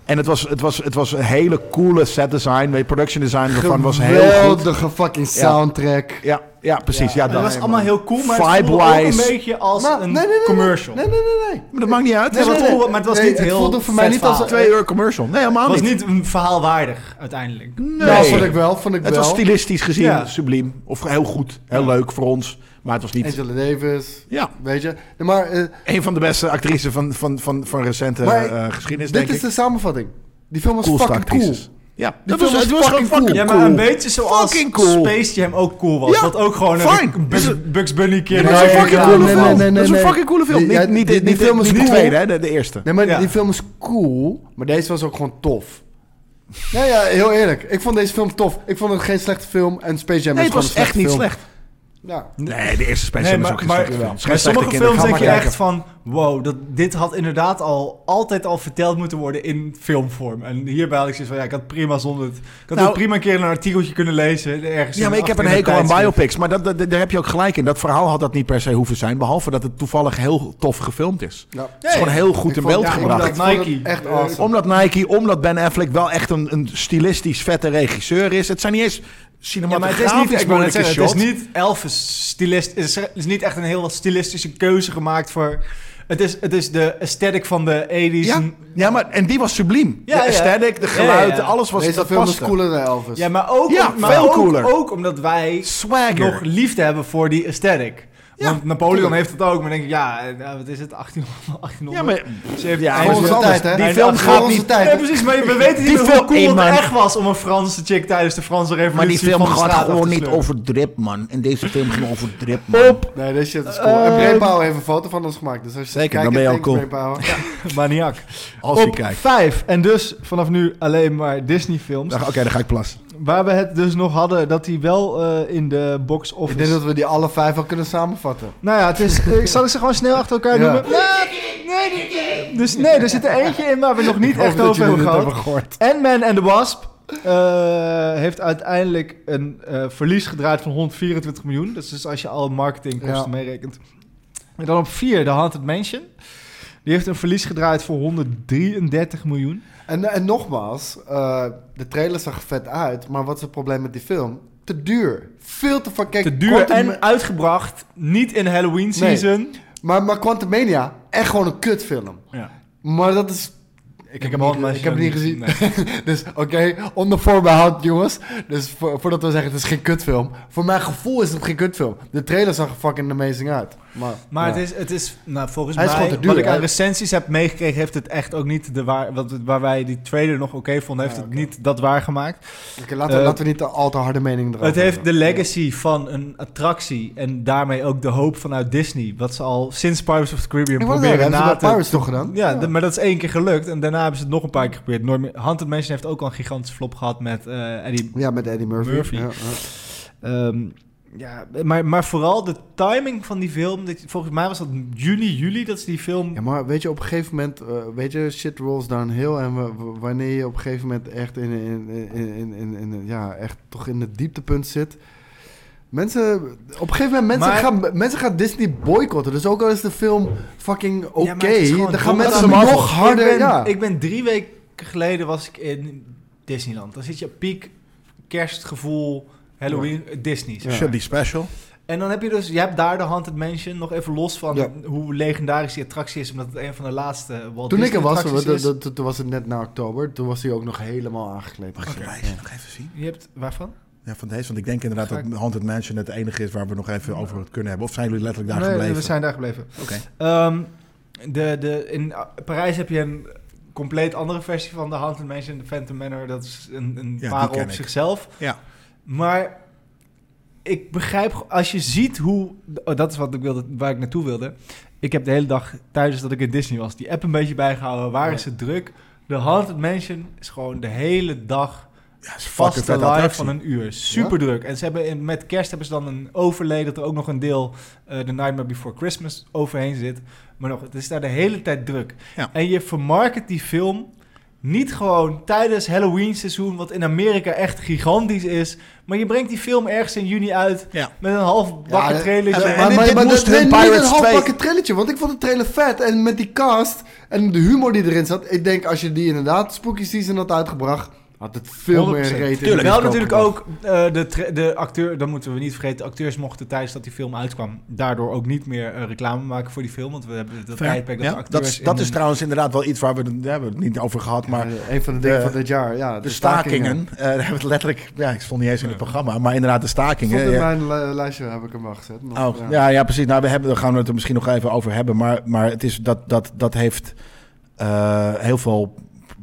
A: en het was, het, was, het was een hele coole set design. De production design ervan was heel goed.
B: Geweldige fucking soundtrack.
A: Ja, ja precies. Ja,
B: Ja,
A: dat.
B: en
D: Het was
B: man.
D: allemaal heel cool, maar het voelde ook een
A: Vibe-wise.
D: beetje als
B: Maar-
D: een
B: nee, nee, nee,
D: commercial.
B: Nee, nee, nee, nee.
A: Maar dat maakt niet uit.
B: Nee,
A: Het was
B: nee,
A: een
D: maar het was
B: Nee,
D: niet
B: het
D: heel
B: voelde voor mij
D: vet
B: niet als-
D: verhaal.
A: twee uur commercial. Nee, helemaal
D: Het was
A: niet.
D: niet een verhaalwaardig uiteindelijk.
A: Nee.
B: Nou, vond ik wel, vond ik
A: Het
B: wel.
A: was stilistisch gezien
D: Ja.
A: subliem. Of heel goed, heel
D: Ja.
A: leuk voor ons. Maar het was niet...
B: Angela Davis,
A: Ja,
B: weet je. Nee, maar eh,
A: een van de beste actrices van, van, van, van recente
B: Maar
A: eh, geschiedenis,
B: dit
A: denk
B: is de
A: ik.
B: samenvatting. Die film was
A: Coolste
B: fucking cool.
A: actrices. Ja,
B: Die
A: dat was,
B: film
A: het
B: was
A: was gewoon
B: fucking
A: fucking
D: Ja,
A: cool.
D: maar een beetje zoals
A: Fucking cool.
D: Space Jam ook cool was.
A: Ja,
D: dat ook gewoon
A: fine.
D: een
A: Is
D: Bugs,
A: het-
D: Bugs Bunny keer.
A: Ja,
B: Nee,
A: dat is een fucking
B: ja,
A: coole
B: nee,
A: film.
B: nee, nee,
A: dat is een
B: nee.
A: fucking coole film.
B: Die-
A: niet
B: ja,
A: niet,
B: die-
A: niet,
B: die film is
A: niet de
B: cool.
A: tweede, hè, de, de eerste.
B: Nee, maar
D: Ja.
B: die film is cool, maar deze was ook gewoon tof. Ja, ja, heel eerlijk. Ik vond deze film tof. Ik vond het geen slechte film en Space Jam
A: Nee,
B: is
A: het
B: gewoon een
A: was echt
B: slechte
A: niet
B: film.
A: slecht.
B: Ja.
A: Nee, de eerste Space
D: Nee,
A: Jam is ook
D: maar,
A: geen slechte
D: maar,
A: film. Het is
D: bij
A: geen slechte
D: sommige
A: kinderen,
D: films denk
A: ga
D: je
A: maar
D: echt
A: kijken.
D: van... Wow, dat, dit had inderdaad al altijd al verteld moeten worden in filmvorm. En hierbij had ik zoiets van... Ja, ik had prima zonder het... Ik had
A: Nou-
D: ook prima een keer een artikeltje kunnen lezen. Ergens
A: Ja, maar ik heb een hekel aan biopics. Maar dat, dat- daar heb je ook gelijk in. Dat verhaal had dat niet per se hoeven zijn. Behalve dat het toevallig heel tof gefilmd is.
B: ja.
A: Het is gewoon heel goed
B: Ik
A: in
B: vond-
A: beeld
B: ja, ik
A: gebracht.
D: omdat
B: vond het
D: Nike,
B: echt
D: eh,
B: awesome.
A: Omdat Nike, omdat Ben Affleck wel echt een, een stilistisch vette regisseur is. Het zijn niet eens
D: Ja, maar het is
A: cinematografisch
D: niet... Ik wou net
A: moeilijke
D: zeggen, het is
A: shots.
D: niet Elvis stilist. Het is, er is niet echt een heel stilistische keuze gemaakt voor... Het is, het is de aesthetic van de 80s.
A: Ja,
D: en-
A: ja, maar, en die was subliem.
D: Ja,
A: de
D: ja.
A: aesthetic, de
D: Ja,
A: geluiden,
D: ja, ja.
A: alles was...
B: deze
A: dat
B: film is
A: paste.
B: cooler dan Elvis.
D: Ja, maar ook,
A: Ja,
D: maar
A: veel
D: ook,
A: cooler.
D: ook omdat wij
A: Swagger.
D: nog liefde hebben voor die aesthetic.
A: Ja,
D: Want Napoleon
A: tuurlijk.
D: heeft het ook, maar denk ik, ja, eh, wat is het, 1800? 1800
A: Ja, maar
D: 1700.
A: ja,
B: Voor
A: dat is
B: onze
A: anders.
B: tijd, hè?
A: die
D: Einde
A: film
D: 1800.
A: gaat
B: Voor
A: niet...
B: onze tijd.
D: Nee, precies, maar we weten
A: Die
D: niet
A: film-
D: hoe cool
A: Hey,
D: het
A: man.
D: echt was om een Franse chick tijdens de Franse revolutie
A: Maar die film
D: van de straat
A: gaat
D: af te
A: gewoon niet
D: sleuren.
A: over drip, man. En deze film ging over drip, man.
B: Nee, deze shit is cool. en Brainpower heeft een foto van ons gemaakt. Dus als je
A: eh, Zeker,
B: kijkt,
A: dan ben je al
B: thanks,
A: cool.
B: Brainpower.
D: Eh,
L: Maniak.
A: Als je
L: op
A: kijkt.
L: 5. En dus vanaf nu alleen maar Disney films.
A: Oké, dan ga ik plassen.
L: Waar we het dus nog hadden dat die wel eh, in de box
B: Ik
L: office...
A: dus-
B: denk dat we die alle vijf al kunnen samenvatten.
L: Nou ja, het is, eh, zal ik ze gewoon snel achter elkaar
B: Ja.
L: noemen? Nee, nee, nee. Dus nee, er zit er eentje in waar we nog niet echt over hebben gehad.
B: gehoord.
L: Ant-Man and the Wasp eh, heeft uiteindelijk een eh, verlies gedraaid van 124 miljoen. Dus, dus als je al marketingkosten
B: Ja.
L: meerekent. En dan op 4, The Haunted Mansion. Die heeft een verlies gedraaid voor 133 miljoen.
B: En, en nogmaals, eh, de trailer zag vet uit, maar wat is het probleem met die film? Te duur. Veel te fucking...
D: Te duur
B: Quantum-
D: en uitgebracht, niet in Halloween
B: Nee.
D: season.
B: Maar, maar Quantumania, echt gewoon een kutfilm.
D: Ja.
B: Maar dat is...
D: Ik,
B: heb hem niet- ik heb hem niet gezien.
D: Nee.
B: Dus oké, onder voorbehoud jongens. Dus voor- voordat we zeggen het is geen kutfilm. Voor mijn gevoel is het geen kutfilm. De trailer zag er fucking amazing uit. Maar,
D: Maar
B: ja.
D: het is, het is nou, volgens
B: Hij is
D: mij,
B: gewoon te duur,
D: wat ik aan
B: hè?
D: recensies heb meegekregen, heeft het echt ook niet de waar, wat, waar wij die trailer nog oké vonden, heeft
B: Ja,
D: het niet dat waargemaakt.
B: Oké, laten, we,
D: eh,
B: laten we niet de al te harde mening erover
D: Het heeft de
B: hebben.
D: legacy van een attractie en daarmee ook de hoop vanuit Disney. Wat ze al sinds Pirates of the Caribbean
B: Ik wou zeggen,
D: proberen
B: hebben ze
D: na
B: bij Pirates
D: te...
B: toch gedaan?
D: Ja, de- maar dat is één keer gelukt en daarna hebben ze het nog een paar keer geprobeerd. Nooit meer- Haunted Mansion heeft ook al een gigantische flop gehad met eh Eddie...
B: Ja, met Eddie Murphy.
D: Murphy.
B: Ja, ja.
D: ehm, ja, maar, maar vooral de timing van die film. dat- volgens mij was dat juni, juli dat ze die film...
B: Ja, maar weet je, op een gegeven moment, eh, weet je, shit rolls downhill. En wa- wa- wanneer je op een gegeven moment echt in, in, in, in, in, in- ja, echt toch in het dieptepunt zit. Mensen, op een gegeven moment, mensen,
D: Maar-
B: gaan, mensen gaan Disney boycotten. Dus ook al is de film fucking oké,
D: Ja, maar het is gewoon
B: dan gaan
D: dom.
B: mensen
A: Dat is Marvel.
B: nog harder,
D: ik ben,
B: ja.
D: ik ben drie weken geleden was ik in Disneyland. Dan zit je op piek, kerstgevoel, Halloween, Disney. zeg
B: Ja.
D: maar.
A: Shut die special.
D: En dan heb je dus, je hebt daar de Haunted Mansion, nog even los van
B: Ja.
D: hoe legendarisch die attractie is, omdat het een van de laatste Walt
B: toen ik er
D: Disney
B: was,
D: attracties
B: we-
D: is.
B: dat- dat- toen was het net na oktober. Toen was hij ook nog helemaal aangekleed.
A: Mag ik het lijstje nog even zien?
D: Je hebt, waarvan?
A: Ja, van deze. Want ik denk inderdaad
L: Ga ik-
A: dat Haunted Mansion het enige is waar we nog even over het kunnen hebben. Of zijn jullie letterlijk daar
L: Nee,
A: gebleven?
L: we zijn daar gebleven.
A: Oké.
D: Ehm, de, de, in eh, Parijs heb je een compleet andere versie van de Haunted Mansion, de Phantom Manor. Dat is een, een
A: die
D: parel
A: ken
D: op
A: ik.
D: zichzelf.
A: Ja.
D: Maar ik begrijp, ge- als je ziet hoe, oh, dat is wat ik wilde, waar ik naartoe wilde. Ik heb de hele dag tijdens dat ik in Disney was, die app een beetje bijgehouden. Waar is het druk? De Haunted Mansion is gewoon de hele dag
A: Ja, is fucking
D: vaste
A: vet
D: live
A: attractie.
D: van een uur. Super druk. En ze hebben in- met kerst hebben ze dan een overlay dat er ook nog een deel eh The Nightmare Before Christmas overheen zit. Maar nog, het is daar de hele tijd druk.
A: Ja.
D: En je vermarket die film niet gewoon tijdens Halloween seizoen, wat in Amerika echt gigantisch is. Maar je brengt die film ergens in juni uit
A: Ja.
D: met een half bakken
B: Ja,
D: trailer.
A: en-
D: zo.
A: en-
B: maar,
A: dit-
B: maar,
A: dit
B: maar
A: moest
B: dat-
A: hun
B: nee, niet
A: Pirates
B: een half
A: 2.
B: pakken trilletje, want ik vond de trailer vet. En met die cast en de humor die erin zat. Ik denk, als je die inderdaad Spooky Season had uitgebracht, had het veel meer
D: 100%.
B: reden.
A: Tuurlijk.
D: Wel
A: Is
D: natuurlijk
A: kopen.
D: ook eh, de, tra- de acteur, dat moeten we niet vergeten. De acteurs mochten tijdens dat die film uitkwam, daardoor ook niet meer eh, reclame maken voor die film. Want we hebben dat
A: Fair.
D: tijdperk dat
A: Ja,
D: de
A: dat,
D: acteurs.
A: is- dat
D: in
A: is
D: een-
A: trouwens inderdaad wel iets waar we, het- daar hebben we het niet over gehad. Maar
B: Eh, een van de dingen
A: de-
B: van dit jaar, ja.
A: de stakingen, eh, daar hebben we het letterlijk... Ja, ik stond niet eens in het programma, maar inderdaad de
B: Stond
A: stakingen.
B: in
A: ja.
B: mijn li- lijstje, heb ik hem wel gezet. nog,
A: Oh, ja. ja, precies. Nou, we hebben, daar gaan we het er misschien nog even over hebben. Maar, maar het is, dat, dat, dat heeft eh, heel veel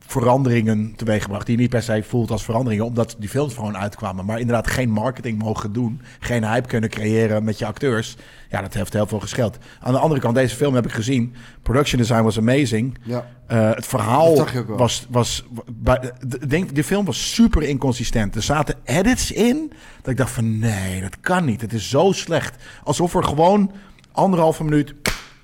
A: veranderingen teweeggebracht. Die je niet per se voelt als veranderingen. Omdat die films gewoon uitkwamen. Maar inderdaad geen marketing mogen doen. Geen hype kunnen creëren met je acteurs. Ja, dat heeft heel veel gescheld. Aan de andere kant, deze film heb ik gezien. Production design was amazing.
B: Ja.
A: Eh, het verhaal
B: Dat zag je ook wel.
A: was... was wa- bij- de- denk, de film was super inconsistent. Er zaten edits in dat ik dacht van... Nee, dat kan niet. Het is zo slecht. Alsof er gewoon anderhalve minuut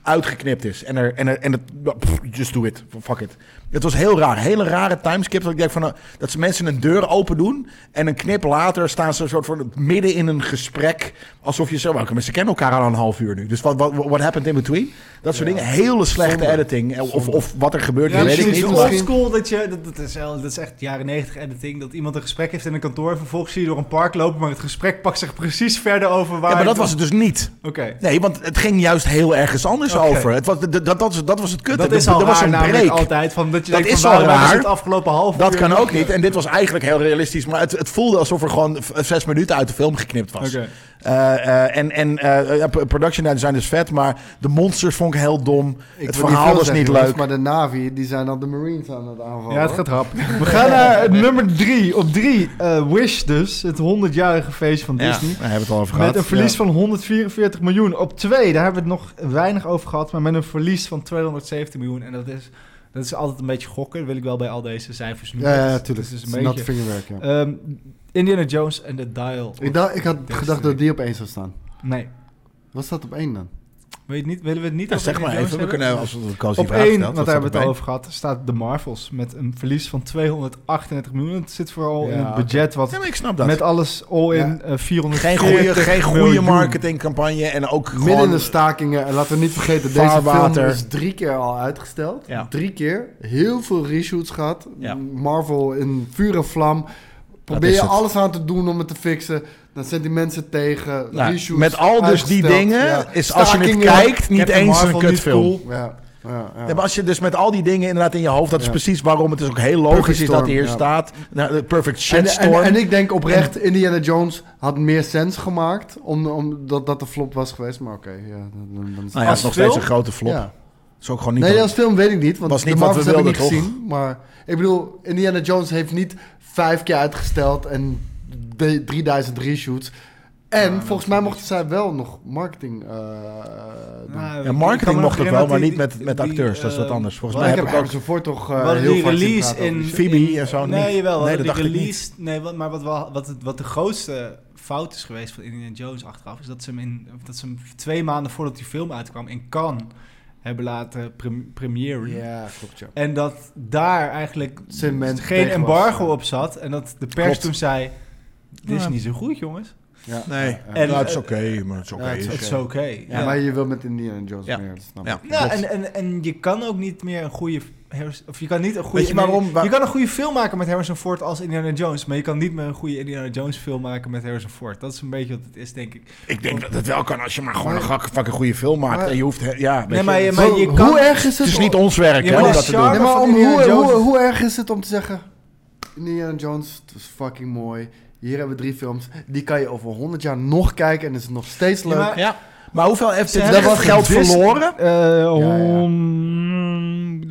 A: uitgeknipt is. En, er, en, er, en het... pff, Just do it. Fuck it. Het was heel raar. Hele rare timeskip. Dat ik denk van... nou, Dat ze mensen een deur open doen... en een knip later staan ze een soort van midden in een gesprek. Alsof je zo... Ze kennen elkaar al een half uur nu. Dus wat wat what happened in between? Dat soort dingen. Hele slechte editing. Of, of wat er gebeurt,
D: Ja,
A: dat weet ik
D: precies.
A: niet.
D: Old
A: maar-
D: school dat je, dat, dat is, wel- dat is echt jaren 90 editing, dat iemand een gesprek heeft in een kantoor, vervolgens zie je door een park lopen, maar het gesprek pakt zich precies verder over waar...
A: Ja, maar dat
D: het-
A: was het dus niet.
D: Oké.
A: Nee, want het ging juist heel ergens anders
D: Oké.
A: over. Het was, dat, dat, was- dat was het kutte.
D: Dat
A: Er-
D: is al
A: er was
D: raar
A: een
D: namelijk
A: break.
D: altijd, van dat je
A: Dat
D: denkt
A: is
D: van,
A: al
D: waarom hebben ze
A: raar.
D: het afgelopen half
A: Dat
D: uur
A: kan
D: nog-
A: ook niet. En dit was eigenlijk heel realistisch. Maar het, het voelde alsof er gewoon v- zes minuten uit de film geknipt was.
D: Oké.
A: Eh, eh, en en eh, ja, p- production zijn dus vet. Maar de monsters vond ik heel dom.
B: Ik
A: het
B: wil
A: verhaal
B: veel
A: was
B: zeggen,
A: niet
B: jongens,
A: leuk.
B: Maar de Navi, die zijn dan de Marines aan het aanvallen.
D: Ja, het gaat rap. We gaan naar nummer drie. Op drie, eh, Wish dus, het 100-jarige feest van
A: Ja, daar
D: Disney.
A: hebben we het al over gehad.
D: Met een verlies van 144 miljoen. Op twee, daar hebben we het nog weinig over gehad. Maar met een verlies van 217 miljoen. En dat is, dat is altijd een beetje gokken. Dat wil ik wel bij al deze cijfers noemen.
B: Ja, ja,
D: Dat is-
B: tuurlijk.
D: dat
B: Het
D: is
B: is
D: een
B: nat
D: beetje...
B: vingerwerk, ja.
D: Ehm, Indiana Jones en The Dial.
B: Ik, dacht, ik had
D: Destiny.
B: gedacht dat die op één zou staan.
D: Nee.
B: Wat staat op één dan?
D: Weet je niet, willen we het niet
A: Ja,
D: over
A: zeg maar
D: Indiana
A: even. We
D: Jones
A: kunnen,
D: hebben?
A: als we de koos
D: Op
A: die vraag
D: één,
A: stelt,
D: want daar
A: wat
D: hebben we
A: staat erbij?
D: het al over gehad, staat de Marvels met een verlies van 238 miljoen. Het zit vooral
B: Ja,
D: in het budget wat
A: Ja, maar ik snap dat.
D: met alles all in
B: Ja.
D: eh, 440
A: Geen goede, geen goede
D: miljoen.
A: marketingcampagne. En ook
B: Midden
A: gewoon...
B: in de stakingen. En laten we niet vergeten, deze film
A: Vaarwater.
B: is drie keer al uitgesteld.
A: Ja.
B: Drie keer. Heel veel reshoots gehad.
A: Ja.
B: Marvel in vuur en vlam. Probeer
A: is
B: je
A: het.
B: alles aan te doen om het te fixen. Dan zijn die mensen tegen.
A: Nou,
B: reshoots
A: met al dus die
B: uitgesteld.
A: dingen
B: Ja.
A: is als je het
B: Stakingen.
A: kijkt niet
D: Captain
A: eens
D: Marvel
A: een
D: niet
A: kutfilm.
D: cool.
B: Ja, ja, ja.
A: Ja, maar als je dus met al die dingen inderdaad in je hoofd, dat is
B: Ja.
A: precies waarom het is ook heel logisch
B: Perfect
A: is dat hij hier
B: Storm,
A: staat. Nou, de perfect
B: En,
A: shitstorm.
B: en, en ik denk oprecht, Indiana Jones had meer sens gemaakt. Omdat om, dat, dat de flop was geweest. Maar oké, ja, dan, dan, dan is
A: nou ja, het is nog steeds een grote flop.
B: Ja.
A: Is ook gewoon niet.
B: Nee,
A: dat-
B: als film weet ik niet. Want
A: was niet
B: de
A: wat
B: Marvels
A: we
B: heb ik niet
A: wilden, toch?
B: gezien. Maar ik bedoel, Indiana Jones heeft niet vijf keer uitgesteld en de- 3000 reshoots. En volgens mij mochten zij wel nog marketing eh, doen.
G: Nou, ik kan
A: ja,
G: me
A: marketing
G: nog
A: mocht het
G: herinneren
A: wel,
G: dat
A: maar
G: die-
A: niet met, met
G: die,
A: acteurs. Dat is wat
G: eh,
A: anders. Volgens
B: maar
A: mij
B: ik
A: heb
B: heb
A: ik ook
B: hebben ze voor toch
D: We
B: eh,
D: hadden
B: heel
D: die
B: vaak zien
D: release
B: praten over.
D: in...
A: Phoebe
D: in-
A: en zo
D: Nee,
A: niet.
D: jawel. we
A: Nee, dat
D: hadden die
A: dacht ik niet.
D: release, Nee, wat- maar wat, wel- wat, het- wat de grootste fout is geweest van Indiana Jones achteraf... is dat ze hem, in, dat ze hem twee maanden voordat die film uitkwam in Cannes hebben laten prem- premieren.
B: Ja, klopt ja.
D: En dat daar eigenlijk
B: Sentiment
D: geen
B: tegen was.
D: embargo op zat. En dat de pers
A: Klopt.
D: toen zei... Dit is
A: Ja.
D: niet zo goed, jongens.
B: Ja,
A: Nee,
B: ja, ja.
A: en,
D: En-
A: nou, het is oké, maar het is oké.
B: Ja, het is
A: is-
B: oké.
D: Het is oké.
B: Ja, Maar je wil met Indiana Jones
A: Ja.
B: meer, dat snap
A: Ja. eh,
B: ik.
D: Nou, en, en, en je kan ook niet meer een goede. Harris- Of je kan niet een goede.
A: Weet je waarom?
D: Je kan een goede film maken met Harrison Ford als Indiana Jones. Maar je kan niet meer een goede Indiana Jones film maken met Harrison Ford. Dat is een beetje wat het is, denk ik.
A: Ik denk dat het wel kan als je maar gewoon een gak- fucking goede film maakt.
B: Maar-
A: En je hoeft. he- Ja, weet
D: Nee,
A: je,
D: maar, je-
A: het-
D: maar
B: Zo,
D: je
B: hoe
D: kan.
B: erg is het?
A: het is niet
B: om-
A: ons werk hè,
D: Ja, maar
A: om
D: de
A: dat te
D: charme-
A: doen.
B: Nee, maar
D: van
B: om,
D: Indiana
B: hoe,
D: Jones.
B: hoe, hoe erg is het om te zeggen... Indiana Jones, het was fucking mooi. Hier hebben we drie films. Die kan je over 100 jaar nog kijken en is het nog steeds leuk.
D: Ja, maar-
A: Ja. Maar hoeveel heeft
D: Ze
A: dit
D: hebben
A: geld
D: Disney-
A: verloren?
D: Eh,
B: ja.
D: om-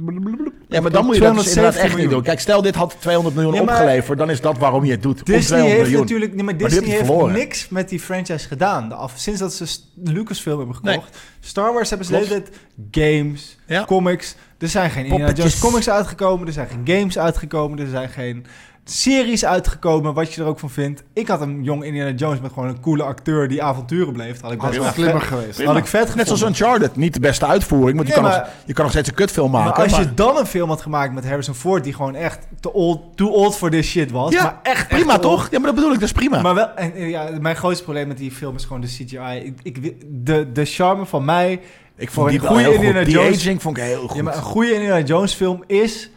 A: Ja, maar dan moet je dat dus inderdaad echt
D: 270
A: niet
D: miljoen.
A: doen. Kijk, stel dit had 200 miljoen
D: Ja, maar-
A: opgeleverd, dan is dat waarom je het doet. Om
D: Disney
A: 200
D: heeft
A: miljoen.
D: natuurlijk nee, maar
A: die
D: Disney
A: heeft
D: heeft
A: verloren.
D: niks met die franchise gedaan. De af, sinds dat ze S- Lucasfilm hebben
A: Nee.
D: gekocht. Star Wars hebben ze
A: Klopt.
D: de hele tijd games,
A: Ja.
D: comics. Er zijn geen Indiana
A: Poppetjes.
D: Jones comics uitgekomen. Er zijn geen games uitgekomen. Er zijn geen series uitgekomen. Wat je er ook van vindt. Ik had een jong Indiana Jones met gewoon een coole acteur die avonturen beleeft. Had ik best
B: Had het
A: prima.
D: wel
B: slimmer geweest.
A: Prima.
D: had ik vet
A: Net zoals
D: gevonden.
A: Uncharted. Niet de beste uitvoering, want je,
D: Nee,
A: kan, nog,
D: maar-
A: je kan nog steeds een kutfilm maken.
D: maar als
A: maar-
D: je dan een film had gemaakt met Harrison Ford, die gewoon echt te old, too old for this shit was.
A: Ja,
D: maar echt
A: prima
D: echt te old.
A: toch? Ja, maar dat bedoel ik, dat is prima.
D: Maar wel, en, eh, ja, mijn grootste probleem met die film is gewoon de CGI. Ik, ik, wi- de, de charme van mij,
A: ik
D: voor
A: vond
D: een
A: die wel
D: goede
A: heel
D: Indiana
A: goed. Die
D: Jones-
A: aging vond ik heel goed.
D: ja, maar een goede Indiana Jones film is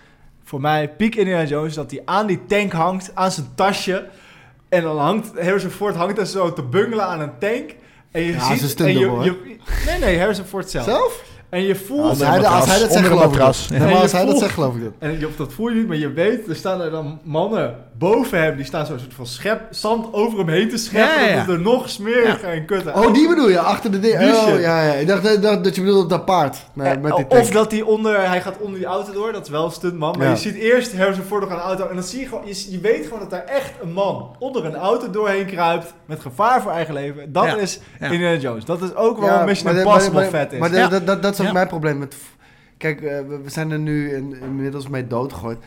D: voor mij, piek Indiana Jones, dat hij aan die tank hangt, aan zijn tasje. En dan hangt, Harrison Ford hangt daar zo te bungelen aan een tank. En je
B: Ja,
D: ziet,
B: ze is
D: en je,
B: Tinder, hoor.
D: je- nee, nee, Harrison Ford zelf.
B: Zelf?
D: En je voelt,
B: Als hij, dat- als hij dat zegt,
A: Onder een
B: geloof ik dat.
A: matras. Ja.
B: Nee, maar
D: En
B: als
D: je
B: hij dat
D: voelt-
B: zegt, geloof ik dat.
D: En je- dat voel je niet, maar je weet, er staan er dan mannen boven hem, die staan zo'n soort van schep, zand over hem heen te scheppen,
A: Ja, ja, ja.
D: dat het er nog smeriger en kutter
B: Oh, die bedoel je, achter de ding.
D: Douche.
B: Oh, ja, ja. Ik dacht dat, dat, dat je bedoelde op dat paard. Nee,
D: Eh,
B: met die tank.
D: of dat hij onder, hij gaat onder die auto door, dat is wel een stuntman. Maar
B: Ja.
D: je ziet eerst Harrison Ford nog aan de auto en dan zie je gewoon, je, je weet gewoon dat daar echt een man onder een auto doorheen kruipt met gevaar voor eigen leven. Dat
A: Ja,
D: is
A: ja.
D: Indiana Jones. Dat is ook waarom
B: Ja,
D: Mission
B: maar de-
D: Impossible
B: maar de-
D: vet is.
B: Maar de-
A: Ja.
B: dat, dat, dat is ook
A: Ja.
B: mijn probleem. Met, kijk, eh, we we zijn er nu in, inmiddels mee doodgegooid.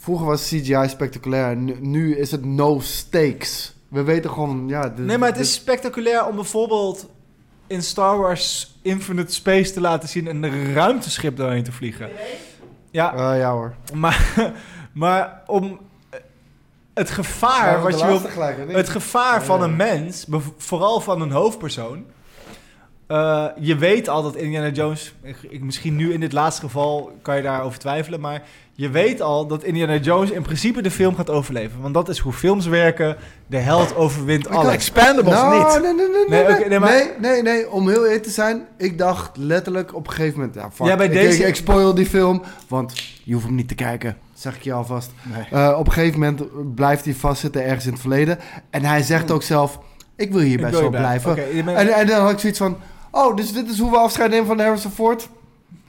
B: Vroeger was CGI spectaculair. Nu, nu is het no stakes. We weten gewoon, ja... dit-
D: nee, maar het
B: dit-
D: is spectaculair om bijvoorbeeld in Star Wars Infinite Space te laten zien en een ruimteschip doorheen te vliegen. Ja,
B: Eh, ja hoor.
D: maar, maar om eh, het gevaar
B: Ja,
D: wat
B: de
D: je
B: laatste
D: wil
B: gelijk, hè?
D: Het gevaar van
B: Ja.
D: een mens, bev- vooral van een hoofdpersoon. eh, je weet al dat Indiana Jones, ik- ik- misschien nu in dit laatste geval kan je daarover twijfelen, maar je weet al dat Indiana Jones in principe de film gaat overleven. Want dat is hoe films werken. De held overwint
A: Alle
D: alles.
A: Expendables
B: Nou,
A: niet.
B: Nee, nee, nee, nee,
D: Nee,
B: nee,
D: oké, nee, maar-
B: nee, nee, nee, om heel eerlijk te zijn, ik dacht letterlijk op een gegeven moment, ja, fuck,
D: Ja, bij
B: ik,
D: deze-
B: ik, ik spoil die film, want je hoeft hem niet te kijken, zeg ik je alvast. Eh, op een gegeven moment blijft hij vastzitten ergens in het verleden en hij zegt ook zelf, ik wil hierbij
D: Ik wil
B: zo
D: hierbij.
B: blijven.
D: Oké, je bent-
B: En, en dan had ik zoiets van, oh, dus dit is hoe we afscheid nemen van Harrison Ford?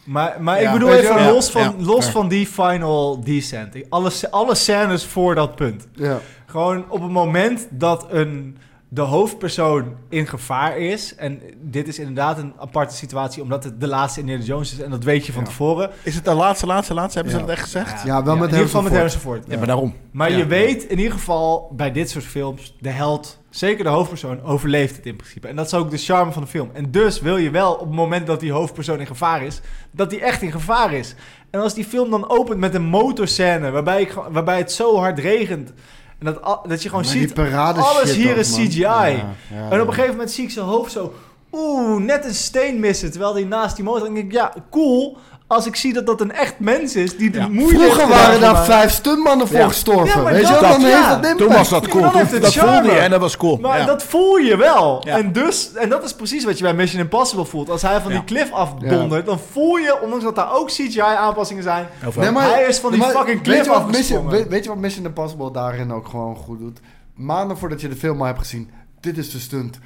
D: Maar, maar ik
A: Ja,
D: bedoel
B: weet je
D: even
A: wel.
D: los, van,
A: Ja, ja,
D: los
A: fair.
D: van die final descent. Alle, sc- alle scènes voor dat punt.
B: Ja.
D: Gewoon op het moment dat een, de hoofdpersoon in gevaar is. En dit is inderdaad een aparte situatie, omdat het de laatste Indiana Jones is. En dat weet je van
B: Ja.
D: tevoren.
A: Is het de laatste, laatste, laatste? Hebben
B: Ja.
A: ze dat echt gezegd? Ja,
B: Ja, wel met
D: in ieder geval
B: Harrison
D: met Harrison Ford.
A: maar daarom.
D: Maar
A: Ja.
D: je weet in ieder geval bij dit soort films, de held, zeker de hoofdpersoon, overleeft het in principe. En dat is ook de charme van de film. En dus wil je wel op het moment dat die hoofdpersoon in gevaar is, dat die echt in gevaar is. En als die film dan opent met een motorscène waarbij, ik, gewoon- waarbij het zo hard regent. En dat, al- dat je gewoon
B: Maar
D: ziet,
B: die parade
D: alles
B: shit
D: hier
B: ook,
D: is
B: man.
D: CGI.
B: Ja, ja,
D: En op
B: ja.
D: een gegeven moment zie ik zijn hoofd zo... Oeh, net een steen missen. Terwijl hij naast die motor... En ik denk, ja, cool. Als ik zie dat dat een echt mens is... die de moeite
B: Vroeger
D: heeft gedaan
B: waren
D: om
B: daar
D: haar-
B: vijf stuntmannen voor
A: Ja.
B: gestorven.
D: Ja, maar
B: Weet je wel,
D: dat-
B: dan
D: ja.
B: heeft dat
A: Toen
B: impact.
A: was dat cool.
D: dan
A: Toen-
D: heeft het
A: Dat voelde
D: charme.
A: je en dat was cool.
D: Maar
A: Ja.
D: dat voel je wel.
A: Ja.
D: En, dus, en dat is precies wat je bij Mission Impossible voelt. Als hij van die
A: Ja.
D: cliff afdondert... dan voel je, ondanks dat daar ook CGI-aanpassingen zijn...
A: Heel veel.
B: Nee, maar,
D: Hij is van die
B: maar
D: fucking
B: weet je,
D: cliff
B: wat Mission,
D: afgesprongen.
B: weet, weet je wat Mission Impossible daarin ook gewoon goed doet? Maanden voordat je de film al hebt gezien, dit is de stunt.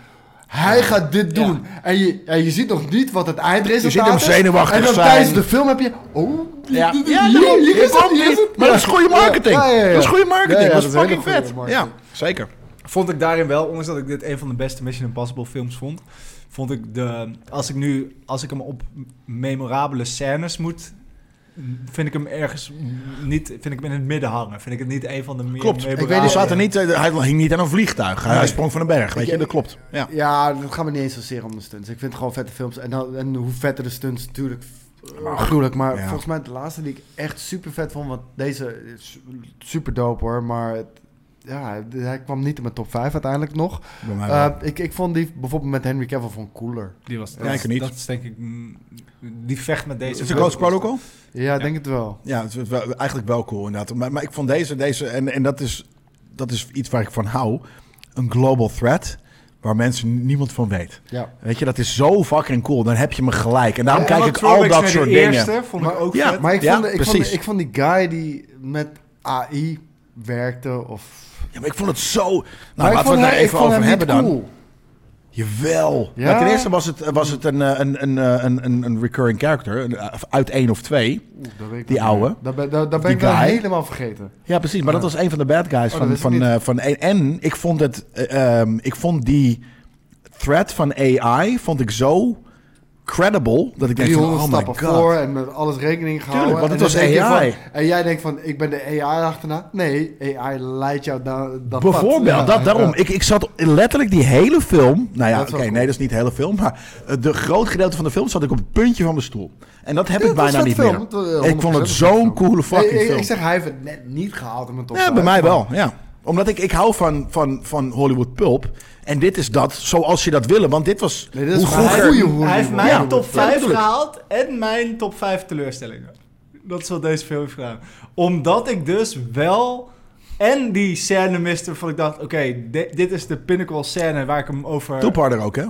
B: Hij gaat dit doen. En, je, en je ziet nog niet wat het eindresultaat is.
A: Je ziet hem zenuwachtig
B: En dan
A: zijn.
B: tijdens de film heb je... Oh,
A: Ja.
B: dit- dit-
A: Ja,
B: hier,
A: daarom.
B: hier
A: Hier
B: is het,
A: komt
B: hier is
A: hij.
B: het.
A: Maar dat is goede marketing.
B: Ja, ja, ja, ja.
A: Dat is goede marketing.
B: Ja, ja,
A: dat
B: dat
A: is
B: is hele
A: fucking
B: goede
A: vet. Ja,
B: marketing.
A: zeker.
D: Vond ik daarin wel, ondanks dat ik dit een van de beste Mission Impossible films vond. Vond ik de. Als ik nu. Als ik hem op memorabele scènes moet. Vind ik hem ergens niet. Vind ik hem in het midden hangen. Vind ik het niet een van de meer.
A: Klopt. Ik
D: memorabele-
A: weet, er zaten niet, eh, hij hing niet aan een vliegtuig. Hij, hij sprong van een berg. Weet
B: Ik-
A: je, dat klopt. Ja.
B: Ja, dat gaat me niet eens zozeer om de stunts. Ik vind gewoon vette films. En, dan- en hoe vetter de stunts, natuurlijk. eh, gruwelijk. Maar
A: Ja.
B: volgens mij de laatste die ik echt super vet vond. Want deze is super dope hoor. Maar het- ja, hij kwam niet in mijn top 5 uiteindelijk nog.
A: Bij mij wel.
B: Eh, ik, ik vond die bijvoorbeeld met Henry Cavill van cooler.
D: Die was.
A: Ja, ik niet.
D: Dat is denk ik. mm, Die vecht met deze.
A: is de Ghost Protocol?
B: Ja, ik denk het wel.
A: Ja, het is wel- eigenlijk wel cool inderdaad. Maar, maar ik vond deze, deze en, en dat, is, dat is iets waar ik van hou, een global threat waar mensen niemand van weet.
B: Ja.
A: Weet je, dat is zo fucking cool. Dan heb je me gelijk. En daarom
D: En
A: kijk
D: wat
A: ik al
D: throwbacks
A: dat
D: naar
A: soort
D: de
A: dingen.
D: eerste Vond ik
B: Maar-
D: ook
A: ja,
D: vet.
B: Maar ik,
A: Ja,
B: vond, ik, vond,
A: precies.
B: ik vond die guy die met AI werkte of...
A: Ja, maar ik vond het zo... Nou,
B: Maar ik
A: laten we
B: vond
A: het daar
B: hij- ik
A: even
B: vond
A: over
B: hem niet
A: hebben dan.
B: cool.
A: Jawel.
B: Ja?
A: Maar ten eerste was het, was het een, eh, een, een, eh, een, een, een recurring character. Een, eh, uit één of twee.
B: Oeh, dat weet ik
A: Die
B: niet
A: ouwe.
B: meer. Daar ben, daar, daar ben
A: Die
B: ik wel
A: guy.
B: helemaal vergeten.
A: Ja, precies. Maar dat was een van de bad guys
B: Oh, dat
A: van,
B: wist ik
A: van,
B: niet.
A: eh, van één. En ik vond het. eh, ehm, ik vond die threat van AI vond ik zo credible dat ik dacht: van,
B: 300
A: oh my
B: stappen
A: god.
B: voor en met alles rekening gehouden.
A: Tuurlijk, want het
B: En
A: was
B: dan denk je
A: AI.
B: van- en jij denkt van, ik ben de AI achterna. Nee, AI leidt jou naar dat
A: Bijvoorbeeld,
B: pad.
A: dat, daarom. Ik, ik zat letterlijk die hele film. Nou ja,
B: Dat is wel
A: oké,
B: cool.
A: nee, dat is niet de hele film. Maar eh, de groot gedeelte van de film zat ik op het puntje van mijn stoel. En dat heb ik bijna niet meer. Ik vond het zo'n coole fucking
B: ik,
A: film.
B: Ik zeg, hij heeft het net niet gehaald in mijn top
A: Ja, bij
B: vijf,
A: mij
B: maar-
A: wel, ja. Omdat ik, ik hou van, van, van Hollywood pulp. En dit is dat zoals je dat willen. Want dit was
B: Nee, dit is
A: hoe
B: gewoon
A: vroeger...
B: goeie hoe-
D: Hij heeft
B: Ja,
D: mijn
A: ja,
D: top
A: ja,
D: 5
A: natuurlijk.
D: gehaald en mijn top 5 teleurstellingen. Dat is wat deze film heeft gedaan. Omdat ik dus wel... En die scène miste waarvan ik dacht... Oké, di- dit is de pinnacle scène waar ik hem over...
A: Toeparder ook, hè?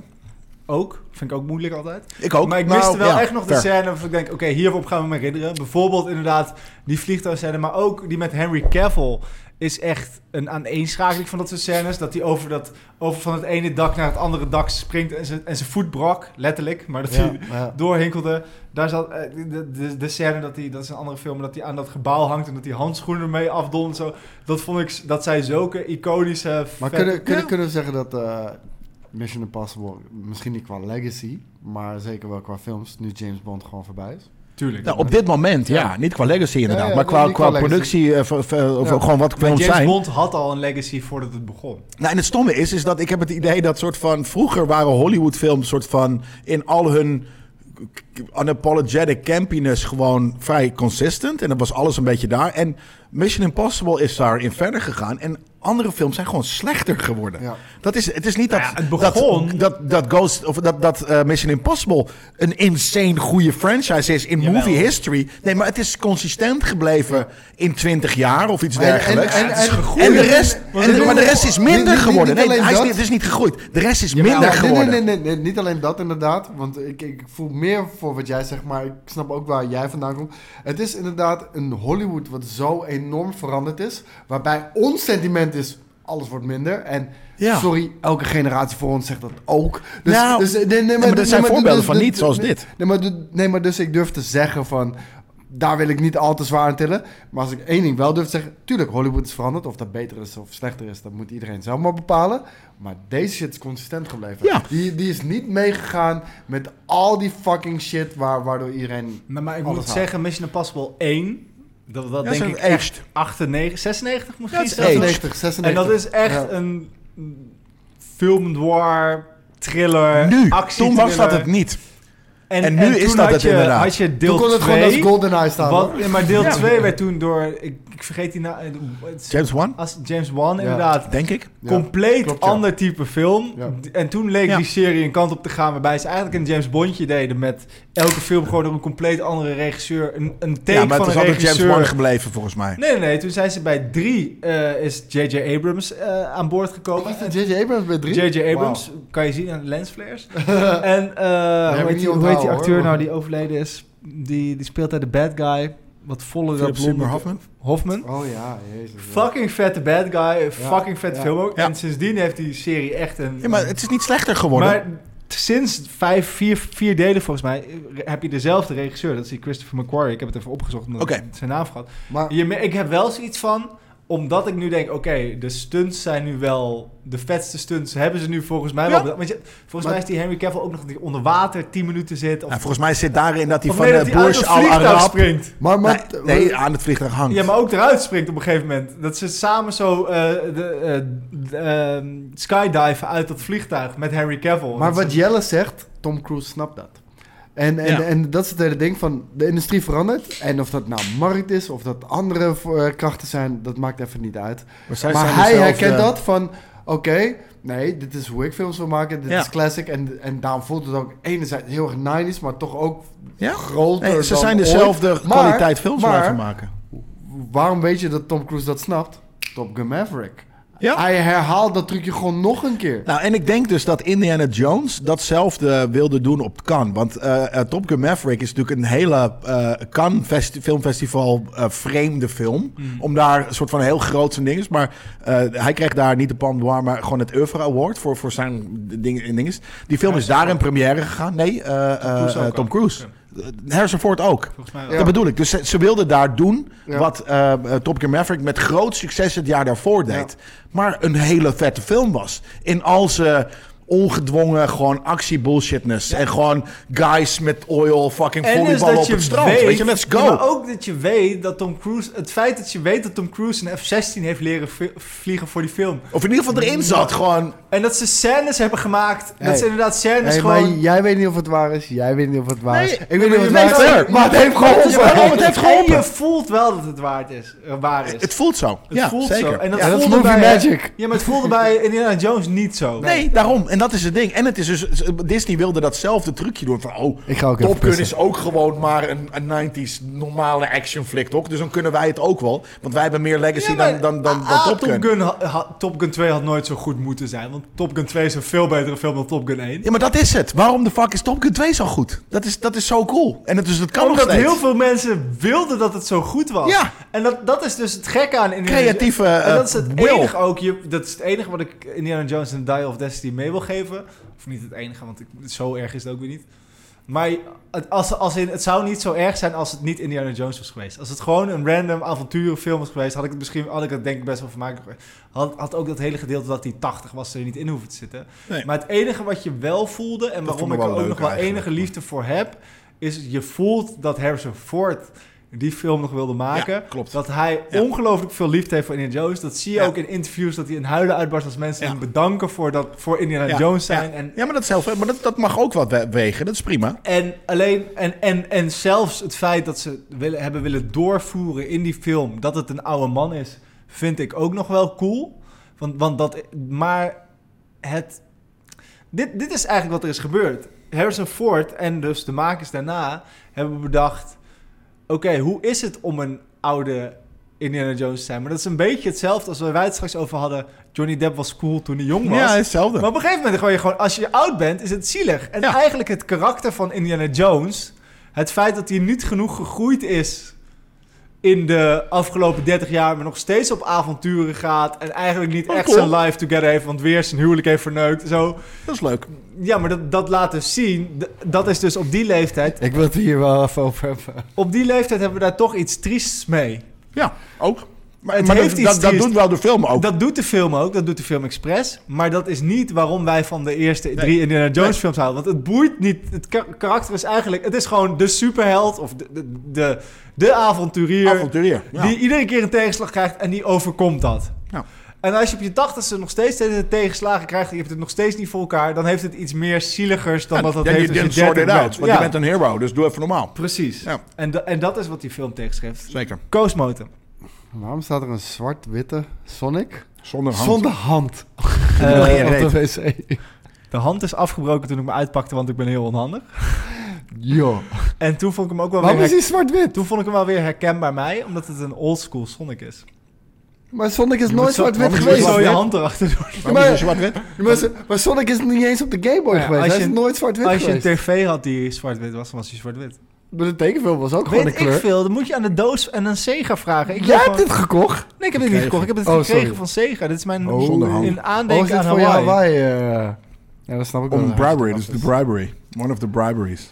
D: Ook. Vind ik ook moeilijk altijd.
A: Ik ook.
D: Maar ik
A: Nou,
D: miste wel
A: ja,
D: echt nog de
A: fair.
D: scène waarvan ik denk... Oké, hierop gaan we me herinneren. Bijvoorbeeld inderdaad die vliegtuigscène. Maar ook die met Henry Cavill is echt een aaneenschakeling van dat soort scènes. Dat hij over, dat, over van het ene dak naar het andere dak springt en zijn en zijn voet brak. Letterlijk. Maar dat
B: Ja,
D: hij
B: ja.
D: doorhinkelde. Daar zat eh, de, de, de scène dat hij, dat is een andere film, dat hij aan dat gebouw hangt en dat hij handschoenen ermee afdon en zo. Dat vond ik, s- dat zij zulke iconische.
B: Maar
D: vette-
B: kunnen, kunnen,
D: Ja.
B: kunnen we zeggen dat eh, Mission Impossible, misschien niet qua legacy, maar zeker wel qua films, nu James Bond gewoon voorbij is?
D: Tuurlijk.
A: Nou, op dit moment, ja. Niet qua legacy inderdaad.
B: Ja, ja,
A: maar qua,
B: niet
A: qua
B: qua legacy.
A: productie, eh, ver- ver- of
B: Ja.
A: gewoon wat
D: maar
A: films
D: James
A: zijn.
D: Bond had al een legacy voordat het begon.
A: Nou, en het stomme is, is dat ik heb het idee dat soort van... Vroeger waren Hollywoodfilms soort van in al hun unapologetic campiness gewoon vrij consistent. En dat was alles een beetje daar. En Mission Impossible is daarin verder gegaan. En andere films zijn gewoon slechter geworden.
B: Ja.
A: Dat is, het is niet dat,
D: Nou ja, het begon-
A: dat, dat, dat, Ghost, of dat, dat eh, Mission Impossible een insane goede franchise is in
D: Jawel.
A: movie history. Nee, maar het is consistent gebleven in 20 jaar of iets
B: En- en-
A: dergelijks.
B: en- Ja, het is en- gegroeid.
A: En de rest,
B: Maar
A: en de-
B: dit-
A: maar de rest is
B: niet-
A: minder
B: niet- niet
A: geworden. Nee,
B: alleen
A: hij is,
B: dat.
A: niet- het is niet gegroeid. De rest is
D: Jawel,
A: minder
B: Ja, nee,
A: geworden.
B: Nee, nee, nee, nee, niet alleen dat inderdaad. Want ik, ik voel meer voor wat jij zegt, maar ik snap ook waar jij vandaan komt. Het is inderdaad een Hollywood wat zo enorm veranderd is. Waarbij ons sentiment is, alles wordt minder. En
A: Ja.
B: sorry, elke generatie voor ons zegt dat ook. Dus,
A: Nou,
B: dus, nee, nee, maar,
A: maar er
B: nee,
A: zijn
B: maar-
A: voorbeelden
B: dus-
A: van
B: dus-
A: niet zoals
B: nee,
A: dit.
B: Nee maar, du- nee, maar dus ik durf te zeggen van... Daar wil ik niet al te zwaar aan tillen. Maar als ik één ding wel durf te zeggen... Tuurlijk, Hollywood is veranderd. Of dat beter is of slechter is, dat moet iedereen zelf maar bepalen. Maar deze shit is consistent gebleven.
A: Ja.
B: Die, die is niet meegegaan met al die fucking shit... Waar, waardoor iedereen...
D: Nou, maar ik
B: Alles
D: moet
B: haalt.
D: zeggen, Mission Impossible 1, dat, dat
A: Ja,
D: denk
A: ze
D: ik
A: zijn
D: echt
A: aged.
D: 98, 96 misschien?
A: Ja, het is
D: zelfs.
A: aged.
B: 90, 96.
D: En dat is echt
B: Ja.
D: een film noir, thriller,
A: Nu,
D: actie
A: toen was dat het niet.
D: En,
A: En nu
D: en
A: is
D: toen
A: dat
D: had
A: het
D: je,
A: inderdaad.
D: Had je deel
B: Toen kon het gewoon
D: 2,
B: als GoldenEye staan.
D: wat,
B: hoor.
D: ja, maar deel 2 werd toen door, ik, ik vergeet die na, eh, het is-
A: James Wan,
D: als James Wan
B: Ja.
D: inderdaad.
A: denk ik.
B: Ja,
D: compleet
B: klopt, ja.
D: ander type film.
B: Ja.
D: D- En toen leek
A: Ja.
D: die serie een kant op te gaan waarbij ze eigenlijk een James Bondje deden met elke film gewoon door een compleet andere regisseur. Een, een take
A: Ja, maar het
D: van
A: is
D: een
A: altijd
D: regisseur.
A: James Wan gebleven volgens mij.
D: Nee, nee, nee. Toen zijn ze bij drie eh, is J.J. Abrams eh, aan boord
B: Wat
D: gekomen.
B: is de J.J. Abrams bij drie?
D: J.J.
B: Wauw.
D: Abrams, kan je zien aan de lensflares. en
B: heb
D: eh hoe,
B: ik
D: heet
B: niet
D: die, hoe heet
B: onthouden,
D: die
B: hoor.
D: acteur nou die overleden is? Die, die speelt daar de bad guy. Wat volle
A: Philip Seymour
D: Hoffman.
A: Hoffman?
D: Hoffman.
B: Oh ja, jezus. ja.
D: Fucking vette bad guy. Fucking vette
B: ja.
D: film ook.
A: Ja.
D: En sindsdien heeft die serie echt een...
A: Ja, maar het is niet slechter geworden.
D: Maar t- sinds vijf, vier, vier delen volgens mij eh, heb je dezelfde regisseur. Dat is die Christopher McQuarrie. Ik heb het even opgezocht omdat
A: Oké.
D: ik zijn naam gehad.
B: Maar
D: Je, me- ik heb wel zoiets van omdat ik nu denk, oké, de stunts zijn nu wel... De vetste stunts hebben ze nu volgens mij wel... bedacht. Want je, volgens
B: Maar-
D: mij is die Henry Cavill ook nog die onder water 10 minuten zit. Of,
A: Ja, Nou, volgens mij zit daarin dat hij
D: of
A: van
D: nee, dat
A: de
D: hij uit
A: Burj
D: het
A: Al
D: vliegtuig
A: Arab...
D: springt.
B: Maar,
A: Nee,
B: maar,
A: nee, aan het vliegtuig hangt.
D: Ja, maar ook eruit springt op een gegeven moment. Dat ze samen zo eh, de, eh, d- ehm, skydiven uit dat vliegtuig met Henry Cavill.
B: Maar
A: Oh,
D: Dat
B: wat
D: ze-
B: Jelle zegt, Tom Cruise snapt dat. En, en,
A: Ja.
B: en dat is het hele ding van de industrie verandert. En of dat nou markt is, of dat andere eh, krachten zijn, dat maakt even niet uit.
A: zij
B: maar
A: zijn
B: hij
A: dezelfde-
B: herkent dat van, oké, nee, dit is hoe ik films wil maken, dit
A: Ja.
B: is classic. En, en daarom voelt het ook enerzijds heel erg 90s, maar toch ook
A: Ja?
B: groter
A: Nee, ze
B: dan
A: zijn
B: ooit.
A: dezelfde
B: Maar-
A: kwaliteit films
B: maar
A: blijven maken.
B: Waarom weet je dat Tom Cruise dat snapt? Top Gun Maverick.
A: Ja.
B: Hij herhaalt dat trucje gewoon nog een keer.
A: Nou, en ik denk dus dat Indiana Jones datzelfde wilde doen op Cannes. Want eh, eh, Top Gun Maverick is natuurlijk een hele eh Cannes festi- filmfestival eh, vreemde film.
M: Mm.
A: Om daar een soort van heel groot zijn ding is. Maar eh, hij kreeg daar niet de Palme d'Or, maar gewoon het Oeuvre Award voor, voor zijn ding, dinges. Die film is daar in première gegaan. Nee, eh, eh,
M: Cruise ook
A: eh, Tom
M: al.
A: Cruise. Harrison Ford ook.
M: Volgens mij
B: Ja.
A: Dat bedoel ik. Dus ze, ze wilden daar doen
B: Ja.
A: wat eh, eh, Top Gear Maverick met groot succes het jaar daarvoor deed. Maar een hele vette film was. In al zijn ongedwongen gewoon actie bullshitness. En gewoon guys met oil fucking
D: En dus
A: volleyballen
D: dat
A: op
D: je
A: het strand.
D: weet,
A: Weet je, let's go.
D: Ja, maar ook dat je weet dat Tom Cruise, het feit dat je weet dat Tom Cruise een F-16 heeft leren v- vliegen voor die film.
A: Of in ieder geval erin zat. Gewoon,
D: En dat ze scènes hebben gemaakt.
B: Hey.
D: Dat ze inderdaad scènes
B: Hey,
D: gewoon...
B: maar jij weet niet of het waar is. Jij weet niet of het waar is.
A: Nee,
B: ik weet niet of het
A: nee,
B: waar is.
A: fair.
B: Maar het heeft
D: Het is
B: geholpen.
D: wel-
A: Het heeft geholpen.
D: En je voelt wel dat het waard is, eh, waar is.
A: het voelt zo.
D: Het
A: ja,
D: voelt
A: zeker.
D: zo. En dat
B: Ja, dat is
D: voelde
B: movie
D: bij,
B: magic.
D: Ja, maar het voelde bij Indiana Jones niet zo.
A: Nee, daarom. En dat is het ding. En het is dus, Disney wilde datzelfde trucje doen. Van, oh,
B: Ik ga ook even
A: Top Gun
B: pissen.
A: is ook gewoon maar een, een 90s normale actionflick, toch? Dus dan kunnen wij het ook wel. Want wij hebben meer legacy
D: Ja, maar-
A: dan, dan, dan, dan
D: Ah,
A: Top Gun.
D: ha- ha- Top Gun 2 had nooit zo goed moeten zijn. Want Top Gun 2 is een veel betere film dan Top Gun 1.
A: Ja, maar dat is het. Waarom de fuck is Top Gun 2 zo goed? Dat is, dat is zo cool. En het, dus dat kan nog
D: Omdat
A: steeds.
D: heel veel mensen wilden dat het zo goed was.
A: Ja.
D: En dat, dat is dus het gekke aan Indiana
A: Creatieve
D: En
A: eh,
D: dat is het
A: will.
D: enige ook. Je, dat is het enige wat ik Indiana Jones en Die of Destiny mee wil geven. Of niet het enige, want ik, zo erg is het ook weer niet. Maar het, als, als in, het zou niet zo erg zijn als het niet Indiana Jones was geweest. Als het gewoon een random avonturenfilm was geweest, had ik het misschien had ik het denk ik best wel vermakelijk geweest. Had, had ook dat hele gedeelte dat die 80 was er niet in hoeven te zitten.
A: Nee.
D: Maar het enige wat je wel voelde en
A: vond
D: waarom
A: ik
D: ik er
A: wel
D: ook
A: leuk
D: nog wel
A: eigenlijk.
D: enige liefde voor heb, is je voelt dat Harrison Ford die film nog wilde maken.
A: Ja, klopt.
D: Dat hij
A: Ja.
D: ongelooflijk veel liefde heeft voor Indiana Jones. Dat zie je
A: Ja.
D: ook in interviews dat hij in huilen uitbarst als mensen
A: Ja.
D: hem bedanken voor, dat, voor Indiana
A: Ja,
D: Jones zijn.
A: ja.
D: En,
A: Ja, maar, dat, is heel vet. maar dat, dat mag ook wat we- wegen. Dat is prima.
D: en alleen en, en, en zelfs het feit dat ze willen, hebben willen doorvoeren in die film dat het een oude man is, vind ik ook nog wel cool. Want, want dat, maar het, dit, dit is eigenlijk wat er is gebeurd. Harrison Ford en dus de makers daarna hebben bedacht: oké, hoe is het om een oude Indiana Jones te zijn? Maar dat is een beetje hetzelfde als waar wij het straks over hadden. Johnny Depp was cool toen hij jong was.
A: Ja, hetzelfde.
D: Maar op een gegeven moment gooi je gewoon, als je oud bent, is het zielig. En
A: Ja.
D: eigenlijk het karakter van Indiana Jones, het feit dat hij niet genoeg gegroeid is in de afgelopen 30 jaar, maar nog steeds op avonturen gaat en eigenlijk niet
A: Oh,
D: echt
A: cool.
D: zijn life together heeft, want weer zijn huwelijk heeft verneukt. Zo.
A: Dat is leuk.
D: Ja, maar dat, dat laat dus zien, d- dat is dus op die leeftijd,
B: Ik wil het hier wel even over hebben.
D: op die leeftijd hebben we daar toch iets triests mee.
A: Ja, ook. Maar,
D: Het
A: maar
D: heeft
A: dat,
D: iets
A: dat, dat
D: triest.
A: doet wel de film ook.
D: Dat doet de film ook, dat doet de film expres. Maar dat is niet waarom wij van de eerste drie Indiana Jones
A: Nee.
D: films houden. Want het boeit niet. Het ka- karakter is eigenlijk... Het is gewoon de superheld of de, de, de, de avonturier...
A: Avonturier. Ja.
D: Die iedere keer een tegenslag krijgt en die overkomt dat.
A: Ja.
D: En als je op je tachtigste nog steeds de tegenslagen krijgt... en je hebt het nog steeds niet voor elkaar... dan heeft het iets meer zieligers dan
A: Ja,
D: dat dat
A: ja,
D: heeft
A: you
D: als je
B: dus
A: didn't sort it
D: 30
A: out.
D: bent.
A: Want
D: Ja,
A: je bent een hero, dus doe even normaal.
D: precies.
A: Ja.
D: En, da- en dat is wat die film tegenschrijft.
A: Zeker.
D: Koosmoten.
B: Waarom staat er een zwart-witte Sonic?
A: Zonder hand.
B: Zonder hand.
D: Eh,
B: op de wc.
D: de hand is afgebroken toen ik me uitpakte, want ik ben heel onhandig.
B: Yo.
D: En toen vond ik hem ook wel weer
B: Waarom is
D: her-
B: hij zwart-wit?
D: toen vond ik hem wel weer herkenbaar mij, omdat het een oldschool Sonic is.
B: Maar Sonic is
A: Je
B: nooit
A: moet zo-
B: zwart-wit
A: waarom is
D: Je moet
B: geweest.
D: zo je
A: zwart-wit?
D: hand erachter doen.
A: Waarom is het zwart-wit?
B: Maar, ze- maar Sonic is niet eens op de Game Boy
D: Ja,
B: geweest.
D: als
B: Hij
D: je-
B: is nooit zwart-wit
D: Als je een
B: geweest.
D: tv had die zwart-wit was, dan was hij zwart-wit.
B: Maar de tekenfilm was ook gewoon een
D: Weet ik
B: kleur.
D: veel, dan moet je aan de doos en aan Sega vragen. Ik
B: Jij
D: heb
B: hebt
D: gewoon-
B: dit gekocht?
D: Nee, ik heb dit niet gekocht. Ik heb het
B: Oh,
D: gekregen
B: sorry.
D: van Sega. Dit is mijn
A: Oh, zonder hand.
D: in
B: Oh, is
D: aandenken
B: dit
D: aan
B: voor jou
D: Hawaii.
B: Hawaii? eh? ja, dat snap ik wel.
A: Om bribery, dus de bribery. One of the briberies.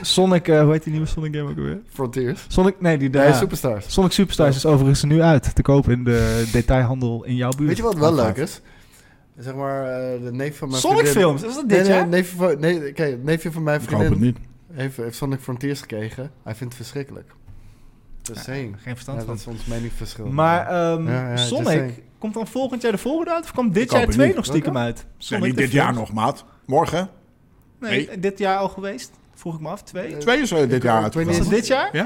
D: Sonic, eh, hoe heet die nieuwe Sonic game ook alweer?
B: Frontiers.
D: Sonic, nee, die
B: Nee,
D: daar.
B: Superstars.
D: Sonic Superstars is overigens nu uit te koop in de detailhandel in jouw buurt.
B: Weet je wat wel leuk is? Zeg maar, eh, de neef van mijn
D: Sonic
B: vriendin...
D: films, is dat
B: Nee,
D: dit
B: nee,
D: jaar?
B: neefje van, nee, kijk, het neefje van mijn
A: Ik hoop het
B: vriendin
A: niet.
B: heeft, heeft Sonic Frontiers gekregen. Hij vindt het verschrikkelijk. Just saying.
D: Geen
B: Ja,
D: verstand van.
B: dat is ons meningsverschil.
D: Maar ehm,
B: Ja, ja, just
D: Sonic,
B: saying.
D: komt dan volgend jaar de volgende uit? Of komt dit
A: Ik
D: jaar
A: hoop het
D: 2
A: niet.
D: nog stiekem uit?
A: Nee,
D: Sonic
A: niet
D: de
A: dit jaar
D: film?
A: nog, maat. Morgen.
D: Nee, dit jaar al geweest? Vroeg ik me af. Twee?
A: Twee is eh, dit
B: Ik-
A: jaar
B: ik weet niet
A: uit.
D: Was dat
B: Nee.
D: dit jaar?
B: Eh,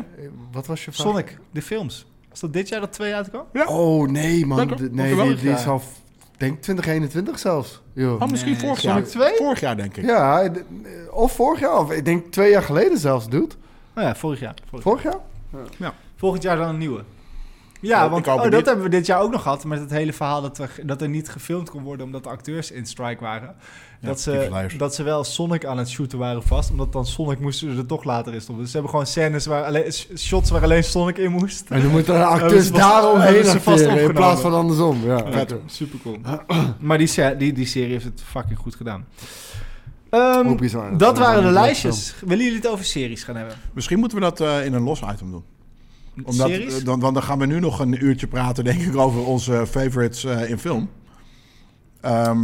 B: Wat was je vraag?
D: Sonic, de films. Was dat dit jaar dat twee uitkwam?
A: Ja.
B: Oh, nee man.
A: Lekker.
B: Dit-
A: Komt er
B: Nee,
A: wel
B: die,
A: een
B: die
A: jaar.
B: is al... f- denk 2021 zelfs. Joh.
A: Oh, misschien
M: Nee,
A: vorig jaar.
D: Sonic 2?
A: Vorig jaar, denk ik.
B: Ja, eh, d- of vorig jaar. Of ik denk twee jaar geleden zelfs, dude.
D: Nou ja, vorig jaar. Vorig,
B: Vorig jaar?
D: volgend jaar dan een nieuwe. Ja,
A: Ik
D: want
A: hoop
D: oh,
A: het
D: dat
A: niet.
D: hebben we dit jaar ook nog gehad. Met het hele verhaal dat er, dat er niet gefilmd kon worden omdat de acteurs in strike waren.
A: Ja,
D: dat,
A: die
D: ze,
A: verleiders.
D: dat ze wel Sonic aan het shooten waren vast. Omdat dan Sonic moesten ze er toch later in stoppen. Dus ze hebben gewoon scènes waar alleen, sh- shots waar alleen Sonic in moest.
B: En dan moeten de
D: Hebben
B: acteurs
D: ze vast-
B: daaromheen
D: hebben ze vast
B: acteren in
D: opgenomen.
B: plaats van andersom. Ja,
D: Ja,
B: Vet.
D: super cool. maar die, se- die, die serie heeft het fucking goed gedaan. Ehm,
B: Hoe bizar.
D: dat,
B: Dat
D: waren de
B: is wel
D: lijstjes. Willen jullie het over series gaan hebben?
A: Misschien moeten we dat eh, in een los item doen. Omdat,
D: series?
A: eh, dan, want dan gaan we nu nog een uurtje praten, denk ik, over onze favorites eh, in film. Ehm,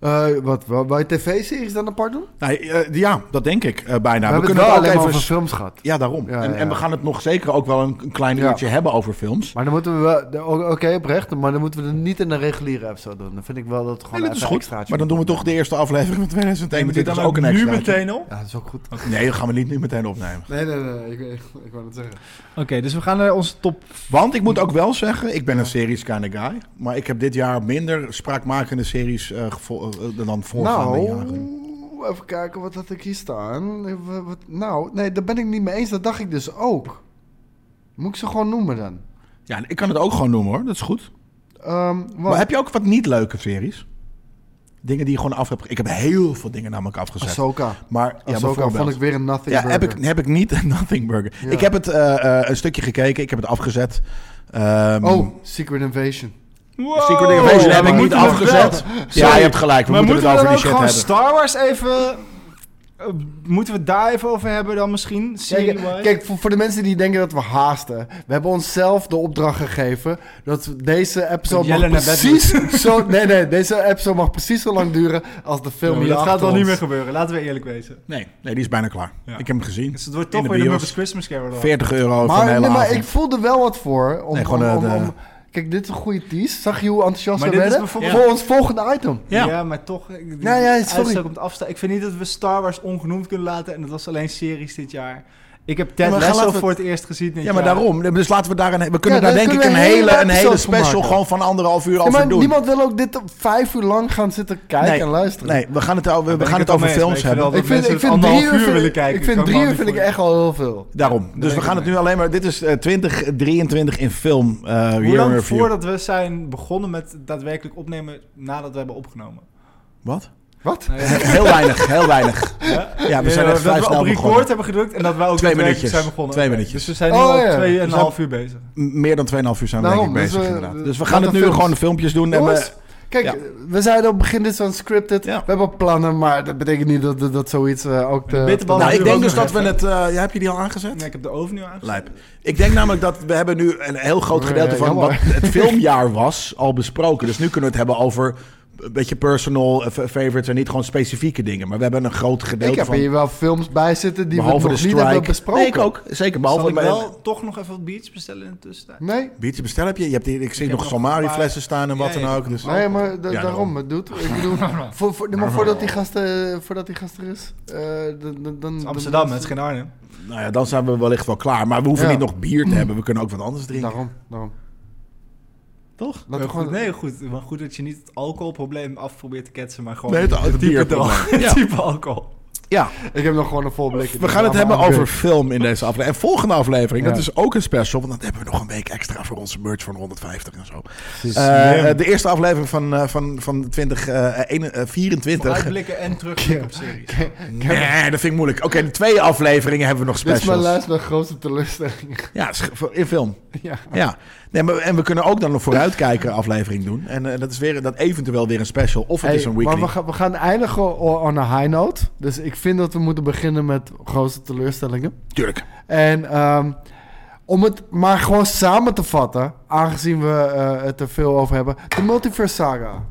B: Eh, wat, wat, wou je tv-series dan apart doen?
A: nou, eh, ja, dat denk ik eh, bijna.
B: we,
A: we
B: hebben
A: kunnen
B: het wel
A: het ook
B: alleen maar
A: even...
B: over films gehad.
A: Ja, daarom.
B: Ja,
A: en,
B: ja.
A: en we gaan het nog zeker ook wel een, een klein
B: Ja.
A: uurtje hebben over films.
B: Maar dan moeten we wel... de- o- Oké, oprecht. Maar dan moeten we het niet in een reguliere episode doen. Dan vind ik wel dat het gewoon
A: Nee, dat is
B: even
A: goed.
B: extraatje
A: Maar dan doen we
B: moet
A: toch de eerste aflevering van 2021. Dat is ook een
D: nu
A: extraatje.
D: meteen op?
B: Ja, dat is ook goed.
A: Nee, dat gaan we niet nu meteen opnemen.
B: Nee, nee, nee. Ik, ik, ik wou het zeggen.
D: Oké, dus we gaan naar onze top
A: Want ik moet ook wel zeggen, ik ben een series kind of guy. Maar ik heb dit jaar minder spraakmakende series eh, gevo- eh, dan voorgaande jaren.
B: Nou, even kijken, wat had ik hier staan? Eh, wa- wat- nou, nee, daar ben ik niet mee eens. Dat dacht ik dus ook. Moet ik ze gewoon noemen dan?
A: Ja, ik kan het ook gewoon noemen hoor, dat is goed.
B: Ehm, want-
A: Maar heb je ook wat niet leuke series? Dingen die je gewoon af hebt... ge- Ik heb heel veel dingen namelijk afgezet.
B: Ahsoka.
A: Maar ja,
B: Ahsoka
A: bijvoorbeeld.
B: vond ik weer een nothing
A: ja, heb
B: burger.
A: ik, heb ik niet Nothing Burger.
B: Ja.
A: Ik heb het eh, eh, een stukje gekeken, ik heb het afgezet. Ehm,
B: Oh, Secret Invasion.
A: Secret Invasion heb ik
D: Moeten
A: niet
D: we
A: afgezet.
D: wel-
A: Ja, je hebt gelijk, we
D: maar
A: moeten het
D: we
A: over
D: dan
A: die
D: ook
A: shit
D: gewoon
A: hebben.
D: Star Wars even... eh, moeten we het daar even over hebben dan misschien?
B: Kijk,
D: Serie-wise?
B: kijk, voor, voor de mensen die denken dat we haasten. We hebben onszelf de opdracht gegeven dat we- deze episode
D: Jelle
B: mag
D: naar bed
B: precies zo... Nee, nee, deze episode mag precies zo lang duren als de film
D: Ja, maar
B: hier
D: dat gaat
B: achter
D: wel niet
B: ons.
D: meer gebeuren, laten we eerlijk wezen.
A: Nee, nee, die is bijna klaar.
D: Ja.
A: Ik heb hem gezien.
D: Dus het
A: In
D: wordt toch
A: de
D: weer de
A: bios.
D: Muppets Christmas Carol.
A: 40 euro voor
B: Maar,
A: een hele
B: nee, maar
A: avond.
B: ik voelde wel wat voor. Om,
A: Nee, gewoon,
B: om-
A: eh,
B: om-
A: de-
B: om- kijk, dit is een goede tease. Zag je hoe enthousiast
D: Maar
B: we
D: dit is
B: werden?
D: bijvoorbeeld-
B: Voor ons volgende item.
D: Ja.
A: Ja.
D: maar toch... ik-
B: Ja, ja,
D: die
B: sorry.
D: uitstel komt afstaan. Ik vind niet dat we Star Wars ongenoemd kunnen laten. En dat was alleen series dit jaar. Ik heb Ted
A: maar ga-
D: Lasso
A: laten we-
D: voor het eerst gezien dit
A: Ja, maar
D: jaar.
A: daarom. Dus laten we daar een, we kunnen
B: Ja,
A: daar
B: daar
A: denk ik
B: kunnen
A: een
B: we een
A: hele,
B: hele
A: een hele
B: episode van
A: special
B: maken.
A: gewoon van anderhalf uur
B: Ja,
A: over
B: maar
A: doen.
B: niemand wil ook dit op vijf uur lang gaan zitten kijken
A: Nee,
B: en luisteren.
A: Nee, we gaan het, over- we,
D: ben ik
A: gaan
D: het
A: het
D: wel
A: over
D: mee eens,
A: films
D: maar ik
A: hebben.
D: vind
B: Ik vind, ik
D: mensen het
B: vind
D: anderhalf
B: drie uur,
D: uur
B: vind,
D: willen
B: ik-
D: kijken.
B: Ik
D: Kan
B: vind
D: me
B: drie
D: al
B: uur
D: niet
B: vind ik
D: voor-
B: echt al heel veel.
A: Daarom. Dus we gaan het nu alleen maar... Dit is eh, 2023 in film. eh year
D: Hoe
A: in
D: lang
A: review.
D: voordat we zijn begonnen met daadwerkelijk opnemen nadat we hebben opgenomen? Nou
A: Wat?
B: Wat?
A: heel weinig, heel weinig. Ja, we zijn echt
D: Ja, dat
A: vrij
D: we
A: snel
D: op
A: begonnen.
D: record hebben gedrukt en dat wij ook
A: Twee
D: daadwerkelijk
A: minuutjes.
D: zijn begonnen.
A: Twee
D: Oké,
A: minuutjes.
D: Dus we zijn nu
B: Oh,
D: al
B: ja.
D: twee en een
B: We zijn-
D: half uur bezig.
A: M- Meer dan 2,5 uur zijn we
B: Daarom,
A: denk ik
B: dus
A: bezig
B: we-
A: inderdaad.
B: we-
A: Dus we
B: laten
A: gaan het nu
B: films.
A: gewoon de filmpjes doen. En
B: Jongens,
A: we,
B: kijk,
A: ja.
B: we zeiden op het begin dit is unscripted.
A: Ja.
B: We hebben plannen, maar dat betekent niet dat, dat, dat zoiets eh, ook...
D: De bitterbal-
A: nou, ik
D: nu
A: denk
D: ook
A: dus
D: nog
A: dat we
D: even.
A: het... eh, ja, heb je die al aangezet?
D: Nee, ik heb de oven nu aan.
A: Lijp. Ik denk namelijk dat we hebben nu een heel groot gedeelte
B: Ja,
A: van
B: jammer.
A: wat het filmjaar was al besproken. Dus nu kunnen we het hebben over een beetje personal eh, fa- favorites en niet gewoon specifieke dingen. Maar we hebben een groot
B: ik
A: gedeelte
B: heb
A: van
B: hier wel films bij zitten die
A: behalve
B: we
A: de
B: nog niet hebben
A: strike.
B: besproken.
A: Nee, ik ook. Zeker
D: Zal
A: behalve
D: ik wel toch nog even wat beats bestellen in de tussentijd?
B: Nee,
A: Biertje bestel heb je. Je hebt hier, ik zie
D: heb
A: nog
D: nog
A: Salmari
D: een paar-
A: flessen staan en wat
D: Ja,
A: dan
D: ja.
A: ook. Dus.
B: nee maar da-
A: Ja,
B: daarom,
A: daarom.
B: het doet. Ik bedoel, voor, voor, maar voordat die gast, eh, voordat die gast er is, eh, dan, dan, dan...
D: Amsterdam, het is geen Arnhem.
A: Nou ja, dan zijn we wellicht wel klaar. Maar we hoeven
B: Ja.
A: niet nog bier te hebben. We kunnen ook wat anders drinken.
B: Daarom, daarom.
A: Toch?
B: Laten we
D: Goed,
B: gewoon...
D: nee, goed. Maar goed dat je niet het alcoholprobleem af probeert te ketsen, maar gewoon
A: Nee, Nou, het- het
D: type,
A: bierprobleem.
D: drank,
A: Ja.
D: type alcohol.
A: Ja,
B: Ik heb nog gewoon een vol blik.
A: we gaan het hebben over film in deze aflevering. En volgende aflevering,
B: Ja.
A: dat is ook een special. Want dan hebben we nog een week extra voor onze merch van 150 en zo.
B: Precies.
A: Eh, eh, de eerste aflevering van, eh, van, van eh, 2024.
D: Uitblikken en terugblikken op series.
A: nee, dat vind ik moeilijk. Oké, de twee afleveringen hebben we nog
B: Dit is mijn
A: specials.
B: lijst met grootste teleurstellingen.
A: Ja, is ge- in film.
B: ja.
A: Ja. Nee, maar, en we kunnen ook dan een vooruitkijken aflevering doen. En eh, dat is weer, dat eventueel weer een special. Of het
B: Hey,
A: is een weekly.
B: Maar we gaan, we gaan eindigen o- on a high note. Dus ik vind dat we moeten beginnen met grootste teleurstellingen.
A: Tuurlijk.
B: En ehm, om het maar gewoon samen te vatten, aangezien we eh, het er veel over hebben. De Multiverse Saga.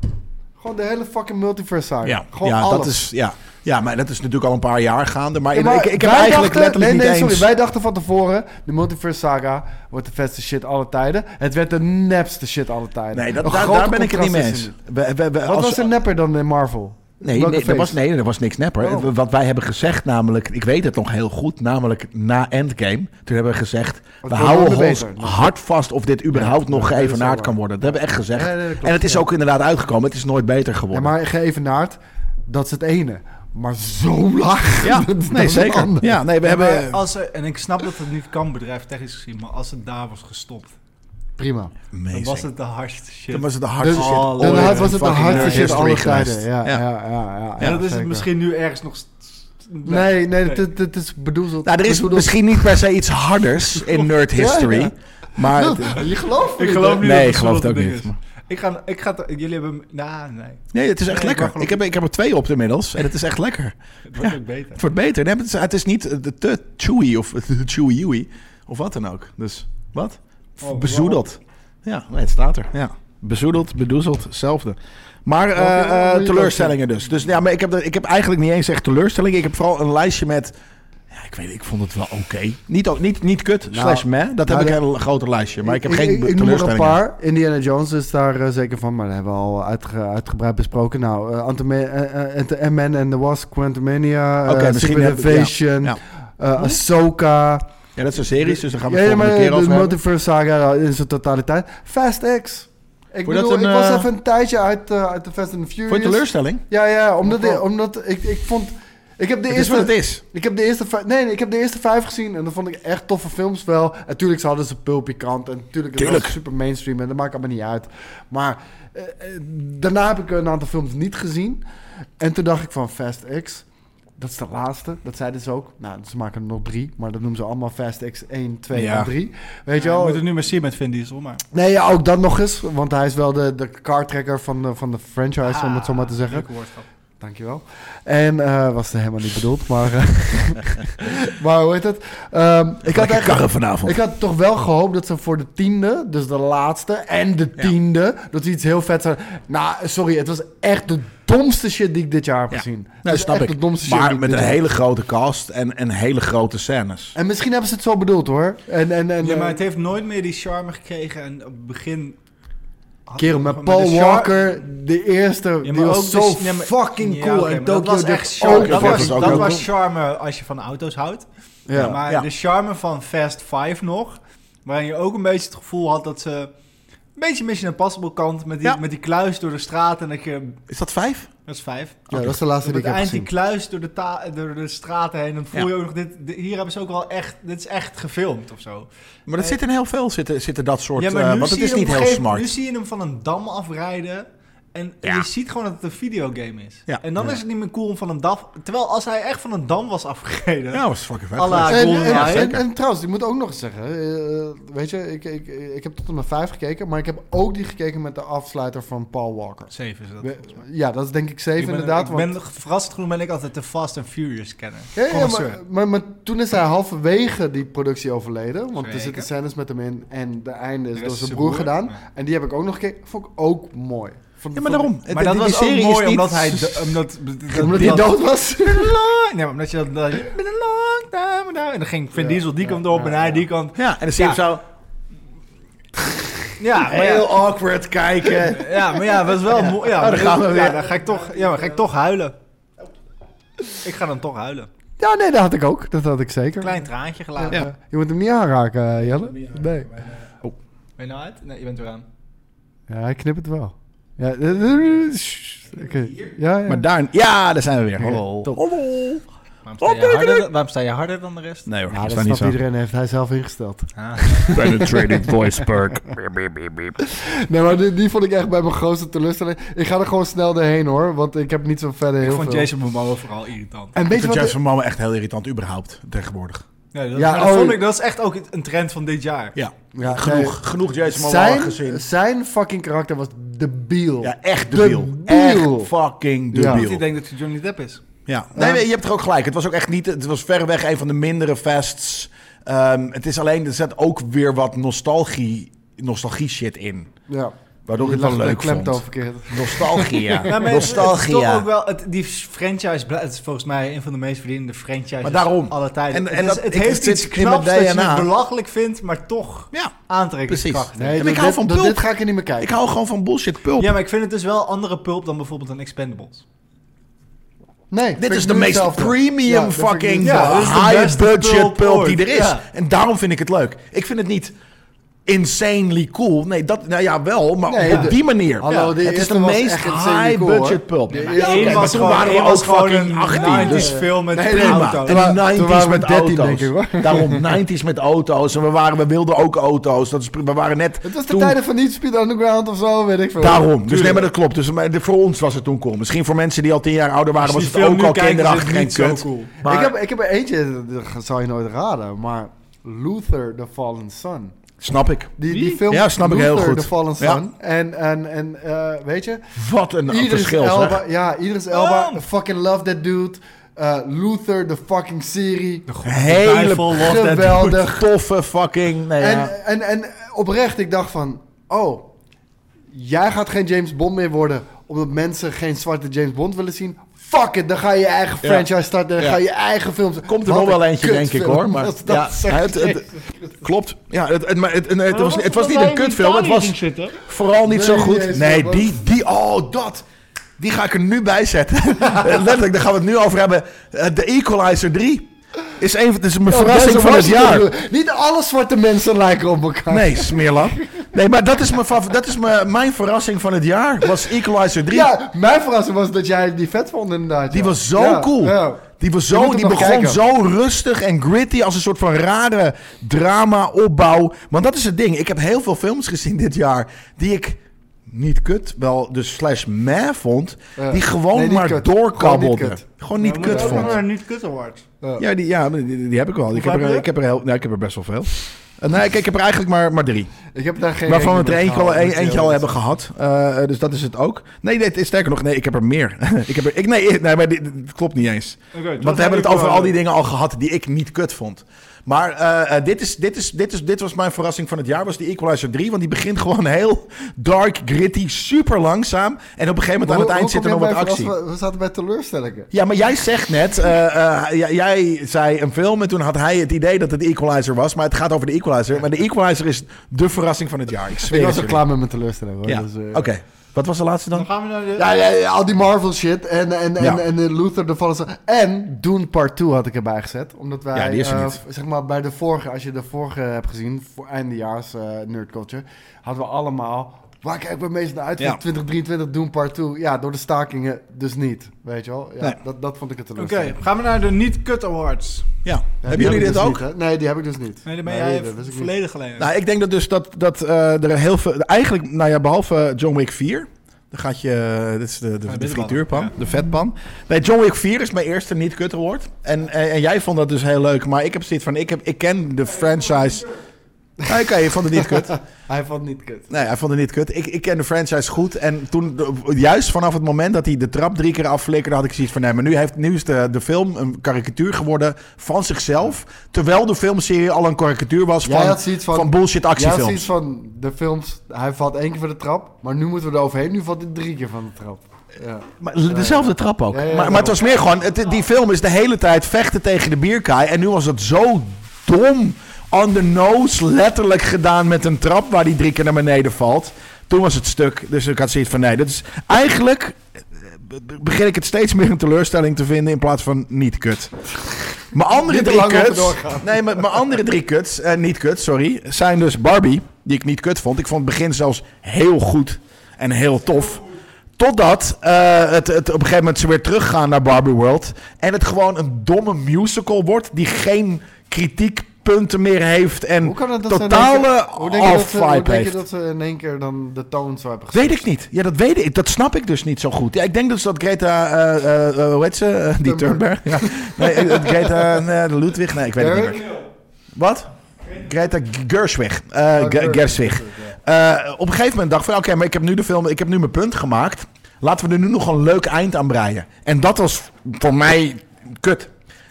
B: Gewoon de hele fucking Multiverse Saga.
A: Ja,
B: gewoon
A: ja
B: alles.
A: dat is. Ja. ja, maar dat is natuurlijk al een paar jaar gaande. Maar,
B: Ja, maar
A: ik, ik heb
B: wij
A: eigenlijk
B: dachten-
A: letterlijk
B: nee, nee,
A: niet
B: sorry,
A: eens.
B: Wij dachten van tevoren, de Multiverse Saga wordt de vetste shit alle tijden. Het werd de nepste shit alle tijden.
A: Nee,
B: Een
A: dat, daar,
B: grote
A: daar ben ik het niet
B: contrast
A: mee
B: is er
A: eens. We- we- we-
B: Wat
A: als-
B: was er nepper dan in Marvel?
A: Nee,
B: Welke
A: nee, er
B: feest?
A: was, nee, er was niks nepper.
B: Oh.
A: Wat wij hebben gezegd namelijk, ik weet het nog heel goed, namelijk na Endgame. Toen hebben we gezegd, we
B: wordt
A: houden
B: wel
A: ons
B: beter.
A: hard vast of dit überhaupt
B: ja,
A: nog
B: dat is wel
A: geëvenaard
B: waar.
A: kan worden. Dat hebben we echt
B: Ja,
A: gezegd.
B: nee, dat klopt,
A: en het is
B: ja.
A: ook inderdaad uitgekomen. Het is nooit beter
B: Ja,
A: geworden.
B: maar geëvenaard, dat is het ene. Maar zo laag.
A: Ja,
B: dat is
A: nee,
B: het
A: zeker.
B: andere.
A: Ja, nee, we
D: Ja, maar
A: hebben...
D: als er, en ik snap dat het niet kan bedrijftechnisch gezien, maar als het daar was gestopt
B: Prima.
A: Amazing.
D: Dan was het de hardste shit.
A: Dan was het de hardste
B: Dus-
A: shit
D: Oh,
A: ooit
B: Dan
D: Ooit
B: had-
A: in
B: was het de
A: fucking
B: hardste shit
A: history
B: aller
A: geweest.
B: tijden. Ja, ja, ja. ja, ja,
D: en dat is het
B: zeker.
D: misschien nu ergens nog... st-
B: Nee, nee,
D: Nee.
B: dit, dit is bedoeld.
A: Nou, er is
B: bedoeld-
A: misschien niet per se iets harders in nerd history.
B: Ja, ja.
A: Maar het-
B: Ja, Je gelooft me
D: Ik
B: niet,
D: geloof
B: hè?
D: niet
A: nee,
D: dat
A: ik geloof het ook
D: zulke ding
A: niet.
D: is. Ik ga... Ik ga t- jullie hebben... hem- Nou, nee.
A: Nee, het is echt
D: Nee, ik
A: lekker.
D: mag
A: Ik heb, ik heb er twee op inmiddels en het is echt lekker.
D: Het wordt
A: Ja.
D: ook beter.
A: Het wordt beter. Nee, maar het, is, het is niet eh, te chewy of te chewy of wat dan ook. Dus wat? F-
N: Oh,
A: Bezoedeld. Ja, nee, het staat er. Ja. Bezoedeld, bedoezeld, hetzelfde. Maar eh,
B: Ja,
A: eh,
B: moet je het ook
A: teleurstellingen dus. Dus ja, maar ik heb, er- ik heb eigenlijk niet eens echt teleurstellingen. Ik heb vooral een lijstje met... Ja, ik weet niet, ik vond het wel oké. Niet, ook- niet, niet kut, slash meh. Dat
B: nou,
A: heb ik
B: de-
A: een groter lijstje. Maar ik heb geen
B: ik, ik noem er een
A: teleurstellingen.
B: paar. Indiana Jones is daar eh, zeker van, maar dat hebben we al uitge- uitgebreid besproken. Nou, eh Ant- eh, eh, Ant- Man and the Wasp, Quantumania, eh,
A: Oké, misschien
B: Secret
A: heb- ja,
B: Invasion,
A: ja. Hm?
B: eh, Ahsoka.
A: Ja, dat zijn series, dus daar gaan we het
B: Ja, ja,
A: volgende keer
B: de
A: over hebben.
B: Multiverse Saga in zijn totaliteit. Fast X. Ik,
A: Vond je dat
B: bedoel,
A: een,
B: ik was
A: eh,
B: even een tijdje uit, eh, uit de Fast and the Furious.
A: Voor je teleurstelling?
B: Ja, ja, omdat, ik, omdat ik, ik vond... Ik heb de
A: Het is
B: eerste...
A: wat het is.
B: Ik heb de eerste vijf, nee, nee, ik heb de eerste vijf gezien en dat vond ik echt toffe films wel. En tuurlijk, ze hadden ze pulpy kant en natuurlijk het
A: Tuurlijk.
B: was super mainstream en dat maakt allemaal niet uit. Maar eh, eh, daarna heb ik een aantal films niet gezien. En toen dacht ik van Fast X, dat is de laatste. Dat zeiden ze ook. Nou, ze maken er nog drie, maar dat noemen ze allemaal Fast X 1, 2
A: Ja.
B: en 3. Weet je
D: Ja,
B: wel?
D: Je moet het nu maar zien met Vin Diesel, maar...
B: Nee, ja, ook dat nog eens, want hij is wel de, de kartrekker van de, van de franchise, om het zo maar te zeggen.
D: Leuke woordschap.
B: Dankjewel. En eh, was het helemaal niet bedoeld, maar. eh, maar hoe heet het? Ehm, ik, had
A: Lekker
B: eigenlijk,
A: karren vanavond.
B: ik had toch wel gehoopt dat ze voor de tiende, dus de laatste en de
A: Ja.
B: tiende, dat ze iets heel vets zouden. Nou, sorry, het was echt de domste shit die ik dit jaar heb
A: Ja.
B: gezien. Het
A: Nee,
B: was
A: snap
B: echt
A: ik.
B: De domste shit die
A: Maar
B: ik
A: met
B: dit
A: een
B: jaar-
A: hele grote cast en, en hele grote scènes.
B: En misschien hebben ze het zo bedoeld hoor. En, en, en,
D: Ja, maar
B: eh,
D: het heeft nooit meer die charme gekregen. En op het begin... had
B: kerel,
D: het
B: met
D: nog- maar de
B: Paul
D: char-
B: Walker, de eerste, die
D: maar
B: was
D: ook
B: zo
D: de- ja, maar-
B: fucking
D: Ja,
B: cool.
D: oké,
B: en
D: maar dat
B: Tokyo
D: was
B: Drift Oh,
D: echt charme.
B: ook.
D: Dat
A: vond
D: was,
A: het ook
D: dat
A: heel
D: was
A: cool.
D: charme als je van auto's houdt.
B: Ja.
D: maar
A: Ja.
D: de charme van Fast Five nog, waarin je ook een beetje het gevoel had dat ze... Een beetje Mission Impossible kant, met die,
A: Ja.
D: met die kluis door de straat en dat je...
A: Is dat vijf?
D: Dat is vijf.
B: Ja, dat is de laatste
D: Op
B: die ik
D: het
B: heb
D: eind die
B: gezien.
D: kluis door de, ta- door de straten heen. Dan voel
A: Ja.
D: je ook nog, dit, di- hier hebben ze ook wel echt, dit is echt gefilmd of zo.
A: Maar dat
D: Eh,
A: zit in heel veel, zitten, zitten dat soort... eh,
D: nu
A: want het
D: zie
A: is niet
D: je hem op
A: heel
D: een gegeven-
A: smart.
D: Nu zie je hem van een dam afrijden. En, en
A: Ja.
D: je ziet gewoon dat het een videogame is.
A: Ja.
D: En dan is het niet meer cool om van een dam... Terwijl als hij echt van een dam was afgereden...
A: Ja, dat was fucking vet.
D: Alla-
A: geweest.
B: En,
D: Golden
B: en-
D: Eye.
B: en- en trouwens, ik moet ook nog eens zeggen, eh, weet je, ik, ik, ik heb tot en met vijf gekeken, maar ik heb ook die gekeken met de afsluiter van Paul Walker.
D: Zeven is dat.
B: We- Ja, dat is denk ik
D: Ik
B: zeven
D: ben-
B: inderdaad.
D: Ik
B: want-
D: ben verrast genoeg ben ik altijd de Fast and Furious kenner.
B: Ja, ja,
D: Connoisseur.
B: maar, maar, maar toen is hij halverwege die productie overleden, want er
D: Zeker.
B: zitten scènes met hem in en de einde is
D: De rest
B: door
D: is
B: zijn
D: zijn
B: broer
D: broer,
B: gedaan.
D: ja.
B: En die heb ik ook nog gekeken, vond ik ook mooi. Vond-
A: Ja, maar
B: vond-
A: daarom. Het-
D: Maar dat
A: die- die
D: was ook
A: serie is
D: mooi
A: niet-
D: omdat hij... de- um, Omdat,
B: Omdat hij dood was.
D: Nee, maar omdat je dat... dat je- Been a long time now. En dan ging Vin
B: Ja,
D: Diesel die
B: ja,
D: kant op
B: ja,
D: en hij
B: ja.
D: die kant.
A: Ja, en dan zie je
D: Ja.
A: hem zo
D: Ja, maar ja.
A: heel awkward kijken.
D: Ja, maar ja, dat is wel mooi. Ja,
A: Oh, daar gaan we
D: ja,
A: weer.
D: dan ga ik toch, ja, maar ga ik toch huilen. Ik ga dan toch huilen.
B: Ja, nee, dat had ik ook. Dat had ik zeker.
D: Klein traantje gelaten.
B: Ja. Je moet hem niet aanraken, eh, Jelle. Nee.
D: Ben je nou uit? Nee, je bent weer aan.
B: Ja, hij knipt het wel. Ja, eh, eh, shh. Oké. ja, ja.
A: Maar daar... Ja, daar zijn we weer. Hallo.
B: Oké, top.
A: Hallo.
D: Waarom sta, je harder, dan- waarom sta je harder dan de rest?
A: Nee hoor,
B: Ja,
A: dat
B: dat
A: is niet
B: snap
A: zo.
B: iedereen, heeft hij zelf ingesteld.
O: Penetrating voice perk. Beep, beep, beep, beep.
B: Nee, maar die, die vond ik echt bij mijn grootste teleurstelling. Ik ga er gewoon snel doorheen hoor, want ik heb niet zo verder
D: ik
B: heel
D: vond
B: veel.
D: Jason Momoa vooral irritant.
B: En
A: Ik
B: weet je
A: vind
B: wat?
A: Jason Momoa echt heel irritant, überhaupt, tegenwoordig.
D: Ja, dat,
B: Ja,
D: maar dat
B: oh.
D: vond ik, dat is echt ook een trend van dit jaar.
A: Ja,
B: Ja,
A: genoeg. Genoeg Jason Momoa gezien.
B: zijn, zijn fucking karakter was debiel.
A: Ja, echt debiel. Echt fucking
B: Ja.
A: debiel.
D: Want ik denk dat hij Johnny Depp is.
A: Ja, Nou, nee, nee, je hebt er ook gelijk. Het was ook echt niet. Het was verreweg een van de mindere fests. Ehm, het is alleen, er zit ook weer wat nostalgie, nostalgie shit in.
B: Ja.
A: Waardoor ik het wel leuk vond.
B: al verkeerd.
A: Nostalgie, ja.
D: Ja, maar het-
A: nostalgie,
D: het is toch
A: ja.
D: ook wel, het- die franchise blij- het is volgens mij een van de meest verdienende franchises
A: Maar daarom.
D: aller tijden.
A: En-
D: het
A: en
D: is-
A: dat-
D: het
A: ik-
D: heeft
A: het
D: iets
A: zit in mijn
D: knaps dat je
A: DNA.
D: het belachelijk vindt, maar toch
A: Ja,
D: aantrekkingskracht.
A: precies.
B: Nee,
A: en
B: dit-
A: ik hou
B: dit-
A: van
B: dit-
A: pulp.
B: Dit ga ik er niet meer kijken.
A: Ik hou gewoon van bullshit pulp.
D: Ja, maar ik vind het dus wel andere pulp dan bijvoorbeeld een Expendables.
B: Nee, vind
A: Dit
B: ik
A: is de
B: nu
A: meest
B: hetzelfde.
A: premium
B: Ja, dat vind ik
A: fucking
B: nu
D: Ja,
B: hetzelfde.
D: dit is de
A: high
D: beste
A: budget
D: pulp
A: pulp die
D: ooit.
A: er is.
D: Ja.
A: En daarom vind ik het leuk. Ik vind het niet insanely cool. Nee, dat, nou ja, wel, maar
B: Nee,
A: op
B: de-
A: die manier.
B: Hallo,
A: Ja.
B: de
A: het is
B: eerste
A: de
B: was
A: meest
B: echt insanely
A: high-budget
B: cool,
A: pulp.
B: hoor.
A: Ja,
B: Ja,
A: oké,
J: Eén
A: maar
J: was
A: toen
J: gewoon,
A: waren we
J: één
A: ook
J: was gewoon
A: fucking
J: een
A: 18.
J: 90s
A: Dus
J: film met
A: Nee,
J: een
A: prima.
J: auto.
A: En die 90s
B: toen waren we
A: met
B: 13,
A: auto's.
B: denk ik,
A: Daarom 90s met auto's. En we, waren, we wilden ook auto's. Dat is, prima. we waren net.
B: Het was de
A: toen-
B: tijden van niet Speed Underground of zo, weet ik veel.
A: Daarom. Dus nee, maar dat klopt. Dus maar de- voor ons was het toen cool. Misschien voor mensen die al tien jaar ouder waren,
J: Als je
A: was
J: die
A: het
J: film
A: ook
J: nu
A: al
J: kijkt, is het
A: kinderachtig en
J: niet zo
A: kut.
J: cool.
A: Maar
B: Ik, heb, ik heb er eentje, dat zou je nooit raden, maar Luther, The Fallen Sun.
A: snap ik.
B: Die,
J: Wie?
B: die film
A: Ja, snap ik
B: Luther,
A: heel goed.
B: The Fallen
A: Ja.
B: Sun. En, en, en eh, weet je,
A: Wat een verschil. zeg.
B: Elba, ja, Idris Elba, fucking love that dude. Eh, Luther, de fucking serie.
A: Hele
J: Duivel, love that
B: Geweldig.
A: toffe fucking. Nee, ja.
B: En, en, en oprecht, ik dacht van, oh, jij gaat geen James Bond meer worden, omdat mensen geen zwarte James Bond willen zien. Fuck it, dan ga je je eigen
A: Ja.
B: franchise starten, dan
A: Ja.
B: ga je je eigen films.
A: Komt er
B: Wat
A: nog wel
B: een
A: eentje, denk ik
B: kutfilm
A: hoor. Maar,
B: was dat,
A: ja,
B: zeg
A: het,
B: ik.
A: het- klopt. Ja, het, het, maar het, het, het was, het was niet een kutfilm. Het was vooral niet zo
B: Nee, die
A: goed.
B: is
A: Nee,
B: wel-
A: die, die, oh, dat. Die ga ik er nu bij zetten. Eh, Letterlijk, daar gaan we het nu over hebben. Eh, De Equalizer 3 is, een, van- is mijn
B: Oh,
A: verrassing
B: deze
A: van
B: was
A: het jaar.
B: bedoel- Niet alle zwarte mensen lijken op elkaar.
A: Nee, smeerlap. Nee, maar dat is, mijn, favor- dat is mijn, mijn verrassing van het jaar. Was Equalizer 3.
B: Ja, mijn verrassing was dat jij die vet vond inderdaad.
A: Die
B: ja.
A: was zo
B: Ja,
A: cool.
B: ja.
A: Die, was
B: Je
A: zo,
B: moet
A: die
B: hem nog
A: begon
B: kijken.
A: zo rustig en gritty als een soort van rare drama-opbouw. Want dat is het ding. Ik heb heel veel films gezien dit jaar die ik niet kut, wel dus slash meh vond.
B: Ja.
A: Die gewoon
B: Nee, niet
A: maar
B: kut. Gewoon
A: doorkabbelden.
B: niet kut.
A: Gewoon niet kut vond.
J: niet kut awards.
A: Ja, die, ja die, die heb ik wel. Ik heb,
J: heb
A: er,
J: je?
A: ik, heb er heel, nou, ik heb er best wel veel. Eh, nee, ik, ik heb er eigenlijk maar, maar drie.
B: Ik heb daar geen.
A: Waarvan we
B: rekening
A: er
B: mee gehouden,
A: eentje al, een-
B: moet je
A: eentje al
B: eerlijk
A: hebben gehad. Eh, dus dat is het ook. Nee, nee, het is sterker nog, nee, ik heb er meer. ik heb er, ik, nee, nee, maar dit, dit klopt niet eens. Want we hebben het over al die dingen al gehad die ik niet kut vond. Maar eh, eh, dit, is, dit, is, dit, is, dit was mijn verrassing van het jaar, was die Equalizer 3. Want die begint gewoon heel dark, gritty, super langzaam. En op een gegeven moment
B: zeggen.
A: aan het
B: Hoe-
A: eind
B: hoe
A: zit er nog
B: kom
A: wat
B: jij bij
A: actie.
B: verrassen? We, we zaten bij teleurstellingen.
A: Ja, maar jij zegt net, eh, eh, j- jij zei een film en toen had hij het idee dat het de Equalizer was. Maar het gaat over de Equalizer. Maar de Equalizer is de verrassing van het jaar, ik zweer
B: Ik was al
A: het jullie.
B: klaar met mijn teleurstelling hoor.
A: Ja,
B: Dus, eh,
A: oké. Wat was de laatste dan?
J: gaan we naar de...
B: Ja, ja, ja, al die Marvel shit en, en, en,
A: Ja.
B: en eh, Luther de Fallen Sun. En Dune Part 2 had ik erbij gezet. Omdat wij,
A: Ja, die is er
B: eh,
A: niet.
B: zeg maar, bij de vorige, als je de vorige hebt gezien, voor eindejaars eh Nerd Culture, hadden we allemaal, waar kijken we het meest naar uit van
A: Ja.
B: 2023 Dune Part 2? Ja, door de stakingen dus niet, weet je wel. Ja,
A: Nee.
B: dat, dat vond ik het
J: Oké,
B: teleurstelling.
J: gaan we naar de niet kut awards.
A: Ja.
B: Ja,
A: Hebben
B: die
A: jullie
B: heb ik
A: dit
B: dus
A: ook?
B: niet, hè. nee, die heb ik dus niet.
J: Nee, daar ben
B: Nee,
J: jij
B: dat wist ik niet.
J: volledig alleen.
A: Nou, ik denk dat dus dat, dat eh, er heel veel... Eigenlijk, nou ja, behalve John Wick 4... Dan gaat je... eh, Dit is de, de,
B: Ah,
A: de
J: bitterballen,
A: frituurpan, de vetpan. Nee, John Wick 4 is mijn eerste niet-kut award. En, en, en jij vond dat dus heel leuk. Maar ik heb zoiets van... Ik, heb, ik ken de franchise... Oké, je vond het niet kut.
B: Hij vond niet kut.
A: Nee, hij vond het niet kut. Ik, ik ken de franchise goed. En toen, de- juist vanaf het moment dat hij de trap drie keer afflikkerde, had ik zoiets van: nee, maar nu, heeft, nu is de, de film een karikatuur geworden van zichzelf. Terwijl de filmserie al een karikatuur was
B: Jij
A: van,
B: had zoiets van-
A: bullshit
B: Ja,
A: actiefilms.
B: zoiets van de films. Hij valt één keer van de trap, maar nu moeten we er overheen. Nu valt hij drie keer van de trap. Ja.
A: Maar l- dezelfde trap ook.
B: Ja, ja, ja,
A: maar, maar het was meer gewoon, het- die film is de hele tijd vechten tegen de bierkaai. En nu was dat zo dom on the nose letterlijk gedaan met een trap waar die drie keer naar beneden valt. Toen was het stuk. Dus ik had zoiets van, nee, dat is eigenlijk eh, be- be- begin ik het steeds meer een teleurstelling te vinden in plaats van niet kut. Mijn andere
B: Niet te
A: drie
B: lang over
A: kuts,
B: doorgaan.
A: nee, mijn, mijn andere drie kuts, eh, niet kut, sorry, zijn dus Barbie, die ik niet kut vond. Ik vond het begin zelfs heel goed en heel tof. Totdat eh, het, het op een gegeven moment ze weer teruggaan naar Barbie World. En het gewoon een domme musical wordt die geen kritiekpunten meer heeft. En
B: Hoe kan het dat
A: totale
B: ze in één keer- hoe denk je dat ze-
A: off-vibe
B: Hoe denk je
A: heeft.
B: dat ze in één keer dan de toon zo hebben gezet?
A: weet ik niet. Ja, dat weet ik. Dat snap ik dus niet zo goed. Ja, ik denk dus dat Greta, eh, eh, eh, hoe heet ze? Eh, die Thunberg. Ja. Nee, eh, eh, Greta eh, de Ludwig. Nee, ik weet het niet meer. Wat? Greta Gershwig. Eh, Ge-
B: Gershwig.
A: Gershwig. Eh, op een gegeven moment dacht ik van... Oké, maar ik heb nu de film... Ik heb nu mijn punt gemaakt. Laten we er nu nog een leuk eind aan breien. En dat was voor mij kut.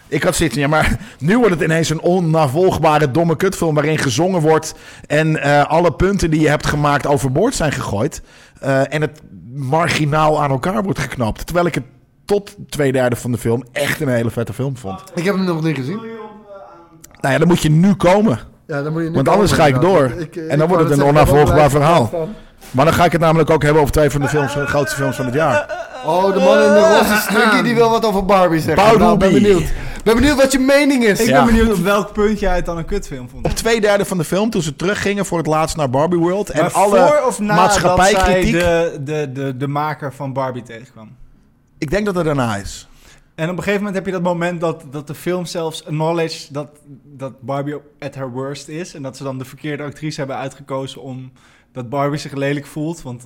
A: Ik had zitten, ja, maar nu wordt het ineens een onnavolgbare domme kutfilm waarin gezongen wordt en eh, alle punten die je hebt gemaakt overboord zijn gegooid. eh, en het marginaal aan elkaar wordt geknapt. Terwijl ik het tot twee derde van de film echt een hele vette film vond.
B: Ik heb hem nog niet gezien.
A: Nou ja, dan moet je nu komen.
B: Ja, dan moet je nu
A: Want anders
B: komen,
A: ga ik door.
B: inderdaad. eh,
A: En dan
B: wou
A: wordt het
B: net zeggen,
A: een
B: dat
A: onafvolgbaar
B: blijft
A: verhaal.
B: staan.
A: Maar dan ga ik het namelijk ook hebben over twee van de films, de grootste films van het jaar.
B: Oh, de man in de roze stukje die wil wat over Barbie zeggen.
A: Ah. Paul
B: Nou, ben
A: Ruby.
B: benieuwd. ben benieuwd wat je mening is.
D: Ik
A: Ja.
D: ben benieuwd op welk punt jij het dan een kutfilm vond.
A: Op twee derde van de film, toen ze teruggingen voor het laatst naar Barbie World. En
D: Maar
A: alle
D: voor of na
A: maatschappijkritiek-
D: dat zij de, de, de, de maker van Barbie tegenkwam.
A: Ik denk dat het daarna is.
D: En op een gegeven moment heb je dat moment dat, dat de film zelfs acknowledge dat, dat Barbie at her worst is. En dat ze dan de verkeerde actrice hebben uitgekozen om dat Barbie zich lelijk voelt. Want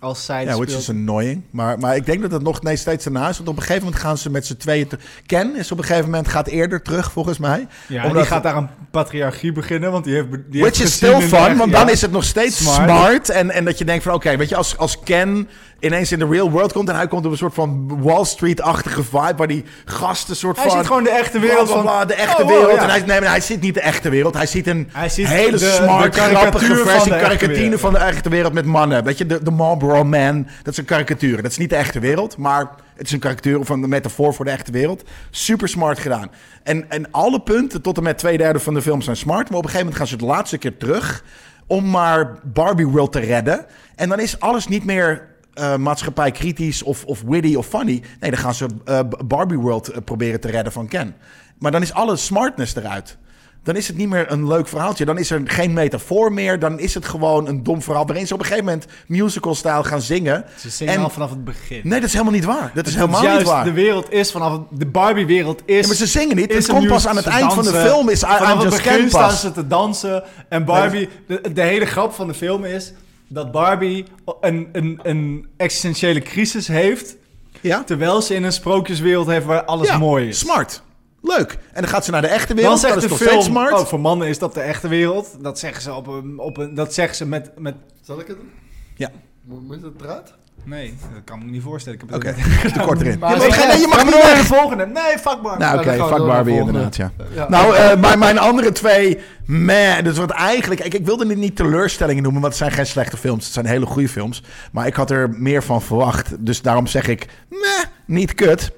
D: als zij het
A: Ja, which
D: speelt...
A: is annoying. Maar, maar ik denk dat het nog nee, steeds daarna is. Want op een gegeven moment gaan ze met z'n tweeën... te- Ken is op een gegeven moment gaat eerder terug, volgens mij.
D: Ja,
A: Omdat-
D: en die gaat daar een patriarchie beginnen, want die heeft... be- Die
A: Which
D: heeft
A: is
D: gezien
A: still
D: in
A: fun,
D: de-
A: want
D: ja.
A: dan is het nog steeds smart.
D: Smart.
A: en, en dat je denkt van, oké, weet je, als, als Ken ineens in de real world komt... en hij komt op een soort van Wall Street-achtige vibe... waar die gasten soort
D: Hij
A: van...
D: ziet gewoon de echte wereld
A: bla,
D: van...
A: bla, bla, de echte
D: Oh, wow,
A: wereld.
D: ja.
A: En hij, nee, maar hij ziet niet de echte wereld. Hij ziet een
D: Hij ziet
A: hele
D: de- de
A: smart,
D: karikatuur
A: grappige
D: van
A: versie,
D: de echte
A: karikatine
D: wereld.
A: van de echte wereld met mannen. Weet je, de, de Marlboro Man, dat zijn karikaturen. Dat is niet de echte wereld, maar het is een karikatuur van de metafoor voor de echte wereld. Super smart gedaan. En, en alle punten tot en met twee derde van de film zijn smart. Maar op een gegeven moment gaan ze het laatste keer terug om maar Barbie World te redden. En dan is alles niet meer eh, maatschappij kritisch of, of witty of funny. Nee, dan gaan ze eh, Barbie World eh, proberen te redden van Ken. Maar dan is alle smartness eruit. Dan is het niet meer een leuk verhaaltje. Dan is er geen metafoor meer. Dan is het gewoon een dom verhaal. Waarin ze op een gegeven moment musical-stijl gaan zingen.
D: Ze zingen
A: En-
D: al vanaf het begin.
A: Nee, dat is helemaal niet waar. Dat is
D: Het
A: helemaal
D: juist,
A: niet waar.
D: de wereld is vanaf... het- De Barbie-wereld is...
A: Ja, maar ze zingen niet. Het
D: is
A: komt
D: een
A: pas
D: musical.
A: aan het
D: Ze
A: eind van de
D: dansen.
A: film. Is I, I'm
D: Vanaf het
A: Just
D: begin
A: Ken
D: staan
A: pas.
D: ze te dansen. En Barbie... De, de hele grap van de film is... dat Barbie een, een, een existentiële crisis heeft...
A: Ja?
D: terwijl ze in een sprookjeswereld heeft waar alles
A: Ja,
D: mooi is.
A: Smart. Leuk. En dan gaat ze naar de echte
D: Dan
A: wereld.
D: zegt
A: dat is
D: de
A: nog
D: film...
A: steeds smart.
D: Oh, voor mannen is dat de echte wereld. Dat zeggen ze, op een, op een, dat zeggen ze met, met...
B: Zal ik het doen?
A: Ja.
B: Mo- Moet het draad?
D: Nee, dat kan ik me niet voorstellen. Ik heb
A: Oké,
D: het
A: te kort erin.
B: Maar-
A: Je mag-
B: Ja,
A: nee, je mag
D: Gaan we
A: niet
D: door naar
A: weg.
D: de volgende? Nee, fuck Barbie.
B: Ja,
A: Nou, oké,
B: dan gaan we
A: fuck
B: door naar
A: Barbie
B: de volgende.
A: inderdaad, ja.
B: Ja.
A: Nou, eh, mijn, mijn andere twee, meh, dus wat eigenlijk... Ik, ik wilde dit niet teleurstellingen noemen, want het zijn geen slechte films. Het zijn hele goede films. Maar ik had er meer van verwacht. Dus daarom zeg ik, meh, niet kut.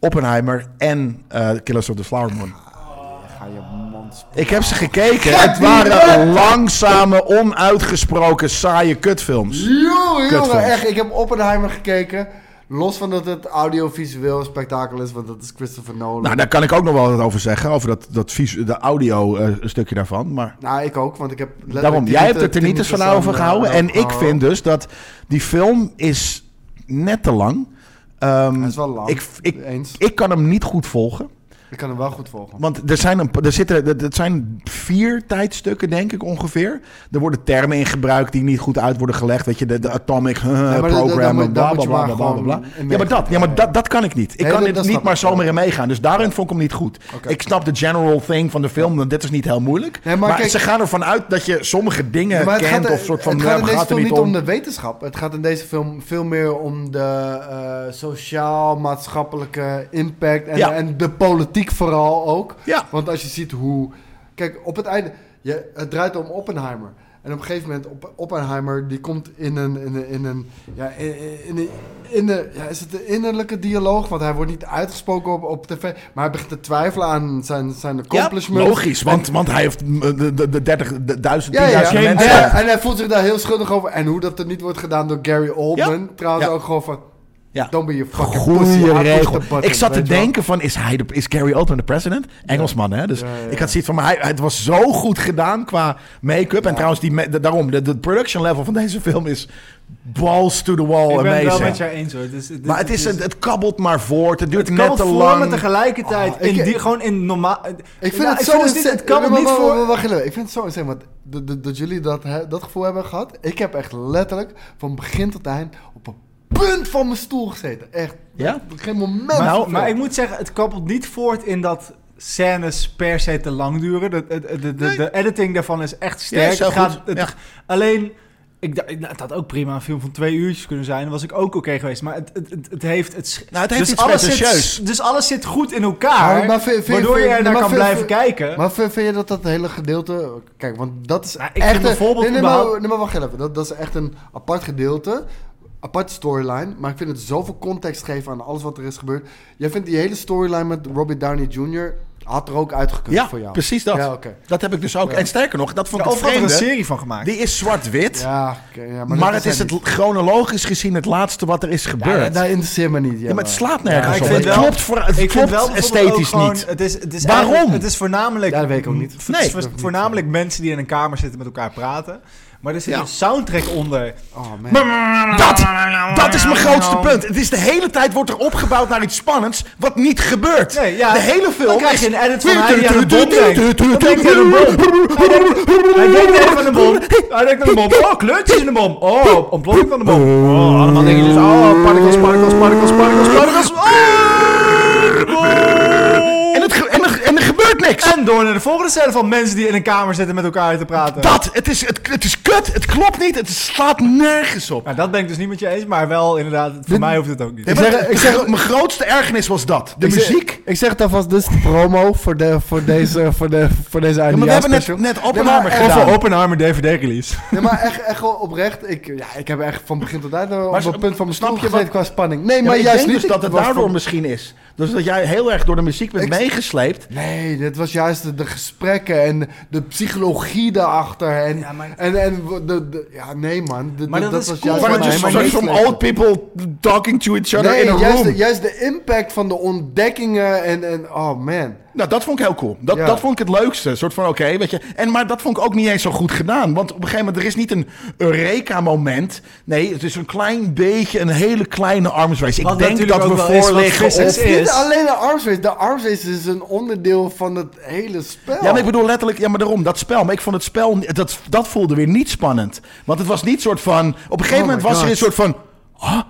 A: Oppenheimer en eh, Killers of the Flower Moon.
P: Ga je mond sp-
A: Ik heb ze gekeken. Het waren langzame, onuitgesproken, saaie kutfilms.
B: Yo,
A: Kutfilm.
B: jongen, echt. Ik heb Oppenheimer gekeken. Los van dat het audiovisueel spektakel is, want dat is Christopher Nolan.
A: Nou, daar kan ik ook nog wel wat over zeggen. Over dat, dat visu- de audio eh, stukje daarvan. Maar
B: Nou, ik ook, want ik heb letterlijk
A: Daarom,
B: tien
A: jij hebt
B: minuten-
A: het er niet
B: tien
A: eens van
B: minuten
A: over
B: aan, eh,
A: gehouden.
B: aan
A: En ik
B: gehouden.
A: vind dus dat die film is net te lang. Ehm,
B: Hij is wel lang.
A: Ik, ik,
B: Eens.
A: ik kan hem niet goed volgen.
B: Ik kan hem wel goed volgen.
A: Want er zijn, een, pa- er zitten, er- het zijn vier tijdstukken, denk ik ongeveer. Er worden termen in gebruikt die niet goed uit worden gelegd. Weet je, de, de atomic huh,
B: maar dat- dat-
A: program
B: dat
A: en
B: moet- dat
A: bla bla
B: moet je
A: bla
B: maar
A: bla bla.
B: gewoon
A: bla.
B: in
A: Ja, maar, dat, ja, maar dat, dat kan ik niet. Ik
B: Nee,
A: kan
B: dat-
A: dit
B: dat
A: niet
B: snap
A: maar
B: ik.
A: zomaar in meegaan. Dus daarin vond ik hem niet goed. Ik snap de general thing van de film, want dit is niet heel moeilijk.
B: Nee,
A: maar
B: maar kijk-
A: ze gaan ervan uit dat je sommige dingen
B: Maar het
A: kent
B: gaat, er-
A: of soort van...
B: het
A: ja,
B: gaat in
A: maar
B: deze
A: gaat er
B: film niet
A: om.
B: om de wetenschap. Het gaat in deze film veel meer om de eh, sociaal-maatschappelijke impact. En,
A: Ja.
B: en de politiek vooral ook.
A: Ja.
B: Want als je ziet hoe... Kijk, op het einde... Je, het draait om Oppenheimer. En op een gegeven moment, Op- Oppenheimer die komt in een... In een, in een ja, in, in- in, een- in een, ja, is het een innerlijke dialoog? Want hij wordt niet uitgesproken op, op tv. Maar hij begint te twijfelen aan zijn, zijn
A: Ja,
B: accomplishments.
A: logisch, want, want hij heeft mm, de, de, de 30, de 1000,
B: Ja, ja, ja.
A: 10.000
B: En,
A: mensen.
B: hij- en hij voelt zich daar heel schuldig over. En hoe dat er niet wordt gedaan door Gary Oldman. Trouwens
A: Ja.
B: ook gewoon van...
A: Ja.
B: Don't be a fucking pussy. I
A: Goede
B: pushed
A: regel.
B: the button,
A: Ik zat te
B: weet je wel.
A: denken van, is, hij de, is Gary Oldman de president? Engelsman, hè? Dus
B: Ja, ja, ja.
A: ik had zoiets van, maar hij, het was zo goed gedaan qua make-up. En trouwens, die, me- de- daarom, de, de production level van deze film is balls to the wall
D: Ik ben het wel
A: Oh, amazing.
D: met jou eens hoor. Het is- het
A: maar het, is, het, het kabbelt maar voort, het duurt
D: Het kan
A: net te
D: voor, maar
A: lang. Oh,
D: tegelijkertijd...
B: Ah, ik-
D: in die, gewoon in normaal...
B: Ik vind
D: Nou,
B: het zo
D: dus
B: insane.
D: niet- Het kan
B: Wacht,
D: niet
B: wacht,
D: voor...
B: wacht, wacht, wacht. Ik vind het zo insane. Want dat- dat- dat jullie dat, hè, dat gevoel hebben gehad. Ik heb echt letterlijk van begin tot eind op een punt van mijn stoel gezeten. Echt.
A: Ja?
B: Op Geen moment.
D: Maar,
A: Nou,
D: maar ik moet zeggen, het kabbelt niet voort in dat scènes per se te lang duren. De, de, de, de, de editing daarvan is echt
A: Ja,
D: sterk.
A: is heel
D: Het gaat-
A: goed.
D: het-
A: Ja.
D: Alleen, ik, dacht- nou, het had ook prima een film van twee uurtjes kunnen zijn. Dan was ik ook oké geweest. Maar het, het, het, het heeft... Het, sch-
A: Nou, het heeft
D: dus,
A: iets
D: alles
A: pretentieus.
D: zit, dus alles zit goed in elkaar,
A: Nou,
B: Maar- maar vind- vind-
D: waardoor je
B: vind-
D: er naar
B: maar
D: kan
B: vind-
D: blijven kijken.
B: Maar vind, vind je dat dat hele gedeelte... Kijk, want dat is
D: Nou, ik
B: echt...
D: vind
B: een-
D: bijvoorbeeld
B: Nee, nee, maar,
D: überhaupt-
B: nee, maar wacht even. Dat, dat is echt een apart gedeelte. Apart storyline. Maar ik vind het zoveel context geven aan alles wat er is gebeurd. Jij vindt die hele storyline met Robert Downey Jr. had er ook uitgekund
A: Ja,
B: voor jou.
A: precies dat.
B: Ja, oké.
A: Dat heb ik dus ook.
B: Ja.
A: En sterker nog, dat vond
D: Ja,
A: ik
D: of
A: het
D: had er een
A: vreemde.
D: serie van gemaakt.
A: Die is zwart-wit,
B: Ja, oké, ja,
A: maar,
B: dat
A: het is
B: zijn
A: het chronologisch gezien het laatste wat er is
B: niet- Ja,
A: gebeurd. Ja,
B: dat interesseert me niet. Ja,
A: maar het slaat nergens
D: Ja, ik
A: op.
D: vind
A: Het
D: wel-
A: klopt, voor, het
D: Ik
A: klopt
D: vind wel bijvoorbeeld ook
A: esthetisch
D: gewoon-
A: niet.
D: Het is, het is
A: Waarom?
D: eigenlijk- Het is voornamelijk...
B: Ja, dat weet ik ook niet.
D: Het
A: Nee.
D: is vo- voornamelijk mensen die in een kamer zitten met elkaar praten. Maar er zit
A: Ja.
D: een soundtrack onder.
B: Oh, man.
D: eh,
A: Dat, dat is mijn grootste punt. Het is de hele tijd wordt er opgebouwd naar iets spannends wat niet gebeurt.
D: Nee, ja.
A: de hele film
D: Dan krijg je
A: is-
D: een edit van Heidi aan de bom denkt. Dan denkt hij aan een Hij denkt even aan de bom. Hij denkt aan de bom. Oh, kleurtjes in de bom. Oh, ontploffing van de bom. Oh, allemaal dingen dus. Oh, particles, particles, particles, particles, particles. Oh.
A: En, het ge- en, er, en er gebeurt niks.
D: En door naar de volgende scène van mensen die in een kamer zitten met elkaar te praten.
A: Dat, het is, het, het is kut, het klopt niet, het slaat nergens op.
D: Nou, dat ben ik dus niet met je eens, maar wel inderdaad, voor mij hoeft het ook niet.
A: Nee,
B: zeg-
A: maar
B: ik
A: de- mijn grootste ergernis was dat. De
B: Ik zeg-
A: muziek.
B: Ik zeg het alvast, dit is de promo voor, de, voor deze, voor de, voor deze
A: Ja, maar we hebben net,
B: eindejaarsspecial.
A: net
B: Ja,
A: Oppenheimer
B: maar-
A: gedaan.
D: Over Oppenheimer DVD-release.
B: Nee, maar echt, echt wel oprecht. Ik, ja, ik heb echt van begin tot eind eh, op
A: Maar
B: het punt van mijn
A: snap
B: stoel
A: je
B: gezeten
A: wat-
B: qua spanning. Nee,
A: Ja,
B: maar
A: ik
B: juist
A: denk
B: niet.
A: dus dat het
B: was
A: daardoor
B: voor-
A: misschien is. Dus dat jij heel erg door de muziek bent
B: Ik-
A: meegesleept.
B: Nee, dit was juist de, de gesprekken en de psychologie daarachter. En,
D: Ja, maar-
B: en, en de, de- ja, nee man. De-
D: Maar
B: de-
D: dat is cool.
B: was
D: Maar
A: Waren
B: juist
A: het
D: nee,
A: just
D: maar
A: some-
D: niet
A: some old people talking to each other
B: Nee,
A: in a
B: juist,
A: room?
B: de, juist de impact van de ontdekkingen en, en oh man.
A: Nou, dat vond ik heel cool. Dat,
B: Ja.
A: dat vond ik het leukste. Een soort van, oké, weet je. En, maar dat vond ik ook niet eens zo goed gedaan. Want op een gegeven moment, er is niet een Eureka-moment. Nee, het is een klein beetje, een hele kleine armswijs. Ik
D: Wat
A: denk
D: natuurlijk
A: dat we
D: ook wel is
A: voor
D: wat
A: liggen
D: physics
A: op...
B: Het is niet
D: is-
B: alleen de arms race. De arms race is een onderdeel van het hele spel.
A: Ja, maar ik bedoel letterlijk, ja, maar daarom, dat spel. Maar ik vond het spel, ni- dat, dat voelde weer niet spannend. Want het was niet soort van, op een gegeven
B: Oh
A: moment
B: my
A: was er
B: God.
A: een soort van... "Huh?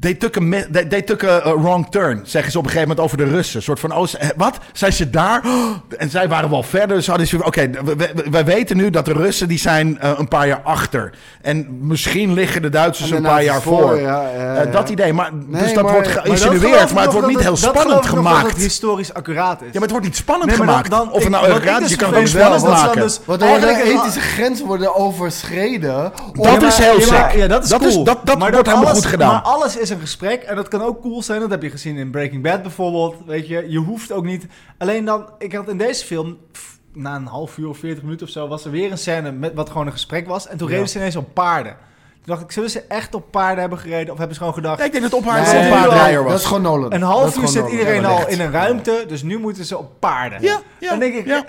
A: They took, a, mi- they, they took a, a wrong turn, zeggen ze op een gegeven moment over de Russen. Een soort van, oh, ze- eh, wat? Zijn ze daar? Oh, en zij waren wel verder. Dus hadden ze, oké, we- we- wij weten nu dat de Russen, die zijn eh, een paar jaar achter. En misschien liggen de Duitsers
B: En
A: een
B: de
A: paar jaar
B: Duitsers
A: voor.
B: voor, ja, ja,
A: Eh,
B: ja.
A: dat idee, maar,
B: Nee,
A: dus dat
B: maar-
A: wordt
B: maar dat
A: geïnsinueerd, maar, het wordt niet heel spannend
D: Dat
A: gemaakt.
D: het historisch accuraat is.
A: Ja, maar het wordt niet spannend
D: Nee, maar dan-
A: gemaakt.
D: dan-
A: of het
D: ik-
A: nou
D: wat
A: erg
D: ik
A: raad is,
D: dus
A: je kan het ook
D: vervelend
A: spannend
D: vind, is dat
A: maken.
D: ze dan dus-
B: Want er worden
D: Eigenlijk-
B: ethische grenzen worden overschreden.
A: Dat
D: Ja,
A: is
D: maar-
A: heel
D: ja, maar-
A: sick.
D: Ja, dat is
A: Dat is-
D: cool.
A: dat- dat
D: Maar
A: wordt helemaal
D: alles-
A: goed gedaan.
D: Maar alles is een gesprek en dat kan ook cool zijn. Dat heb je gezien in Breaking Bad bijvoorbeeld. Weet je, je hoeft ook niet... Alleen dan, ik had in deze film... pff, Na een half uur of 40 minuten of zo was er weer een scène met wat gewoon een gesprek was. En toen reden ze ineens op paarden. Toen dacht ik, zullen ze echt op paarden hebben gereden? Of hebben ze gewoon gedacht,
A: Nee, ik denk dat
B: Nee,
A: Oppenheimer
D: Nee,
A: een
D: nee,
A: paar
D: nee,
A: draaier
B: Dat is
A: was.
B: gewoon Nolan.
D: een
B: Dat is
D: half uur
B: gewoon
D: zit
B: Nolan.
D: iedereen
B: Ja,
D: al
B: wellicht.
D: in een ruimte, dus nu moeten ze op paarden.
A: Ja, ja,
D: Dan denk ik,
A: ja.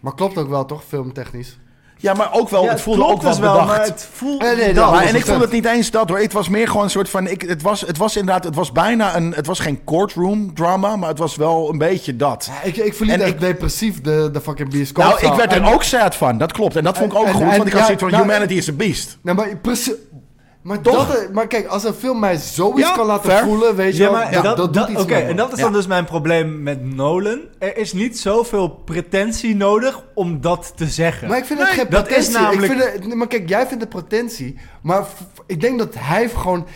B: Maar klopt ook wel toch, filmtechnisch?
A: Ja, maar ook wel,
D: Ja,
A: het voelde
D: klopt
A: ook wel
D: dus maar
A: bedacht.
D: het voelt
B: Nee, nee,
D: niet
B: dat
D: dat.
A: Maar,
B: was
A: en
B: het
A: ik vond
B: vet.
A: het niet eens dat hoor. Het was meer gewoon een soort van. Ik, het, was, het was inderdaad. Het was bijna een. Het was geen courtroom drama. Maar het was wel een beetje dat.
B: Ja, ik, ik verliet
A: En
B: echt
A: ik-
B: depressief de, de fucking bioscoop.
A: Nou, ik werd
B: er
A: er ook sad van. Dat klopt. En dat vond ik ook
B: en-
A: goed.
B: en-
A: Want ik had
B: ja,
A: zoiets van:
B: nou,
A: Humanity is a beast.
B: Nee, maar precies... Maar, dat, eh, maar kijk, als een film mij zoiets
A: Ja,
B: kan laten
A: fair.
B: voelen, weet je
D: Ja,
B: wel,
D: maar
B: ja,
D: dat, dat,
B: doet iets
D: oké,
B: met me.
D: en dat is
A: Ja.
D: dan dus mijn probleem met Nolan. Er is niet zoveel pretentie nodig om dat te zeggen.
B: Maar ik vind het geen
D: dat is
B: pretentie.
D: namelijk-
B: Ik vind het, nee, maar kijk, jij vindt het pretentie. Maar f- ik denk dat hij gewoon...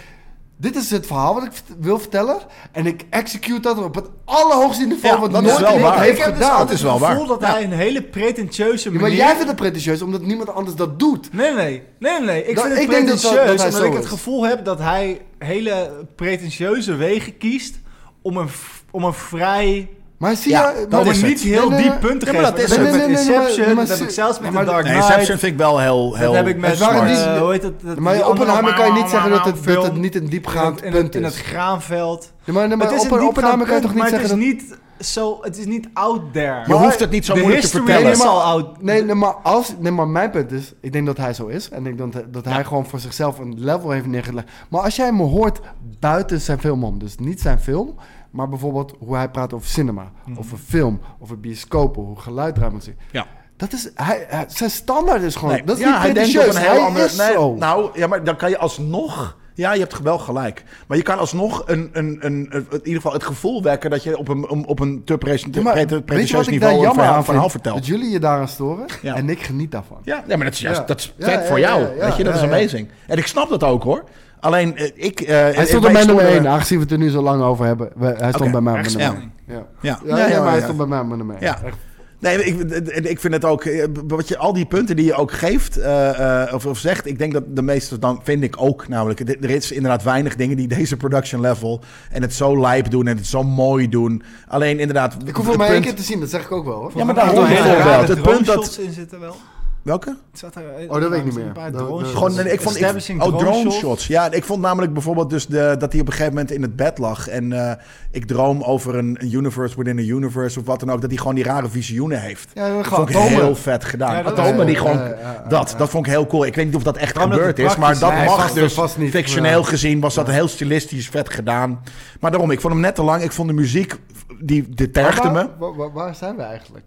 B: Dit is het verhaal wat ik vert- wil vertellen. En ik execute dat op het allerhoogste niveau.
A: Ja,
B: wat
A: dat is
B: nooit
A: wel
B: iemand
A: waar.
B: heeft
A: Ik heb dus
B: gedaan.
A: altijd- is wel
D: het gevoel
A: waar.
D: dat hij een hele pretentieuze
B: Ja,
D: manier...
B: maar jij vindt het pretentieus omdat niemand anders dat doet.
D: Nee, nee, nee, nee, nee. Ik
B: Dat-
D: vind het
B: Nou, ik denk dat dat-
D: pretentieus
B: dat hij
D: omdat
B: zo
D: ik het
B: is.
D: gevoel heb dat hij hele pretentieuze wegen kiest om een, v- om een vrij...
B: Maar zie
A: Ja,
B: je...
A: dat
B: maar
D: om
A: is
D: een niet
A: het.
B: Nee,
D: heel
B: nee,
D: diep
B: nee.
D: punt te
A: Ja,
D: geven.
A: maar dat is
D: heb
A: het.
D: ik met
B: Nee, nee, nee, nee,
D: Inception,
B: nee, maar
D: dat heb ik
B: ze-
D: zelfs met
B: Ja, maar
D: The Dark
A: Nee,
D: Knight.
A: Inception vind ik wel heel. heel
D: dat heb ik met...
B: Het waren
D: eh,
B: die-
D: hoe heet dat? dat-
B: Maar
D: die
B: Oppenheimer
D: andere-
B: kan je niet zeggen dat het, dat het
D: film.
B: niet een diepgaand
D: in, het- in,
B: punt
D: het- in het
B: is.
D: graanveld.
B: Ja, maar, nee, maar
D: het is een
B: Oppen-
D: diepgaand
B: Oppenheimer kan je
D: punt,
B: toch niet
D: maar
B: zeggen dat...
D: het is niet zo, het is niet out there.
A: Je hoeft het niet zo
D: de
A: moeilijk te
D: history
A: vertellen.
D: is al out.
B: Nee, nee, maar als, nee, maar mijn punt is, ik denk dat hij zo is. En ik denk dat, dat hij gewoon voor zichzelf een level heeft neergelegd. Maar als jij me hoort buiten zijn film om, dus niet zijn film, maar bijvoorbeeld hoe hij praat over cinema, over film, over bioscopen, hoe geluid eruit moet zien.
A: Mhm. Ja.
B: Dat is, hij, hij- zijn standaard is gewoon,
A: Nee,
B: dat is
A: ja,
B: niet
A: hij denkt op
B: pretentieus,
A: een heel
B: hij
A: ander...
B: is
A: nee,
B: zo.
A: Nou, ja, maar dan kan je alsnog... Ja, je hebt wel gelijk. Maar je kan alsnog een, een, een, een- in ieder geval het gevoel wekken... dat je op een, om- op een te presen-
B: Ja, maar
A: pre- te
B: weet je wat
A: pretentieus
B: ik daar
A: niveau een
B: jammer
A: verhaal,
B: aan
A: verhaal
B: vind?
A: vertelt.
B: Dat jullie je daaraan storen
A: Ja.
B: en ik geniet daarvan.
A: Ja, nee, maar dat is juist
B: Ja.
A: dat is
B: Ja,
A: vet
B: ja,
A: voor
B: ja,
A: jou.
B: ja,
A: weet je, dat
B: ja,
A: is
B: ja.
A: amazing. En ik snap dat ook, hoor. Alleen, eh, ik... eh,
B: Hij
A: eh,
B: stond
A: wij
B: op mijn nummer
A: stonden-
B: 1, aangezien we het er nu zo lang over hebben. We- Hij stond bij
A: Oké,
B: mij op mijn
A: ergens-
B: nummer
A: ja.
B: 1. Ja.
A: Ja,
B: Ja, ja, maar hij stond bij mij op mijn nummer 1.
A: Ja. Nee, ik, ik vind het ook. eh, Wat je, al die punten die je ook geeft eh, eh, of, of zegt, ik denk dat de meeste dan vind ik ook. Namelijk, dit- er is inderdaad weinig dingen die deze production level en het zo lijp doen en het zo mooi doen. Alleen inderdaad.
B: Ik hoef
A: het
B: hem maar één
A: punt-
B: keer te zien, dat zeg ik ook wel. Hoor.
A: Ja, maar daarom
J: hele
A: bijvoorbeeld.
J: rare
A: Het punt dat.
J: shots in zitten wel.
A: Welke?
J: Het zat er,
B: Oh, dat weet ik niet
J: er Een
B: meer.
J: paar
B: Dat-
J: drone
B: dat-
J: shots.
A: Gewoon, nee, ik vond, ik,
J: Establishing
A: oh, drone
J: drone
A: shots. Ja, ik vond namelijk bijvoorbeeld dus de, dat hij op een gegeven moment in het bed lag. En eh, ik droom over een, een universe within a universe of wat dan ook. Dat hij gewoon die rare visioenen heeft.
B: Ja,
A: Dat vond ik heel vet gedaan.
J: Ja, dat
A: Atomen
B: is-
A: die gewoon...
B: ja, ja, ja,
A: dat,
B: ja.
A: dat vond ik heel cool. Ik weet niet of dat echt
J: Daarom dat
A: gebeurd
J: het
A: is, maar
J: praktisch
A: dat
B: Nee,
A: mag
B: vast-
A: dus.
B: vast niet.
A: Fictioneel
B: Ja.
A: gezien was dat heel stilistisch vet gedaan. Maar daarom, ik vond hem net te lang. Ik vond de muziek, die, die tergde
B: Maar
A: me.
B: waar- Waar, waar- waar zijn we eigenlijk?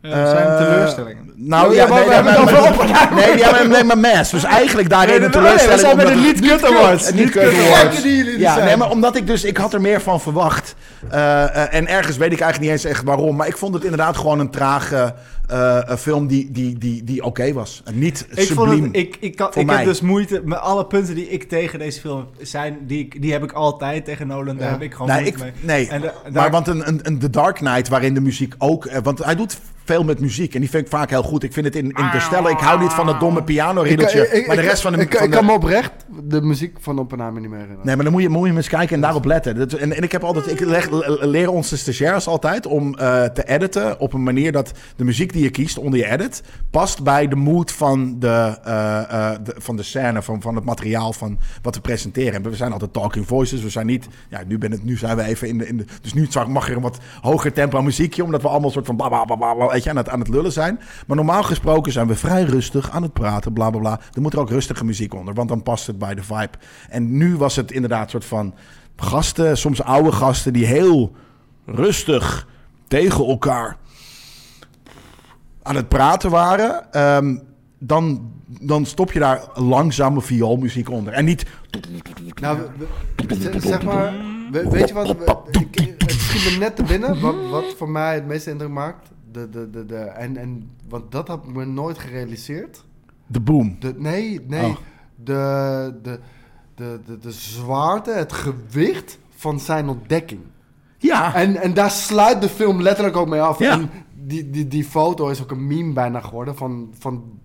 G: Eh, zijn
A: Eh,
G: teleurstellingen.
A: Nou
B: Ja,
A: ja,
B: maar
A: nee,
B: we
A: nee,
B: hebben
A: maar-
B: het over
A: nee, ja, maar- nee, maar mes. Dus eigenlijk daarin een teleurstelling.
J: we zijn bij de
A: omdat-
J: Lead Cut Awards.
A: en niet
B: Kut,
A: Kurt
B: kut,
A: Awards.
B: die jullie er
A: Ja,
B: zijn.
A: nee, maar omdat ik dus... Ik had er meer van verwacht. Eh, eh, en ergens weet ik eigenlijk niet eens echt waarom. Maar ik vond het inderdaad gewoon een trage eh, eh, film die, die, die, die oké was. En niet
J: Ik
A: subliem.
J: vond het, ik, ik, kan,
A: Voor
J: ik
A: mij.
J: heb dus moeite met alle punten die ik tegen deze film zijn, die, ik, die heb ik altijd tegen Nolan, daar
B: Ja.
J: heb ik gewoon
A: nee,
J: moeite
A: ik,
J: mee.
A: nee.
J: En da-
A: maar
J: daar-
A: want een, een, een The Dark Knight waarin de muziek ook... eh, want hij doet veel met muziek en die vind ik vaak heel goed. Ik vind het in, in de stellen... Ik hou niet van dat domme piano riddeltje. Maar de rest van de...
B: Ik,
A: van
B: ik
A: de-
B: kan me oprecht de muziek van Oppenheimer niet meer herinneren.
A: Nee, maar dan moet je, moet je eens kijken en daarop letten. Dat, en, en ik heb altijd, ik leg, leer onze stagiairs altijd om eh, te editen op een manier dat de muziek die je kiest onder je edit past bij de mood van de, eh, eh, de- van de scène, van, van het materiaal van wat we presenteren. En we zijn altijd talking voices, we zijn niet, ja, nu, ben het, nu zijn we even in de, in de dus nu zag- mag er een wat hoger tempo aan muziekje, omdat we allemaal een soort van bla bla bla bla, bla weet je, aan, het, aan het lullen zijn. Maar normaal gesproken zijn we vrij rustig aan het praten, bla bla bla. Er moet er ook rustige muziek onder, want dan past het bij de vibe. En nu was het inderdaad een soort van gasten, soms oude gasten, die heel rustig tegen elkaar aan het praten waren. ehm, dan, dan stop je daar langzame vioolmuziek onder. En niet.
B: Nou, we- we- z- zeg maar, we- weet je wat, we- ik, het schiet me net te binnen, wat, wat voor mij het meeste indruk maakt. De, de, de, de, en, en, want dat had ik me nooit gerealiseerd.
A: De boom.
B: De, nee, nee,
A: Oh.
B: de, de, de, de, de zwaarte, het gewicht van zijn ontdekking.
A: Ja.
B: En, en daar sluit de film letterlijk ook mee af.
A: Ja.
B: En die, die, die foto is ook een meme bijna geworden van, van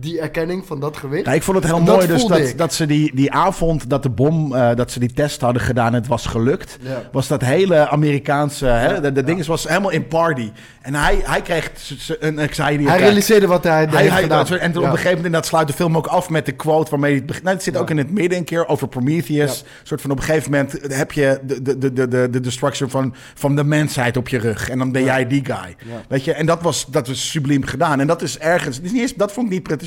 B: die erkenning van dat gewicht.
A: Ja, ik vond het heel
B: Dat
A: mooi dus
B: voelde
A: dat,
B: ik.
A: dat ze die, die avond dat de bom, eh, dat ze die test hadden gedaan en het was gelukt.
B: Ja.
A: Was dat hele Amerikaanse, hè, de, de ding is, was helemaal in party. En hij, hij kreeg z- z- een anxiety
B: hij
A: attack.
B: realiseerde wat hij,
A: Hij-
B: heeft
A: hij-
B: gedaan.
A: dat- en toen
B: Ja.
A: op een gegeven moment inderdaad sluit de film ook af met de quote waarmee het begint. Nou, het zit ook in het midden een keer over Prometheus. soort van op een gegeven moment heb je de, de, de, de, de, de destruction van, van de mensheid op je rug. En dan ben jij die guy. Weet je, en dat was, dat was subliem gedaan. En dat is ergens, het is niet eens, dat vond ik niet pretentieus.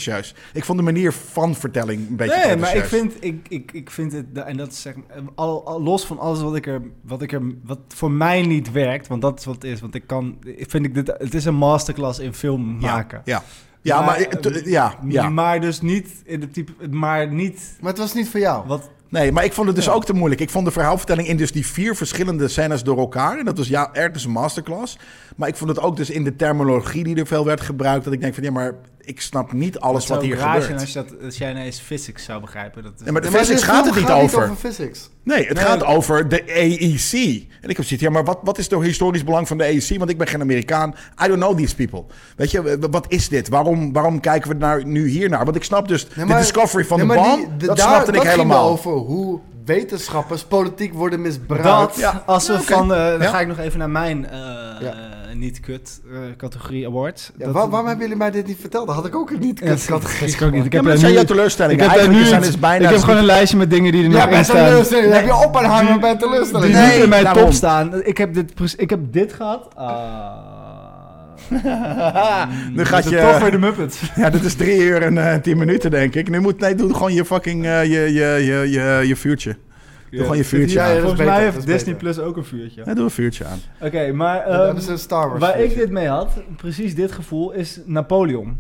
A: Ik vond de manier van vertelling een beetje
J: Nee, maar ik
A: pretentieus.
J: vind, ik, ik, ik vind het, en dat is zeg, al, al- los van alles wat ik er, wat ik er, wat voor mij niet werkt, want dat is wat het is, want ik kan, ik vind ik dit, het is een masterclass in film
A: Ja,
J: maken.
A: Ja, ja maar,
J: Maar, ehm,
A: ik-
D: eh,
A: t- ja, ja.
J: Maar dus niet in het type, maar niet
B: Maar het was niet voor jou.
J: wat.
A: Nee, maar ik vond het dus ook te moeilijk. Ik vond de verhaalvertelling in dus die vier verschillende scènes door elkaar. En dat was ja, ergens een masterclass. Maar ik vond het ook dus in de terminologie die er veel werd gebruikt. Dat ik denk van ja, maar ik snap niet alles
J: zou
A: wat hier
J: raar zijn
A: gebeurt.
J: Als, je dat, als jij ineens physics zou begrijpen, dat is.
A: Nee, maar de
B: Ja, maar
A: physics
B: de
A: gaat
B: film
A: het niet
B: gaat
A: over.
B: niet over physics.
A: Nee, het gaat over de AEC. En ik heb zoiets, ja, maar wat, wat is het historisch belang van de AEC? Want ik ben geen Amerikaan. I don't know these people. Weet je, w- wat is dit? Waarom, waarom kijken we nou, nu hier naar? Want ik snap dus
B: Nee,
A: de
B: maar-
A: discovery van
B: nee,
A: de
B: maar
A: bom,
B: die- de-
A: dat
B: daar-
A: snapte ik
B: dat ging
A: helemaal.
B: wel over hoe wetenschappers politiek worden misbruikt.
J: Dat,
A: Ja.
J: als we
A: Ja, oké.
J: van, eh, dan
A: Ja.
J: ga ik nog even naar mijn eh,
B: Ja.
J: eh, niet-kut eh, categorie awards.
B: Ja,
J: Dat-
B: waar- waarom hebben jullie mij dit niet verteld? Dat had ik ook niet
J: Ja, dat-
B: kunnen
J: dat is ook niet. Ik
A: Ja,
J: heb
A: maar
J: daar
A: dat zijn
J: nu-
A: jouw teleurstellingen.
J: ik heb daar
A: Eigenlijk
J: nu
A: zijn
J: een-
A: dus bijna
J: ik heb
A: dus
J: gewoon een lijstje met dingen die er nog
B: Ja, bij
J: in staan.
B: teleurstelling. Dan heb je Oppenheimer bij teleurstelling.
J: eh, Die
A: Nee,
J: niet in mijn
A: daarom.
J: top staan. Ik heb dit, precies- ik heb dit gehad. Ah.
A: Nu gaat
J: Dat
A: je-
J: is Toch weer de Muppets.
A: Ja, dit is drie uur en eh, tien minuten, denk ik. Nu moet, nee, doe gewoon je fucking, eh, je, je, je, je, je vuurtje. Doe gewoon je vuurtje
B: Ja,
A: aan.
B: ja, dat is
J: Volgens
B: beter,
J: mij
B: dat
J: heeft
B: is
J: Disney
B: beter.
J: Plus ook een vuurtje.
A: Ja, doe een vuurtje aan.
J: Oké, maar
B: Ja,
J: ehm,
B: dat is een Star Wars.
J: waar ik
B: feestje.
J: dit mee had, precies dit gevoel, is Napoleon.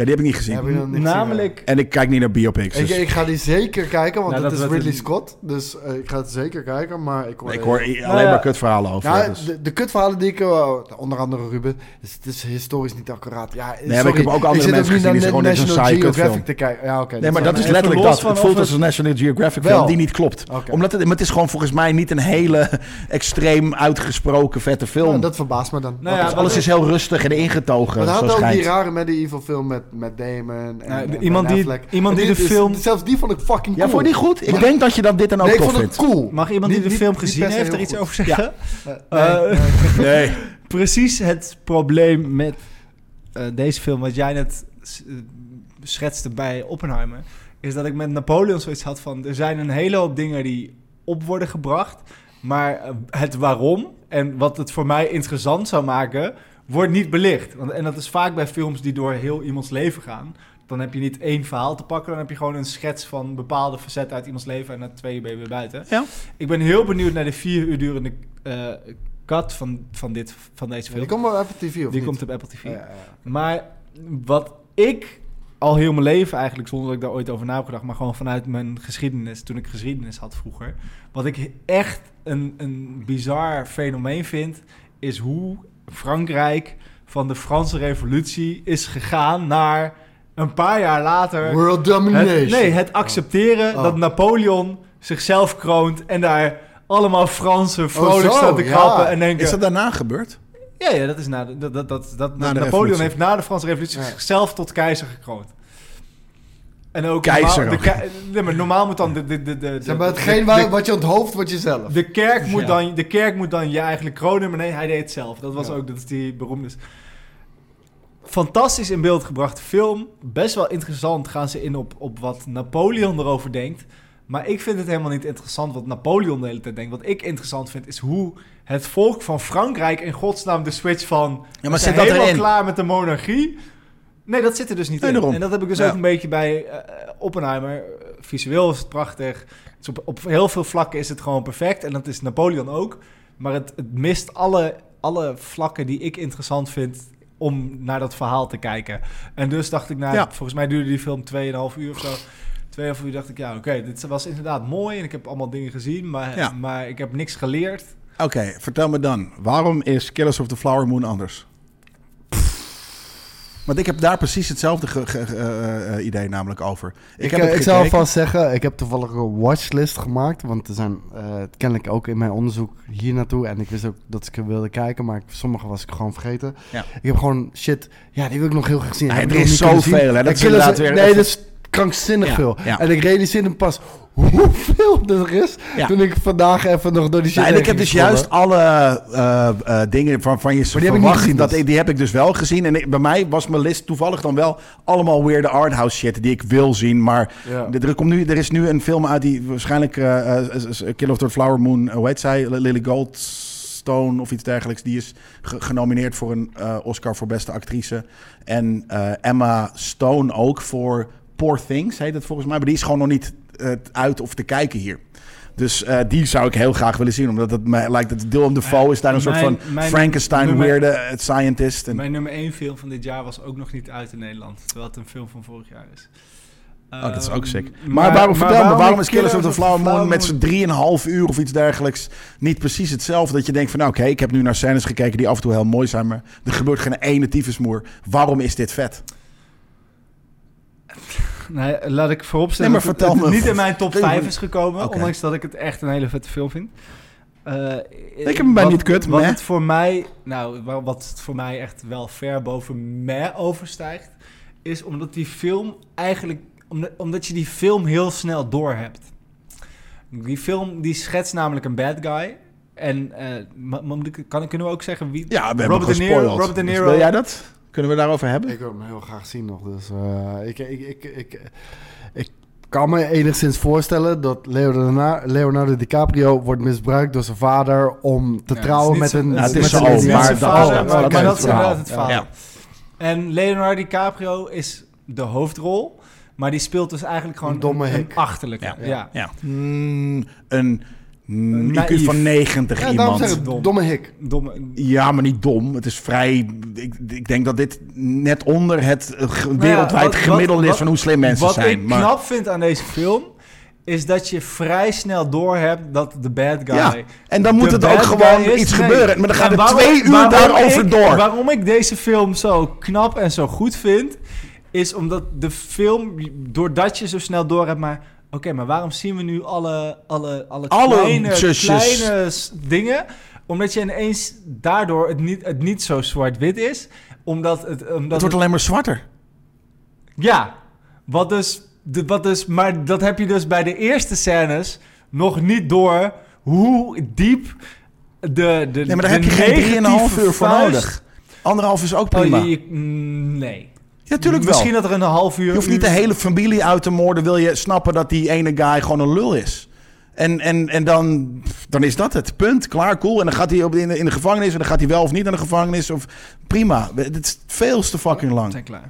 A: die heb ik niet gezien.
B: Heb je dat niet gezien,
D: Namelijk,
A: En ik kijk niet naar biopics.
B: Ik,
A: dus-
B: ik ga die zeker kijken, want
Q: Nou,
B: het
Q: dat
B: is
Q: werd
B: Ridley
Q: een-
B: Scott. Dus eh, ik ga het zeker kijken, maar ik hoor...
A: ik hoor i- alleen
D: ja.
A: maar kutverhalen over.
B: Nou,
A: dus.
B: de, de kutverhalen die ik... eh, onder andere Ruben, is- het is historisch niet accuraat. Ja,
A: maar ik heb ook andere
B: zit
A: mensen
B: nu
A: gezien
B: naar
A: die gewoon
B: Na-
A: dit is een
B: National
A: saaie
B: Geographic
A: kutfilm.
B: te kijken. Ja, oké.
A: Nee, maar dat is
D: even
A: letterlijk
D: los
A: dat.
D: van
A: Het
D: of
A: voelt als
D: het-
A: een National Geographic
B: Wel.
A: film die niet klopt.
B: Oké.
A: Omdat het, maar het is gewoon volgens mij niet een hele extreem uitgesproken vette film.
B: Ja, dat verbaast me dan.
D: Nou ja,
A: Dus alles is heel rustig en ingetogen.
B: Maar hij
A: zo
B: had ook
A: schijnt.
B: die rare medieval film met, met Damon en,
D: Nou,
B: en
D: iemand
B: Ben
D: die-
B: Affleck.
D: iemand
B: En
D: die
B: dit
D: de film-
B: Zelfs die vond ik fucking cool.
A: Ja, vond je die goed? Ik
B: Ja.
A: denk dat je dan dit dan ook
B: Nee, ik
A: tof
B: vond het
A: vindt.
B: cool.
D: mag iemand
B: Niet-
D: die de
B: niet-
D: film
B: niet
D: gezien
B: per se
D: heeft er
B: heel
D: iets
B: goed.
D: over zeggen?
B: Eh, nee,
D: Eh,
A: Nee.
D: precies het probleem met eh, deze film, wat jij net s- eh, schetste bij Oppenheimer, is dat ik met Napoleon zoiets had van: er zijn een hele hoop dingen die op worden gebracht, maar eh, het waarom en wat het voor mij interessant zou maken, wordt niet belicht. Want, en dat is vaak bij films die door heel iemands leven gaan. Dan heb je niet één verhaal te pakken, dan heb je gewoon een schets van bepaalde facetten uit iemands leven en na twee uur ben je weer buiten.
A: Ja.
D: Ik ben heel benieuwd naar de vier uur durende eh cut van, van, dit, van deze
B: nee.
D: film.
B: Die komt wel op tv of
D: Die
B: niet? Oh
D: komt op Apple TV.
B: Ja, ja, ja.
D: Maar wat ik al heel mijn leven eigenlijk, zonder dat ik daar ooit over na heb gedacht, maar gewoon vanuit mijn geschiedenis, toen ik geschiedenis had vroeger, wat ik echt een, een bizar fenomeen vind, is hoe Frankrijk van de Franse Revolutie is gegaan naar een paar jaar later.
B: World
D: Het-
B: Domination.
D: nee, het accepteren
B: Oh.
D: dat Napoleon zichzelf kroont en daar allemaal Fransen vrolijk
B: Oh, zo,
D: staan te
B: ja.
D: krappen en denken...
A: Is dat daarna gebeurd?
D: Ja, ja, dat is na de, dat, dat, dat, dat-
A: Na de
D: Napoleon
A: revolutie.
D: heeft na de Franse Revolutie
B: Ja.
D: zichzelf tot keizer gekroond. En ook
A: Keizer
D: normaal, de
A: ook.
D: kei- nee, maar normaal moet dan de, de, de, de,
B: Zeg
D: de,
B: maar,
D: de,
B: hetgeen waar- wat je onthoofdt, wordt jezelf.
D: de kerk moet
Q: Ja.
D: dan de kerk moet dan je eigenlijk kronen, maar nee, hij deed het zelf. Dat was
B: Ja.
D: ook dat is die beroemde. Fantastisch in beeld gebrachte film. Best wel interessant gaan ze in op, op wat Napoleon erover denkt. Maar ik vind het helemaal niet interessant wat Napoleon de hele tijd denkt. Wat ik interessant vind is hoe het volk van Frankrijk in godsnaam de switch van...
A: Ja,
D: we
A: maar zit
D: zijn
A: dat
D: helemaal
A: erin?
D: klaar met de monarchie. Nee, dat zit er dus niet
A: Nee,
D: in.
A: daarom.
D: En dat heb ik dus
A: Ja.
D: ook een beetje bij eh, Oppenheimer. Visueel is het prachtig. Het is op, op heel veel vlakken is het gewoon perfect. En dat is Napoleon ook. Maar het, het mist alle, alle vlakken die ik interessant vind om naar dat verhaal te kijken. En dus dacht ik, nou,
A: Ja.
D: volgens mij duurde die film 2,5 uur of zo. 2,5 uur dacht ik, ja, oké, dit was inderdaad mooi. En ik heb allemaal dingen gezien, maar,
A: Ja.
D: maar ik heb niks geleerd.
A: Oké, vertel me dan. Waarom is Killers of the Flower Moon anders? Want ik heb daar precies hetzelfde ge- ge- ge- eh, eh, idee namelijk over. Ik,
B: Ik,
A: heb
B: eh,
A: het
B: ik zou
A: gekeken.
B: alvast zeggen, ik heb toevallig een watchlist gemaakt. Want er zijn eh, kennelijk ook in mijn onderzoek hier naartoe. En ik wist ook dat ik er wilde kijken, maar ik, sommige was ik gewoon vergeten.
A: Ja.
B: Ik heb gewoon shit, ja, die wil ik nog heel graag zien.
A: Nee,
B: Heb ik
A: er
B: nog
A: is
B: niet kunnen
A: zoveel,
B: zien.
A: hè. Dat
B: En
A: is
B: Killers-
A: inderdaad weer-
B: Nee, dat is krankzinnig
A: Ja,
B: veel.
A: ja.
B: En ik realiseerde me pas hoeveel er is.
A: Ja.
B: Toen ik vandaag even nog door die shit
A: Nou, en
B: heen
A: ik heb
B: ging
A: dus juist
B: scrollen.
A: alle eh, eh, dingen van, van je
B: ik niet
A: verwachting,
B: gezien
A: dat,
B: dus.
A: ik- die heb ik dus wel gezien. En ik- bij mij was mijn list toevallig dan wel allemaal weer de arthouse shit die ik wil zien. Maar
B: Ja.
A: d- er, komt nu, er is nu een film uit die waarschijnlijk eh, eh, s- s- Kill of the Flower Moon, eh, hoe heet zij? Lily Goldstone of iets dergelijks. Die is ge- genomineerd voor een eh, Oscar voor beste actrice. En eh, Emma Stone ook voor Poor Things, heet het volgens mij. Maar die is gewoon nog niet eh, uit of te kijken hier. Dus eh, die zou ik heel graag willen zien. Omdat het mij lijkt dat Dylan Defoe is daar een
D: Eh, Mijn-
A: soort van
D: mijn
A: Frankenstein
D: nummer-
A: weirde eh, scientist. En,
D: Mijn nummer 1 film van dit jaar was ook nog niet uit in Nederland. Terwijl het een film van vorig jaar is.
A: oh, dat is ook
D: Ehm,
A: sick. Maar, waarom, vertel me, waarom is Killers of the Flower Moon met
D: Moon-
A: z'n 3,5 uur of iets dergelijks niet precies hetzelfde? Dat je denkt van, nou oké, ik heb nu naar scènes gekeken die af en toe heel mooi zijn, maar er gebeurt geen ene tyfusmoer. Waarom is dit vet?
D: Nee, laat ik vooropstellen
A: Nee, maar
D: dat het-
A: vertel
D: het
A: me.
D: niet in mijn top
A: Nee, maar-
D: 5 is gekomen.
A: Oké.
D: Ondanks dat ik het echt een hele vette film vind. Eh,
A: heb hem bij
D: wat-
A: niet kut,
D: Wat
A: meh.
D: het voor mij, nou, wa- wat het voor mij echt wel ver boven meh overstijgt, is omdat die film eigenlijk, omdat, omdat je die film heel snel doorhebt. Die film die schetst namelijk een bad guy. En eh, ma- ma- kan, kunnen we ook zeggen wie?
A: Ja, we hebben
D: Robert De Niro-
A: gespoiled.
D: Robert De
A: Dus
D: Niro.
A: wil jij dat? Kunnen we daarover hebben?
B: Ik wil hem heel graag zien nog, dus eh, ik, ik, ik, ik, ik kan me enigszins voorstellen dat Leonardo, Leonardo DiCaprio wordt misbruikt door zijn vader om te
Q: Ja,
B: trouwen
D: het
B: met
D: is niet
B: een...
D: zijn-
A: Nou, het
B: met
A: is
B: een
A: zijn oom,
D: niet
B: Indiaanse
A: maar
D: zijn
A: dat-
B: vader,
A: dat-
D: maar-
A: dat-
D: maar
A: dat-
D: dat is
A: verhaal.
D: inderdaad het
B: Ja.
D: verhaal.
A: Ja.
D: En Leonardo DiCaprio is de hoofdrol, maar die speelt dus eigenlijk gewoon
B: Een domme
D: een,
B: hik.
D: achterlijke. Ja.
A: Ja. Mm, een Een IQ
R: Naïef.
A: van 90
B: Ja, daarom
A: iemand.
B: zeggen
R: Dom.
B: domme hik.
R: Domme,
A: Ja, maar niet dom. Het is vrij. Ik, ik denk dat dit net onder het eh, ge-
D: ja,
A: wereldwijd
D: wat- wat-
A: gemiddelde is
D: wat-
A: van hoe slim mensen
D: Wat
A: zijn.
D: ik
A: maar
D: knap vind aan deze film is dat je vrij snel doorhebt dat de bad guy.
A: Ja, en dan moet
D: de
A: het ook
D: bad
A: gewoon
D: guy is.
A: iets
D: Nee.
A: gebeuren. Maar dan
D: En
A: gaat het
D: waarom-
A: twee uur
D: waarom
A: daarover
D: ik-
A: door.
D: Waarom ik deze film zo knap en zo goed vind, is omdat de film, doordat je zo snel door hebt, maar oké, maar waarom zien we nu alle, alle, alle,
A: Alle
D: kleine,
A: zusjes.
D: kleine s- dingen? Omdat je ineens daardoor het niet, het niet zo zwart-wit is. Omdat het, omdat
A: het wordt alleen maar zwarter.
D: ja, wat dus, de- wat dus, maar dat heb je dus bij de eerste scènes nog niet door hoe diep de, de
A: Nee, maar daar
D: de
A: heb je geen 3,5
D: negatieve
A: uur voor
D: vuist-
A: nodig. Anderhalf is ook
D: Oh,
A: prima.
D: je- je- mm, nee.
A: ja, tuurlijk wel.
D: Misschien dat er een half uur...
A: Je hoeft niet de hele familie uit te moorden. Wil je snappen dat die ene guy gewoon een lul is? En, en, en dan, dan is dat het. Punt. Klaar, cool. En dan gaat hij op, in, de, in de gevangenis. En dan gaat hij wel of niet naar de gevangenis. Of, prima. Het is veel te fucking lang.
S: Zijn klaar.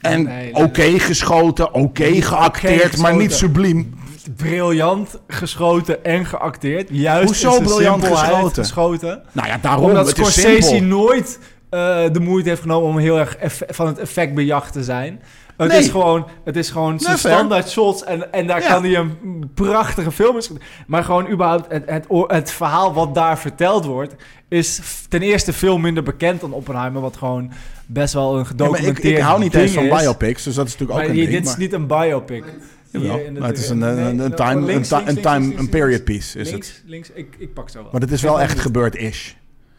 A: En
S: Nee,
A: oké geschoten, oké geacteerd,
D: geschoten.
A: maar niet subliem.
D: Briljant geschoten en geacteerd. Juist
A: Hoezo
D: in zijn
A: briljant
D: simpelheid
A: geschoten?
D: geschoten?
A: Nou ja, daarom.
D: Omdat
A: het is
D: Oh, Scorsese
A: simpel.
D: nooit eh, de moeite heeft genomen om heel erg eff- van het effect bejacht te zijn. Het
A: Nee.
D: is gewoon, het is gewoon zijn
A: Nee, fair.
D: standaard shots en, en daar
A: Ja.
D: kan hij een prachtige film in schieten. Maar gewoon überhaupt het, het, oor- het verhaal wat daar verteld wordt... is f- ten eerste veel minder bekend dan Oppenheimer... wat gewoon best wel een
A: Ja, maar
D: gedocumenteerd
A: ik, ik hou niet
D: ding
A: eens van
D: is.
A: biopics, dus dat is natuurlijk
D: Maar
A: ook een
D: hier-
A: ding.
D: dit
A: maar-
D: is niet een biopic.
A: Jawel,
D: Hier in
A: maar het is een, eh,
D: nee,
A: een, een,
D: nee,
A: time,
D: links,
A: een,
D: links,
A: ti- een
D: links,
A: time,
D: links,
A: een
D: links,
A: period piece is
D: Links,
A: het.
D: links, ik, ik pak zo wel.
A: Maar het is
D: Ik
A: wel
D: weet
A: echt
D: niet.
A: gebeurd-ish.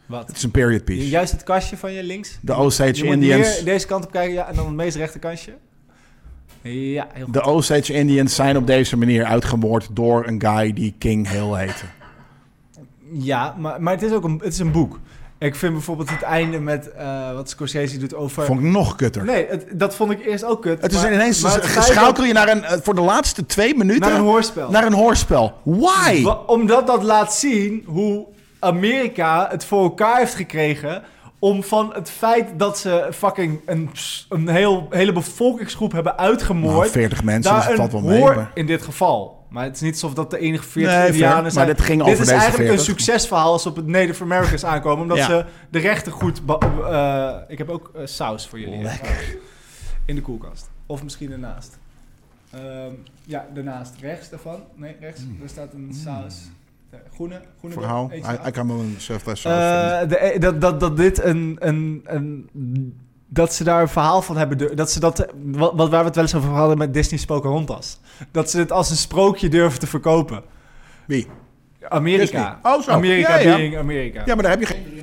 D: Wat?
A: Het is een period
D: Ju-
A: piece.
D: Juist het kastje van je links.
A: De Osage
D: Je moet hier
A: Indians,
D: deze kant op kijken ja, en dan het meest rechterkantje. Ja, heel goed.
A: de Osage Indians zijn op deze manier uitgemoord door een guy die King Hill heette.
D: Ja, maar, maar het is ook een, het is een boek. Ik vind bijvoorbeeld het einde met eh, wat Scorsese doet over...
A: Vond ik nog kutter.
D: Nee, het- dat vond ik eerst ook kut.
A: het is
D: maar-
A: ineens,
D: maar het feit
A: schakel je naar een, eh, voor de laatste twee
D: dat-
A: minuten
D: Naar een hoorspel.
A: naar een hoorspel. Why?
D: Wa- Omdat dat laat zien hoe Amerika het voor elkaar heeft gekregen... om van het feit dat ze fucking een, een heel, hele bevolkingsgroep hebben uitgemoord...
A: Nou, 40 mensen, dus
D: daar
A: het valt wel
D: een
A: mee.
D: hoor
A: maar-
D: in dit geval. Maar het is niet alsof dat de enige 40
A: Nee, fair.
D: Indianen zijn.
A: Maar dit ging over
D: is
A: deze
D: eigenlijk
A: 40.
D: een succesverhaal als ze op het Native Americans aankomen. Omdat
A: Ja.
D: ze de rechten goed... be- eh, ik heb ook eh, saus voor jullie. In de koelkast. Of misschien ernaast. Ehm, ja, daarnaast. Rechts daarvan. Nee, rechts. Er staat een saus. Eh, Groene. groene
A: Mm. Verhaal.
D: ding. Eentje
A: Hij
D: aan.
A: kan wel een surfles
D: Eh, de- dat, dat, dat dit een, een, een... Dat ze daar een verhaal van hebben... dur- Dat ze dat... Wat, wat- waar we het wel eens over hadden met Disney's Pocahontas. Dat ze het als een sprookje durven te verkopen.
A: Wie?
D: Amerika.
A: Disney. Oh, zo.
D: Amerika
A: Ja, ja.
D: being Amerika.
A: Ja, maar daar heb je geen...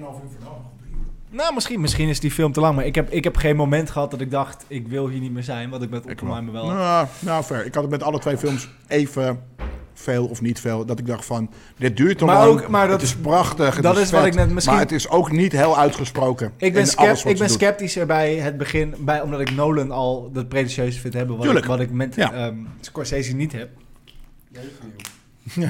D: Nou, misschien, misschien is die film te lang. Maar ik heb, ik heb geen moment gehad dat ik dacht... Ik wil hier niet meer zijn. Wat ik met Oppenheimer wel...
A: Nou, nou, ver. Ik had het met alle twee films even veel of niet veel. Dat ik dacht van, dit duurt te
D: Maar
A: lang.
D: ook- maar dat-
A: het is prachtig. het
D: dat is wat
A: vet,
D: ik net misschien-
A: Maar het is ook niet heel uitgesproken.
D: Ik ben,
A: in
D: scept-
A: alles wat
D: ik ben
A: ze doet.
D: sceptischer bij het begin, bij, omdat ik Nolan al dat pretentieuze vind hebben. Wat, ik,
A: Tuurlijk.
D: wat ik met
A: Ja.
D: ehm, Scorsese niet heb.
A: Nee,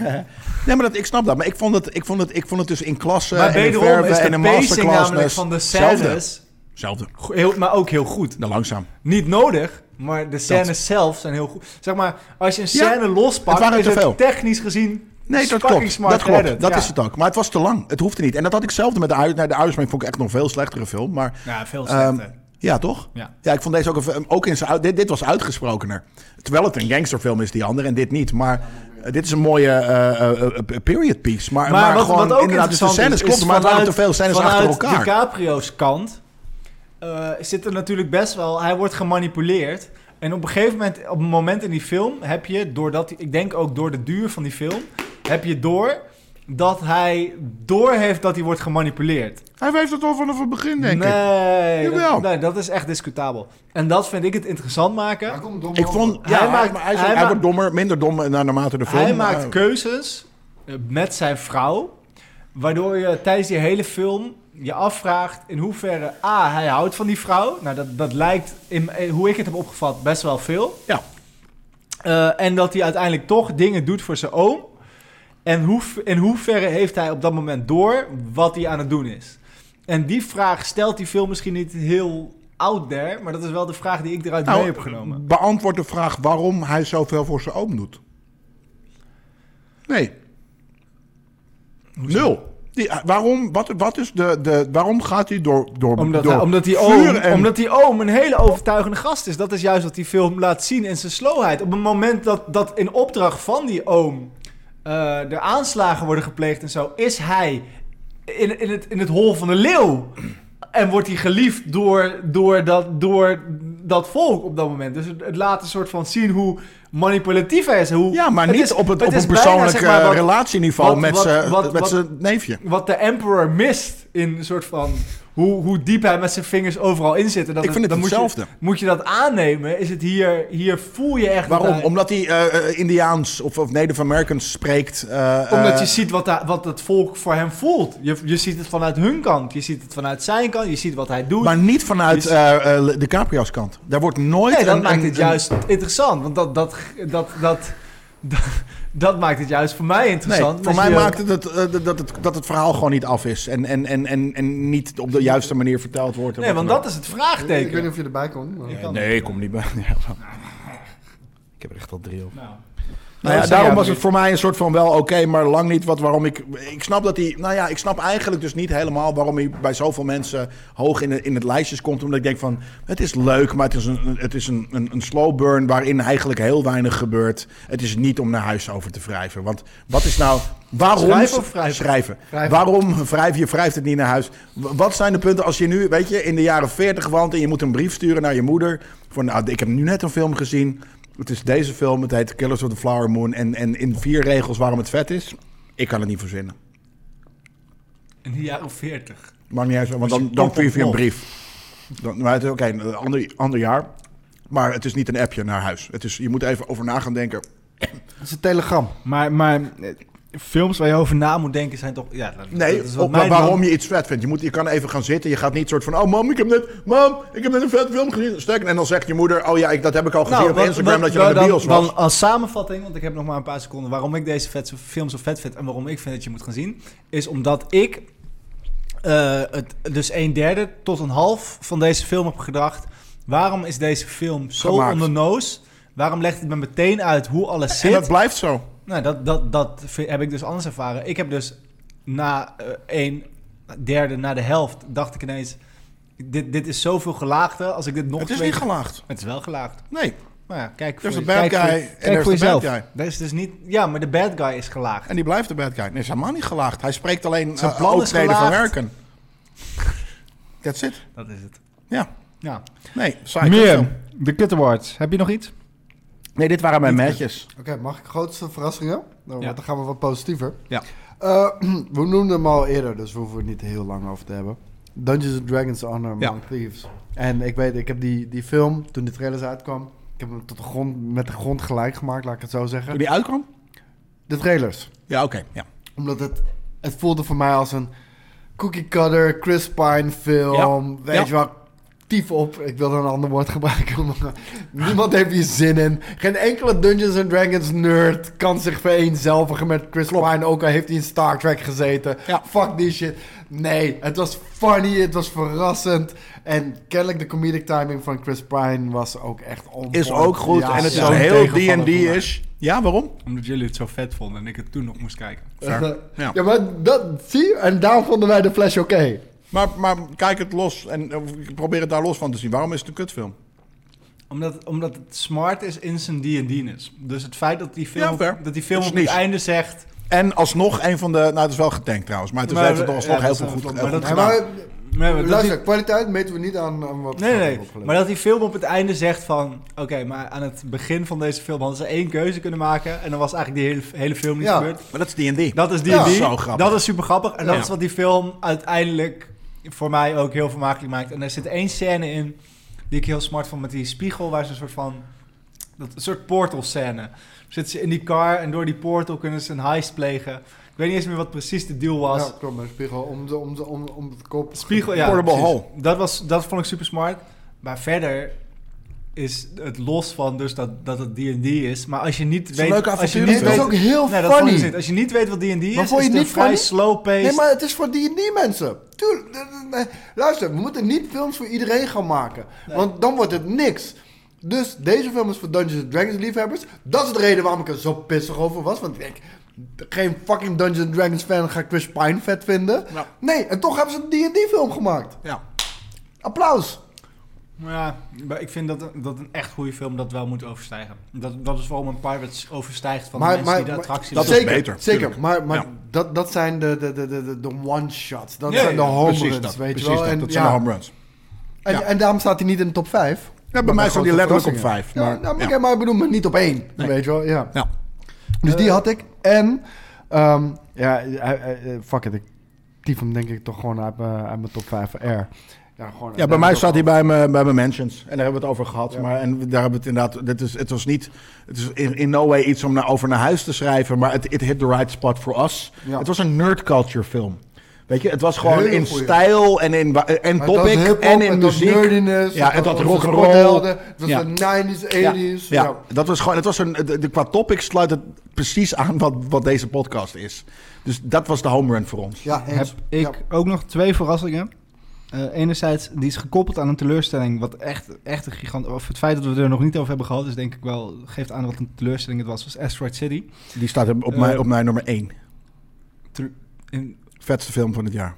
A: maar dat, ik snap dat. Maar ik vond het, ik vond het, ik vond het dus in klasse
D: maar
A: en in
D: wederom
A: verven
D: is
A: en
D: de
A: in
D: pacing
A: masterclass.
D: namelijk
A: dus
D: van de
A: Hetzelfde.
D: scènes,
A: Hetzelfde.
D: go- heel, maar ook heel goed.
A: Nou, langzaam.
D: Niet nodig, maar de scènes zelf zijn heel goed. Zeg maar, als je een
A: Ja,
D: scène lospakt,
A: het waren
D: is
A: te veel.
D: het technisch gezien
A: Nee, dat
D: fucking
A: klopt.
D: smart
A: Dat klopt.
D: geëdit,
A: dat
D: ja.
A: is het ook. Maar het was te lang. Het hoefde niet. En dat had ik zelfde met de uit. Naar de Irishman vond ik echt nog een veel slechtere film. Maar
D: Ja, veel
A: Ehm,
D: slechter.
A: ja, toch?
D: Ja.
A: ik vond deze ook, een- ook in zijn uit- dit, dit was uitgesprokener. Terwijl het een gangsterfilm is, die andere, en dit niet. Maar eh, dit is een mooie eh, eh, eh, period piece. Maar, maar, gewoon inderdaad, dus de scènes
D: is,
A: kloppen, maar het waren te
D: vanuit-
A: veel scènes achter elkaar.
D: Vanuit DiCaprio's kant eh, zit er natuurlijk best wel... Hij wordt gemanipuleerd. En op een gegeven moment, op een moment in die film heb je, doordat, ik denk ook door de duur van die film, heb je door dat hij doorheeft dat hij wordt gemanipuleerd.
A: Hij heeft het al vanaf het begin, denk ik.
D: nee,
A: Jawel.
D: dat, nee, dat is echt discutabel. En dat vind ik het interessant maken.
B: Daar komt dom
A: Ik
B: over.
A: vond,
D: Hij
A: ja, hij,
D: maakt-
A: maar hij, is-
D: hij
A: hij
D: maakt-
A: wordt dommer, minder dom eh, naarmate de film...
D: Hij
A: maar-
D: maakt keuzes eh, met zijn vrouw, waardoor je tijdens die hele film je afvraagt in hoeverre A, hij houdt van die vrouw. Nou, dat, dat lijkt, in, eh, hoe ik het heb opgevat, best wel veel.
A: Ja.
D: Eh, en dat hij uiteindelijk toch dingen doet voor zijn oom. En hoe, in hoeverre heeft hij op dat moment door wat hij aan het doen is? En die vraag stelt die film misschien niet heel out there, maar dat is wel de vraag die ik eruit mee
A: Nou,
D: heb genomen.
A: beantwoord de vraag waarom hij zoveel voor zijn oom doet. Nee. Nul. Die, eh, waarom, wat, wat is de, de, waarom gaat hij door, door,
D: Omdat,
A: door
D: hij- omdat, die
A: vuur
D: oom,
A: en-
D: omdat die oom een hele overtuigende gast is. Dat is juist wat die film laat zien in zijn slowheid. Op het moment dat, dat in opdracht van die oom eh de aanslagen worden gepleegd en zo, is hij in, in, het, in het hol van de leeuw. En wordt hij geliefd door, door, dat, door dat volk op dat moment. Dus het, het laat een soort van zien hoe manipulatief hij is. en Hoe,
A: Ja, maar
D: het
A: niet
D: is-
A: op, het, op
D: is
A: een
D: bijna, zeg
A: persoonlijk
D: maar,
A: eh,
D: wat-
A: relatieniveau
D: wat-
A: met
D: wat-
A: zijn-
D: wat-
A: met
D: wat-
A: zijn neefje.
D: wat de Emperor mist in een soort van hoe, hoe diep hij met zijn vingers overal in zit. En dat
A: Ik vind het
D: dan moet je-
A: hetzelfde.
D: Moet je, dat aannemen? Is het hier, hier voel je echt. dat
A: Waarom?
D: hij-
A: Omdat hij eh, eh, Indiaans of, of Native Americans spreekt. eh,
D: omdat
A: eh,
D: je ziet wat, hij- wat het volk voor hem voelt. Je, je ziet het vanuit hun kant, je ziet het vanuit zijn kant, je ziet wat hij doet.
A: Maar niet vanuit
D: Je-
A: eh, eh, de Caprio's kant. Daar wordt nooit.
D: nee, dat
A: een-
D: maakt
A: een-
D: het juist interessant. Want dat, dat, dat, dat, dat, dat maakt het juist voor mij
A: Nee,
D: interessant.
A: voor
D: Dat
A: mij
D: je-
A: maakt het, eh, dat, het dat het verhaal gewoon niet af is. En, en, en, en, en niet op de juiste manier verteld wordt. en
D: Nee,
A: wat
D: want
A: dan ook.
D: dat is het
B: Ik weet
D: vraagteken.
B: niet of je erbij komt. maar-
A: Nee, ik kom niet bij. Ja, maar- ik heb er echt al drie op.
T: Nou.
A: Nou ja,
D: Nou,
A: daarom
D: ja,
A: was
D: maar-
A: het voor mij een soort van wel oké, maar lang niet wat waarom ik. Ik snap dat hij. Nou ja, ik snap eigenlijk dus niet helemaal waarom hij bij zoveel mensen hoog in, de- in het lijstjes komt. Omdat ik denk van het is leuk, maar het is een, het is een, een, een slow burn waarin eigenlijk heel weinig gebeurt. Het is niet om naar huis over te wrijven. Want wat is nou. Waarom
D: Schrijven of wrijven?
A: Schrijven. Waarom wrijf je wrijft het niet naar huis? W- Wat zijn de punten als je nu, weet je, in de jaren 40 woont en je moet een brief sturen naar je moeder. Van, nou, ik heb nu net een film gezien. Het is deze film, het heet Killers of the Flower Moon. En, en in vier regels waarom het vet is. Ik kan het niet verzinnen.
D: In de jaren 40.
A: Maakt niet uit, want dan, dan stuur je een brief. Dan, maar het is oké, een ander, ander jaar. Maar het is niet een appje naar huis. Het is, je moet even over na gaan denken.
B: Het is een telegram.
U: Maar, maar eh, films waar je over na
D: Na
U: moet...
D: moet denken zijn toch. Ja, dat-
A: Nee,
D: dat is wat
A: ook maar
D: mijn man-
A: waarom je iets vet vindt. Je, moet, je kan even gaan zitten. Je gaat niet soort van... Oh, mam, ik heb net, mam, ik heb net een vet film gezien. Sterk. En dan zegt je moeder... Oh ja, ik, dat heb ik al gezien op
D: Nou, wat-
A: Instagram...
D: wat-
A: dat je naar de
D: dan-
A: bios
D: dan,
A: was.
D: als samenvatting, want ik heb nog maar een paar seconden... waarom ik deze vet, film zo vet vind en waarom ik vind dat je moet gaan zien... is omdat ik eh, het, dus een derde tot een half van deze film heb gedacht... waarom is deze film zo
A: Gemaakt.
D: on the nose? Waarom legt het me meteen uit hoe alles
A: en
D: zit?
A: dat blijft zo.
D: Nou, dat, dat, dat vind- heb ik dus anders ervaren. Ik heb dus na eh, een derde, na de helft, dacht ik ineens... Dit, dit is zoveel gelaagder. Als ik dit nog
A: het is
D: twee
A: niet
D: keer-
A: gelaagd.
D: Het is wel gelaagd.
A: Nee.
D: Maar ja, kijk
A: Er is
D: voor
A: de
D: je-
A: bad
D: kijk voor-
A: guy en er
D: voor
A: is de bad
D: jezelf.
A: guy.
D: Er is dus niet... Ja, maar de bad guy is gelaagd.
A: En die blijft de bad guy. Nee, hij is helemaal niet gelaagd. Hij spreekt alleen...
D: Zijn
A: eh,
D: plan is
A: Native
D: gelaagd.
A: American. That's it.
D: Dat is het.
A: Ja.
D: Ja.
A: Nee, saai kutfilm.
U: Meer, de Cut Awards. Heb je nog iets?
A: Nee, dit waren mijn matches.
B: Oké, mag ik grootste verrassingen? Nou,
D: Ja.
B: Dan gaan we wat positiever.
A: Ja.
B: Eh, we noemden hem al eerder, dus we hoeven het niet heel lang over te hebben. Dungeons and Dragons Honor Among
A: Ja.
B: Thieves. En ik weet, ik heb die, die film, toen de trailers uitkwam... Ik heb hem tot de grond, met de grond gelijk gemaakt, laat ik het zo
A: Toen
B: zeggen.
A: die uitkwam?
B: De trailers.
A: Ja, oké. Ja.
B: Omdat het, het voelde voor mij als een cookie cutter, Chris Pine film.
A: Ja.
B: Weet
A: Ja.
B: je wel, tief op. Ik wilde een ander woord gebruiken. maar niemand heeft hier zin in. Geen enkele Dungeons and Dragons nerd kan zich vereenzelvigen met Chris Pine. Ook al heeft hij in Star Trek gezeten.
A: Ja.
B: Fuck die shit. Nee, het was funny, het was verrassend. En kennelijk de comedic timing van Chris Pine was ook echt on
A: Is
B: point.
A: ook goed.
B: Ja,
A: en het is
B: ja.
A: een heel
B: Tegenvaller voor
A: D&D
B: mij.
A: is. Ja, waarom?
D: Omdat jullie het zo vet vonden en ik het toen nog moest kijken.
A: Fair. Ja.
B: Ja. maar dat zie je. En daarom vonden wij de Flash oké.
A: Maar, maar kijk het los en eh, probeer het daar los van te zien. Waarom is het een kutfilm?
D: Omdat, omdat het smart is in zijn D&D'nis. Dus het feit dat die
A: Ja,
D: film,
A: fair.
D: dat die film
A: Dat
D: op
A: is
D: het
A: niche.
D: einde zegt...
A: En alsnog een van de... Nou, het is wel getankt trouwens. Maar het is
D: Maar
A: heeft
D: we-
A: het alsnog
D: ja,
A: heel
D: dat
A: veel
D: is
A: goed,
D: wel-
A: heel
D: maar
A: goed
D: dat-
B: Nee,
A: gedaan.
B: maar,
D: Nee, maar dat die-
B: luister, kwaliteit meten we niet aan, aan wat
D: Nee,
B: we
D: nee,
B: hebben
D: maar
B: opgeleverd.
D: dat die film op het einde zegt van... Oké, maar aan het begin van deze film hadden ze één keuze kunnen maken... en dan was eigenlijk die hele, hele film niet
B: Ja.
D: gebeurd.
A: Maar dat is D&D.
D: Dat is die
B: Ja.
A: Zo grappig.
D: Dat is super grappig. En dat
A: Ja.
D: is wat die film uiteindelijk voor mij ook heel vermakelijk maakt. En er zit één scène in die ik heel smart vond met die spiegel... waar ze een soort van... Dat, een soort portal scène. Zitten ze in die car en door die portal kunnen ze een heist plegen. Ik weet niet eens meer wat precies de deal was.
B: Ja, klopt, maar spiegel om de, om de, om, om de kop.
D: Spiegel, ja.
A: Portable
D: precies.
A: Hall.
D: Dat, was, dat vond ik super smart. Maar verder is het los van dus dat, dat het D&D is. Maar als je niet
A: een
D: weet...
A: leuke
D: als je
A: avontuur.
B: Nee,
D: niet
B: het is
D: weet...
B: ook heel
D: Nee, dat vond ik
B: funny.
D: niet. Als je niet weet wat D&D is,
B: Maar vond
D: is
B: je
D: het
B: het
D: een
B: niet
D: vrij
B: funny?
D: slow-paced...
B: Nee, maar het is voor die mensen. Tuurlijk. eh, eh, eh, Luister, we moeten niet films voor iedereen gaan maken. Want dan wordt het niks. Dus deze film is voor Dungeons and Dragons liefhebbers. Dat is de reden waarom ik er zo pissig over was. Want ik, geen fucking Dungeons and Dragons fan gaat Chris Pine vet vinden.
A: Ja.
B: Nee, en toch hebben ze een D&D film gemaakt.
A: Ja.
B: Applaus.
J: Maar ja, maar ik vind dat, dat een echt goede film dat wel moet overstijgen. Dat, dat is waarom een Pirates overstijgt van de mensen die de attractie
A: dat is
J: willen.
B: zeker,
A: beter, tuurlijk.
B: Zeker, maar, maar
A: Ja.
B: dat, dat zijn de, de, de, de, de- de one-shots. Dat
J: Ja,
B: zijn de
J: ja,
B: home
A: Precies
B: runs,
A: dat.
B: weet
A: Precies
B: je wel.
A: dat.
B: En,
A: Dat
B: ja,
A: zijn de home runs.
B: en,
A: ja.
B: en daarom staat hij niet in de top 5.
A: Ja, bij mij stond hij letterlijk op vijf.
B: Ja,
A: Maar,
B: nou, maar,
A: ja.
B: oké, maar ik bedoel, maar niet op één,
A: Nee.
B: weet je wel. Ja.
A: Ja. Eh.
B: Dus die had ik. En, ehm, ja, eh, eh, eh, fuck it. Ik typ hem denk ik toch gewoon uit mijn, uit mijn top 5 R. Ja, gewoon,
A: Ja, bij mij staat hij bij mijn, bij mijn mentions. En daar hebben we het over gehad. Maar en daar hebben we het inderdaad. Dit is, het was niet. Het is in, in no way iets om naar, over naar huis te schrijven. Maar het it hit the right spot for us.
B: Ja.
A: Het was een nerd culture film. Weet je, het was gewoon
B: Hele
A: in
B: goeie.
A: stijl en in wa- en
B: Maar het was
A: topic
B: hiphop,
A: en in
B: het was
A: muziek.
B: nerdiness,
A: Ja, het had
B: onze
A: rock'n'roll.
B: sporthelden, Het was
A: Ja.
B: de 90s, 80s.
A: Ja, ja.
B: ja.
A: dat was gewoon. Het was een, de, de- qua topic sluit het precies aan wat, wat deze podcast is. Dus dat was de home run voor ons.
B: Ja,
D: heb
B: eens.
D: ik
B: Ja.
D: ook nog twee verrassingen. Eh, enerzijds, die is gekoppeld aan een teleurstelling. Wat echt, echt een gigant. Of het feit dat we het er nog niet over hebben gehad, is denk ik wel. geeft aan wat een teleurstelling het was. Was Asteroid City.
A: Die staat op, mijn,
D: Eh,
A: op mijn nummer 1.
D: In,
A: Vetste film van het jaar.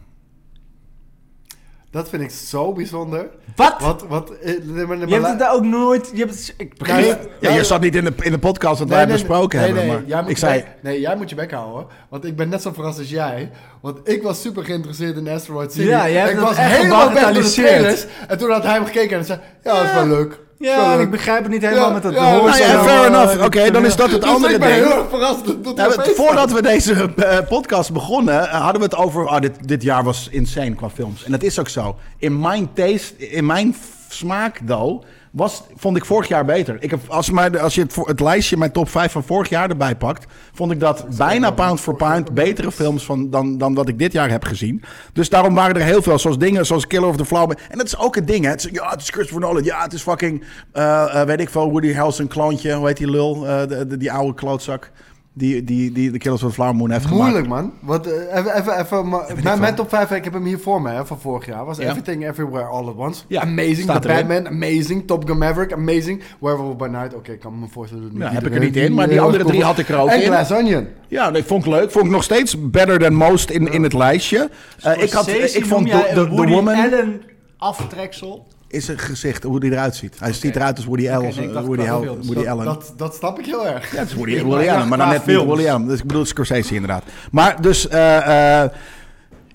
B: Dat vind ik zo bijzonder.
J: Wat?
B: Wat, wat, eh, nee, maar-
J: Je
B: maar
J: hebt
B: lu-
J: het daar ook nooit... Je hebt het, ik begrijp
B: Nee,
J: het.
A: Ja, je zat niet in de, in de podcast dat wij besproken
B: nee,
A: hebben.
B: nee,
A: maar
B: jij moet
A: ik
B: je
A: zei,
B: bek- nee, jij moet je bek houden. Want ik ben net zo verrast als jij. Want ik was super geïnteresseerd in Asteroid City.
J: Ja, jij hebt
B: ik
J: dat
B: was
J: echt
B: helemaal weg door de
J: gebagatelliseerd.
B: trailers. En toen had hij hem gekeken en zei... Ja, dat is wel leuk. Dat is wel
J: Ja, en
B: leuk.
J: ik begrijp het niet helemaal
B: Ja,
J: met dat...
B: ja,
J: de
B: nou
A: nou
J: horizon-
A: ja, fair enough. Oké,
J: eh,
A: dan is dat het
B: Dus
A: andere
B: ik ben
A: ding.
B: heel erg verrast dat dat
A: Ja,
B: er
A: Nou, we-
B: opeens
A: voordat we deze eh, podcast begonnen, eh, hadden we het over... ah dit, dit jaar was insane qua films. En dat is ook zo. In mijn taste, in mijn f- smaak, though, was, vond ik vorig jaar beter. Ik heb, als, mijn, als je het, vo- het lijstje, mijn top 5 van vorig jaar erbij pakt... vond ik dat bijna pound for pound betere films van, dan, dan wat ik dit jaar heb gezien. Dus daarom waren er heel veel, zoals dingen zoals Killer of the Flower... Moon. En dat is ook het ding, hè. Het is, ja, het is Christopher Nolan. Ja, het is fucking, eh, eh, weet ik veel, Woody Harrelson kloontje. Hoe heet die lul? Eh, de- de- die oude klootzak. Die, die, die de Killers van Flower Moon heeft
B: Moeilijk,
A: gemaakt.
B: man. Wat, eh, even, even, even, maar-
A: weet ik
B: mijn, mijn
A: veel.
B: top 5, ik heb hem hier voor me hè, van vorig jaar. Was
A: Ja.
B: Everything Everywhere All at Once.
A: Ja,
B: amazing.
A: staat
B: The
A: erin.
B: Batman, amazing. Top Gun Maverick, amazing. Werewolf by Night, oké, ik kan me voorstellen. dat niet
A: Ja, Nou, heb ik er
B: iedereen
A: niet in, maar die
B: heel
A: andere
B: erg
A: drie
B: cool
A: had ik er ook
B: en
A: in.
B: Glass Onion.
A: Ja, nee, vond ik leuk. Vond ik nog steeds better than most in, in het lijstje. Eh, ik, had,
J: Scorsese
A: ik vond
J: noem jij
A: The,
J: een
A: The- The
J: Woody
A: Woman
J: Allen aftreksel.
A: is een gezicht, hoe die eruit ziet. Hij ziet eruit als Woody Allen.
J: nee, ik dacht
A: eh, Woody,
J: qua
A: Al-
J: films.
A: Woody
B: Dat,
A: Allen.
B: dat, dat snap ik heel erg.
A: Ja, het is Woody, Woody Allen, maar
J: qua
A: dan net niet
J: films.
A: Woody Allen. Dus ik bedoel Scorsese inderdaad. Maar dus eh, eh,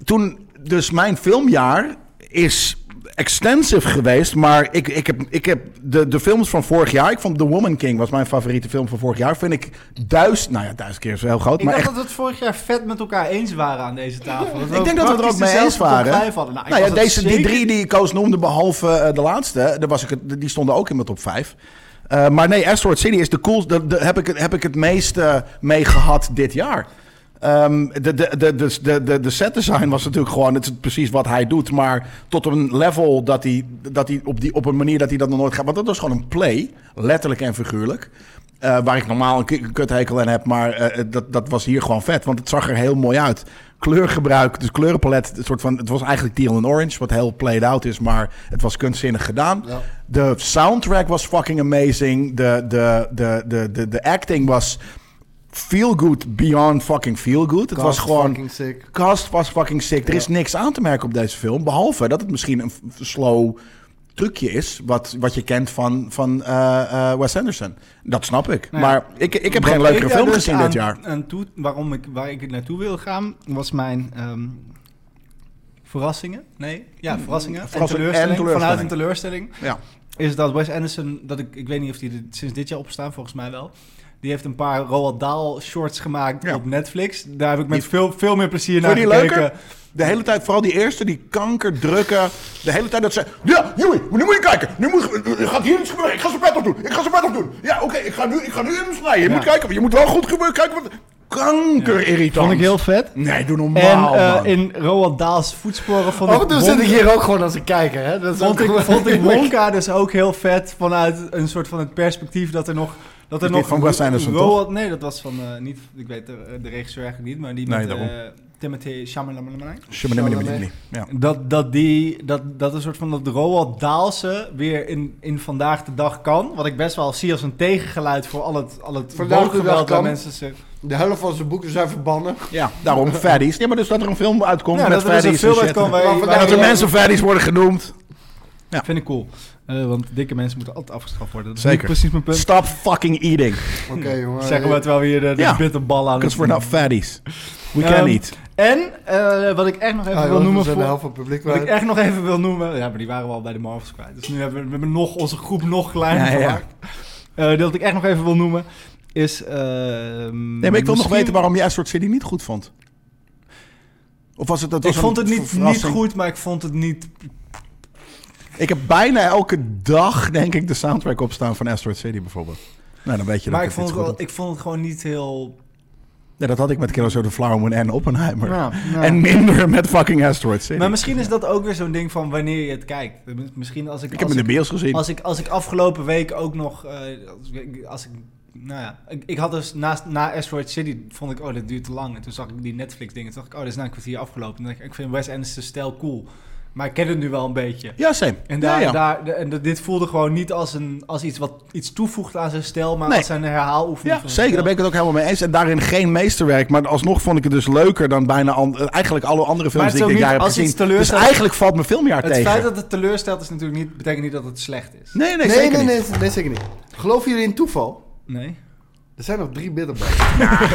A: toen, dus mijn filmjaar is extensive geweest, maar ik, ik heb, ik heb de, de films van vorig jaar, ik vond The Woman King was mijn favoriete film van vorig jaar, vind ik duizend, nou ja, duizend keer is heel groot,
J: Ik
A: maar
J: dacht
A: echt
J: dat we het vorig jaar vet met elkaar eens waren aan deze tafel. Dat
A: ik denk dat we er ook
J: praktisch
A: mee eens
J: dezelfde top
A: waren.
J: vijf hadden. ik
A: Nou ja,
J: was het
A: deze, die
J: zeker
A: drie die ik koos noemde, behalve eh, de laatste, daar was ik het, die stonden ook in mijn top vijf. Eh, maar nee, Asteroid City is de coolste. Daar daar heb, ik, het- heb ik het meest eh, mee gehad dit jaar. Ehm, de, de, de, de, de, de, de set design was natuurlijk gewoon het is precies wat hij doet. Maar tot een level dat hij, dat hij op, die, op een manier dat hij dat nog nooit gaat. Want dat was gewoon een play, letterlijk en figuurlijk. eh, waar ik normaal een k- een kuthekel aan heb. Maar eh, dat, dat was hier gewoon vet. Want het zag er heel mooi uit. Kleurgebruik, dus kleurenpalet. Een soort van, het was eigenlijk teal en orange. Wat heel played out is. Maar het was kunstzinnig gedaan.
B: Ja.
A: De soundtrack was fucking amazing. De, de, de, de, de, de acting was feel good beyond fucking feel good. Het was
B: Cast
A: gewoon.
B: fucking sick.
A: Cast was fucking sick. Er is niks aan te merken op deze film. Behalve dat het misschien een f- slow trucje is. Wat, wat je kent van, van eh, eh, Wes Anderson. Dat snap ik.
D: Nou ja.
A: maar ik, ik heb
D: Wat
A: geen leukere
D: ik daar
A: film
D: dus
A: gezien
D: aan-
A: dit jaar.
D: aan toe, waarom ik, waar ik naartoe wil gaan, was mijn ehm, verrassingen. Nee,
A: Hmm.
D: ja, verrassingen. En
A: verrassing en
D: teleurstelling. Vanuit een
A: teleurstelling.
D: teleurstelling.
A: Ja.
D: Is dat Wes Anderson, dat ik, ik weet niet of die er sinds dit jaar opstaan, volgens mij wel. Die heeft een paar Roald Dahl shorts gemaakt
A: Ja.
D: op Netflix. Daar heb ik met veel, veel meer plezier
A: Vond
D: naar
A: je die
D: gekeken.
A: leuker? De hele tijd, vooral die eerste, die kanker drukken. De hele tijd dat ze. Ja, Joey, maar nu moet je kijken. Nu moet, je- gaat hier iets gebeuren. Ik ga zijn pet op doen. Ik ga zijn pet op doen. Ja, oké, ik ga nu, ik ga nu hem snijden. Je
D: Ja.
A: moet kijken. Je moet wel goed gebeuren. Kijken wat. Kankerirritant.
D: Vond ik heel vet.
A: Nee, doe
D: En
A: normaal.
D: eh,
A: man.
D: in Roald Dahl's voetsporen vond ik
B: Oh, toen zit
D: wonder-
B: ik hier ook gewoon als ik kijker, hè. Dat is
J: Vond
B: ook
J: ik,
B: gewoon-
J: vond ik Wonka dus ook heel vet vanuit een soort van het perspectief dat er nog... Dat er
A: Is dit
J: nog
A: van Wes Anderson,
D: Roald, Nee, dat was van, eh, niet, ik weet de, de regisseur eigenlijk niet, maar die
A: Nee,
D: met eh,
A: daarom.
D: Timothy Chalamet.
A: Shimminimminimini. Ja.
D: Dat, dat, die, dat, dat een soort van dat Roald Daalse weer in, in vandaag de dag kan. Wat ik best wel zie als een tegengeluid voor al het, al het
B: Vandaag de dag
D: woordgeweld waar
B: kan.
D: mensen zich...
B: De helft van zijn boeken zijn verbannen.
A: ja, daarom Faddies. Ja, maar dus dat er een film uitkomt
D: Ja,
A: met
D: dat er dus een
A: Faddies en
D: film
A: shit.
D: uitkwam
B: Maar
D: waar,
B: vandaag
A: En
D: waar
A: dat er mensen Faddies worden genoemd.
D: Vind ik cool. Eh, want dikke mensen moeten altijd afgeschaft worden. Dat is
A: Zeker.
D: niet precies mijn punt.
A: Stop fucking eating.
B: Oké, jongen.
D: Zeggen we terwijl we hier eh, de, de
A: Ja.
D: bitterbal aan
A: Because we're not Faddies. We
D: Ehm,
A: can eat.
D: En eh, wat ik echt nog even
B: Ah, jongens,
D: wil
B: we
D: noemen...
B: zijn de
D: voor-
B: helft van het publiek
D: Wat ik
B: kwijt.
D: echt nog even wil noemen... Ja, maar die waren we al bij de Marvels kwijt. Dus nu hebben we, we hebben nog, onze groep nog kleiner
A: Ja, ja.
D: gemaakt. Eh, dat ik echt nog even wil noemen is... eh, nee,
A: Nee, maar ik wil nog weten waarom jij soort City niet goed vond. Of was het dat was
D: ik vond
A: een
D: het niet, niet
A: verrassing?
D: goed, maar ik vond het niet...
A: Ik heb bijna elke dag, denk ik, de soundtrack opstaan van Asteroid City bijvoorbeeld. Nou, dan weet je dat
D: maar ik
A: het iets goed
D: vond, het wel,
A: had.
D: ik vond het gewoon niet heel...
A: Nee, dat had ik met Killers of the Flower Moon en Oppenheimer.
D: Ja, ja.
A: En minder met fucking Asteroid City.
D: Maar misschien is dat ook weer zo'n ding van wanneer je het kijkt. Misschien als ik...
A: ik heb
D: als
A: hem in de beels gezien.
D: Als ik, als ik afgelopen week ook nog. eh, als, ik, als ik. Nou ja, ik, ik had dus naast, na Asteroid City. vond ik, oh, dit duurt te lang. En toen zag ik die Netflix-dingen. Toen dacht ik, oh, dit is na een kwartier afgelopen. En dacht ik, ik vind Wes Anderson's stijl cool. Maar ik ken het nu wel een beetje.
A: Ja, same.
D: En,
A: ja,
D: daar,
A: ja.
D: Daar, de- en de- dit voelde gewoon niet als, een, als iets wat iets toevoegt aan zijn stijl. maar
A: Nee.
D: als zijn herhaaloefening.
A: Ja, zeker. Daar ben ik het ook helemaal mee eens. En daarin geen meesterwerk. Maar alsnog vond ik het dus leuker dan bijna an- eigenlijk alle andere
D: Maar
A: films
D: het
A: die ik
D: is
A: dit
D: ook
A: jaar heb
D: niet- als iets
A: gezien. Dus
D: teleurstelt-
A: eigenlijk valt mijn filmjaar
D: Het
A: tegen.
D: feit dat het teleurstelt is natuurlijk niet, betekent niet dat het slecht is.
A: Nee, nee,
B: Nee,
A: zeker
B: nee,
A: niet.
B: nee, nee, zeker niet. Geloven jullie in toeval?
D: Nee.
B: Er zijn nog drie
A: Ah.
B: bitterballen.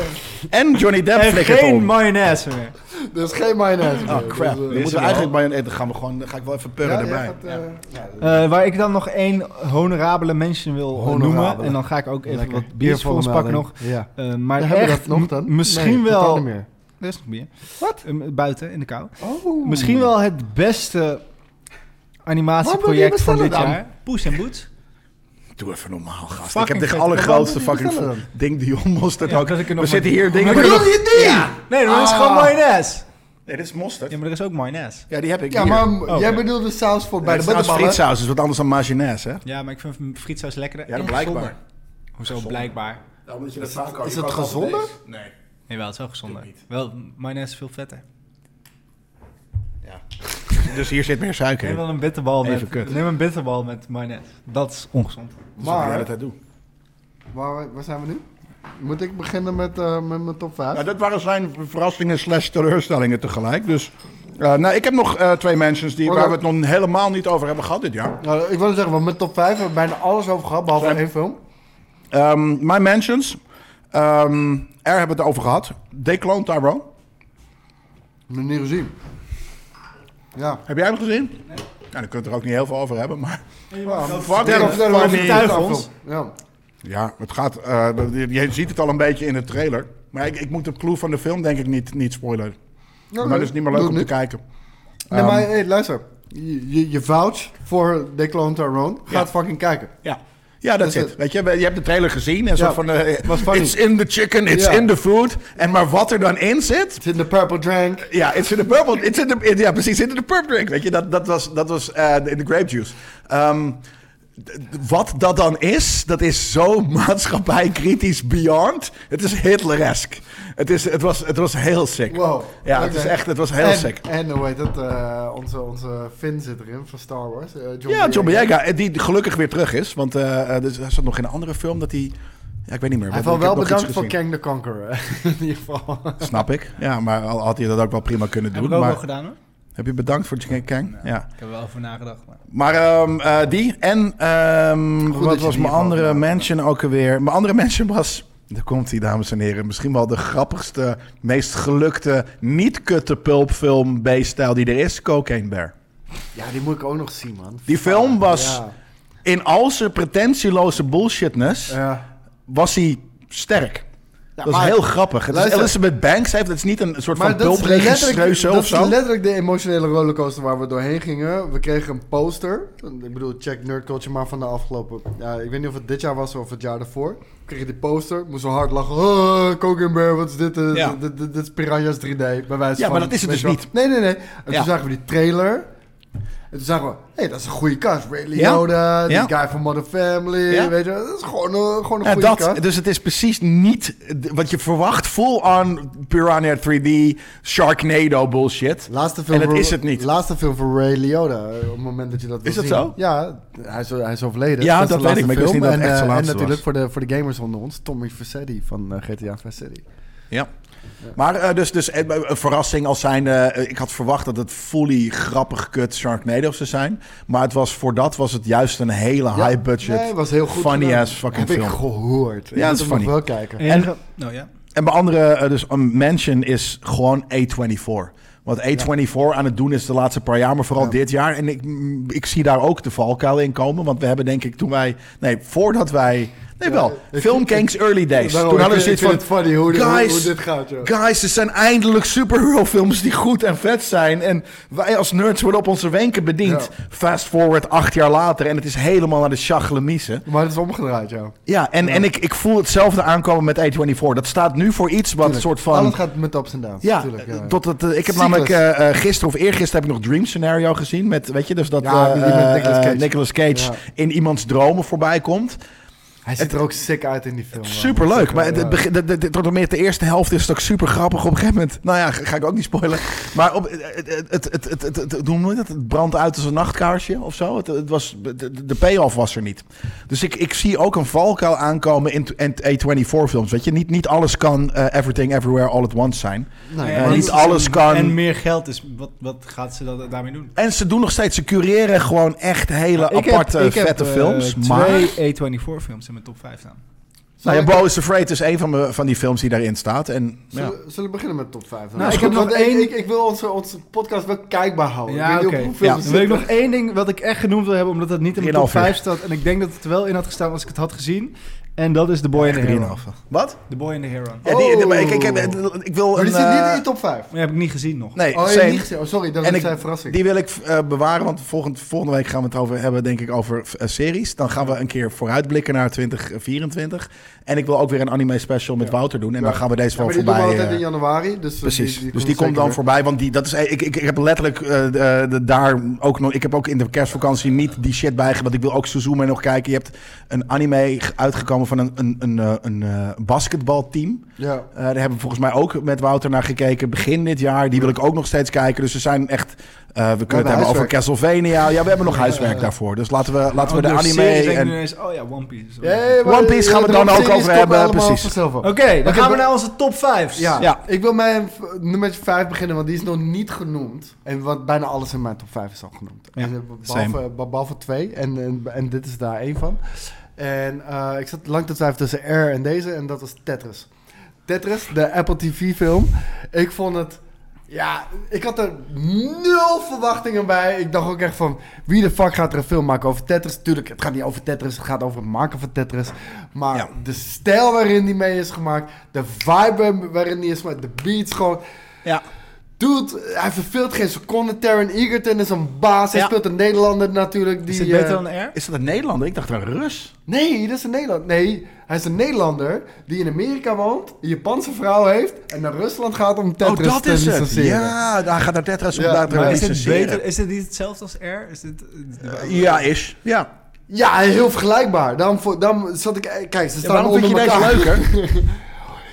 A: En Johnny Depp
D: En
A: flikkert
D: geen
A: om.
D: mayonaise meer.
B: Er is geen mayonaise meer.
A: Oh crap.
B: Dus, eh,
A: Dan moeten we eigenlijk bij een eten gaan. We gewoon, dan ga ik wel even purren
B: ja,
A: erbij.
B: jij gaat, eh,
D: Eh, waar ik dan nog één honorabele mention wil
B: Honorabele.
D: noemen. En dan ga ik ook even
B: lekker.
D: wat biertjes voor ons pakken nog.
B: Ja.
D: Eh, maar
B: Ja,
D: echt,
B: hebben we dat nog
D: m-
B: dan?
D: misschien
B: Nee, dat kan
D: wel...
B: niet meer.
D: Er is nog meer. Wat? buiten, in de kou.
B: Oh.
D: Misschien wel het beste
B: Wat wil je
D: animatieproject van
B: bestellen
D: dit
B: dan?
D: jaar. Poes en Boots.
A: Doe even normaal, gast.
D: Fucking
A: ik heb de
D: vet.
A: allergrootste
B: Waarom
A: fucking
B: moet je
A: vo-
B: bestellen
A: ding Dion mosterd ook.
D: dat ik er nog
A: We
D: maar-
A: zitten hier dingen.
D: Maar
A: Nee,
B: Wil je die? Ja, Ah.
D: Nee, dat is gewoon mayonaise.
A: dit is
D: Ja,
A: mosterd.
D: maar er is ook mayonaise.
A: Ja, die heb ik hier.
B: maar
A: Ja,
B: jij bedoelde Oh, saus voor bij de
A: het is
B: bitterballen.
A: frietsaus, is wat anders dan mayonaise, hè?
D: Ja, maar ik vind frietsaus lekkerder.
A: Ja,
D: en
A: dat blijkbaar.
D: gezonder. Hoezo blijkbaar?
A: Is,
B: is het gezonder?
A: Nee.
D: Nee, wel, het is wel gezonder. Wel, mayonaise is veel vetter.
A: Dus hier zit meer suiker
D: Neem
A: in.
D: wel een bitterbal
A: Even
D: met,
A: kut.
D: neem een bitterbal met mayonaise. Dat is ongezond.
A: Maar...
B: Maar, waar, waar zijn we nu? Moet ik beginnen met, eh, met mijn top 5?
A: Nou, dat waren zijn verrassingen slash teleurstellingen tegelijk. Dus eh, nou, ik heb nog eh, twee mensen die,
B: Oh,
A: waar we
B: dat-
A: het nog helemaal niet over hebben gehad dit jaar.
B: Nou, ik wil zeggen, want mijn top 5 hebben we bijna alles over gehad, behalve
A: Zijn-
B: één film.
A: Ehm My Mansions. Ehm er hebben we het over gehad. Declone Tyrone.
B: Nog niet gezien. Ja.
A: Heb jij hem gezien? Nee. Nou, dan kunnen we er ook niet heel veel over hebben, maar...
B: Fuck
A: it, fuck it.
B: Ja.
A: Ja, het gaat... eh, je, je ziet het al een beetje in de trailer. Maar ik, ik moet de clue van de film denk ik niet, niet spoileren. maar dat is niet meer leuk
B: Doe
A: om
B: het
A: te kijken.
B: Nee,
A: Ehm,
B: maar hey, luister. Je, je, je vouch voor Declan Tyrone. Gaat fucking kijken.
A: Ja. Ja, dat is
B: Dus
A: het. Weet je, je hebt de trailer gezien en zo
B: Ja,
A: van... eh,
B: was funny.
A: It's in the chicken, it's
B: Ja.
A: in the food. En maar wat er dan in zit...
B: It's in the purple drank.
A: Ja, it's in the purple. It's in the, it- ja, precies. It's in the purple drink. Weet je, dat, dat was, dat was eh, in de grape juice. Ehm, d- d- wat dat dan is, dat is zo maatschappijkritisch beyond. Het is Hitleresk. Het, is, het, was, het was heel sick.
B: Wow.
A: Ja, het,
B: Oké.
A: is echt, het was heel
B: en,
A: sick.
B: En hoe heet het? eh, onze, onze Finn zit erin van Star Wars. eh, John
A: Ja, John
B: Boyega.
A: Boyega, eh, die gelukkig weer terug is. Want eh eh, dus hij zat nog in een andere film dat hij... Ja, ik weet niet meer.
B: Hij
A: Ik heb
B: valt wel
A: nog iets
B: bedankt voor
A: gezien.
B: Kang the Conqueror. in ieder geval.
A: Snap ik. Ja, maar al had hij dat ook wel prima kunnen
D: Heb
A: doen.
D: ik ook
A: maar
D: wel gedaan hoor.
A: heb je bedankt voor King Kang? Ja.
D: Ik heb er wel over nagedacht. Maar...
A: Maar ehm, eh, die en ehm,
B: dat
A: wat
B: je
A: was
B: die
A: mijn
B: hebt
A: andere
B: overgenomen.
A: mention ook alweer? Mijn andere mention was, daar komt hij dames en heren, misschien wel de grappigste, meest gelukte, niet kutte pulpfilm B-stijl die er is, Cocaine Bear.
B: Ja, die moet ik ook nog zien, man.
A: Die film was
B: Ja.
A: in al zijn pretentieloze bullshitness,
B: Ja.
A: was hij sterk.
B: Ja,
A: dat is
B: maar-
A: heel grappig. Het is
B: Luister.
A: Elizabeth Banks heeft, het is niet een soort van
B: dat is letterlijk-
A: pulpregisseuse
B: dat
A: of
B: is
A: zo.
B: letterlijk de emotionele rollercoaster waar we doorheen gingen. We kregen een poster. Ik bedoel, check Nerd Culture maar van de afgelopen... Ja, ik weet niet of het dit jaar was of het jaar daarvoor. We kregen die poster. Moest zo hard lachen. Oh, Cocaine Bear, wat is dit? Eh,
A: Ja.
B: dit, dit- dit is Piranha's 3D. Bij wijze
A: Ja,
B: van,
A: maar dat is het
B: weet
A: dus
B: je wel. Nee, nee, nee. En
A: Ja.
B: toen zagen we die trailer. En toen zagen we, hé, dat is een goede kast. Ray
A: Ja.
B: Liotta, die
A: Ja.
B: guy van Modern Family,
A: Ja.
B: weet je wel. Dat is gewoon, een- gewoon een
A: Ja,
B: goede
A: dat,
B: kast.
A: dus het is precies niet d- wat je verwacht. Full-on Piranha 3D, Sharknado bullshit.
B: Laatste film
A: En dat
B: voor-
A: is het niet.
B: Laatste film van Ray Liotta, eh, op het moment dat je dat
A: Is
B: wil
A: dat
B: zien.
A: zo?
B: Ja, hij is, hij is overleden.
A: Ja,
B: is
A: dat
B: de
A: weet ik,
B: laatste
A: maar ik wist
B: film.
A: niet dat
B: en,
A: het echt
B: eh,
A: zijn
B: En
A: laatste
B: natuurlijk voor
A: was.
B: de, voor de gamers onder ons, Tommy Vercetti van eh, GTA Vercetti.
A: Ja. Maar eh, dus, dus eh, een verrassing als zijn... eh, ik had verwacht dat het fully grappig kut Sharknado zou zijn. Maar het was, voor dat was het juist een hele
B: Ja.
A: high budget.
B: Nee, was heel goed.
A: funny
B: gedaan.
A: ass fucking
B: Heb
A: film.
B: ik gehoord. Ik
A: Ja,
B: moet
A: dat is
B: hem nog
A: funny.
B: wel kijken.
A: En-
G: Nou ja.
A: En bij andere, eh, dus een mention is gewoon A24. Wat A24 aan het doen is de laatste paar jaar, maar vooral
B: Ja.
A: dit jaar. En ik, mm, ik zie daar ook de valkuil in komen. Want we hebben denk ik toen wij... Nee, voordat wij... Nee,
B: Ja,
A: wel.
B: ik-
A: Film Kings Early Days.
B: Daarom,
A: toen
B: ik
A: hadden we
B: vind-
A: zoiets van...
B: ik vind het funny hoe, dit- hoe-
A: guys,
B: hoe dit gaat, joh.
A: Guys, er zijn eindelijk superhero-films die goed en vet zijn. En wij als nerds worden op onze wenken bediend.
B: Ja.
A: Fast forward acht jaar later en het is helemaal naar de chaglemiezen.
B: Maar het is omgedraaid, ja.
A: Ja, en, en ik, ik voel hetzelfde aankomen met A24. Dat staat nu voor iets wat een
B: Tuurlijk.
A: soort van...
B: Alles gaat met ups en downs.
A: Ja,
B: tuurlijk, ja.
A: Tot het, eh, ik heb
B: Cyclus.
A: namelijk eh, eh, gisteren of eergisteren heb ik nog Dream Scenario gezien. Met, weet je, dus dat
B: Ja,
A: eh,
B: die met
A: eh,
B: Nicolas Cage.
A: Nicolas Cage
B: Ja.
A: in iemands dromen voorbij komt.
B: Hij ziet er ook sick uit in die film. man.
A: Superleuk. Maar
B: Ja.
A: het, het begin- de, de, de- tot en meer de eerste helft is het ook super grappig. Op een gegeven moment, nou ja, ga, ga ik ook niet spoilen. Maar op, het, het, het, het, het, het, het- hoe noem je dat? Het brandt uit als een nachtkaarsje of zo. Het, het was, de, de payoff was er niet. Dus ik, ik zie ook een valkuil aankomen in, in A24-films. Weet je, niet, niet alles kan eh, Everything Everywhere All at Once zijn.
B: Nee,
A: Eh,
B: maar
A: niet
B: dat-
A: alles kan.
G: En meer geld is, wat, wat gaat ze dat, daarmee doen?
A: En ze doen nog steeds, ze cureren gewoon echt hele
J: Ik heb-
A: aparte,
J: ik heb,
A: vette
J: eh,
A: films. maar
J: Twee A24-films in mijn top 5 staan.
A: nou ja,
B: Zal ik-
A: Bo is Afraid is een van, me, van die films die daarin staat. En, ja.
B: Zullen, zullen we beginnen met top 5?
J: Nou, ik heb nog één-
B: Ik, ik wil onze, onze podcast wel kijkbaar houden.
J: Ja,
B: ik weet niet
J: oké.
B: op hoeveel
A: Ja.
B: we
J: Dan wil ik
B: zitten.
J: nog één ding wat ik echt genoemd wil hebben, omdat het niet in mijn top
A: 3,5 uur.
J: 5 staat. En ik denk dat het er wel in had gestaan als ik het had gezien. En dat is The Boy and the Heron.
A: Wat?
J: The Boy and the Heron.
A: Ja, die, die- maar ik, ik,
B: Oh.
A: ik- ik wil
B: Maar
A: een...
B: die zit niet in
A: eh,
B: je top 5.
J: Maar die heb ik niet gezien nog.
A: nee,
B: Oh, je hebt
A: same.
B: niet gezien. Oh, sorry, dat
A: En
B: is
A: ik-
B: zijn verrassing.
A: Die wil ik eh, bewaren, want volgend, volgende week gaan we het over hebben, denk ik, over eh, series. Dan gaan we een keer vooruitblikken naar 2024. En ik wil ook weer een anime special met Wouter doen. En dan gaan we deze
B: Ja,
A: wel
B: maar die doen we
A: voorbij.
B: altijd
A: eh,
B: in januari. Dus eh,
A: Precies. dus die
B: zeker
A: komt dan
B: weer.
A: voorbij. Want die, dat is, ik, ik, ik heb letterlijk eh, de- de- daar ook nog. Ik heb ook in de kerstvakantie niet die shit bijge. Want ik wil ook Suzume nog kijken. Je hebt een anime g- uitgekomen van een, een, een, eh, een eh, basketbalteam.
B: Ja.
A: Eh, daar hebben we volgens mij ook met Wouter naar gekeken begin dit jaar. Die wil ik ook nog steeds kijken. Dus er zijn echt. eh, we kunnen het hebben
B: huiswerk.
A: over Castlevania. Ja, laten we hebben nog huiswerk daarvoor. Dus laten we, laten we de
J: Andere
A: anime.
J: series denk ik nu
A: En,
J: ineens, oh ja, One Piece.
B: Hey, maar
A: One Piece gaan we
B: de
A: dan ook
B: series
A: over
B: komen
A: hebben,
B: allemaal
A: precies.
B: vanzelf op.
J: Oké, dan gaan
B: Oké,
J: we
B: dan-
J: naar onze top 5.
B: Ja.
A: Ja.
B: ik wil mijn v- nummer 5 beginnen, want die is nog niet genoemd. En wat bijna alles in mijn top 5 is al genoemd.
A: Ja,
B: En, eh, behalve, be- behalve twee, en, en, en dit is daar één van. En eh, ik zat lang te twijfelen tussen R en deze, en dat was Tetris. Tetris, de Apple TV-film. Ik vond het. Ja, ik had er nul verwachtingen bij. Ik dacht ook echt van, wie de fuck gaat er een film maken over Tetris? Tuurlijk, het gaat niet over Tetris, het gaat over het maken van Tetris. Maar
A: Ja.
B: de stijl waarin die mee is gemaakt, de vibe waarin die is gemaakt, de beats gewoon...
A: ja.
B: Dude, hij verveelt geen seconde. Taron Egerton is een baas. Hij
A: Ja.
B: speelt een Nederlander natuurlijk. Die,
J: Is het beter
B: eh,
J: dan R?
A: Is dat een Nederlander? Ik dacht een Rus.
B: Nee, dat is een Nederlander. Nee, hij is een Nederlander die in Amerika woont, een Japanse vrouw heeft en naar Rusland gaat om Tetris
A: oh, dat
B: te
A: is het.
B: licenseren.
A: Ja, daar gaat naar Tetris om
B: Ja,
A: daar te
J: Is
B: maar
J: het,
A: licenseren.
J: beter, is het niet hetzelfde als R? Is het,
A: Ja, is. Ja.
B: Ja, heel vergelijkbaar. Daarom, vo- daarom zat ik... eh, Kijk, ze staan
A: waarom vind
B: onder
A: je deze
B: elkaar.
A: leuker?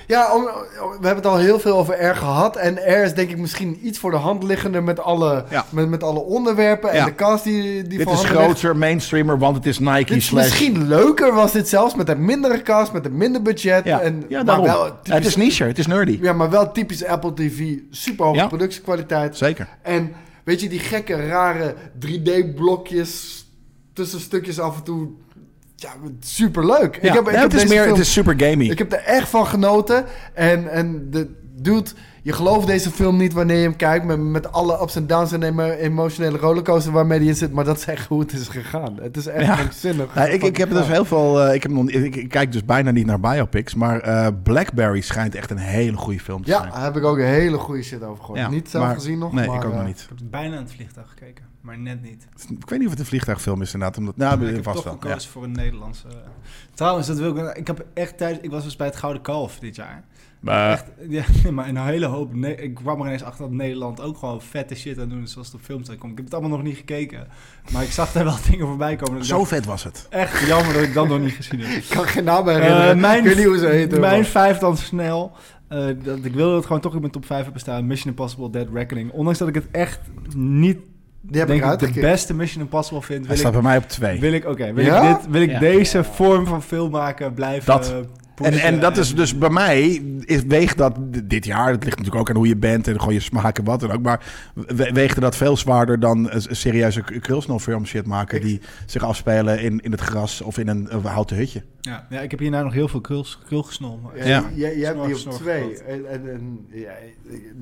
B: Ja, om- we hebben het al heel veel over R gehad. En R is denk ik misschien iets voor de hand liggender met alle,
A: Ja.
B: met, met alle onderwerpen. En
A: Ja.
B: de cast die, die
A: Dit
B: voor
A: is
B: handen ligt.
A: groter, mainstreamer, want het is Nike
B: Dit is
A: slash...
B: misschien leuker was dit zelfs met een mindere cast, met een minder budget.
A: Ja,
B: en,
A: ja daarom.
B: Maar wel
A: het is
B: typisch,
A: niche, het is nerdy.
B: ja, maar wel typisch Apple TV. Super hoge
A: Ja.
B: productiekwaliteit.
A: Zeker.
B: En weet je, die gekke, rare 3D-blokjes tussen stukjes af en toe. Ja, super leuk.
A: Ja. Nee, het, is meer, het is super gamey.
B: Ik heb er echt van genoten. En, en de dude, je gelooft deze film niet wanneer je hem kijkt. Met, met alle ups en downs en emo- emotionele rollercoaster waarmee die in zit. Maar dat is echt hoe het is gegaan. Het is echt
A: Ja.
B: krankzinnig.
A: Nou, ik, ik heb dus heel veel. eh, ik, heb nog, ik, ik kijk dus bijna niet naar biopics. Maar eh, Blackberry schijnt echt een hele goede film te
B: Ja,
A: zijn.
B: daar heb ik ook een hele goede shit over gehoord.
A: Ja,
B: niet zelf
A: maar-
B: gezien nog.
A: Nee,
B: maar,
A: ik ook
B: eh,
A: nog niet.
J: Ik heb bijna aan het vliegtuig gekeken, maar net niet.
A: Ik weet niet of het een vliegtuigfilm is, inderdaad. Omdat, nou,
J: ik heb
A: Ah, vast
J: toch
A: wel.
J: gekozen
D: eh.
J: voor een Nederlandse. Trouwens, dat wil ik. Ik heb echt thuis. Ik was dus bij het Gouden Kalf dit jaar.
A: Eh.
V: Maar
D: Echt, ja, nee, maar een hele hoop. Ne- ik kwam er ineens achter dat Nederland ook gewoon vette shit aan doen is, zoals het op film staat. komt. Ik heb het allemaal nog niet gekeken. Maar ik zag daar wel dingen voorbij komen. dat ik
A: Zo
D: dacht,
A: vet was het.
D: echt jammer dat ik dat nog niet gezien heb.
B: Ik kan geen naam herinneren.
W: Eh, mijn-
B: ik weet niet hoe ze heten.
W: Mijn
B: maar-
W: vijf dan snel. Eh, dat, ik wilde dat gewoon toch in mijn top 5 hebben staan. Mission Impossible Dead Reckoning. Ondanks dat ik het echt niet
B: Die heb
W: denk
B: ik
W: ik, de
B: uitgekikt.
W: beste Mission Impossible vind.
A: Hij
W: Wil
A: staat
W: ik,
A: bij mij op twee.
W: wil ik, oké, wil
B: Ja?
W: ik, dit, wil ik
D: Ja.
W: deze vorm van film maken blijven
A: Dat.
W: eh,
A: En,
W: pushen
A: en dat is dus bij mij, is, weegt dat d- dit jaar, het ligt natuurlijk ook aan hoe je bent en gewoon je smaak en wat dan ook, maar we- weegde dat veel zwaarder dan een s- een serieuze k- krulsnelfilm shit maken die zich afspelen in, in het gras of in een, een houten hutje.
D: Ja, ja, ik heb hierna nog heel veel kruls, krul gesnolmen.
B: Ja,
A: Ja.
B: j- Jij, jij hebt
D: S'morgens
B: die op
D: nog
B: twee.
D: gehad.
B: En, en, en- ja,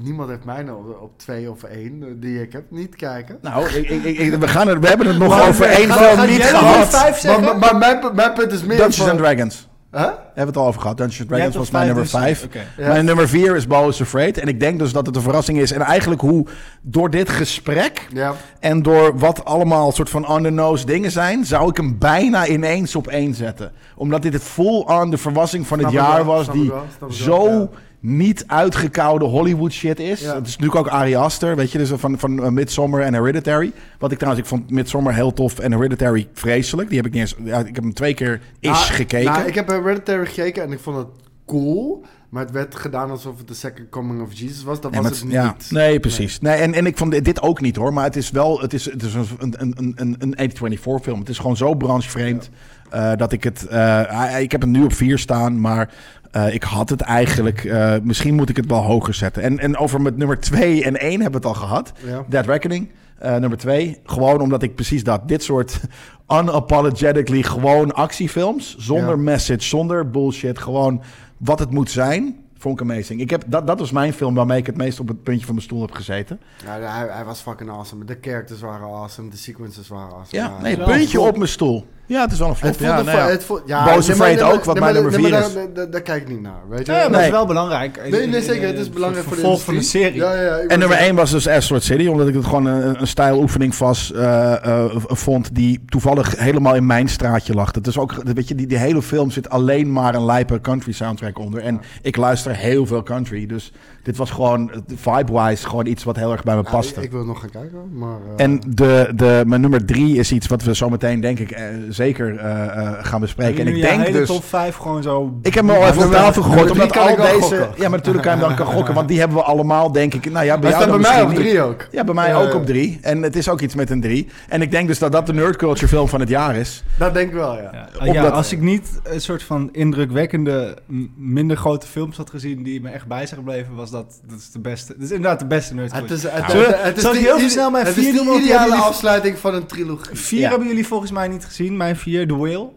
B: niemand heeft mij nou op, op twee of één eh, die ik heb. Niet kijken.
A: Nou, ik, ik, ik- ik- we, gaan er, we hebben het nog
B: Maar-
A: over één
B: Ga-
A: film
B: ga
A: niet
B: jij
A: gehad.
B: nog vijf zeggen? Maar, maar, mijn, mijn punt is meer
A: Dungeons
B: van...
A: and Dragons.
B: Huh?
A: Hebben we het al over gehad. Dungeons and Dragons was mijn nummer vijf.
B: dus- Ja.
A: Mijn nummer vier is Bo is Afraid. En ik denk dus dat het een verrassing is. En eigenlijk hoe door dit gesprek
B: Ja.
A: En door wat allemaal soort van on-the-nose dingen zijn, zou ik hem bijna ineens op één zetten. Omdat dit het full-on de verrassing van het
B: Snap ik
A: jaar
B: wel,
A: was,
B: snap ik
A: die
B: wel, snap ik
A: zo
B: wel, ja.
A: niet uitgekoude Hollywood shit is.
B: Ja.
A: Het is natuurlijk ook Ari Aster, weet je, dus van, van eh, Midsommar en Hereditary. Wat ik trouwens, ik vond Midsommar heel tof en Hereditary vreselijk. Die heb ik niet eens, ja, ik heb hem twee keer is
B: Nou,
A: gekeken.
B: Nou, ik heb Hereditary gekeken en ik vond het cool. Maar het werd gedaan alsof het de second coming of Jesus was. Dat
A: Nee,
B: was
A: maar
B: het
A: het-
B: niet.
A: ja. nee, precies. Nee, en, en ik vond dit- dit ook niet hoor. Maar het is wel het is, het is een, een, een, een, een 824 film. Het is gewoon zo branchevreemd eh, dat ik het. eh, ik heb het nu op 4 staan, maar eh, ik had het eigenlijk. eh, misschien moet ik het wel hoger zetten. En, en over met nummer 2 en 1 hebben we het al gehad.
B: Ja.
A: Dead Reckoning. eh, nummer 2. Gewoon omdat ik precies dat. Dit soort unapologetically gewoon actiefilms. Zonder
B: Ja.
A: message, zonder bullshit. Gewoon wat het moet zijn. Vond ik amazing. Ik heb, dat, dat was mijn film waarmee ik het meest op het puntje van mijn stoel heb gezeten.
B: Ja, Nou, hij, hij was fucking awesome. De characters waren awesome. De sequences waren awesome.
A: Ja, nee,
B: het-
A: puntje op mijn stoel. Ja, het is wel een flop.
B: Het voelde
A: Ja,
B: voor-
A: nou ja.
B: het voel- ja,
A: Boos
B: nee,
A: en
B: maar-
A: Vreed
B: nee,
A: ook, wat
B: nee, maar-
A: mijn nummer
B: nee,
A: vier
B: maar
A: is.
B: daar- daar- Daar kijk ik niet naar, weet je.
D: Nee, maar dat
A: Nee.
D: is wel belangrijk.
B: Nee, nee, zeker.
W: Eh,
B: Het is belangrijk voor de
D: vervolg van de
B: industrie.
D: serie.
B: Ja, ja, ik
A: En nummer
B: bedoel-
A: 1 was dus Asteroid City, omdat ik het gewoon een, een stijloefening was, eh, eh, vond die toevallig helemaal in mijn straatje lag. Dat is ook, weet je, die, die hele film zit alleen maar een lijpe country soundtrack onder. En ik luister heel veel country, dus dit was gewoon eh, vibe-wise gewoon iets wat heel erg bij me
B: Ja,
A: paste.
B: Nou, ik, ik wil nog gaan kijken, maar... eh,
A: En de, de, mijn nummer drie is iets wat we zometeen, denk ik, eh, zeker eh, eh, gaan bespreken. En ik denk
W: hele
A: dus...
W: top 5 gewoon zo...
A: Ik heb hem al
B: Ja,
A: even op
B: nummer-
A: tafel gegooid,
B: nummer drie
A: omdat
B: kan
A: al
B: ik wel
A: deze...
B: gokken.
A: Ja, maar natuurlijk kan je hem dan gokken, want die hebben we allemaal, denk ik... Nou ja, bij
B: Hij
A: jou
B: staat bij
A: dan
B: mij
A: misschien
B: op
A: niet.
B: drie ook.
A: Ja, bij mij
B: Ja,
A: ook
B: ja.
A: op drie. En het is ook iets met een drie. En ik denk dus dat dat de nerdculture film van het jaar is.
B: Dat denk ik wel, ja.
D: Eh, Ja,
A: Omdat-
D: ja, als ik niet een soort van indrukwekkende, m- minder grote films had gezien die me echt bij zijn gebleven, was dat, dat is de beste. Dat is inderdaad de beste nerd.
B: Het is, het,
D: Zullen we-
B: het, het is
D: zal ik
B: de
D: heel
B: ide-
D: snel mijn
B: het is de
D: vier doen, want die
B: ideale
D: hebben jullie-
B: afsluiting van een trilogie.
D: Vier
A: Ja.
D: hebben jullie volgens mij niet gezien, mijn vier, The Whale.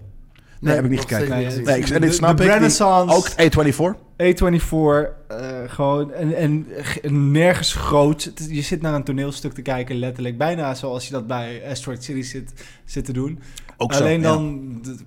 A: Nee, heb ik niet
B: nog
A: gekeken.
B: steeds
D: Nee,
B: niet
A: Nee,
B: gezien.
A: ik, en dit
D: De-
A: snap
D: de
A: ik. Die-
D: Renaissance.
A: Ook A24.
D: A24, eh, gewoon en, en g- nergens groot. Het is- Je zit naar een toneelstuk te kijken, letterlijk. Bijna zoals je dat bij Asteroid City zit, zit te doen.
A: Ook zo,
D: Alleen
A: ja.
D: dan, d-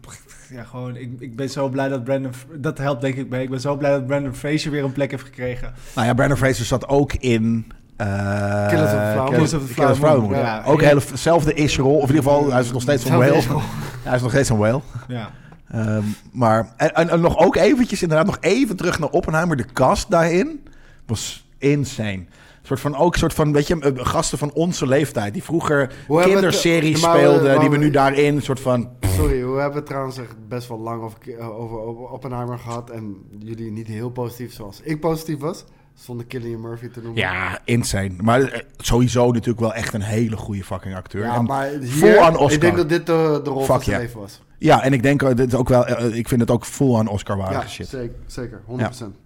D: ja, gewoon, ik, ik ben zo blij dat Brandon, dat helpt denk ik mee. Ik ben zo blij dat Brandon Fraser weer een plek heeft gekregen.
A: Nou ja, Brandon Fraser zat ook in... eh,
B: Killers of the Flower
A: Killers of the Flower Moon.
B: Moon,
D: ja.
A: Ook hele- hetzelfde is-rol. Of in ieder geval, hij is nog steeds een
B: Hetzelfde
A: whale.
B: is-rol.
A: Hij is nog steeds een whale.
D: Ja.
A: Ehm, maar en, en, en nog ook eventjes, inderdaad, nog even terug naar Oppenheimer. De cast daarin was insane. Een soort van ook, een soort van, weet je, eh, gasten van onze leeftijd. Die vroeger
B: Hoe hebben we het-
A: kinderseries
B: maar we-
A: speelden,
B: maar
A: die we
B: we-
A: nu daarin, een soort van.
B: Sorry, we hebben het trouwens echt best wel lang over, eh, over, over Oppenheimer gehad. En jullie niet heel positief zoals ik positief was. Zonder Killian Murphy te noemen.
A: Ja, insane. Maar eh, sowieso natuurlijk wel echt een hele goede fucking acteur.
B: Ja,
A: En
B: maar
A: full
B: hier,
A: aan Oscar.
B: ik denk dat dit de, de rol
A: Fuck
B: van zijn
A: yeah.
B: leven was.
A: Ja, en ik denk eh, dit ook wel, eh, eh, ik vind het ook full aan Oscar waardige
B: Ja,
A: shit.
B: zeker, zeker 100%.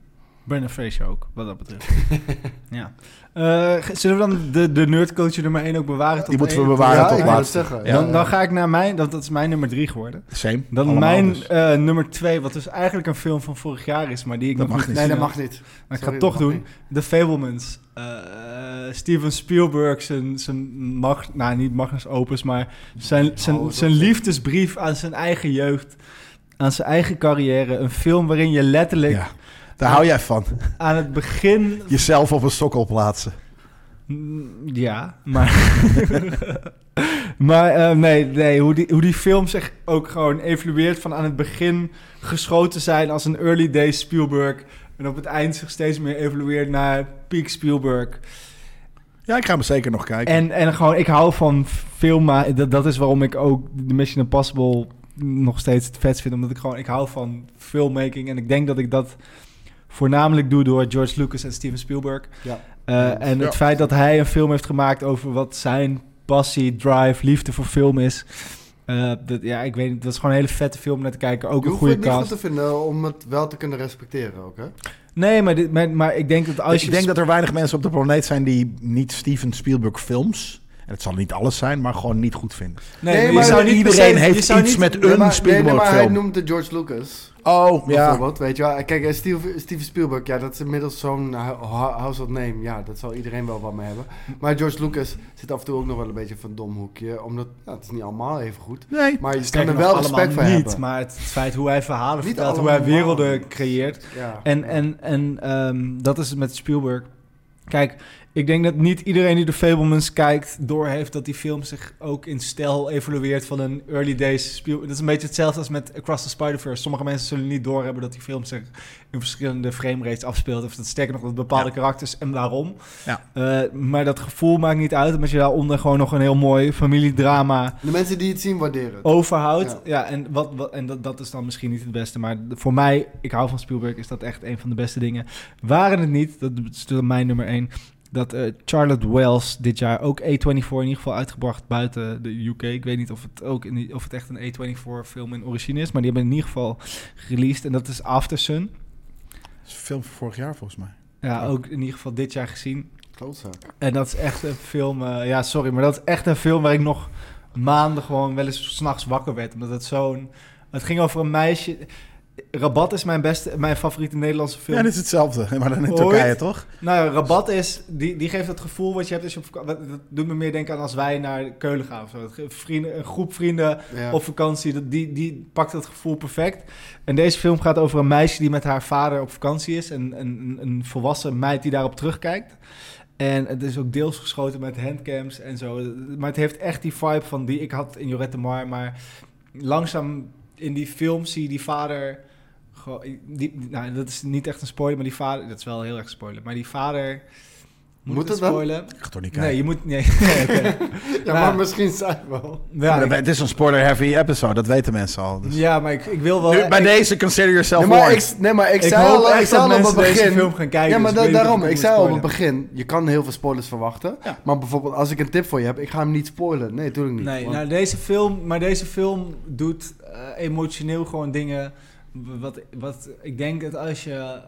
D: Brandon Fraser ook, wat dat betreft. ja. Eh, g- zullen we dan de, de nerdcoach nummer 1 ook bewaren? tot
A: Die moeten we
D: één?
A: bewaren
B: Ja,
A: tot
B: ik wil het
A: laatst.
B: zeggen.
A: Ja.
D: Dan, dan ga ik naar mijn, dat, dat is mijn nummer 3 geworden.
A: Same.
D: Dan
A: Allemaal
D: mijn
A: dus.
D: eh, nummer 2, wat dus eigenlijk een film van vorig jaar is, maar die ik
A: Dat
D: nog
A: mag
D: niet
A: niet.
B: Nee, dat
D: gezien
B: mag niet.
D: heb. Maar ik
B: Sorry,
D: ga het toch
B: dat mag
D: doen. The Fablemans. Eh, eh, Steven Spielberg, zijn, zijn mag, nou niet Magnus Opus, maar zijn, zijn,
B: Oh, dat
D: zijn
B: is-
D: liefdesbrief aan zijn eigen jeugd, aan zijn eigen carrière. Een film waarin je letterlijk
A: Ja. Daar hou jij van.
D: aan het begin
A: Jezelf op een sokkel plaatsen.
D: Mm, Ja, maar. maar eh, nee, nee hoe, die, hoe die film zich ook gewoon evolueert van aan het begin geschoten zijn als een early days Spielberg. En op het eind zich steeds meer evolueert naar Peak Spielberg.
A: Ja, ik ga hem zeker nog kijken.
D: En, en gewoon, ik hou van film, maar dat, dat is waarom ik ook de Mission Impossible nog steeds het vetst vind. Omdat ik gewoon, ik hou van filmmaking. En ik denk dat ik dat voornamelijk doe door George Lucas en Steven Spielberg.
B: Ja.
D: Eh, en het
A: Ja.
D: feit dat hij een film heeft gemaakt over wat zijn passie, drive, liefde voor film is. Eh, dat, ja, ik weet niet, dat is gewoon een hele vette film om naar te kijken. Ook
B: Je
D: een
B: hoeft het
D: goede
B: niet goed
D: cast.
B: te vinden om het wel te kunnen respecteren ook, hè?
D: Nee, maar, dit, maar, maar ik denk dat als je...
A: ik denk dat er weinig mensen op de planeet zijn die niet Steven Spielberg films, en het zal niet alles zijn, maar gewoon niet goed vinden.
D: Nee,
B: Nee,
D: je
B: maar
D: zou niet per
A: iedereen
D: se-
A: heeft
D: je zou
A: iets
D: niet-
A: met
B: Nee, maar-
A: een
B: nee, nee,
A: Spielberg
B: maar hij
A: film.
B: noemde George Lucas.
A: oh, ja.
B: Bijvoorbeeld, weet je wel. Kijk, eh, Steve, Steven Spielberg, ja, dat is inmiddels zo'n hu- hu- household name. Ja, dat zal iedereen wel wat mee hebben. Maar George Lucas zit af en toe ook nog wel een beetje van een dom hoekje. Omdat, nou, het is niet allemaal even goed.
A: Nee.
B: Maar je kan
D: Dus Sterker
B: er
D: nog,
B: wel
D: allemaal
B: respect voor
D: niet,
B: hebben.
D: maar het, het feit hoe hij verhalen
B: Niet
D: vertelt, hoe hij
B: allemaal.
D: werelden creëert.
B: Ja.
D: En, en, en ehm, dat is het met Spielberg. Kijk, ik denk dat niet iedereen die de Fablemans kijkt doorheeft dat die film zich ook in stijl evolueert van een early days Spiel. Dat is een beetje hetzelfde als met Across the Spider-Verse. Sommige mensen zullen niet doorhebben dat die film zich in verschillende frame rates afspeelt. Of dat sterker nog dat bepaalde karakters en waarom.
A: Ja.
D: Eh, maar dat gevoel maakt niet uit, omdat je daaronder gewoon nog een heel mooi familiedrama
B: De mensen die het zien waarderen. het.
D: overhoudt. Ja, en, wat, wat, en dat, dat is dan misschien niet het beste. Maar voor mij, ik hou van Spielberg, is dat echt een van de beste dingen. Waren het niet, dat is dan mijn nummer één, dat eh, Charlotte Wells dit jaar ook A24 in ieder geval uitgebracht buiten de UK. Ik weet niet of het, ook in, die- of het echt een A24 film in origine is, maar die hebben in ieder geval gereleased. En dat is After Sun.
A: Dat is een film van vorig jaar volgens mij.
D: Ja, ook in ieder geval dit jaar gezien.
B: Klootzak.
D: En dat is echt een film, eh, ja sorry, maar dat is echt een film waar ik nog maanden gewoon wel eens s'nachts wakker werd. Omdat het zo'n... Het ging over een meisje... Rabat is mijn beste, mijn favoriete Nederlandse film.
A: Ja, dus- dit is hetzelfde, maar dan in
D: Ooit.
A: Turkije toch?
D: Nou ja, Rabat is, die, die geeft dat gevoel wat je hebt als je op vaka- wat- Dat doet me meer denken aan als wij naar Keulen gaan of zo. Dat ge- Vrienden, een groep vrienden
B: Ja.
D: op vakantie, dat- die, die pakt dat gevoel perfect. En deze film gaat over een meisje die met haar vader op vakantie is. En een, een volwassen meid die daarop terugkijkt. En het is ook deels geschoten met handcams en zo. Maar het heeft echt die vibe van die ik had in Jorette Mar. Maar langzaam in die film zie je die vader... gewoon- Die, die- nou, dat is niet echt een spoiler, maar die vader... Dat is wel heel erg spoiler. Maar die vader...
B: Moet
D: ik
B: het dan?
D: spoilen?
A: Ik ga toch niet kijken.
D: Nee, je moet... Nee, nee, oké.
B: Ja,
D: Nou,
B: maar misschien zijn we wel.
D: ja,
A: Maar
D: ik-
A: het is een spoiler-heavy episode, dat weten mensen al. Dus.
D: ja, maar ik, ik wil wel...
A: Nu, bij
D: ik-
A: deze, consider yourself
B: Nee, maar
A: warned.
B: ik, nee, maar ik,
D: Ik
B: zei
D: hoop
B: al, ik
D: echt
B: zei
D: dat
B: al op het
D: mensen deze
B: begin.
D: film gaan kijken,
B: Ja, maar
D: dus
B: da-
D: ik weet niet
B: daarom.
D: of ik
B: Ik
D: moet
B: zei al op het
D: spoilen.
B: begin. Je kan heel veel spoilers verwachten.
A: Ja.
B: Maar bijvoorbeeld, als ik een tip voor je heb, ik ga hem niet spoilen. Nee, natuurlijk niet.
D: Nee,
B: want-
D: nou, deze film, maar deze film doet eh, emotioneel gewoon dingen. w- Wat, wat ik denk dat als je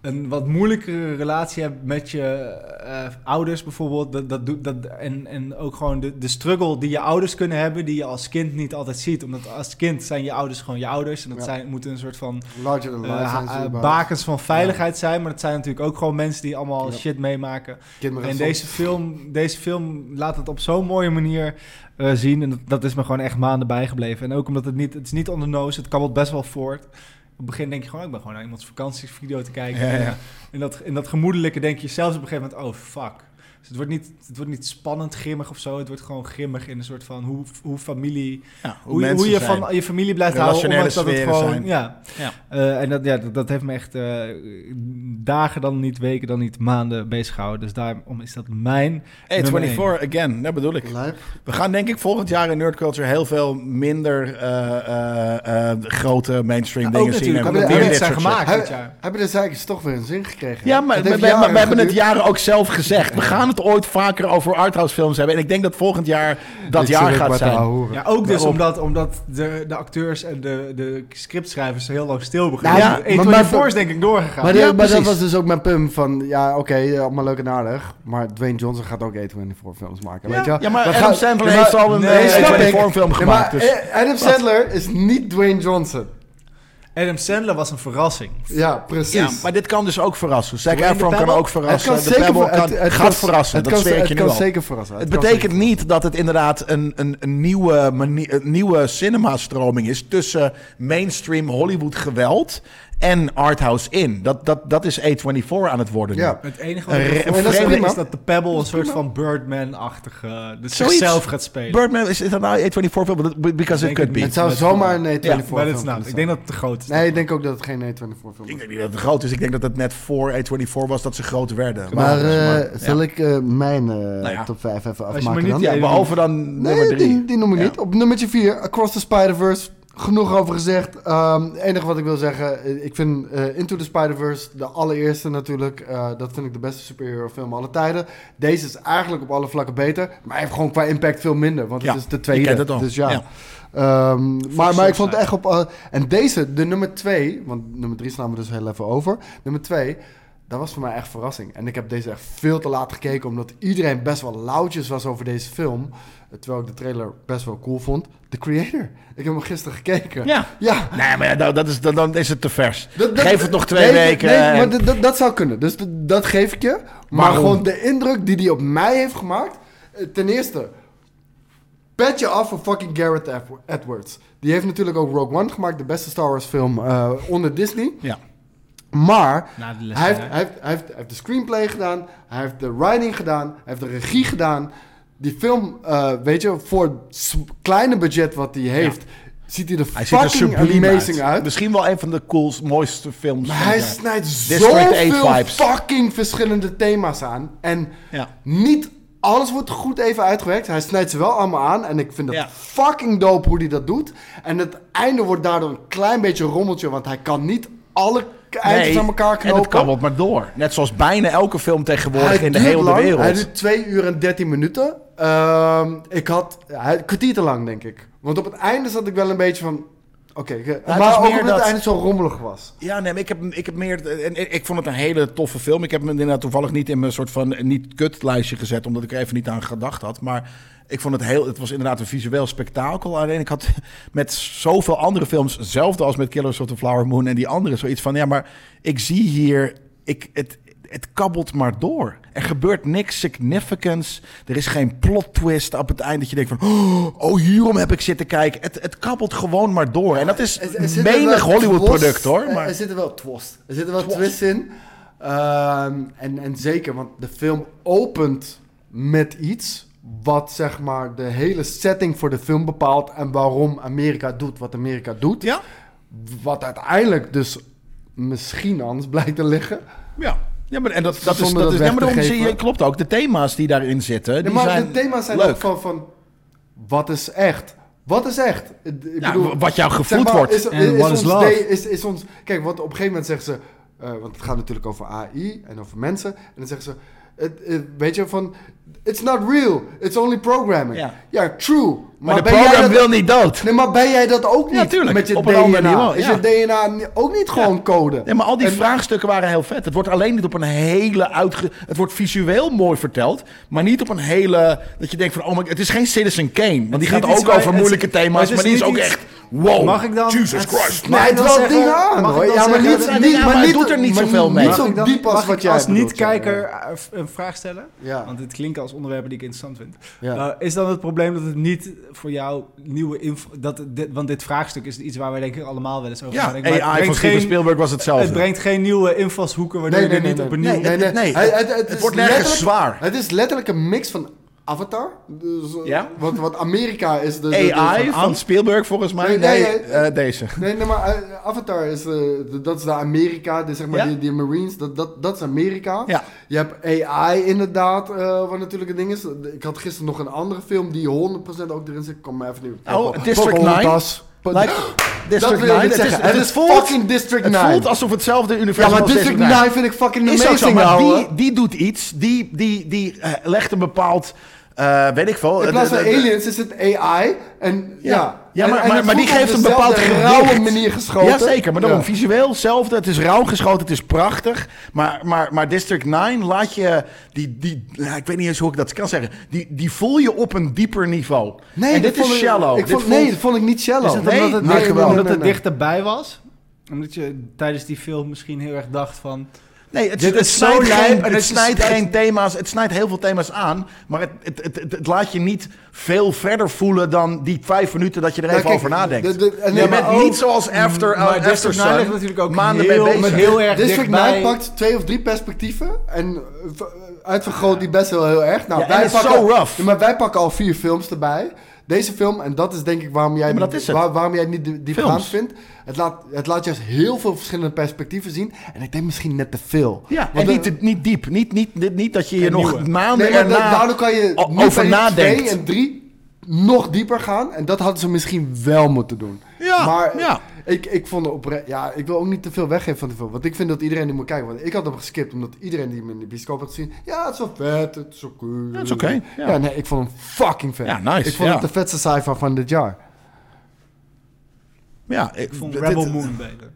D: een wat moeilijkere relatie hebt met je eh, ouders bijvoorbeeld, dat, dat doet, dat, en, en ook gewoon de, de struggle die je ouders kunnen hebben, die je als kind niet altijd ziet. Omdat als kind zijn je ouders gewoon je ouders en dat
B: Ja.
D: zijn, moeten een soort van
B: Larger than life.
D: eh,
B: zijn ze
D: ha-
B: überhaupt.
D: bakens van veiligheid zijn. Maar dat zijn natuurlijk ook gewoon mensen die allemaal
B: Ja.
D: shit meemaken.
B: Kinderen
D: En
B: soms-
D: deze film, deze film laat het op zo'n mooie manier eh, zien. En dat, dat is me gewoon echt maanden bijgebleven. En ook omdat het niet, het is niet on the nose, het kabbelt best wel voort. Op het begin denk je gewoon, ik ben gewoon naar iemands vakantievideo te kijken.
A: Ja, ja.
D: En, eh, en, dat, en dat gemoedelijke denk je zelfs op een gegeven moment, oh fuck. Dus het wordt niet, het wordt niet spannend grimmig of zo. Het wordt gewoon grimmig in een soort van hoe, hoe familie
A: Ja,
D: hoe, je- hoe
A: mensen
D: je
A: zijn.
D: van je familie blijft houden,
A: Relationele
D: ondanks dat het
A: sferen
D: gewoon...
A: zijn.
D: Ja.
A: Ja.
D: Eh, en dat, ja, dat, dat heeft me echt eh, dagen dan niet, weken dan niet, maanden bezig gehouden. Dus daarom is dat mijn...
A: Hey,
D: nummer
A: 24 again, dat bedoel ik.
B: Lijp.
A: We gaan denk ik volgend jaar in nerdculture heel veel minder eh, eh, eh, grote mainstream
D: ook
A: dingen zien.
D: natuurlijk,
A: en
B: omdat
A: meer
B: die
A: dit
D: niet zijn
A: soort shit.
D: gemaakt. dit
B: Hebben
D: jaar.
B: hebben de zeikers toch weer een zin gekregen?
A: Ja,
B: Het
A: maar,
B: heeft
A: maar- maar- maar we
B: jaren
A: hebben het
B: geduurd.
A: jaren ook zelf gezegd. We gaan het ooit vaker over arthouse films hebben. En ik denk dat volgend jaar dat
B: Dit
A: jaar
B: zit
A: gaat
B: met de ouwe
A: zijn.
B: hoeren.
D: Ja, ook dus
A: Daarom.
D: omdat, omdat de, de acteurs en de, de scriptschrijvers heel lang stil
B: Nou,
D: begonnen.
A: Ja,
B: maar-
D: Ja,
B: maar-
D: 24 is denk ik doorgegaan.
B: Maar, die-
A: Ja,
B: maar dat
A: precies.
B: was dus ook mijn punt van, ja, oké, eh, allemaal leuk en aardig. Maar Dwayne Johnson gaat ook A24 films maken, weet je wel?
A: Ja, maar
B: We
A: Adam
B: gaan-
A: Sandler
B: Ja, maar-
A: heeft al een
B: Nee,
A: eh,
B: snap ik.
A: 24 film
B: Ja,
A: gemaakt.
B: maar
A: dus.
B: eh, Adam Sandler is niet Dwayne Johnson.
D: Adam Sandler was een verrassing.
B: Ja,
A: Ja,
B: precies.
A: maar dit kan dus ook verrassen. Zac
D: Dwayne de
A: Efron kan
D: Pebble?
A: ook verrassen.
B: Het kan
A: de
B: zeker
A: Pebble
B: ver-
A: kan,
B: het- het
A: gaat
B: kan-
A: verrassen,
B: het
A: dat
B: kan-
A: zweer ik je
B: Het
A: nu
B: kan
A: al.
B: zeker verrassen.
A: Het
B: kan
A: betekent
B: zeker-
A: niet dat het inderdaad een, een, een nieuwe, manie- een nieuwe cinema-stroming is tussen mainstream Hollywood geweld en arthouse in. Dat, dat, dat is A24 aan het worden nu.
B: Ja.
G: Het enige
A: Een
G: wat
A: re-
G: ik
A: een
G: voel is,
A: vreemde-
G: dat- is dat de Pebble een soort van Birdman-achtige... Dus
A: Zoiets.
G: zichzelf gaat spelen.
A: Birdman, is is dat nou A24 film? Because it
G: Ik denk
A: could
G: het
A: be.
B: Het zou
G: Maar-
B: zomaar een E24
A: Ja,
G: maar
B: film
G: dat is nou,
B: kunnen zijn.
G: ik denk dat het te groot is.
B: Nee, ik denk ook dat het geen E24 film
A: Ik
B: is.
A: denk niet dat het groot is. Ik denk dat het net voor A24 was dat ze groot werden.
B: Maar
A: maar- Nou
B: eh, zal ik eh, mijn eh,
A: ja.
B: top 5 even
G: je maar
B: afmaken
G: niet
B: dan?
G: die
A: ja, behalve dan nummer
B: Nee, die,
A: 3.
B: die noem ik
A: Ja.
B: niet. Op nummertje 4, Across the Spider-Verse. Genoeg over gezegd. Ehm, Het enige wat ik wil zeggen, eh, ik vind eh, Into the Spider-Verse de allereerste natuurlijk. eh, dat vind ik de beste superhero film alle tijden. Deze is eigenlijk op alle vlakken beter. Maar hij heeft gewoon qua impact veel minder. Want
A: Ja,
B: het is de
A: ik ken
B: tweede.
A: dat al.
B: Dus ja.
A: Ja.
B: Ehm, maar, maar ik
G: Sunshine.
B: vond het echt op... eh, en deze, de nummer 2, want nummer 3 slaan we dus heel even over. Nummer 2, dat was voor mij echt verrassing. En ik heb deze echt veel te laat gekeken, omdat iedereen best wel loutjes was over deze film. Eh, Terwijl ik de trailer best wel cool vond. The Creator. Ik heb hem gisteren gekeken.
A: Ja.
B: Ja.
A: Nee, maar ja, nou, dat, dat is, dan, dan is het te vers.
B: Dat- dat-
A: Geef het nog twee
B: nee,
A: weken.
B: Nee,
A: en-
B: maar dat- dat- dat zou kunnen. Dus dat- dat geef ik je. Maar
A: Waarom?
B: gewoon de indruk die hij op mij heeft gemaakt. eh, Ten eerste, pet je af voor fucking Garrett Edw- Edwards. Die heeft natuurlijk ook Rogue One gemaakt, de beste Star Wars film eh, onder Disney.
A: Ja.
B: Maar
G: Na de les
B: hij heeft,
G: van
B: hij, heeft, hij, heeft, hij heeft de screenplay gedaan, hij heeft de writing gedaan, hij heeft de regie gedaan. Die film, eh, weet je, voor het s- kleine budget wat hij heeft, ziet hij er
A: Hij ziet er
B: fucking
A: subliem
B: amazing
A: uit.
B: uit.
A: Misschien wel een van de coolst, mooiste films.
B: Maar
A: van
B: hij
A: het jaar.
B: snijdt
A: District eight
B: zoveel
A: vibes.
B: fucking verschillende thema's aan. En
A: Ja.
B: niet alles wordt goed even uitgewerkt. Hij snijdt ze wel allemaal aan. En ik vind het
A: Ja.
B: fucking dope hoe hij dat doet. En het einde wordt daardoor een klein beetje rommeltje. Want hij kan niet alle eindjes aan elkaar knopen.
A: En dat kabbelt maar door. Net zoals bijna elke film tegenwoordig
B: Hij
A: in de
B: duurt
A: hele
B: lang.
A: wereld.
B: Hij duurt 2 uur en 13 minuten. Ehm, ik had hij, een kwartier te lang, denk ik. Want op het einde zat ik wel een beetje van... Oké, ik-
A: het
B: maar
A: is
B: ook
A: meer
B: omdat
A: dat-
B: het einde zo rommelig was.
A: Ja, nee, maar ik heb, hem- ik heb meer. En ik, ik vond het een hele toffe film. Ik heb hem inderdaad toevallig niet in mijn soort van niet-kut lijstje gezet, omdat ik er even niet aan gedacht had. Maar ik vond het heel. Het was inderdaad een visueel spektakel. Alleen ik had met zoveel andere films, hetzelfde als met Killers of the Flower Moon en die andere, zoiets van: ja, maar ik zie hier. Ik, het, het kabbelt maar door. Er gebeurt niks significants. Er is geen plot twist op het eind dat je denkt van... Oh, hierom heb ik zitten kijken. Het, het kabbelt gewoon maar door. En dat is
B: Er- er zitten
A: menig
B: wel
A: Hollywood product
B: twist-
A: hoor.
B: er-
A: Maar...
B: Er zitten wel twist. Er zitten wel twist in. Ehm, en, en zeker, want de film opent met iets wat zeg maar de hele setting voor de film bepaalt en waarom Amerika doet wat Amerika doet.
A: Ja?
B: Wat uiteindelijk dus misschien anders blijkt te liggen.
A: Ja. Ja, maar, en dat, dat is,
B: Zonder dat
A: dat is,
B: weg
A: ja, maar
B: te
A: daarom zie je,
B: geven.
A: klopt ook. De thema's die daarin zitten, die
B: Nee, maar
A: zijn
B: de thema's zijn
A: leuk.
B: ook van, van wat is echt? Wat is echt? Ik
A: Ja,
B: bedoel,
A: wat jou gevoed
B: maar,
A: wordt.
B: Is,
G: En
B: is
G: what
B: ons
G: is love?
B: day- is, is ons, kijk, want op een gegeven moment zeggen ze... eh, want het gaat natuurlijk over AI en over mensen. En dan zeggen ze... het- het- weet je, van... It's not real. It's only programming.
A: Ja.
B: Ja, true. Maar,
A: maar, de
B: ben jij
A: program
B: dat-
A: wil niet dood.
B: Nee, maar ben jij dat ook niet?
A: Ja, tuurlijk.
B: Met je
A: Op een
B: DNA.
A: andere manier,
B: Is
A: ja.
B: je DNA ni- ook niet gewoon code?
A: Ja, maar al die
B: En-
A: vraagstukken waren heel vet. Het wordt alleen niet op een hele uitge... Het wordt visueel mooi verteld, maar niet op een hele... Dat je denkt van, oh my... Het is geen Citizen Kane. Want die gaat
J: niet iets
A: ook
J: waar-
A: over
J: het is-
A: moeilijke
J: maar
A: thema's,
J: het
A: maar
J: is
A: die is
J: niet
A: ook
J: iets-
A: echt... Wow,
J: Mag ik dan-
A: Jesus
J: het-
A: Christ.
B: Maar
J: Mag ik
B: het
J: dan
B: wel
J: zeggen-
B: dingen aan,
J: mag ik
B: hoor.
J: dan
B: Ja, maar
J: zeggen-
B: niet,
A: maar
B: niet, maar
A: hij
B: niet,
A: doet er niet
B: maar
A: zoveel mee.
B: Niet
A: Mag
B: zo
J: dan-
B: diep als
J: mag
B: wat
J: ik
B: jij
J: als
B: bedoelt,
J: niet-kijker
B: ja.
J: eh, v- een vraag stellen?
B: Ja.
J: Want dit klinken als onderwerpen die ik interessant vind.
B: Ja.
J: Eh, is dan het probleem dat het niet voor jou nieuwe info... Dat, dit, want dit vraagstuk is iets waar wij denk ik allemaal wel eens over
A: Ja,
J: nadenken, maar het
A: AI van
J: brengt
A: Steven
J: geen-
A: Spielberg was hetzelfde.
J: Het brengt geen nieuwe invalshoeken waardoor
B: Nee,
J: je
B: nee,
J: er
B: nee,
J: niet op
B: nee,
J: een
B: nee,
J: nieuw...
A: het- nee,
B: Hij- hij-
A: het
B: is
A: wordt nergens
B: letterlijk-
A: zwaar.
B: Het is letterlijk een mix van Avatar. Dus, eh,
A: Ja?
B: wat, wat Amerika is. De, de- de-
A: AI
B: van-
A: van Spielberg volgens mij. Nee,
B: Nee, nee, eh,
A: eh, deze.
B: Nee, nee, maar eh, Avatar is, eh, de- dat is de Amerika, de, zeg maar
A: Ja?
B: die, die Marines, dat, dat, dat is Amerika.
A: Ja.
B: Je hebt AI inderdaad, eh, wat natuurlijk een ding is. Ik had gisteren nog een andere film die 100% ook erin zit. Kom maar even nu.
A: Oh, District 9.
B: Pocahontas.
A: Like,
B: dat
A: District
B: wil ik
A: 9.
B: niet
A: Het is,
B: zeggen. Het is
A: voelt-
B: fucking District
A: Het
B: 9.
A: voelt alsof hetzelfde
B: Ja,
A: universum
B: maar
A: als
B: District 9 vind ik fucking
A: is ook zo,
B: amazing,
A: maar
B: ouwe.
A: die, die doet iets. Die, die, die eh, legt een bepaald, eh, weet ik veel.
B: In plaats van
A: eh, eh,
B: aliens is het AI. En ja.
A: Ja, ja
B: En-
A: maar,
B: en
A: maar,
B: het
A: maar die
B: wordt op
A: geeft een bepaald
B: dezelfde
A: gewicht.
B: rauwe manier geschoten.
A: Jazeker, maar daarom
B: Ja.
A: visueel hetzelfde. Het is rauw geschoten, het is prachtig. Maar, maar, maar District 9 laat je... Die, die, nou, ik weet niet eens hoe ik dat kan zeggen. Die, die voel je op een dieper niveau.
B: Nee, dat
A: en dit is
B: vond ik-
A: shallow.
B: Ik
A: Dit
B: vond,
A: voelt-
B: Nee, dat vond ik niet shallow.
A: Is het Nee, omdat het-
B: nee,
A: nee,
B: nee,
A: omdat
B: nee,
J: Omdat het
B: nee.
J: dichterbij was. Omdat je tijdens die film misschien heel erg dacht van...
A: Nee, het,
D: Dit
A: het
D: is zo
A: snijdt,
D: lijp
A: geen,
D: en
A: het
D: het
A: snijdt
D: is-
A: geen thema's. Het snijdt heel veel thema's aan. Maar het, het, het, het- het laat je niet veel verder voelen dan die vijf minuten dat je er
B: Ja,
A: even
B: Nou, kijk,
A: over nadenkt.
B: de- de- en-
A: je
B: ja,
A: bent
B: maar ook-
A: niet zoals After, uh,
D: Maar
A: after
D: District 9 ligt
A: Sun.
D: natuurlijk ook
A: maanden
D: heel,
A: mee bezig.
D: met heel erg
B: District 9
D: dichtbij.
B: pakt twee of drie perspectieven en eh, v- uitvergroot die best wel heel erg. Nou,
A: Ja, en
B: wij
A: het is
B: pakken,
A: zo rough.
B: Ja, maar wij pakken al vier films erbij. Deze film, en dat is denk ik waarom jij,
A: Ja, maar dat is het.
B: waar- waarom jij het niet die- diepgaand
A: Films.
B: vindt. Het laat, het laat juist heel veel verschillende perspectieven zien. En ik denk misschien net te veel.
A: Ja, en
B: Want,
A: niet,
B: eh,
A: te- niet diep. Niet, niet, niet, niet dat je je
X: Een
A: nog
X: nieuwe.
A: maanden
B: nee, maar nou, da-
A: erna...
B: daardoor kan je
A: o-
B: nu bij
A: over
B: die
A: nadenkt.
B: twee en drie nog dieper gaan. En dat hadden ze misschien wel moeten doen.
A: Ja,
B: maar
A: ja.
B: Ik, ik vond het oprecht... Ja, ik wil ook niet te veel weggeven van de film. Want ik vind dat iedereen die moet kijken. Want ik had hem geskipt omdat iedereen die hem in de bioscoop had gezien... Ja, het is wel vet, het is oké.
A: het is oké, ja.
B: Ja, nee, ik vond hem fucking vet.
A: Ja, nice,
B: Ik vond
A: ja.
B: het de vetste sci-fi van dit jaar.
A: Ja, ik
D: Ik vond
A: dit-
D: Rebel
A: dit-
D: Moon beter.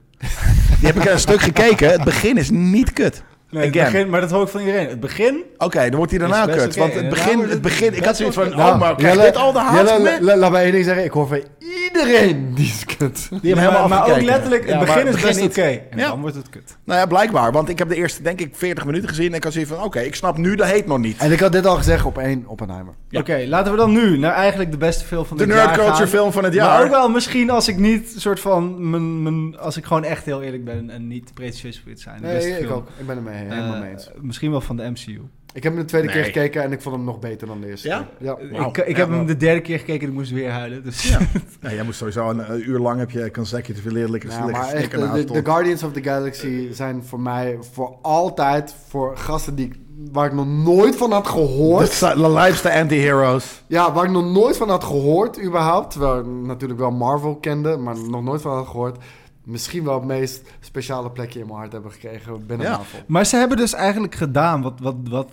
A: Die heb ik een stuk gekeken. Het begin is niet kut.
D: Nee, het
A: Again.
D: begin, maar dat hoor ik van iedereen. Het begin
A: Oké, dan wordt hij daarna
D: Is best
A: kut.
D: oké.
A: Want het
D: Ja,
A: begin,
D: maar
A: het
D: dit-
A: begin, ik had
D: best
A: zoiets
D: wel
A: van,
D: oké.
A: oh, maar
B: Nou,
A: krijg
B: Jelle,
A: dit al de haat
B: Jelle,
A: mee?
B: la- Laat mij één ding zeggen. Ik hoor van iedereen die is kut.
A: Die hebben
D: Ja,
A: helemaal
D: maar, maar ook
A: afgekeken.
D: letterlijk, het
A: Ja, maar
D: begin is best
A: niet.
D: oké. En
A: Ja.
D: dan wordt het kut.
A: Nou ja, blijkbaar. Want ik heb de eerste, denk ik, 40 minuten gezien. En ik had zoiets van, oké, ik snap nu de heet nog niet.
B: En ik had dit al gezegd op één Oppenheimer.
A: Ja.
D: Oké, laten we dan nu naar eigenlijk de beste film van
A: De
D: dit
A: nerd
D: jaar
A: culture
D: gaan.
A: film van het
D: Maar ook
A: jaar.
D: wel misschien als ik niet soort van mijn, mijn, als ik gewoon echt heel eerlijk ben en niet pretentieus wil zijn. de
B: Nee,
D: beste
B: ik
D: film.
B: ook. Ik ben er mee, helemaal
D: Eh,
B: mee eens.
D: Misschien wel van de MCU.
B: Ik heb hem de tweede
A: Nee.
B: keer gekeken en ik vond hem nog beter dan de eerste
A: Ja?
B: keer. Ja.
A: Wauw.
D: Ik, ik
A: Ja,
D: heb hem de derde keer gekeken en ik moest weer huilen. Dus
A: Ja. Nee, jij moest sowieso een, eh, uur lang heb je consecutive leren liggen
B: Ja,
A: liggen
B: maar echt,
A: snikken
B: de,
A: naast
B: de-
A: ons.
B: de Guardians of the Galaxy zijn voor mij voor altijd voor gasten die, ik- waar ik nog nooit van had
A: Dat
B: gehoord.
A: zijn de lijpste anti-heroes.
B: Ja, waar ik nog nooit van had gehoord überhaupt. Terwijl ik natuurlijk wel Marvel kende, maar nog nooit van had gehoord. Misschien wel het meest speciale plekje in mijn hart hebben gekregen binnen
A: Ja.
B: Marvel.
D: Maar ze hebben dus eigenlijk gedaan wat, wat, wat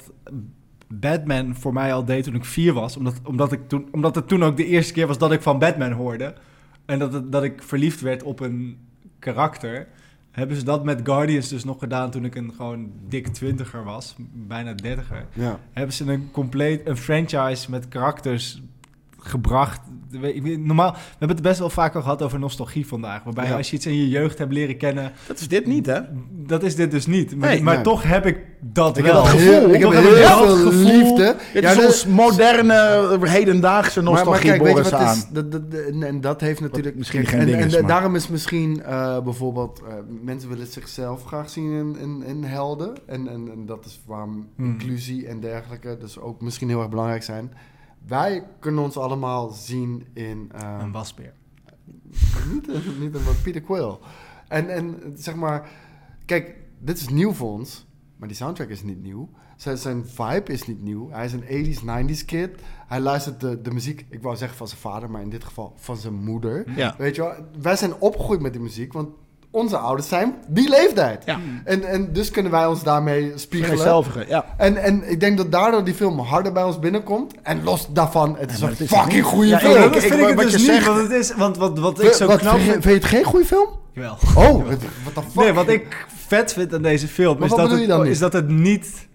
D: Batman voor mij al deed toen ik vier was. Omdat, omdat, ik toen, omdat het toen ook de eerste keer was dat ik van Batman hoorde. En dat, het- dat ik verliefd werd op een karakter. Hebben ze dat met Guardians dus nog gedaan toen ik een gewoon dik twintiger was. Bijna dertiger.
B: Ja.
D: Hebben ze een compleet een franchise met karakters gebracht. We- ik weet- Normaal, we hebben het best wel vaak al gehad over nostalgie vandaag. Waarbij
B: Ja.
D: als je iets in je jeugd hebt leren kennen,
A: Dat is dit niet, hè?
D: dat is dit dus niet. Maar,
A: Nee,
D: maar
B: nee.
D: toch heb ik dat
A: Ik heb
D: wel.
A: dat gevoel.
B: ik heb
A: Toch
B: heel,
A: heb ik wel
B: veel
A: het gevoel-
B: liefde.
A: Dit
B: Ja,
A: is
B: de-
A: ons moderne, eh, hedendaagse nostalgie, Boris,
B: wat
A: aan.
B: is? Dat- dat- dat- en- en dat heeft natuurlijk...
A: misschien
B: kijk,
A: geen
B: en,
A: ding
B: en
A: is,
B: da-
A: maar-
B: daarom is misschien eh, bijvoorbeeld... eh, mensen willen zichzelf graag zien in, in, in helden. En, en, en dat is waarom
A: Hmm.
B: inclusie en dergelijke... dus ook misschien heel erg belangrijk zijn. Wij kunnen ons allemaal zien in... eh,
D: Een wasbeer.
B: niet, een- niet een wat Peter Quill. En, en zeg maar, kijk, dit is nieuw voor ons, maar die soundtrack is niet nieuw. Zijn, zijn vibe is niet nieuw. Hij is een 80s, 90s kid. Hij luistert de, de muziek, ik wou zeggen van zijn vader, maar in dit geval van zijn moeder.
A: Ja.
B: Weet je wel, wij zijn opgegroeid met die muziek, want onze ouders zijn die leeftijd.
A: Ja.
B: En, en dus kunnen wij ons daarmee spiegelen.
A: ja.
B: En, en ik denk dat daardoor die film harder bij ons binnenkomt. En los daarvan, het is een
A: het is-
B: fucking goede
A: Ja,
B: film.
A: ik-
D: dat
A: ik-
D: vind ik
A: wat-
D: het
A: wat
D: dus
A: je
D: niet,
A: zegt-
D: want het is... Want wat, wat ik zo
B: wat,
D: knap
B: vind, je,
D: vind...
B: vind je het geen goede film?
D: Jawel.
B: Oh, wat de fuck?
D: Nee, wat ik vet vind aan deze film...
B: Maar
D: Is
B: wat
D: dat,
B: bedoel
D: het,
B: je dan niet?
D: is dat het niet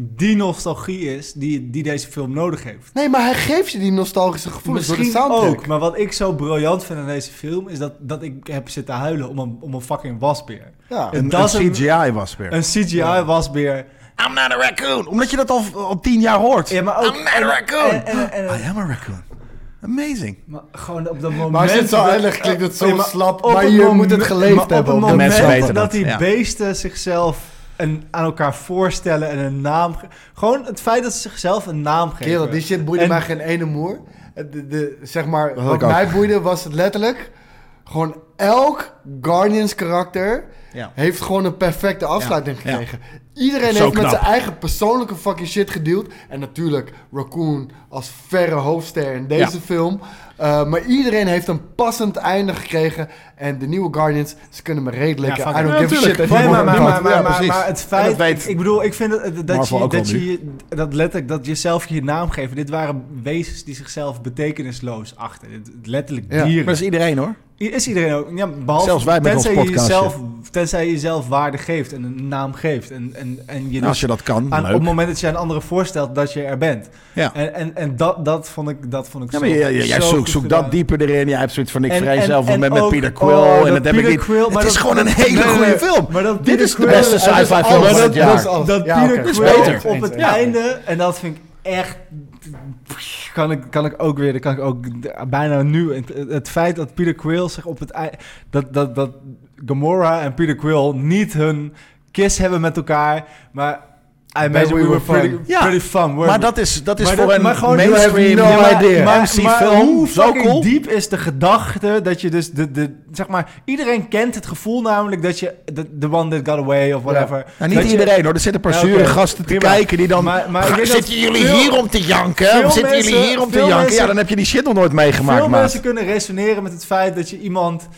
D: die nostalgie is die, die deze film nodig heeft.
B: Nee, maar hij geeft je die nostalgische gevoelens
D: Misschien
B: door de soundtrack.
D: ook, maar wat ik zo briljant vind aan deze film... is dat, dat ik heb zitten huilen om een, om een fucking wasbeer.
B: Ja.
D: En
A: Een,
D: dat is
A: een
D: een-
A: CGI was weer.
D: Een CGI-wasbeer.
A: I'm not a raccoon. Omdat je dat al, al tien jaar hoort.
D: Ja, maar ook...
A: I'm not a raccoon.
D: en- en- en-
A: I am a raccoon. Amazing.
D: Maar gewoon op dat Eh, moment...
B: Maar als je het zo uitlegt, klinkt het zo slap, maar je moet het geleefd hebben op
D: Op
B: dat
D: het
A: moment.
D: moment
A: Mensen
D: dat,
A: weten
D: die
A: dat, ja.
D: beesten zichzelf een, aan elkaar voorstellen en een naam... ge- Gewoon het feit dat ze zichzelf een naam geven.
B: Kerel, die shit boeide
D: En-
B: mij geen ene moer. De, de, zeg maar,
A: eh, had
B: wat
A: ik ook.
B: mij boeide was het letterlijk... Gewoon elk Guardians karakter
A: Ja.
B: heeft gewoon een perfecte afsluiting
A: Ja, ja.
B: gekregen. Iedereen
A: Zo
B: heeft met
A: knap.
B: zijn eigen persoonlijke fucking shit gedeeld. En natuurlijk Raccoon als verre hoofdster in deze
A: Ja.
B: film. Eh, maar iedereen heeft een passend einde gekregen. En de nieuwe Guardians, ze kunnen me reet likken.
D: fuck
B: I don't
D: it.
B: give a shit.
D: Nee, maar, maar, maar, maar,
A: Ja,
D: maar, maar
A: precies.
D: het
A: En dat
D: feit...
A: weet
D: ik bedoel, ik vind dat, dat,
A: Marvel
D: je,
A: ook wel
D: dat,
A: nu.
D: je, dat letterlijk dat je zelf je naam geven. Dit waren wezens die zichzelf betekenisloos achten. Dit- Letterlijk
B: Ja.
D: dieren.
A: Maar dat is iedereen hoor.
D: Is iedereen ook. Ja, behalve,
A: Zelfs wij met
D: tenzij
A: ons
D: je
A: podcastje.
D: jezelf- Tenzij tenzij je jezelf waarde geeft en een naam geeft. En, en, en je
A: En als
D: dus
A: je dat kan,
D: aan, op
A: leuk.
D: het moment dat je aan anderen voorstelt dat je er bent.
A: Ja.
D: En, en, en dat, dat vond ik, dat vond ik
A: Ja,
D: zo
A: maar jij- jij- jij
D: zo
A: zoekt
D: goed
A: zoek
D: gedaan.
A: dat dieper erin. Jij hebt zoiets van, ik
D: En-
A: vrij
D: en-
A: zelf
D: en
A: met, met
D: ook-
A: Peter Quill.
D: oh,
A: en dat heb ik
D: Peter
A: niet.
D: Quill, maar
A: het is
D: dat-
A: gewoon een hele
D: Nee, nee,
A: goede
D: nee.
A: film.
D: Maar dat
A: Dit
D: Peter
A: is de
D: Quill-
A: beste
D: en-
A: sci-fi
D: en-
A: film
D: maar
A: van het
D: dat-
A: jaar.
D: Dat, dat
B: Ja,
D: Peter
B: oké,
D: Quill
A: beter.
D: op het
A: Ja.
D: einde, en dat vind ik echt... Kan ik, kan ik ook weer, kan ik ook bijna nu. Het, het feit dat Peter Quill zich op het ei- dat, dat, dat Gamora en Peter Quill niet hun kiss hebben met elkaar, maar I imagine we,
B: we
D: were
B: were
D: pretty,
B: fun.
A: Ja.
D: pretty fun. weren't
A: Maar
D: we?
A: dat is, dat is
D: Maar
A: voor
D: dat-
A: een
D: maar gewoon-
A: mainstream
B: You have no
A: maar-
B: idea.
A: maar- MC
D: maar
A: film.
D: hoe
A: Zo
D: fucking
A: cool. Nou,
D: diep is de gedachte dat je dus de, de zeg maar iedereen kent het gevoel namelijk dat je de, the one that got away of whatever.
A: Nou, niet
D: Dat je-
A: iedereen hoor. Er zitten een paar
D: Ja, oké,
A: zure gasten te
D: prima.
A: kijken die dan...
D: Maar- maar ik denk dat
A: zitten jullie
D: veel-
A: hier om te janken?
D: veel
A: Of zitten jullie
D: mensen-
A: hier om te
D: veel
A: janken?
D: mensen-
A: ja, dan heb je die shit nog nooit meegemaakt,
D: Veel
A: maat.
D: mensen kunnen resoneren met het feit dat je iemand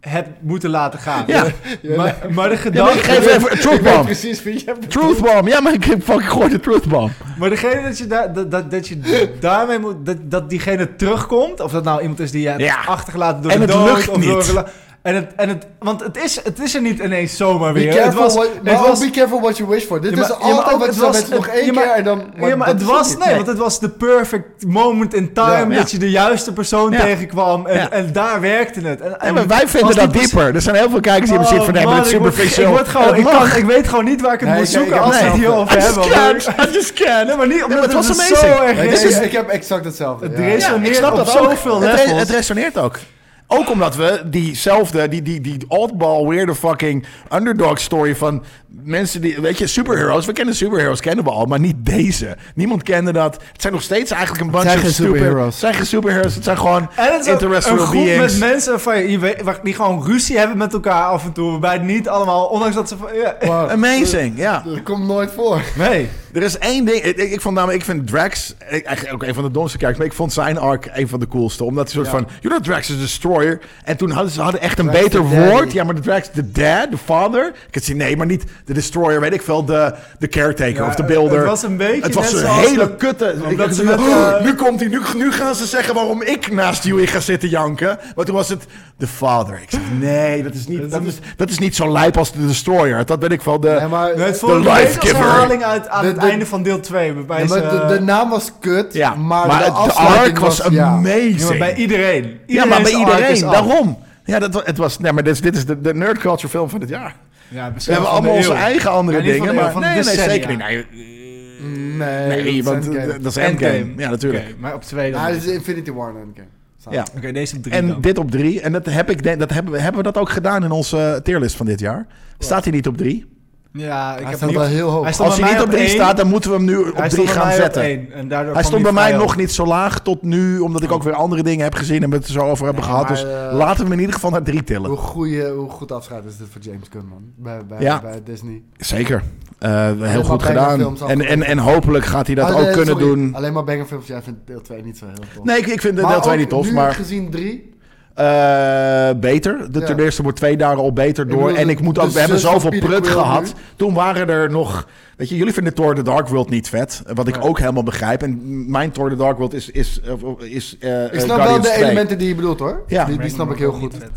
D: hebt moeten laten gaan.
A: Ja.
D: Maar, maar de
A: Ja, maar ik
D: gedachte
A: geef even een truth bomb.
B: Precies, wie je hebt.
A: Truth bomb. Ja, maar ik heb fucking gehoord de truth bomb.
D: Maar degene dat je, daar dat, dat, dat je daarmee moet... Dat, dat diegene terugkomt. Of dat nou iemand is die je hebt
A: Ja.
D: achtergelaten door
A: En
D: de
A: het
D: dood.
A: lukt
D: of door
A: niet.
D: een rela- en het, en het, want het is, het is er niet ineens zomaar
B: Be
D: weer.
B: careful,
D: het was,
B: what,
D: het
B: maar ook
D: was-
B: be careful what you wish for. Dit
D: Ja, maar-
B: is
D: ja, maar
B: altijd
D: ook
B: wat
D: het
B: je zo
D: was-
B: mensen nog
D: het-
B: één
D: ja, maar-
B: keer en dan...
D: ja, maar
B: dat
D: het
B: is
D: was...
B: niet.
D: Nee, want het was de perfect moment in time...
B: Ja.
D: dat je de juiste persoon
A: Ja.
D: tegenkwam. En,
A: Ja.
D: en daar werkte het. En, en
A: Ja, maar wij vinden
D: als
A: dat
D: die perso-
A: dieper. Er zijn heel veel kijkers die hebben
D: Oh,
A: zitten van, nee, maar
D: man,
A: dat is
D: ik word-
A: superficieel.
D: Ik, word gewoon,
A: Het
D: ik,
A: mag.
D: kan, ik weet gewoon niet waar ik het
B: Nee,
D: moet
B: ik- ik
D: zoeken
B: heb-
D: als we
B: nee.
D: het hierover
A: I
D: hebben.
A: just
D: want-
A: can't. I just can't.
D: Nee, maar niet omdat
A: maar het was
D: is
A: amazing.
D: zo erg
B: Nee,
D: is.
B: nee, ik heb exact hetzelfde.
D: Het
B: ja.
D: is-
A: Ja, ik
D: resoneert
A: snap
D: op
A: dat
D: zoveel
A: ook. Het, re-
D: levels.
A: het resoneert ook. Ook omdat we diezelfde, die, die, die oddball, weirde fucking underdog story van mensen die, weet je, superheroes. We kennen superheroes, kennen we al, maar niet deze. Niemand kende dat. Het zijn nog steeds eigenlijk een bunch
B: zijn
A: of
B: geen
A: stupid-
B: superheroes.
A: Het zijn geen superheroes, het zijn gewoon
D: En het is ook een
A: interstellar
D: groep met
A: beings.
D: mensen van, je weet, waar- die gewoon ruzie hebben met elkaar af en toe. Waarbij het niet allemaal, ondanks dat ze van... Ja,
A: Amazing, ja.
B: Dat komt nooit voor.
D: nee.
A: Er is één ding. Ik, ik, ik vond namelijk, ik vind Drax ik- eigenlijk ook een van de domste kijkers, maar ik vond zijn arc een van de coolste. Omdat hij soort van, you know, Drax is destroyer. En toen hadden ze hadden echt een
B: Drax
A: beter
B: the daddy.
A: woord. Ja, maar de Drax, de dad, de father. Ik had zien, nee, maar niet de destroyer, weet ik veel, de, de caretaker
D: Ja,
A: of de
D: het-
A: builder.
D: het was een beetje
A: Het was
D: net
A: een
D: zoals
A: hele
D: dat-
A: kutte. Ik
D: omdat
A: had
D: ze
A: zoiets van,
D: met, eh,
A: "Oh, nu komt hij, nu, nu gaan ze zeggen waarom ik naast Huey ga zitten janken. Maar toen was het de father. Ik zeg, nee, dat is niet, dat is, dat is niet zo lijp als de destroyer. Dat ben ik wel de...
B: Nee, maar,
D: Nee, het
A: The
D: voelde een beetje
A: life
D: als een
A: giver.
D: herhaling uit, aan
B: De-
D: het
B: de-
D: einde van deel 2. Waarbij
B: Ja,
D: ze,
B: maar de, de naam was kut,
A: Ja,
B: maar,
A: maar,
B: de
A: het- de,
B: afsluiting
A: arc was
B: ja.
A: amazing.
D: Ja, maar bij iedereen.
A: Ja, maar bij
D: Iedereen's arc is
A: iedereen,
D: af.
A: daarom. Ja, dat, wa- het was, nee, maar dit, is- dit is de, de nerd culture film van het jaar.
Y: Ja,
A: We hebben allemaal onze eigen andere
D: Ja, niet van
A: dingen.
D: de eeuw,
A: maar,
D: van
A: nee,
D: de
A: nee,
D: decennia.
A: zeker niet. Nee,
B: Nee,
A: nee,
B: dat
A: want
B: zijn
A: eh,
B: games.
A: dat is Endgame.
Y: Endgame.
A: Ja, natuurlijk.
Y: Oké, maar op twee dan.
B: Ja, dit is Infinity War en Endgame. Samen.
A: Ja.
D: Oké, deze op drie
A: En
D: dan.
A: dit op drie. En dat, heb ik, denk- dat hebben, we- hebben we dat ook gedaan in onze eh, tierlist van dit jaar. Staat hij niet op drie?
D: Ja, ik
B: Hij
D: heb
B: staat
D: niet-
B: wel heel hoog.
D: Hij staat
A: Als
D: bij
A: hij niet
D: mij
A: op drie
D: één.
A: staat, dan moeten we hem nu op
D: Hij
A: drie
D: stond bij
A: gaan
D: mij op
A: zetten.
D: één en daardoor
A: Hij
D: kwam
A: stond bij mij
D: vrij
A: nog
D: op.
A: niet zo laag tot nu, omdat ik ook weer andere dingen heb gezien en we het er zo over hebben
B: Ja,
A: gehad.
B: maar,
A: Dus
B: eh,
A: laten we hem in ieder geval naar drie tillen.
B: Hoe, goeie, hoe goed afscheid is dit voor James Gunn, man? Bij, bij,
A: Ja.
B: bij Disney.
A: Zeker. Eh, heel
B: maar
A: goed
B: bijna
A: gedaan.
B: films
A: En, en, en hopelijk gaat hij dat
B: Ah,
A: ook
B: nee,
A: kunnen
B: sorry.
A: doen.
B: Alleen maar bangerfilms, jij vindt deel 2 niet zo heel tof.
A: Nee, ik, ik vind de
B: Maar
A: deel 2
B: ook
A: niet tof,
B: nu
A: maar
B: gezien 3.
A: eh, beter. De,
B: Ja.
A: Ten eerste wordt twee dagen al beter door.
B: bedoel,
A: en
B: de-
A: ik moet
B: de
A: ook, we hebben
B: zus van
A: zoveel
B: Peter
A: prut
B: Quill
A: gehad.
B: nu.
A: Toen waren er nog... Weet je, jullie vinden Thor The Dark World niet vet. Wat ik ook helemaal begrijp. En mijn Thor The Dark World is, is, eh, is eh,
B: Ik
A: eh,
B: snap wel
A: Guardians
B: de
A: 2.
B: elementen die je bedoelt, hoor.
A: Ja.
B: Die, die
Y: Ragnarok
B: snap ik heel
Y: ook niet
B: goed.
Y: vet.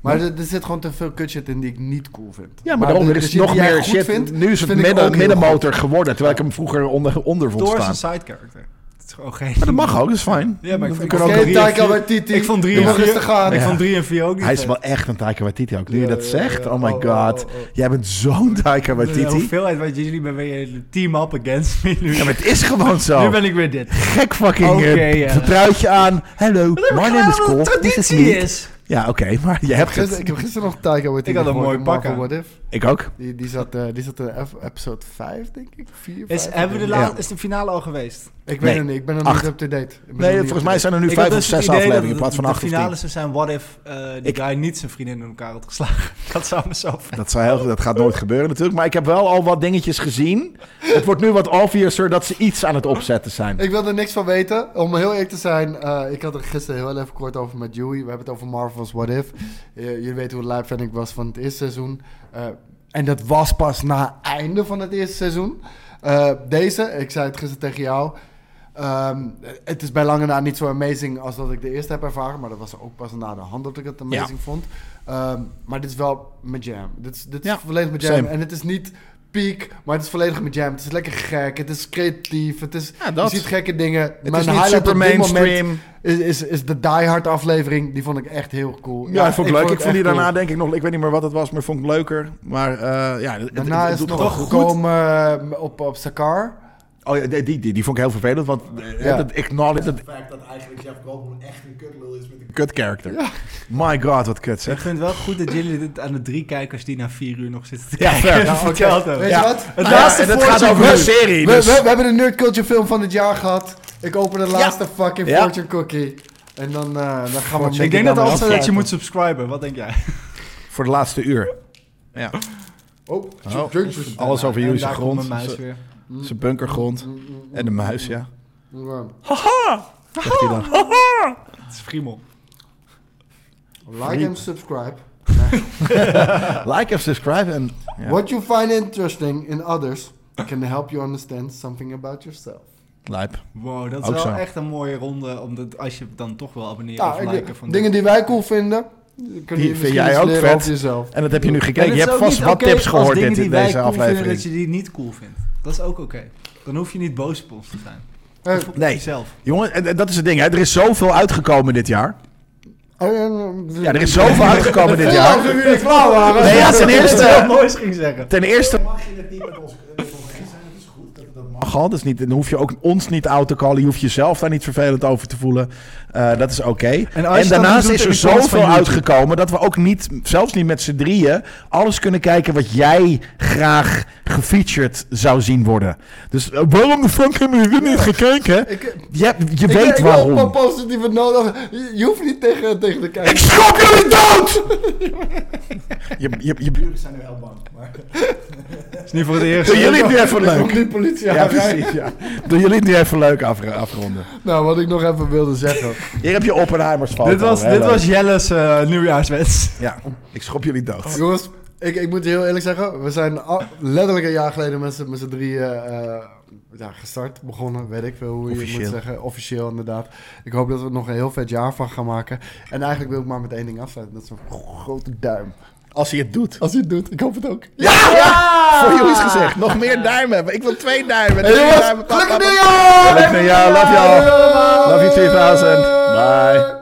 B: Maar er, er zit gewoon te veel kutshit in die ik niet cool vind.
A: Ja, maar, daarom,
B: de-
A: er
B: de
A: is
B: shit
A: nog
B: die jij
A: meer
B: goed
A: shit.
B: vindt,
A: nu is het
B: vind ik
A: midden-
B: ook heel
A: middenmotor geworden. Terwijl ik hem vroeger onder, onder vond
D: Thor is
A: staan.
D: een side character. Het is gewoon geen...
A: Maar dat mag ook, dat is fijn.
D: Ja, maar ik vond,
A: kunnen
B: Oké,
A: ook drie en
B: Taika
D: vier-
B: Waititi.
D: ik vond drie
B: Je
D: en
B: mag
D: vier-
B: rustig gaan.
D: ik
A: Ja.
D: vond 3 en 4 ook niet
A: Hij is
D: vet.
A: wel echt een Taika Waititi ook. Nu je
B: Ja,
A: dat
B: ja,
A: zegt,
B: ja.
A: oh my
B: Oh,
A: god.
B: oh, oh.
A: Jij bent zo'n Taika
D: De
A: Waititi.
D: hoeveelheid wat jullie ben je team up against me nu.
A: Ja, maar het is gewoon
D: Nu
A: zo.
D: ben ik weer dit.
A: Gek fucking
D: Oké,
A: eh,
D: ja.
A: truitje aan. Hello, my name is Cole. This is me.
D: is.
A: Ja, oké, maar je hebt
B: Gisteren-
A: het.
B: ik heb gisteren nog Taika Waititi
D: Ik had een
B: gehoord
D: mooi
B: in
D: pak
B: Marvel
D: aan.
B: What If.
A: Ik ook.
B: Die, die, zat, eh, die zat in ep- episode 5, denk ik. 4,
D: Is,
B: 5,
D: hebben we de
A: Ja.
D: laat, is de finale al geweest?
B: Ik
A: Nee,
B: weet het niet, ik ben nog
A: acht.
B: niet up-to-date. Ik ben nog
A: Nee,
B: niet
A: volgens mij
B: up-to-date.
A: zijn er nu
D: had
A: vijf of
D: dus het
A: zes
D: idee
A: afleveringen in
D: dat
A: plaats van
D: de
A: acht of tien.
D: finales zou zijn what if eh die
A: Ik-
D: guy niet zijn vriendin in elkaar had geslagen. Dat zou me zo vet.
A: Dat, zou heel, dat gaat nooit gebeuren natuurlijk. Maar ik heb wel al wat dingetjes gezien. Het wordt nu wat obviouser dat ze iets aan het opzetten zijn.
B: Ik wil er niks van weten. Om heel eerlijk te zijn, eh, ik had er gisteren heel even kort over met Joey. We hebben het over Marvel's What If. Eh, jullie weten hoe lijp fan ik was van het eerste seizoen. Eh, en dat was pas na het einde van het eerste seizoen. Eh, deze, ik zei het gisteren tegen jou. Ehm, het is bij lange na niet zo amazing als dat ik de eerste heb ervaren. Maar dat was ook pas na de hand dat ik het amazing vond. Ehm, maar dit is wel mijn jam. Dit is, dit is
A: Ja,
B: volledig mijn jam.
A: same.
B: En het is niet peak, maar het is volledig mijn jam. Het is lekker gek. Het is creatief. Het is,
A: Ja, dat.
B: Je ziet gekke dingen.
A: Het
B: Mijn
A: is niet
B: highlight op
A: super
B: dit moment
A: mainstream.
B: Is, is, is de Die Hard aflevering. Die vond ik echt heel cool.
A: Ja, dat vond ik leuk. Ik
B: het
A: vond die
B: echt
A: daarna
B: cool.
A: denk ik nog... Ik weet niet meer wat het was, maar ik vond het leuker. Maar eh, ja, het,
B: Daarna
A: het- het
B: is
A: doet
B: het nog
A: gewoon
B: goed. gekomen eh, op, op Sakar.
A: Oh, ja, die, die, die, die vond ik heel vervelend, want eh,
B: Ja.
A: dat acknowledge... Dat,
K: feit dat eigenlijk Jeff Goldblum echt een kutlul is met een
A: kut character. My god, wat kut
J: Ik
A: zeg.
J: vind het wel goed dat jullie dit aan de drie kijkers die na vier uur nog zitten te
A: Ja,
J: kijken
A: fair.
J: ja, verteld hebben.
B: Weet
A: Nou Ja.
B: je wat? Nou
A: Het laatste en dat gaat over de serie,
B: We,
A: dus...
B: we, we hebben een nerd culture film van het jaar gehad. Ik open de laatste fucking
A: Ja.
B: fortune cookie. En dan, eh, dan gaan we...
J: Ik denk dat
B: dan
J: als dat
B: weer
J: je
B: afsluiten.
J: moet subscriben. Wat denk jij?
A: Voor de laatste uur. Ja.
B: Oh,
A: Oh,
B: drinkjes.
A: Alles over jullie
J: En
A: zijn
J: daar komt
A: grond,
J: mijn muis weer.
A: zijn bunkergrond
B: Mm.
A: en de muis, ja.
B: Ja.
A: Zegt hij dan.
J: Het is friemel.
B: Like en subscribe.
A: Like en subscribe en... Ja.
B: What you find interesting in others can help you understand something about yourself.
A: Lijp.
J: Wow, dat is
A: Ook
J: wel
A: zo.
J: echt een mooie ronde. Omdat als je dan toch wil abonneren
B: Ja,
J: of
B: Ah, ik-
J: liken van
B: dingen die wij cool vinden, kunnen
A: vind
B: je misschien
A: jij
B: iets
A: ook
B: leren
A: vet.
B: over jezelf.
A: En dat heb je nu
J: En
A: gekeken.
J: het
A: Je
J: is
A: hebt
J: ook
A: vast
J: niet
A: wat
J: oké
A: tips
J: als
A: gehoord
J: dingen
A: dit,
J: die
A: in
J: wij
A: deze
J: cool vinden,
A: aflevering.
J: dat je die niet cool vindt. Dat is ook oké. Dan hoef je niet boos op ons te zijn.
B: Hey,
J: Of op
A: Eh, Nee.
J: jezelf.
A: Jongen, en- en dat is het ding. Hè. Er is zoveel uitgekomen dit jaar.
B: en- eh, dus- en-
A: Ja, er is zoveel uitgekomen dit jaar.
B: Als we weer klaar waren.
A: Nee, ja, ten
J: Wat
A: eerste...
J: moois ging zeggen.
A: Ten eerste
K: Mag je het niet met ons met ons eens zijn? Dat is goed. Dat, dat mag.
A: mag al. Dus niet, dan hoef je ook ons niet out te callen. Je hoeft jezelf daar niet vervelend over te voelen. Eh, dat is oké. En,
J: als je dat
A: daarnaast
J: doet
A: is
J: in
A: er
J: de kans van
A: zoveel
J: YouTube.
A: uitgekomen dat we ook niet, zelfs niet met z'n drieën, alles kunnen kijken wat jij graag gefeatured zou zien worden. Dus eh, waarom de fuck hebben jullie dit niet gekeken?
B: Ik-
K: eh,
A: Je, je
B: Ik-
A: weet
B: ik wil
K: Oh,
B: een
A: waarom.
B: paar positieve nodig. Je, je hoeft niet tegen, tegen de
A: Ik
B: kijker.
A: schop jullie dood! je, je, je,
J: Jullie zijn nu heel bang. Maar... is niet voor het eerst.
A: doen jullie het nu even
B: Komt
A: leuk?
B: die politie
A: Ja,
B: aan.
A: precies. Ja. Doen jullie het nu even leuk afro- afronden?
B: Nou, wat ik nog even wilde zeggen.
A: Hier heb je Oppenheimers foto.
J: Dit was,
A: Heel
J: dit
A: leuk.
J: was Jelle's eh, nieuwjaarswens.
A: Ja, ik schop jullie dood.
B: Jongens, ik, ik moet je heel eerlijk zeggen. We zijn al- letterlijk een jaar geleden met z'n met z'n drieën eh, ja, gestart, begonnen. Weet ik veel hoe je
A: Officieel.
B: moet zeggen. Officieel, inderdaad. Ik hoop dat we er nog een heel vet jaar van gaan maken. En eigenlijk wil ik maar met één ding afsluiten. Dat is een grote duim.
A: Als hij het doet.
B: Als je het doet, ik hoop het ook.
A: Ja! Voor jullie is gezegd. Nog meer duimen hebben. Ik wil twee duimen.
B: Hey,
A: Drie
B: jongens,
A: duimen.
B: gelukkig
A: Pap, pap, pap.
B: nieuwjaar!
A: Gelukkig nieuwjaar. Love you all. Love you 2000. Bye.